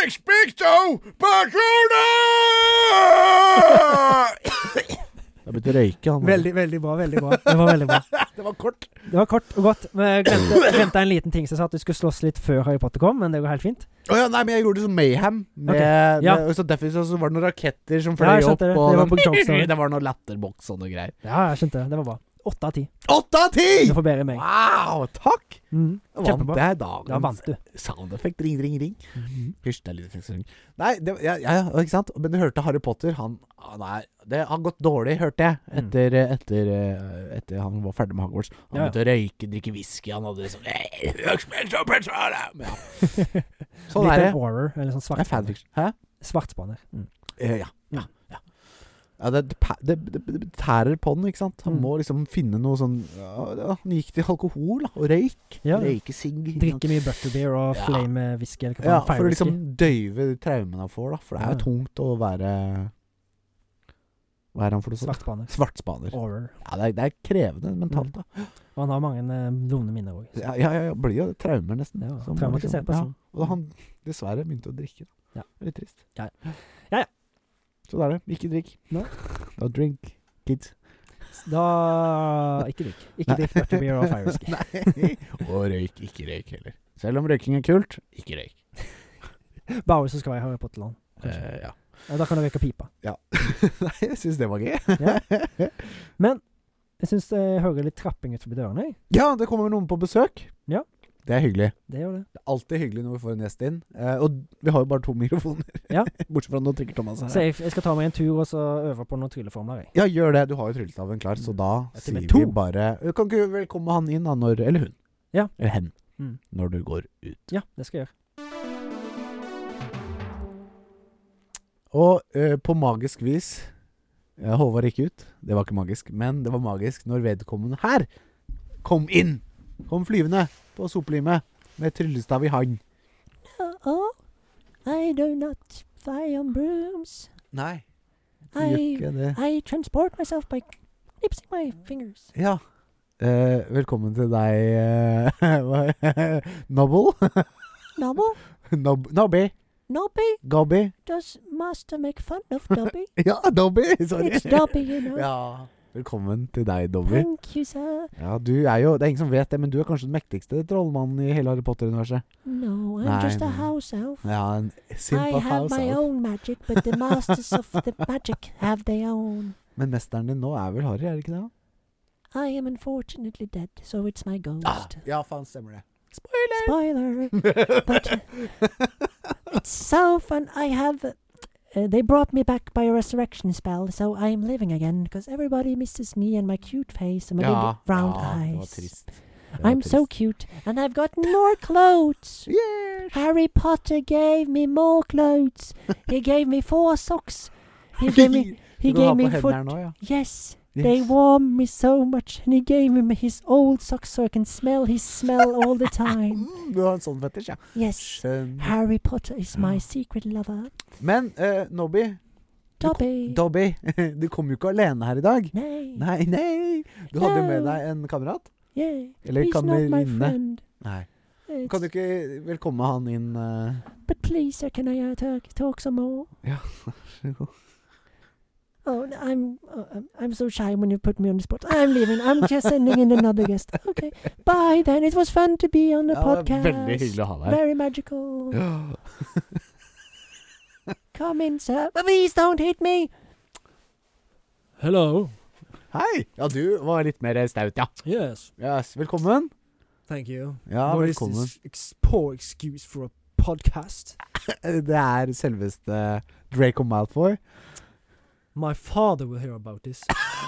[SPEAKER 1] Expecto Patronum! Jeg begynte å røyke, han.
[SPEAKER 2] Veldig, veldig bra. veldig bra Det var veldig bra
[SPEAKER 1] Det var kort.
[SPEAKER 2] Det var kort og godt. Men jeg glemte, glemte en liten ting som sa at du skulle slåss litt før Harry Potter kom, men det går helt fint.
[SPEAKER 1] Å ja, nei, men jeg gjorde det som Mayhem. Med,
[SPEAKER 2] Ok, ja.
[SPEAKER 1] med, og så derfor så, så var det noen raketter som
[SPEAKER 2] Ja,
[SPEAKER 1] fløy
[SPEAKER 2] jeg skjønte
[SPEAKER 1] opp,
[SPEAKER 2] det.
[SPEAKER 1] og
[SPEAKER 2] Det var
[SPEAKER 1] noen-
[SPEAKER 2] på Jokes Tower.
[SPEAKER 1] det var noen latterboks og noe greier.
[SPEAKER 2] Ja, jeg skjønte det. Det var bra. Åtte av ti.
[SPEAKER 1] Åtte av
[SPEAKER 2] Du
[SPEAKER 1] ti!
[SPEAKER 2] får bedre enn meg.
[SPEAKER 1] Wow, takk!
[SPEAKER 2] Mm.
[SPEAKER 1] Da Vant
[SPEAKER 2] Kjempebra.
[SPEAKER 1] jeg
[SPEAKER 2] Da
[SPEAKER 1] dagens
[SPEAKER 2] vant du. Mhm.
[SPEAKER 1] soundeffekt? Ring, ring, ring. Hysj, det er litt effekt. Nei, det, ja, ja, ja, ikke sant? Men du hørte Harry Potter. Han, han er Det har gått dårlig, hørte jeg,
[SPEAKER 2] Mm.
[SPEAKER 1] etter, etter, eh, etter han var ferdig med Hogwarts. Han
[SPEAKER 2] Ja, ja.
[SPEAKER 1] begynte å røyke, drikke whisky, han hadde liksom «Hey, look, smell so petroleum!» ja. Sånn
[SPEAKER 2] Litt
[SPEAKER 1] er det.
[SPEAKER 2] en Auror, eller sånn
[SPEAKER 1] Det er
[SPEAKER 2] svart.
[SPEAKER 1] fanfiction. Hæ?
[SPEAKER 2] Svartspanner. Mm.
[SPEAKER 1] Eh, ja. ja, ja. ja det, det, pa- det, det, det tærer på den, ikke sant? Han
[SPEAKER 2] Mm.
[SPEAKER 1] må liksom finne noe sånn ja, ja, Han gikk til alkohol da, og røyk.
[SPEAKER 2] Ja.
[SPEAKER 1] Røykesigg. ikke sant?
[SPEAKER 2] Drikke mye butterbeer og
[SPEAKER 1] Ja.
[SPEAKER 2] flame whisky eller hva
[SPEAKER 1] Ja,
[SPEAKER 2] faen.
[SPEAKER 1] for å
[SPEAKER 2] Fire
[SPEAKER 1] liksom
[SPEAKER 2] whisky.
[SPEAKER 1] døyve traumene han får, da. For det er
[SPEAKER 2] Ja.
[SPEAKER 1] jo tungt å være Hva er han for noe sånt?
[SPEAKER 2] Svartspanner.
[SPEAKER 1] Svartspaner.
[SPEAKER 2] Auror.
[SPEAKER 1] Ja, det er, det er krevende
[SPEAKER 2] Mm.
[SPEAKER 1] mentalt, da.
[SPEAKER 2] Og han har mange eh, vonde minner òg.
[SPEAKER 1] Ja, ja, ja, ja blir jo traumer, nesten.
[SPEAKER 2] Ja,
[SPEAKER 1] Som liksom-
[SPEAKER 2] traumatisert person.
[SPEAKER 1] Ja. Og han dessverre begynte å drikke. Da.
[SPEAKER 2] Ja.
[SPEAKER 1] Litt trist.
[SPEAKER 2] Ja, Ja, ja.
[SPEAKER 1] Så det er det. Ikke drikk.
[SPEAKER 2] Nei.
[SPEAKER 1] Don't drink, kids.
[SPEAKER 2] Da Ikke drikk. Ikke
[SPEAKER 1] Nei.
[SPEAKER 2] drikk butterbeer og fire whisky.
[SPEAKER 1] Nei. Og røyk. Ikke røyk heller. Selv om røyking er kult, ikke røyk.
[SPEAKER 2] Bare hvis du skal være i Harry Potter-land. Kanskje.
[SPEAKER 1] Eh, ja.
[SPEAKER 2] Ja, Da kan du røyke pipa.
[SPEAKER 1] Nei, jeg syns det var gøy.
[SPEAKER 2] Jeg syns jeg hører litt trapping ut forbi dørene. jeg.
[SPEAKER 1] Ja, det kommer noen på besøk.
[SPEAKER 2] Ja.
[SPEAKER 1] Det er hyggelig.
[SPEAKER 2] Det gjør det.
[SPEAKER 1] Det er alltid hyggelig når vi får en gjest inn. Eh, og vi har jo bare to mikrofoner.
[SPEAKER 2] Ja.
[SPEAKER 1] Bortsett fra nå trykker Thomas
[SPEAKER 2] Så
[SPEAKER 1] her.
[SPEAKER 2] jeg, jeg skal ta meg en tur og så øve på noen trylleformler. Jeg.
[SPEAKER 1] Ja, gjør det. Du har jo tryllestaven klar, så da
[SPEAKER 2] Ja, til og
[SPEAKER 1] sier
[SPEAKER 2] med
[SPEAKER 1] vi
[SPEAKER 2] to.
[SPEAKER 1] bare Kan ikke vel komme han inn, da, når Eller hun.
[SPEAKER 2] Ja.
[SPEAKER 1] Eller hen.
[SPEAKER 2] Mm.
[SPEAKER 1] Når du går ut.
[SPEAKER 2] Ja, det skal jeg gjøre.
[SPEAKER 1] Og eh, på magisk vis ja, Håvard gikk ut. Det var ikke magisk, men det var magisk når vedkommende her kom inn. Kom flyvende på sopelimet med tryllestav i hand.
[SPEAKER 2] Oh, I do not fly on brooms.
[SPEAKER 1] Nei. Du gjør
[SPEAKER 2] I-
[SPEAKER 1] ikke det.
[SPEAKER 2] I transport myself by knipsing my fingers.
[SPEAKER 1] Ja. Eh, velkommen til deg, eh, hva- Nobble.
[SPEAKER 2] Nobble?
[SPEAKER 1] Nob Nobby.
[SPEAKER 3] Nobby?
[SPEAKER 1] Gobby.
[SPEAKER 3] Does Master make fun of Dobby?
[SPEAKER 1] Ja, Dobby. Sorry.
[SPEAKER 3] it's Dobby, you know.
[SPEAKER 1] Ja. Velkommen til deg, Dobby.
[SPEAKER 3] Thank you, sir.
[SPEAKER 1] Ja, du er jo, Det er ingen som vet det, men du er kanskje den mektigste trollmannen i hele Harry Potter-universet.
[SPEAKER 3] No, I'm
[SPEAKER 1] Nein,
[SPEAKER 3] just a
[SPEAKER 1] nein.
[SPEAKER 3] house elf.
[SPEAKER 1] Ja, en
[SPEAKER 3] I
[SPEAKER 1] simpa
[SPEAKER 3] have
[SPEAKER 1] house
[SPEAKER 3] my
[SPEAKER 1] elf.
[SPEAKER 3] own magic, but the masters of the magic have their own.
[SPEAKER 1] Men mesteren din nå er vel Harry, er det ikke det?
[SPEAKER 3] I am unfortunately dead, so it's my ghost.
[SPEAKER 1] ja, faen, stemmer det.
[SPEAKER 3] Spoiler! but it's so fun. I have. Uh, they brought me back by a resurrection spell, so I'm living again because everybody misses me and my cute face and my
[SPEAKER 1] Ja,
[SPEAKER 3] big round
[SPEAKER 1] ja, det var
[SPEAKER 3] eyes.
[SPEAKER 1] trist. Det var
[SPEAKER 3] I'm so
[SPEAKER 1] trist.
[SPEAKER 3] cute, and I've gotten more clothes.
[SPEAKER 1] Yes.
[SPEAKER 3] Harry Potter gave me more clothes. He gave me four socks. He gave me. He
[SPEAKER 1] Du kan
[SPEAKER 3] gave
[SPEAKER 1] ha
[SPEAKER 3] me
[SPEAKER 1] på hendene her
[SPEAKER 3] foot.
[SPEAKER 1] nå, ja.
[SPEAKER 3] Yes,
[SPEAKER 1] Yes.
[SPEAKER 3] they warm me so much, and he gave me his old socks so I can smell his smell all the time.
[SPEAKER 1] Mm, Du har en sånn fetisj, ja.
[SPEAKER 3] Yes,
[SPEAKER 1] Skjønn.
[SPEAKER 3] Harry Potter is my secret lover.
[SPEAKER 1] Men eh, Nobby,
[SPEAKER 3] Dobby.
[SPEAKER 1] Dobby, du kom jo ikke alene her i dag.
[SPEAKER 3] Nay.
[SPEAKER 1] Nei, nei. Du hadde jo med
[SPEAKER 3] No.
[SPEAKER 1] deg en kamerat.
[SPEAKER 3] Yeah.
[SPEAKER 1] Eller
[SPEAKER 3] He's not my
[SPEAKER 1] kamerinne.
[SPEAKER 3] friend.
[SPEAKER 1] Nei.
[SPEAKER 3] It's-
[SPEAKER 1] Kan du ikke velkomme han inn eh?
[SPEAKER 3] But please, sir, can I uh, talk, talk some more?
[SPEAKER 1] Ja, vær så god.
[SPEAKER 3] Oh, n- I'm oh, I'm- I'm so shy when you put me on the spot. I'm leaving. I'm just sending in another guest. Okay, bye then. It was fun to be on the
[SPEAKER 1] Ja, det
[SPEAKER 3] podcast.
[SPEAKER 1] er veldig hyggelig å ha deg her.
[SPEAKER 3] Very magical.
[SPEAKER 1] Ja.
[SPEAKER 3] Come in, sir. Please don't hit me.
[SPEAKER 2] Hello.
[SPEAKER 1] Hei! Ja, du var litt mer staut, ja.
[SPEAKER 2] Yes.
[SPEAKER 1] Yes, velkommen.
[SPEAKER 2] Thank you.
[SPEAKER 1] Ja,
[SPEAKER 2] what is
[SPEAKER 1] velkommen.
[SPEAKER 2] this ex- poor excuse for a podcast?
[SPEAKER 1] Det er selveste Draco Malfoy.
[SPEAKER 2] My father will hear about this.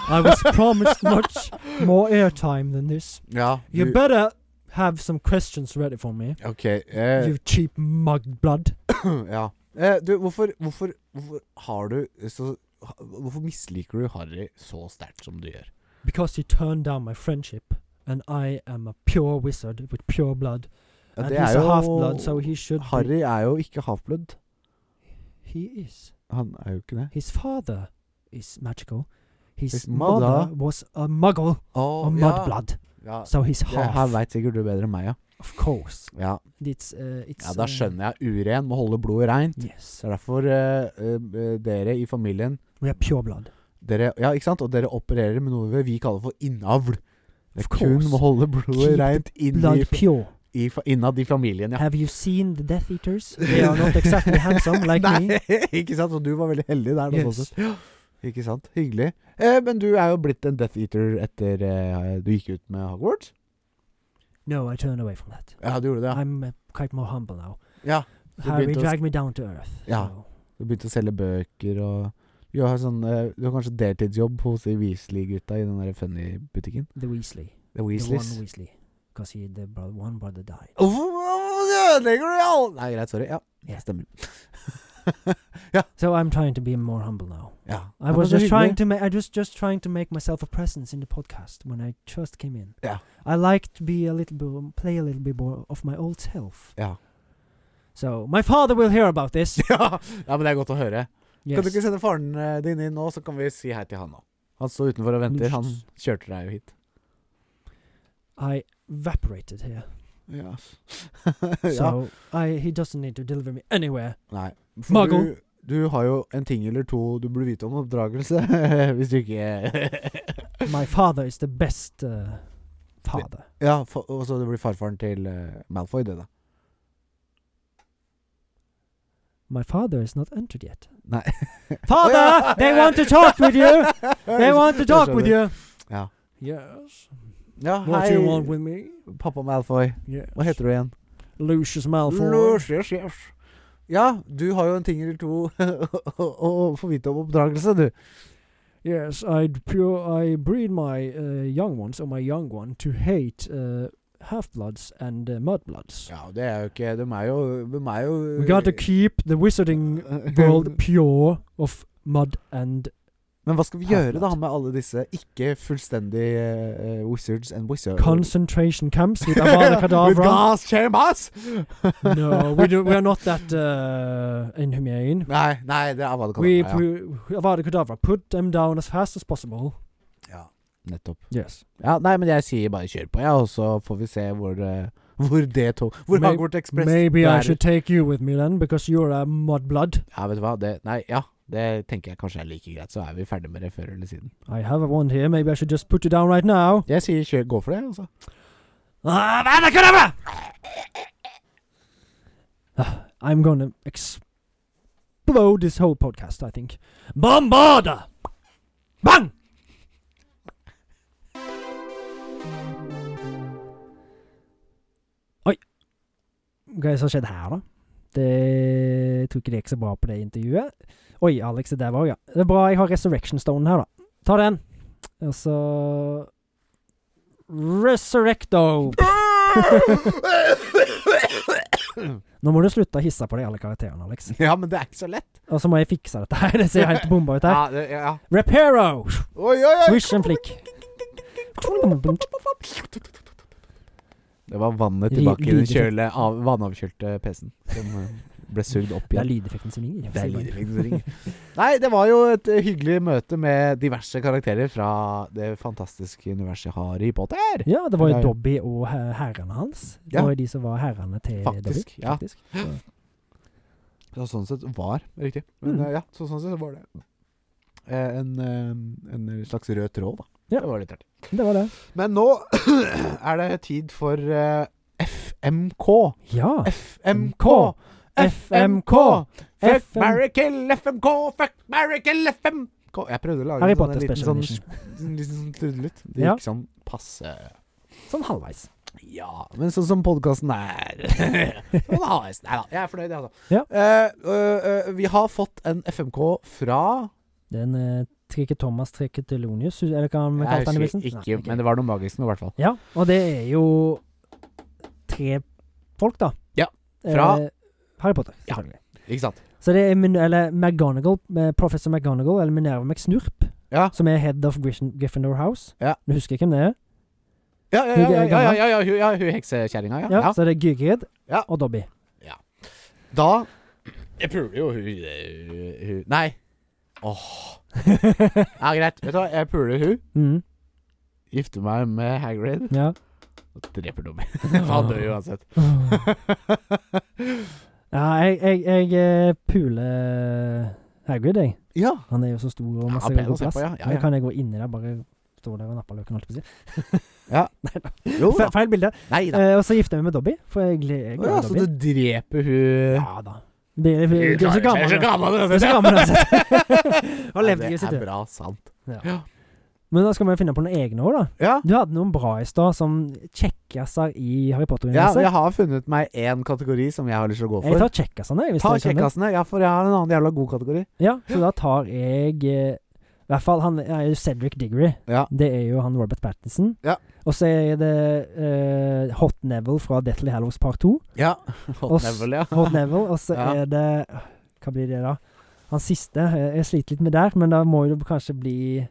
[SPEAKER 2] I was promised much more airtime than this.
[SPEAKER 1] Ja,
[SPEAKER 2] You
[SPEAKER 1] du-
[SPEAKER 2] better have some questions ready for me.
[SPEAKER 1] Ok. Eh,
[SPEAKER 2] You cheap mug blood.
[SPEAKER 1] ja. Eh, du, hvorfor, hvorfor, hvorfor har du så ha- Hvorfor misliker du Harry så sterkt som du gjør?
[SPEAKER 2] Because you turned down my friendship, and I am a pure wizard with pure blood.
[SPEAKER 1] Ja,
[SPEAKER 2] and
[SPEAKER 1] det
[SPEAKER 2] he's
[SPEAKER 1] er
[SPEAKER 2] a
[SPEAKER 1] jo
[SPEAKER 2] half blood, so he should. be-
[SPEAKER 1] Harry er jo ikke halvblod.
[SPEAKER 2] He is.
[SPEAKER 1] Han er jo ikke det.
[SPEAKER 2] His father is magical. His,
[SPEAKER 1] His
[SPEAKER 2] mother,
[SPEAKER 1] mother-
[SPEAKER 2] was a muggle,
[SPEAKER 1] Oh,
[SPEAKER 2] a mudblood.
[SPEAKER 1] Ja.
[SPEAKER 2] So he's
[SPEAKER 1] Det her
[SPEAKER 2] half.
[SPEAKER 1] veit sikkert du bedre enn meg, ja.
[SPEAKER 2] of course.
[SPEAKER 1] Ja,
[SPEAKER 2] It's, uh, it's,
[SPEAKER 1] ja da
[SPEAKER 2] uh,
[SPEAKER 1] skjønner jeg. Uren må holde blodet reint.
[SPEAKER 2] Yes.
[SPEAKER 1] Så det er derfor eh, eh, dere i familien
[SPEAKER 2] We are pure blood.
[SPEAKER 1] dere, Ja, ikke sant? Og dere opererer med noe vi kaller for innavl. Det
[SPEAKER 2] Of
[SPEAKER 1] er kun
[SPEAKER 2] course.
[SPEAKER 1] må holde blodet
[SPEAKER 2] Keep
[SPEAKER 1] reint inn i,
[SPEAKER 2] Blood pure.
[SPEAKER 1] i, fa- innad i familien, ja.
[SPEAKER 2] Have you seen the Death Eaters? They are not exactly handsome like me.
[SPEAKER 1] Nei, ikke sant? Og du var veldig heldig der. da, sånn
[SPEAKER 2] Yes.
[SPEAKER 1] sett. Ikke sant? Hyggelig. Eh, men du er jo blitt en Death Eater etter eh, du gikk ut med Hogwarts.
[SPEAKER 2] No, I turned away from that.
[SPEAKER 1] Ja, du gjorde det, ja.
[SPEAKER 2] I'm uh, quite more humble now.
[SPEAKER 1] ja. Du
[SPEAKER 2] Harry
[SPEAKER 1] begynte å-
[SPEAKER 2] dragged me down to earth.
[SPEAKER 1] Yeah.
[SPEAKER 2] so-
[SPEAKER 1] Du begynte å selge bøker og du har, sånn, eh, du har kanskje deltidsjobb hos de Weasley-gutta i den der Funny-butikken.
[SPEAKER 2] The Weasley.
[SPEAKER 1] The
[SPEAKER 2] The
[SPEAKER 1] Weasleys.
[SPEAKER 2] one Weasley. Because he, the bro- one brother died.
[SPEAKER 1] Hvorfor hvorfor ødelegger du alt? Nei, greit, sorry. Ja,
[SPEAKER 2] Ja.
[SPEAKER 1] det stemmer.
[SPEAKER 2] So I'm trying to be more humble now.
[SPEAKER 1] Ja.
[SPEAKER 2] I
[SPEAKER 1] Ja, men
[SPEAKER 2] was
[SPEAKER 1] så
[SPEAKER 2] just trying
[SPEAKER 1] hyggelig.
[SPEAKER 2] to make. I just just trying to make myself a presence in the podcast when I first came in.
[SPEAKER 1] Yeah.
[SPEAKER 2] I like to be a little bit, play a little bit more of my old self.
[SPEAKER 1] Ja.
[SPEAKER 2] So my father will hear about this.
[SPEAKER 1] ja. ja, men det er godt å høre. Kan du ikke
[SPEAKER 2] yes.
[SPEAKER 1] sende faren eh, din inn nå, så kan vi si hei til han nå? Han står utenfor og venter. Han kjørte deg jo hit.
[SPEAKER 2] I evaporated here.
[SPEAKER 1] Ja. ja.
[SPEAKER 2] So I he doesn't need to deliver me anywhere.
[SPEAKER 1] Nei. For
[SPEAKER 2] Muggle.
[SPEAKER 1] Du, du har jo en ting eller to du burde vite om oppdragelse, hvis du ikke
[SPEAKER 2] My father is the best uh, father.
[SPEAKER 1] Ja, fa- og så det blir farfaren til eh, Malfoy, det, da.
[SPEAKER 2] My father is not entered yet.
[SPEAKER 1] Nei.
[SPEAKER 2] Father, they want to talk with you. They want to
[SPEAKER 1] Jeg
[SPEAKER 2] talk
[SPEAKER 1] skjønner.
[SPEAKER 2] with you.
[SPEAKER 1] Ja.
[SPEAKER 2] Yes.
[SPEAKER 1] Ja,
[SPEAKER 2] What
[SPEAKER 1] hei,
[SPEAKER 2] do you want with me?
[SPEAKER 1] pappa Malfoy.
[SPEAKER 2] Yes.
[SPEAKER 1] Hva heter du igjen?
[SPEAKER 2] Lucius Malfoy.
[SPEAKER 1] Lucius, yes. Ja, du har jo en ting eller to å, å, å få vite om oppdragelse, du.
[SPEAKER 2] Yes, I pure I breed my uh, young ones or my young one to hate uh, half-bloods and uh, mudbloods.
[SPEAKER 1] Ja, det er jo ikke De er jo, de er jo
[SPEAKER 2] We got to keep the wizarding world pure of mud and
[SPEAKER 1] Men hva skal vi gjøre da
[SPEAKER 2] Half-blood.
[SPEAKER 1] med alle disse ikke fullstendig eh, wizards and wizards?
[SPEAKER 2] concentration camps with Avada Kedavra.
[SPEAKER 1] gas chambers!
[SPEAKER 2] no, we do, we are not that uh, inhumane.
[SPEAKER 1] Nei, nei, det er Avada
[SPEAKER 2] We,
[SPEAKER 1] Kedavra,
[SPEAKER 2] we Avada Kedavra put them down as fast as possible.
[SPEAKER 1] ja. ja. Nettopp.
[SPEAKER 2] Yes.
[SPEAKER 1] Ja, nei, men jeg sier bare kjør på, jeg, og så får vi se hvor, eh, hvor det tog Hvor
[SPEAKER 2] May-
[SPEAKER 1] Hogwarts Express
[SPEAKER 2] Maybe I
[SPEAKER 1] bærer.
[SPEAKER 2] should take you with me then, because you're a mudblood.
[SPEAKER 1] Ja, vet du hva, det Nei, ja. Det tenker jeg kanskje er like greit, så er vi ferdig med det før eller siden.
[SPEAKER 2] I have a wand here. Maybe I should just put you down right now.
[SPEAKER 1] Jeg sier kjør, gå for det, altså.
[SPEAKER 2] Ah, I'm gonna explode this whole podcast, I think. Bombarda! Bang! Oi. Hva er det som skjedde her, da? Det jeg tror ikke det gikk så bra på det intervjuet. Oi, Alex, det der var ja. Det er bra jeg har Resurrection Stone her, da. Ta den. Og så Resurrecto. Nå må du slutte å hisse på de alle karakterene, Alex.
[SPEAKER 1] ja, men det er ikke så lett.
[SPEAKER 2] Og så må jeg fikse dette her. Det ser helt bomba ut her.
[SPEAKER 1] Ja, det, ja.
[SPEAKER 2] Reparo!
[SPEAKER 1] Oi, oi, oi!
[SPEAKER 2] Swish and flick.
[SPEAKER 1] Det var vannet
[SPEAKER 2] Ri-
[SPEAKER 1] tilbake i den
[SPEAKER 2] lydeffekt.
[SPEAKER 1] kjøle, av, vannavkjølte PC-en som eh, ble sugd opp
[SPEAKER 2] Det er
[SPEAKER 1] igjen.
[SPEAKER 2] lydeffekten som ringer.
[SPEAKER 1] Det er lydeffekten som ringer. Nei, det var jo et eh, hyggelig møte med diverse karakterer fra det fantastiske universet Harry Potter.
[SPEAKER 2] Ja, det var jo
[SPEAKER 1] Nei.
[SPEAKER 2] Dobby og he- herrene hans. Det
[SPEAKER 1] Ja.
[SPEAKER 2] var jo de som var herrene til Dobby.
[SPEAKER 1] Faktisk, ja.
[SPEAKER 2] Eh, Faktisk. Så-
[SPEAKER 1] Ja, sånn sett var riktig. Men
[SPEAKER 2] Mm.
[SPEAKER 1] eh, ja, så, sånn sett var det eh, en, eh, en slags rød tråd, da.
[SPEAKER 2] Ja.
[SPEAKER 1] Det var litt artig.
[SPEAKER 2] Det var det.
[SPEAKER 1] Men nå er det tid for eh, FMK.
[SPEAKER 2] Ja.
[SPEAKER 1] FMK! FMK!
[SPEAKER 2] FMK!
[SPEAKER 1] Fuck,
[SPEAKER 2] FM.
[SPEAKER 1] marry, kill FMK! Fuck, marry, kill FMK! Jeg prøvde å lage
[SPEAKER 2] Harry
[SPEAKER 1] sånn
[SPEAKER 2] Potter
[SPEAKER 1] en liten
[SPEAKER 2] Special
[SPEAKER 1] sånn,
[SPEAKER 2] Edition.
[SPEAKER 1] en liten sånn trudelutt. Det
[SPEAKER 2] Ja.
[SPEAKER 1] gikk sånn passe
[SPEAKER 2] Sånn halvveis.
[SPEAKER 1] Ja, men sånn som podkasten er Sånn halvveis. Nei da, jeg er fornøyd, jeg, altså.
[SPEAKER 2] Ja.
[SPEAKER 1] Eh, øh, øh, vi har fått en FMK fra
[SPEAKER 2] Den eh, Trikke Thomas Trikke Telonius, eller hva han
[SPEAKER 1] Jeg
[SPEAKER 2] kalte han i
[SPEAKER 1] husker
[SPEAKER 2] vitsen?
[SPEAKER 1] ikke,
[SPEAKER 2] Nei, ok.
[SPEAKER 1] men det var noe magisk nå, i hvert fall.
[SPEAKER 2] Ja, og det er jo tre folk, da.
[SPEAKER 1] Ja, fra-
[SPEAKER 2] eh, Harry Potter,
[SPEAKER 1] Ja.
[SPEAKER 2] selvfølgelig.
[SPEAKER 1] Ikke sant?
[SPEAKER 2] Så det er Min eller McGonagall, eh, professor McGonagall, eller Minerva McSnurp,
[SPEAKER 1] Ja.
[SPEAKER 2] som er head of Gryffin- Gryffindor House.
[SPEAKER 1] Ja.
[SPEAKER 2] Du husker hvem det er?
[SPEAKER 1] Ja, ja, ja, ja, ja, ja, ja, ja, hun- ja hun heksekjerringa, ja. ja.
[SPEAKER 2] Så det er Gygrid
[SPEAKER 1] Ja.
[SPEAKER 2] og Dobby.
[SPEAKER 1] Da Jeg puler jo hun, hun, hun Nei. Åh. Ja, greit. Vet du hva, jeg puler hun.
[SPEAKER 2] mm,
[SPEAKER 1] Gifter meg med Hagrid.
[SPEAKER 2] ja.
[SPEAKER 1] Og dreper Dobby. Han dør jo uansett.
[SPEAKER 2] ja, jeg, jeg, jeg eh, puler Hagrid, jeg.
[SPEAKER 1] ja.
[SPEAKER 2] Han er jo så stor og
[SPEAKER 1] Ja,
[SPEAKER 2] masse
[SPEAKER 1] pen å
[SPEAKER 2] god
[SPEAKER 1] se
[SPEAKER 2] plass.
[SPEAKER 1] på, ja. Ja,
[SPEAKER 2] Da
[SPEAKER 1] ja.
[SPEAKER 2] Kan jeg gå inni der, bare stå der og nappe løken, holdt jeg på å si.
[SPEAKER 1] Jo
[SPEAKER 2] Fe-
[SPEAKER 1] da.
[SPEAKER 2] Feil bilde.
[SPEAKER 1] Nei da.
[SPEAKER 2] Eh, og så gifter jeg meg med Dobby, for jeg gle- jeg er
[SPEAKER 1] Oh, Å
[SPEAKER 2] glad
[SPEAKER 1] ja,
[SPEAKER 2] i
[SPEAKER 1] så
[SPEAKER 2] Dobby.
[SPEAKER 1] du dreper hun
[SPEAKER 2] Ja da. Det det- det- det er så
[SPEAKER 1] Jeg er
[SPEAKER 2] gammel. altså.
[SPEAKER 1] så gammel,
[SPEAKER 2] Det er så gammel altså. uansett. Han
[SPEAKER 1] Ja,
[SPEAKER 2] levde
[SPEAKER 1] det
[SPEAKER 2] livet sitt.
[SPEAKER 1] er
[SPEAKER 2] ja.
[SPEAKER 1] bra sant.
[SPEAKER 2] Men da skal vi finne på noen egne år, da.
[SPEAKER 1] Ja.
[SPEAKER 2] Du hadde noen bra i stad, som kjekkaser i Harry
[SPEAKER 1] ja,
[SPEAKER 2] Potter-universet.
[SPEAKER 1] jeg har funnet meg én kategori som jeg har lyst til å gå
[SPEAKER 2] Jeg
[SPEAKER 1] for.
[SPEAKER 2] tar kjekkasene, jeg, hvis
[SPEAKER 1] Ta
[SPEAKER 2] dere kan det.
[SPEAKER 1] kjekkasene. Ja, for jeg har en annen jævla god kategori.
[SPEAKER 2] Ja, så da tar jeg eh, I hvert fall han er jo Cedric Diggory.
[SPEAKER 1] Ja.
[SPEAKER 2] Det er jo han Robert Pattinson.
[SPEAKER 1] Ja.
[SPEAKER 2] Og så er det eh, Hot Neville fra Deathly Hallows Part 2.
[SPEAKER 1] Ja.
[SPEAKER 2] Og
[SPEAKER 1] Hot
[SPEAKER 2] s-
[SPEAKER 1] Neville, ja.
[SPEAKER 2] Hot Neville, og så
[SPEAKER 1] Ja.
[SPEAKER 2] er det Hva blir det, da? Han siste eh, Jeg sliter litt med der, men da må det kanskje bli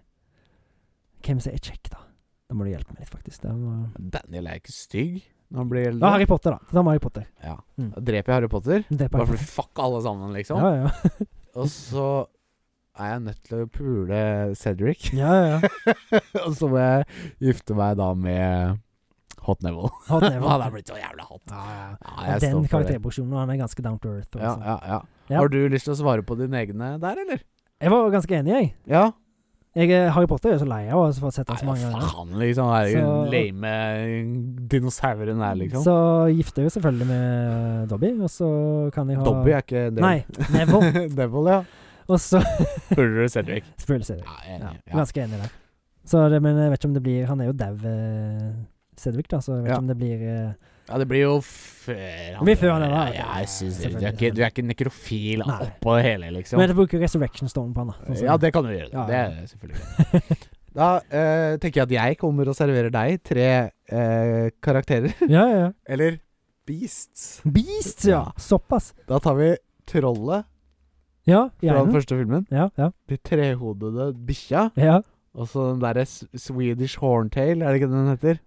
[SPEAKER 2] Hvem som er kjekk, da? Da må du hjelpe meg litt, faktisk. Da må...
[SPEAKER 1] Daniel er ikke stygg når han blir
[SPEAKER 2] Ja,
[SPEAKER 1] eldre.
[SPEAKER 2] Harry Potter, da. Da må Harry Potter.
[SPEAKER 1] Ja.
[SPEAKER 2] Mm.
[SPEAKER 1] Da Dreper jeg Harry Potter?
[SPEAKER 2] Det er
[SPEAKER 1] Bare for
[SPEAKER 2] bare
[SPEAKER 1] fuck alle sammen, liksom.
[SPEAKER 2] Ja, ja.
[SPEAKER 1] Og så er jeg nødt til å pule Cedric.
[SPEAKER 2] ja, ja, ja.
[SPEAKER 1] Og så må jeg gifte meg da med Hot Neville.
[SPEAKER 2] Hot
[SPEAKER 1] Han er
[SPEAKER 2] Neville.
[SPEAKER 1] blitt så jævla hot.
[SPEAKER 2] Ja, ja.
[SPEAKER 1] Ja,
[SPEAKER 2] ja.
[SPEAKER 1] jeg
[SPEAKER 2] Den
[SPEAKER 1] står for det.
[SPEAKER 2] karakterproduksjonen, og han er ganske down to earth.
[SPEAKER 1] Ja,
[SPEAKER 2] Også.
[SPEAKER 1] ja, ja.
[SPEAKER 2] altså. Ja.
[SPEAKER 1] Har du lyst til å svare på dine egne der, eller?
[SPEAKER 2] Jeg var ganske enig, jeg.
[SPEAKER 1] Ja.
[SPEAKER 2] jeg eh, Harry Potter er jo så lei av å ha sett
[SPEAKER 1] Nei,
[SPEAKER 2] han så mange ganger.
[SPEAKER 1] faen, liksom. Han er jo
[SPEAKER 2] Så-
[SPEAKER 1] den lame dinosauren der, liksom.
[SPEAKER 2] Så gifter jeg jo selvfølgelig med Dobby, og så kan jeg ha
[SPEAKER 1] Dobby er ikke det.
[SPEAKER 2] Nei, Neville.
[SPEAKER 1] Neville, ja.
[SPEAKER 2] Og så
[SPEAKER 1] Puler du Cedric?
[SPEAKER 2] Selvfølgelig ser jeg.
[SPEAKER 1] Ja,
[SPEAKER 2] Ja,
[SPEAKER 1] enig. Ja.
[SPEAKER 2] ganske enig der. Så det, men jeg vet ikke om det blir Han er jo dau, eh, Sedvik, da, så jeg vet ikke
[SPEAKER 1] Ja.
[SPEAKER 2] om det blir eh,
[SPEAKER 1] Ja, det blir jo før han
[SPEAKER 2] Det blir før han er
[SPEAKER 1] ja,
[SPEAKER 2] der.
[SPEAKER 1] ja, jeg synes det. Du er
[SPEAKER 2] Selvfølgelig.
[SPEAKER 1] ikke, du er ikke nekrofil
[SPEAKER 2] Nei.
[SPEAKER 1] oppå det hele, liksom.
[SPEAKER 2] Men jeg bruker Resurrection Stone på han, da. sånn som-
[SPEAKER 1] ja, det kan du gjøre.
[SPEAKER 2] Ja,
[SPEAKER 1] Det
[SPEAKER 2] ja.
[SPEAKER 1] er selvfølgelig greit. Da eh, tenker jeg at jeg kommer og serverer deg tre eh, karakterer.
[SPEAKER 2] ja, ja. ja.
[SPEAKER 1] Eller beasts.
[SPEAKER 2] Beast, ja!
[SPEAKER 1] Ja.
[SPEAKER 2] Såpass.
[SPEAKER 1] Da tar vi trollet
[SPEAKER 2] Ja,
[SPEAKER 1] fra den
[SPEAKER 2] hjernen.
[SPEAKER 1] første filmen.
[SPEAKER 2] Ja, ja.
[SPEAKER 1] De trehodede bikkja.
[SPEAKER 2] ja.
[SPEAKER 1] Og så den derre s- Swedish horntail, er det ikke det den heter?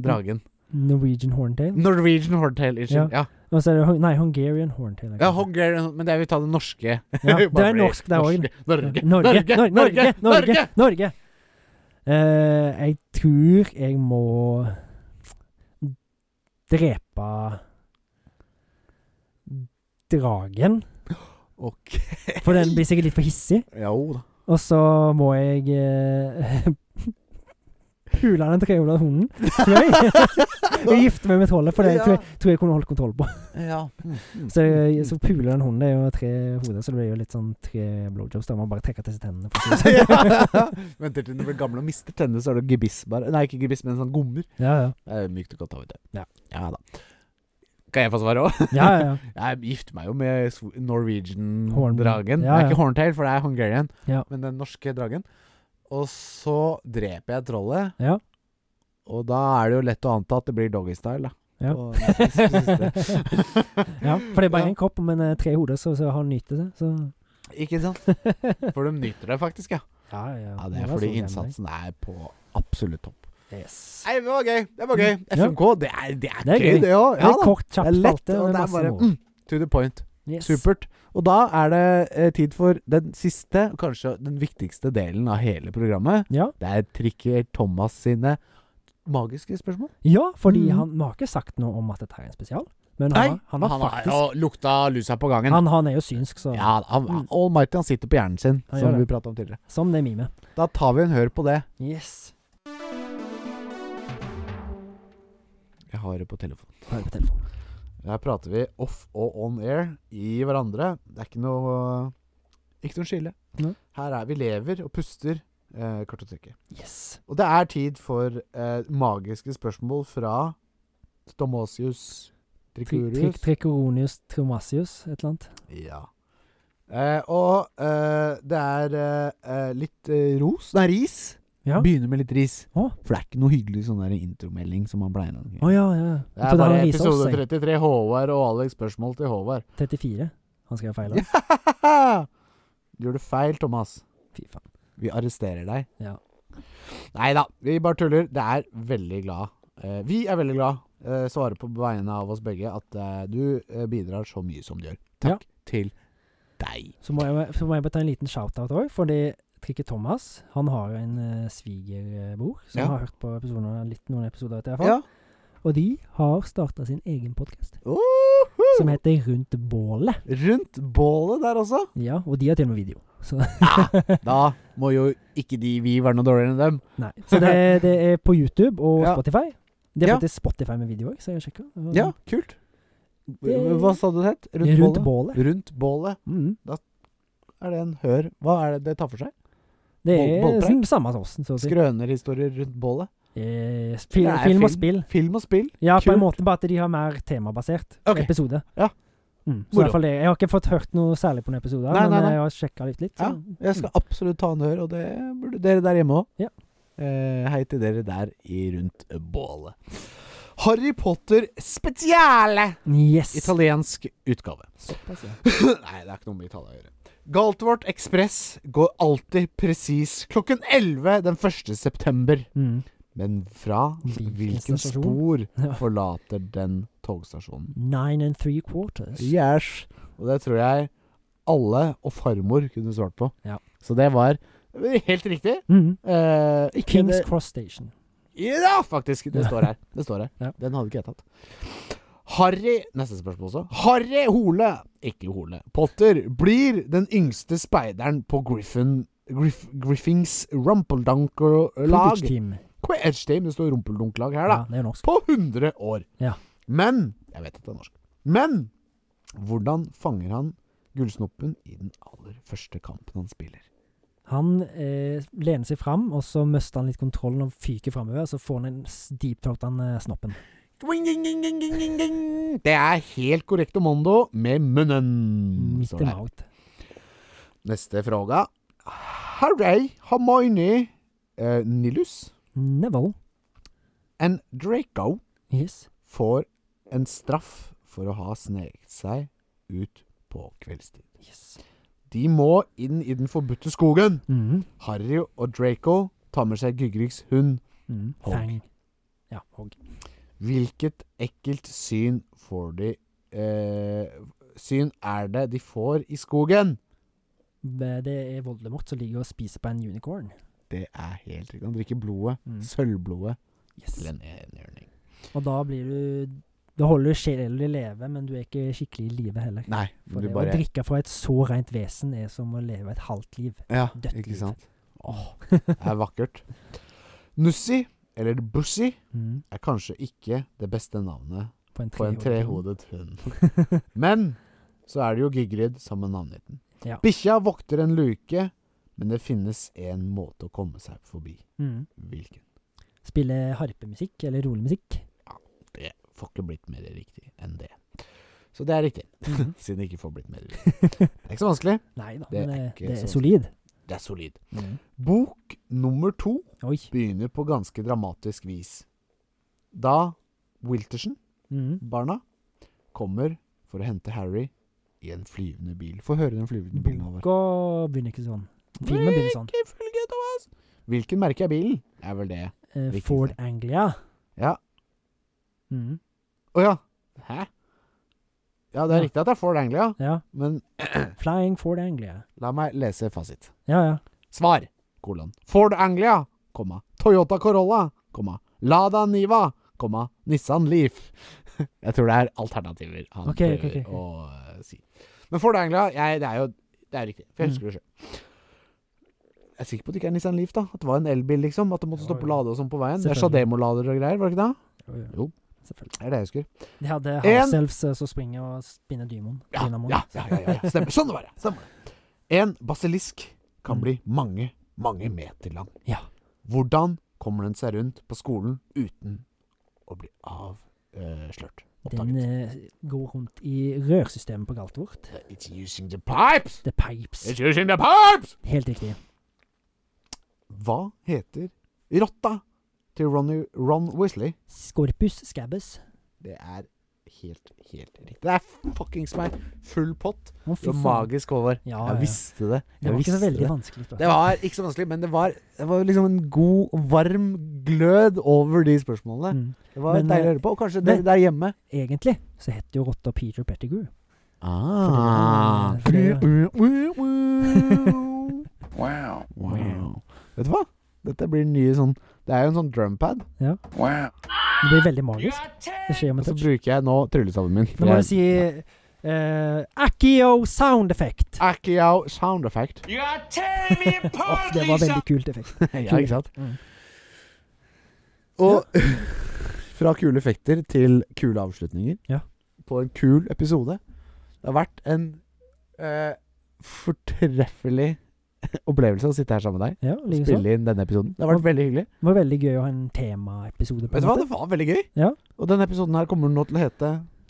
[SPEAKER 1] Dragen.
[SPEAKER 2] Norwegian Horntail.
[SPEAKER 1] Norwegian horntail, unnskyld. Ja.
[SPEAKER 2] Og så er det Hun- Nei, Hungarian Horntail.
[SPEAKER 1] ja, Hungarian, men jeg vil ta den norske.
[SPEAKER 2] Ja, det
[SPEAKER 1] Bare
[SPEAKER 2] er norsk, det er også.
[SPEAKER 1] norske. Norge.
[SPEAKER 2] Norge, Norge, Norge, Norge! Norge! Norge. Eh, jeg tror jeg må drepe dragen.
[SPEAKER 1] Ok.
[SPEAKER 2] For den blir sikkert litt for hissig.
[SPEAKER 1] Jo da.
[SPEAKER 2] Og så må jeg eh, pule den trehjula hunden. Tror jeg. jeg gifter meg med trollet, for det tror, jeg, tror jeg kunne holdt kontroll på.
[SPEAKER 1] Ja. Mm, mm,
[SPEAKER 2] Så,
[SPEAKER 1] mm,
[SPEAKER 2] jeg,
[SPEAKER 1] mm.
[SPEAKER 2] så puler den hunden. Det er jo tre hoder, så det blir jo litt sånn tre blowjobs. Da må man bare trekke til seg tennene. For å si det sånn.
[SPEAKER 1] ja. Venter til du blir gammel og mister tennene, så er du gebiss bare. Nei, ikke gebiss, men sånn gommer.
[SPEAKER 2] ja, ja.
[SPEAKER 1] Det er mykt og godt, da, vet du.
[SPEAKER 2] Ja.
[SPEAKER 1] da. Kan jeg få svare òg?
[SPEAKER 2] ja, ja,
[SPEAKER 1] Jeg gifter meg jo med sw-
[SPEAKER 2] Horn-
[SPEAKER 1] Norwegian-dragen.
[SPEAKER 2] Ja,
[SPEAKER 1] Det
[SPEAKER 2] ja.
[SPEAKER 1] er ikke horntail, for det er Hungarian,
[SPEAKER 2] Ja.
[SPEAKER 1] men den norske dragen. Og så dreper jeg trollet,
[SPEAKER 2] ja.
[SPEAKER 1] og da er det jo lett å anta at det blir doggystyle, da.
[SPEAKER 2] Ja.
[SPEAKER 1] Og- siste.
[SPEAKER 2] ja. For det er bare
[SPEAKER 1] Ja.
[SPEAKER 2] én kropp, men eh, tre hoder, så, så han nyter det. Så.
[SPEAKER 1] Ikke sant? For de nyter det faktisk, ja.
[SPEAKER 2] Ja, ja.
[SPEAKER 1] ja det er
[SPEAKER 2] var
[SPEAKER 1] fordi
[SPEAKER 2] så jævlig.
[SPEAKER 1] innsatsen er på absolutt topp.
[SPEAKER 2] Yes.
[SPEAKER 1] Nei, det var gøy. Det var gøy.
[SPEAKER 2] Ja.
[SPEAKER 1] FMK, det er, det er,
[SPEAKER 2] Det er
[SPEAKER 1] gøy,
[SPEAKER 2] gøy.
[SPEAKER 1] det òg.
[SPEAKER 2] Det er kort,
[SPEAKER 1] det
[SPEAKER 2] kjapt
[SPEAKER 1] er lett,
[SPEAKER 2] spalte,
[SPEAKER 1] og
[SPEAKER 2] men
[SPEAKER 1] det er
[SPEAKER 2] masse
[SPEAKER 1] bare
[SPEAKER 2] moro.
[SPEAKER 1] mm, to the point.
[SPEAKER 2] Yes.
[SPEAKER 1] Supert. Og da er det eh, tid for den siste, og kanskje den viktigste delen av hele programmet.
[SPEAKER 2] Ja.
[SPEAKER 1] Det er Trikker Thomas sine magiske spørsmål?
[SPEAKER 2] Ja, fordi
[SPEAKER 1] Mhm.
[SPEAKER 2] han vi har ikke sagt noe om at dette er en spesial. Men
[SPEAKER 1] Nei,
[SPEAKER 2] han, har- han har faktisk
[SPEAKER 1] jo lukta lusa på gangen.
[SPEAKER 2] han, han er jo synsk, så
[SPEAKER 1] ja, han,
[SPEAKER 2] Mm.
[SPEAKER 1] Almighty, han sitter på hjernen sin,
[SPEAKER 2] Han gjør
[SPEAKER 1] som
[SPEAKER 2] det.
[SPEAKER 1] vi prata om tidligere.
[SPEAKER 2] som det mimet.
[SPEAKER 1] Da tar vi en hør på det.
[SPEAKER 2] Yes.
[SPEAKER 1] Jeg har det på telefonen.
[SPEAKER 2] Hør på telefonen.
[SPEAKER 1] Her prater vi off og on air i hverandre. Det er ikke noe Ikke noe skille.
[SPEAKER 2] Nei.
[SPEAKER 1] Her er vi lever og puster eh, kartoteket.
[SPEAKER 2] Yes.
[SPEAKER 1] Og det er tid for eh, magiske spørsmål fra Stomosius
[SPEAKER 2] Tri-
[SPEAKER 1] Tricurius.
[SPEAKER 2] tri- Tricoronius tromasius, et eller annet.
[SPEAKER 1] Ja. Eh, og eh, det er eh, eh, litt eh, ros. Det er ris.
[SPEAKER 2] Ja. Å
[SPEAKER 1] Begynner med litt ris.
[SPEAKER 2] Å.
[SPEAKER 1] For det er ikke noe hyggelig sånn der intromelding som man pleier. å-
[SPEAKER 2] ja, ja.
[SPEAKER 1] Det er
[SPEAKER 2] Jeg trodde
[SPEAKER 1] bare
[SPEAKER 2] han viste oss,
[SPEAKER 1] episode
[SPEAKER 2] jeg.
[SPEAKER 1] 33 Håvard og Alex spørsmål til Håvard.
[SPEAKER 2] 34. Han skrev feil. da.
[SPEAKER 1] Gjør du feil, Thomas?
[SPEAKER 2] Fy faen.
[SPEAKER 1] Vi arresterer deg.
[SPEAKER 2] Ja.
[SPEAKER 1] Nei da, vi bare tuller. Det er veldig glad. Eh, vi er veldig glad. Eh, svarer på vegne av oss begge at eh, du eh, bidrar så mye som du gjør.
[SPEAKER 2] Ja.
[SPEAKER 1] Takk til deg.
[SPEAKER 2] Så må jeg, så må jeg bare ta en liten shout-out òg, fordi Trikke Thomas han har jo en eh, svigerbror som
[SPEAKER 1] Ja.
[SPEAKER 2] har hørt på episoder, litt noen episoder. vet jeg i hvert fall.
[SPEAKER 1] Ja.
[SPEAKER 2] Og de har starta sin egen podkast
[SPEAKER 1] Uhu!
[SPEAKER 2] som heter Rundt bålet.
[SPEAKER 1] Rundt bålet der også.
[SPEAKER 2] Ja, og de har til og med video. Så,
[SPEAKER 1] Da må jo ikke de vi være noe dårligere enn dem.
[SPEAKER 2] nei. så det, det er på YouTube og
[SPEAKER 1] Ja.
[SPEAKER 2] Spotify. Det er
[SPEAKER 1] Ja.
[SPEAKER 2] faktisk Spotify med video òg, så jeg sjekka. Og
[SPEAKER 1] Ja, kult.
[SPEAKER 2] Det,
[SPEAKER 1] Hva sa du det het? Rundt
[SPEAKER 2] rundt,
[SPEAKER 1] bålet?
[SPEAKER 2] bålet.
[SPEAKER 1] Rundt bålet.
[SPEAKER 2] Mm.
[SPEAKER 1] Er det en hør? Hva er det det tar for seg?
[SPEAKER 2] Det
[SPEAKER 1] Bål-
[SPEAKER 2] er
[SPEAKER 1] bålpreik?
[SPEAKER 2] sånn samme som oss. Så å si.
[SPEAKER 1] Skrønerhistorier rundt bålet.
[SPEAKER 2] Eh, fil-
[SPEAKER 1] Det er
[SPEAKER 2] film og
[SPEAKER 1] film.
[SPEAKER 2] spill.
[SPEAKER 1] Film og spill.
[SPEAKER 2] Ja, på en
[SPEAKER 1] Kult.
[SPEAKER 2] måte, bare at de har mer temabasert
[SPEAKER 1] Ok.
[SPEAKER 2] episode.
[SPEAKER 1] Ja.
[SPEAKER 2] Mm. Så i
[SPEAKER 1] Moro.
[SPEAKER 2] hvert fall det. Jeg har ikke fått hørt noe særlig på noen episoder,
[SPEAKER 1] Nei,
[SPEAKER 2] men
[SPEAKER 1] nei, nei.
[SPEAKER 2] jeg har sjekka litt. litt så.
[SPEAKER 1] Jeg skal absolutt ta en hør, og det burde dere der hjemme òg.
[SPEAKER 2] Ja.
[SPEAKER 1] Eh, hei til dere der i rundt bålet. Harry Potter spesiale!
[SPEAKER 2] Yes.
[SPEAKER 1] Italiensk utgave.
[SPEAKER 2] Såpass, ja.
[SPEAKER 1] Nei, det er ikke noe med Italia å gjøre. Galtvort Ekspress går alltid presis klokken 11 den 1. september.
[SPEAKER 2] Mm.
[SPEAKER 1] Men fra
[SPEAKER 2] Hvilken
[SPEAKER 1] hvilken
[SPEAKER 2] stasjon?
[SPEAKER 1] spor
[SPEAKER 2] Ja.
[SPEAKER 1] forlater den togstasjonen?
[SPEAKER 2] Nine and three quarters.
[SPEAKER 1] Yes. Og det tror jeg alle og farmor kunne svart på.
[SPEAKER 2] Ja.
[SPEAKER 1] Så det var helt riktig.
[SPEAKER 2] Mm.
[SPEAKER 1] Eh, ikke
[SPEAKER 2] Kings
[SPEAKER 1] det-
[SPEAKER 2] Cross Station.
[SPEAKER 1] Ja, faktisk. Det
[SPEAKER 2] Ja.
[SPEAKER 1] står her. Det står her.
[SPEAKER 2] Ja.
[SPEAKER 1] Den hadde ikke jeg tatt. Harry Neste spørsmål også. Harry Hole, ikke Hole, Potter blir den yngste speideren på Griffin, Griff, Griffings Rumpeldunker-lag.
[SPEAKER 2] Quidditch Team.
[SPEAKER 1] Edge Team, det står Rumpeldunk-lag her, da.
[SPEAKER 2] Ja, det er norsk.
[SPEAKER 1] På 100 år.
[SPEAKER 2] Ja.
[SPEAKER 1] Men Jeg vet at det er norsk. Men hvordan fanger han gullsnoppen i den aller første kampen han spiller?
[SPEAKER 2] Han eh, lener seg fram, og så mister han litt kontrollen og fyker framover. Så får han en s- deep throat av eh, snoppen.
[SPEAKER 1] Mm, Dwing, ding, ding, ding, ding, ding, ding. Det er helt korrekt Omondo med munnen.
[SPEAKER 2] Midt
[SPEAKER 1] står
[SPEAKER 2] i
[SPEAKER 1] det her.
[SPEAKER 2] mouth.
[SPEAKER 1] Neste fråga. Harry, Hermione, eh, Nilus
[SPEAKER 2] Neville.
[SPEAKER 1] and Draco
[SPEAKER 2] Yes.
[SPEAKER 1] får en straff for å ha sneket seg ut på kveldstid.
[SPEAKER 2] yes.
[SPEAKER 1] De må inn i den forbudte skogen.
[SPEAKER 2] Mm.
[SPEAKER 1] Harry og Draco tar med seg Gygriks hund.
[SPEAKER 2] Mm.
[SPEAKER 1] Hogg.
[SPEAKER 2] Fang. Ja, hogg.
[SPEAKER 1] Hvilket ekkelt syn får de eh, Syn er det de får i skogen?
[SPEAKER 2] Det er Voldemort som ligger og spiser på en unicorn.
[SPEAKER 1] Det er helt riktig. Han drikker blodet.
[SPEAKER 2] Mm.
[SPEAKER 1] Sølvblodet.
[SPEAKER 2] Yes.
[SPEAKER 1] Til en enhjørning.
[SPEAKER 2] Og da blir du Da holder du sjelen i leve, men du er ikke skikkelig i live heller.
[SPEAKER 1] Nei,
[SPEAKER 2] For
[SPEAKER 1] du
[SPEAKER 2] det å
[SPEAKER 1] bare
[SPEAKER 2] drikke fra et så rent vesen er som å leve et halvt liv.
[SPEAKER 1] Ja,
[SPEAKER 2] dødt
[SPEAKER 1] ikke
[SPEAKER 2] liv.
[SPEAKER 1] sant? Åh, det er vakkert. Nussi, eller Bussi,
[SPEAKER 2] Mm.
[SPEAKER 1] er kanskje ikke det beste navnet
[SPEAKER 2] På en
[SPEAKER 1] på en
[SPEAKER 2] trehodet hund.
[SPEAKER 1] trehodet hund. Men så er det jo Gygrid sammen med navngitten.
[SPEAKER 2] Ja.
[SPEAKER 1] Bikkja vokter en luke, men det finnes en måte å komme seg forbi.
[SPEAKER 2] Mm.
[SPEAKER 1] Hvilken?
[SPEAKER 2] Spille harpemusikk, eller rolig musikk.
[SPEAKER 1] Det får ikke blitt mer riktig enn det. Så det er riktig,
[SPEAKER 2] Mhm.
[SPEAKER 1] siden det ikke får blitt mer riktig. Det er ikke så vanskelig.
[SPEAKER 2] Nei da,
[SPEAKER 1] Det er
[SPEAKER 2] men det,
[SPEAKER 1] ikke
[SPEAKER 2] det er
[SPEAKER 1] så-
[SPEAKER 2] solid.
[SPEAKER 1] Det er solid.
[SPEAKER 2] Mm.
[SPEAKER 1] Bok nummer to
[SPEAKER 2] Oi.
[SPEAKER 1] begynner på ganske dramatisk vis. Da Wiltersen,
[SPEAKER 2] Mm.
[SPEAKER 1] barna, kommer for å hente Harry i en flyvende bil. Få høre den flyvende bilen over.
[SPEAKER 2] Boka begynner ikke sånn. Filmen begynner sånn.
[SPEAKER 1] Ikke følge Thomas. Hvilken merke er bilen? Er vel det.
[SPEAKER 2] Eh,
[SPEAKER 1] viktigste.
[SPEAKER 2] Ford Anglia.
[SPEAKER 1] Ja.
[SPEAKER 2] Mm.
[SPEAKER 1] Å ja. Hæ? Ja, det er
[SPEAKER 2] Ja.
[SPEAKER 1] riktig at det er Ford Anglia,
[SPEAKER 2] Ja.
[SPEAKER 1] men
[SPEAKER 2] Flying Ford Anglia.
[SPEAKER 1] la meg lese fasit.
[SPEAKER 2] Ja, ja.
[SPEAKER 1] Svar, kolon. Ford Anglia, komma. Toyota Corolla, komma. Lada Niva, komma, Nissan Leaf. Jeg tror det er alternativer han
[SPEAKER 2] Ok, ok,
[SPEAKER 1] prøver
[SPEAKER 2] ok, ok.
[SPEAKER 1] å eh, si. Men Ford Anglia, jeg, det er jo det er riktig. For jeg husker
[SPEAKER 2] Mm.
[SPEAKER 1] det sjøl. Jeg er sikker på at det ikke er Nissan Leaf, da. At det var en elbil, liksom. At det måtte
[SPEAKER 2] Ja,
[SPEAKER 1] stoppe
[SPEAKER 2] ja.
[SPEAKER 1] og lade og sånn på veien. Det er
[SPEAKER 2] Selvfølgelig.
[SPEAKER 1] Shademo-lader og greier, var det ikke det?
[SPEAKER 2] Jo.
[SPEAKER 1] Jo.
[SPEAKER 2] Selvfølgelig.
[SPEAKER 1] Det er det jeg husker.
[SPEAKER 2] De hadde
[SPEAKER 1] En-
[SPEAKER 2] Halselfs som springer og spinner dymoen.
[SPEAKER 1] Ja,
[SPEAKER 2] dynamoen.
[SPEAKER 1] ja, ja, ja, ja, ja. Stemmer. Sånn det var, ja. Stemmer. det. En basilisk kan
[SPEAKER 2] Mm.
[SPEAKER 1] bli mange, mange meter lang.
[SPEAKER 2] Ja.
[SPEAKER 1] Hvordan kommer den seg rundt på skolen uten å bli avslørt?
[SPEAKER 2] Den
[SPEAKER 1] oppdaget?
[SPEAKER 2] eh, går rundt i rørsystemet på galtet vårt.
[SPEAKER 1] It's using the pipes!
[SPEAKER 2] The pipes.
[SPEAKER 1] It's using the pipes!
[SPEAKER 2] Helt riktig.
[SPEAKER 1] Hva heter rotta til Ronny, Ron Weasley?
[SPEAKER 2] Scorpus scabbus.
[SPEAKER 1] Det er helt, helt riktig. Det er fuckings meg. Full pott.
[SPEAKER 2] Å, fy
[SPEAKER 1] Det var
[SPEAKER 2] faen.
[SPEAKER 1] magisk, Håvard.
[SPEAKER 2] Ja, ja, ja.
[SPEAKER 1] Jeg visste det.
[SPEAKER 2] Det
[SPEAKER 1] Jeg
[SPEAKER 2] var ikke så
[SPEAKER 1] visste
[SPEAKER 2] veldig
[SPEAKER 1] det.
[SPEAKER 2] vanskelig. tror jeg.
[SPEAKER 1] Det var ikke så vanskelig, men det var, det var liksom en god, varm glød over de spørsmålene.
[SPEAKER 2] Mm.
[SPEAKER 1] Det var
[SPEAKER 2] Men,
[SPEAKER 1] deilig å
[SPEAKER 2] eh,
[SPEAKER 1] høre på. Og kanskje dere
[SPEAKER 2] men-
[SPEAKER 1] der hjemme.
[SPEAKER 2] Egentlig så heter jo rotta Peter Pettigrew.
[SPEAKER 1] Ah.
[SPEAKER 2] For det-
[SPEAKER 4] Wow.
[SPEAKER 1] Wow. Vet du hva? Dette blir den nye sånn Det er jo en sånn drumpad.
[SPEAKER 4] Wow.
[SPEAKER 2] Det blir veldig magisk. Det skjer
[SPEAKER 1] Og
[SPEAKER 2] med
[SPEAKER 1] så
[SPEAKER 2] touch.
[SPEAKER 1] bruker jeg nå tryllestaven min.
[SPEAKER 2] Nå må jeg si eh, Accio sound effect.
[SPEAKER 1] Accio sound effect.
[SPEAKER 4] You are tearing me
[SPEAKER 2] Åh,
[SPEAKER 4] apart,
[SPEAKER 2] det var veldig kult effekt.
[SPEAKER 1] ja, ikke sant?
[SPEAKER 2] Mm.
[SPEAKER 1] Og fra kule effekter til kule avslutninger
[SPEAKER 2] Ja.
[SPEAKER 1] på en kul episode. Det har vært en eh, fortreffelig opplevelse å sitte her sammen med deg
[SPEAKER 2] Ja,
[SPEAKER 1] og
[SPEAKER 2] likeså.
[SPEAKER 1] spille inn denne episoden. Det har vært veldig hyggelig.
[SPEAKER 2] sånn. Det var veldig gøy å ha en temaepisode. på
[SPEAKER 1] Vet
[SPEAKER 2] en
[SPEAKER 1] du hva,
[SPEAKER 2] måte.
[SPEAKER 1] det var veldig gøy.
[SPEAKER 2] Ja.
[SPEAKER 1] Og denne episoden her kommer nå til å hete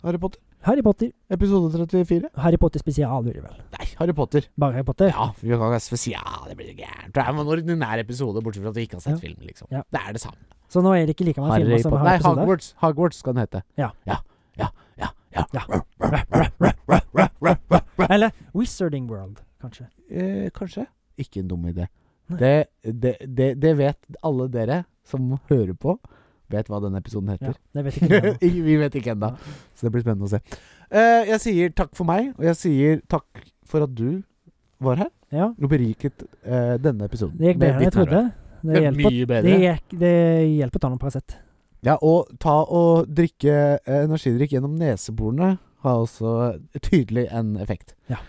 [SPEAKER 1] Harry Potter.
[SPEAKER 2] Harry Potter.
[SPEAKER 1] Episode 34.
[SPEAKER 2] Harry Potter spesial, blir det vel.
[SPEAKER 1] Nei, Harry Potter.
[SPEAKER 2] Bare Harry Potter.
[SPEAKER 1] Ja, vi kan ikke spesial, det blir så gærent. Det er en ordinær episode, bortsett fra at vi ikke har sett film, liksom.
[SPEAKER 2] Ja.
[SPEAKER 1] Det er det samme.
[SPEAKER 2] Så nå er det ikke like mange filmer som
[SPEAKER 1] Potter.
[SPEAKER 2] har
[SPEAKER 1] Nei,
[SPEAKER 2] episoder.
[SPEAKER 1] Hogwarts. Hogwarts skal den hete.
[SPEAKER 2] Ja.
[SPEAKER 1] Ja. Ja. Ja.
[SPEAKER 2] Ja.
[SPEAKER 1] ja.
[SPEAKER 2] Eller Wizarding World, kanskje.
[SPEAKER 1] Eh, kanskje. Ikke en dum idé.
[SPEAKER 2] Nei.
[SPEAKER 1] Det, det, det, det vet alle dere som hører på, vet hva denne episoden
[SPEAKER 2] Ja,
[SPEAKER 1] heter.
[SPEAKER 2] det vet ikke jeg.
[SPEAKER 1] Ikke- Vi vet ikke ennå,
[SPEAKER 2] Nei.
[SPEAKER 1] så det blir spennende å se. Eh, jeg sier takk for meg, og jeg sier takk for at du var her
[SPEAKER 2] Ja,
[SPEAKER 1] og beriket eh, denne episoden.
[SPEAKER 2] det
[SPEAKER 1] med
[SPEAKER 2] gikk bedre enn jeg
[SPEAKER 1] ditt nærvær.
[SPEAKER 2] trodde. Det
[SPEAKER 1] Det er
[SPEAKER 2] hjelper,
[SPEAKER 1] Mye
[SPEAKER 2] det
[SPEAKER 1] bedre.
[SPEAKER 2] gikk- det hjelper å ta noen Paracet.
[SPEAKER 1] Ja, og ta og drikke eh, energidrikk gjennom neseborene har også tydelig en effekt.
[SPEAKER 2] Ja.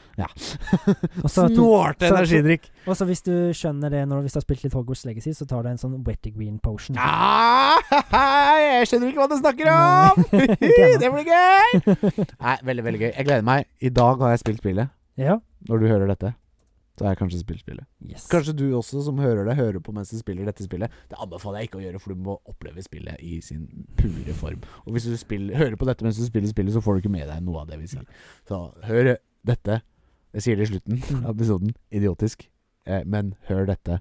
[SPEAKER 2] Og så-
[SPEAKER 1] Snålte
[SPEAKER 2] så-
[SPEAKER 1] energidrikk!
[SPEAKER 2] Og så hvis du skjønner det når hvis du har spilt litt Hogwarts Legacy, så tar du en sånn Wetty Green Potion.
[SPEAKER 1] Ah, jeg skjønner ikke hva du snakker om!
[SPEAKER 2] Nei, ikke ennå.
[SPEAKER 1] det blir gøy! Nei, Veldig, veldig gøy. Jeg gleder meg. I dag har jeg spilt spillet.
[SPEAKER 2] Ja.
[SPEAKER 1] Når du hører dette, så har jeg kanskje spilt spillet.
[SPEAKER 2] Yes.
[SPEAKER 1] Kanskje du også som hører det, hører på mens du spiller dette spillet. Det anbefaler jeg ikke å gjøre, for du må oppleve spillet i sin pure form. Og hvis du spiller, hører på dette mens du spiller spillet, så får du ikke med deg noe av det vi sier. Så hør dette. Jeg sier det i slutten av episoden. Idiotisk. Eh, men hør dette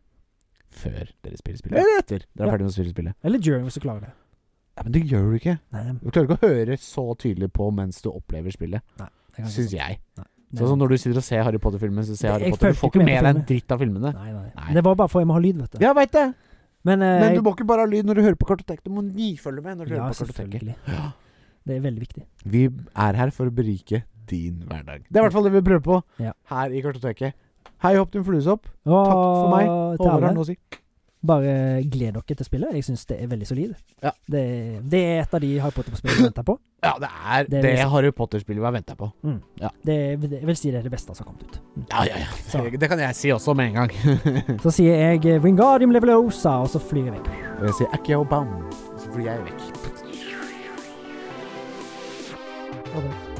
[SPEAKER 1] før dere spiller spillet. Eller etter. Dere er
[SPEAKER 2] Ja.
[SPEAKER 1] ferdig med å spille spillet.
[SPEAKER 2] Eller during, hvis du klarer det.
[SPEAKER 1] Ja, men det gjør du ikke.
[SPEAKER 2] Nei,
[SPEAKER 1] Du klarer ikke å høre så tydelig på mens du opplever spillet,
[SPEAKER 2] det kan jeg
[SPEAKER 1] syns
[SPEAKER 2] ikke.
[SPEAKER 1] jeg.
[SPEAKER 2] Nei.
[SPEAKER 1] Sånn som når du sitter og ser Harry Potter-filmen, så ser
[SPEAKER 2] Det-
[SPEAKER 1] Harry
[SPEAKER 2] jeg
[SPEAKER 1] Potter.
[SPEAKER 2] følte
[SPEAKER 1] Du får
[SPEAKER 2] ikke
[SPEAKER 1] ikke
[SPEAKER 2] med
[SPEAKER 1] med
[SPEAKER 2] på
[SPEAKER 1] deg en
[SPEAKER 2] filmen.
[SPEAKER 1] dritt av filmene.
[SPEAKER 2] Nei, nei.
[SPEAKER 1] Nei.
[SPEAKER 2] Det var bare for jeg må ha lyd, vet du.
[SPEAKER 1] Ja, veit det!
[SPEAKER 2] Men, eh,
[SPEAKER 1] Men du må ikke bare ha lyd når du hører på kartoteket. Du må nifølge med når du
[SPEAKER 2] ja,
[SPEAKER 1] hører på kartoteket.
[SPEAKER 2] selvfølgelig. Det er veldig viktig.
[SPEAKER 1] Vi er her for å berike din hverdag. Det er i hvert fall det vi prøver på
[SPEAKER 2] Ja.
[SPEAKER 1] her i kartoteket. Hei hopp, din fluesopp.
[SPEAKER 2] Og
[SPEAKER 1] Takk for meg.
[SPEAKER 2] til
[SPEAKER 1] Håvard har
[SPEAKER 2] alle.
[SPEAKER 1] noe å si.
[SPEAKER 2] Bare gled dere til spillet. Jeg syns det er veldig solid.
[SPEAKER 1] Ja.
[SPEAKER 2] Det, det er et av de Harry Potter-spillene jeg venter på.
[SPEAKER 1] Ja, det er
[SPEAKER 2] Det
[SPEAKER 1] det,
[SPEAKER 2] er liksom-
[SPEAKER 1] Harry Potter-spillet vi har venta på.
[SPEAKER 2] Det, det, jeg vil si det er det beste som har kommet ut.
[SPEAKER 1] Ja, ja, ja.
[SPEAKER 2] Så.
[SPEAKER 1] Det kan jeg si også med en gang.
[SPEAKER 2] Så sier jeg eh, Wingardium Levelosa, og så flyr jeg vekk.
[SPEAKER 1] Og jeg sier Akio Baum, så flyr jeg vekk.
[SPEAKER 2] Ha det.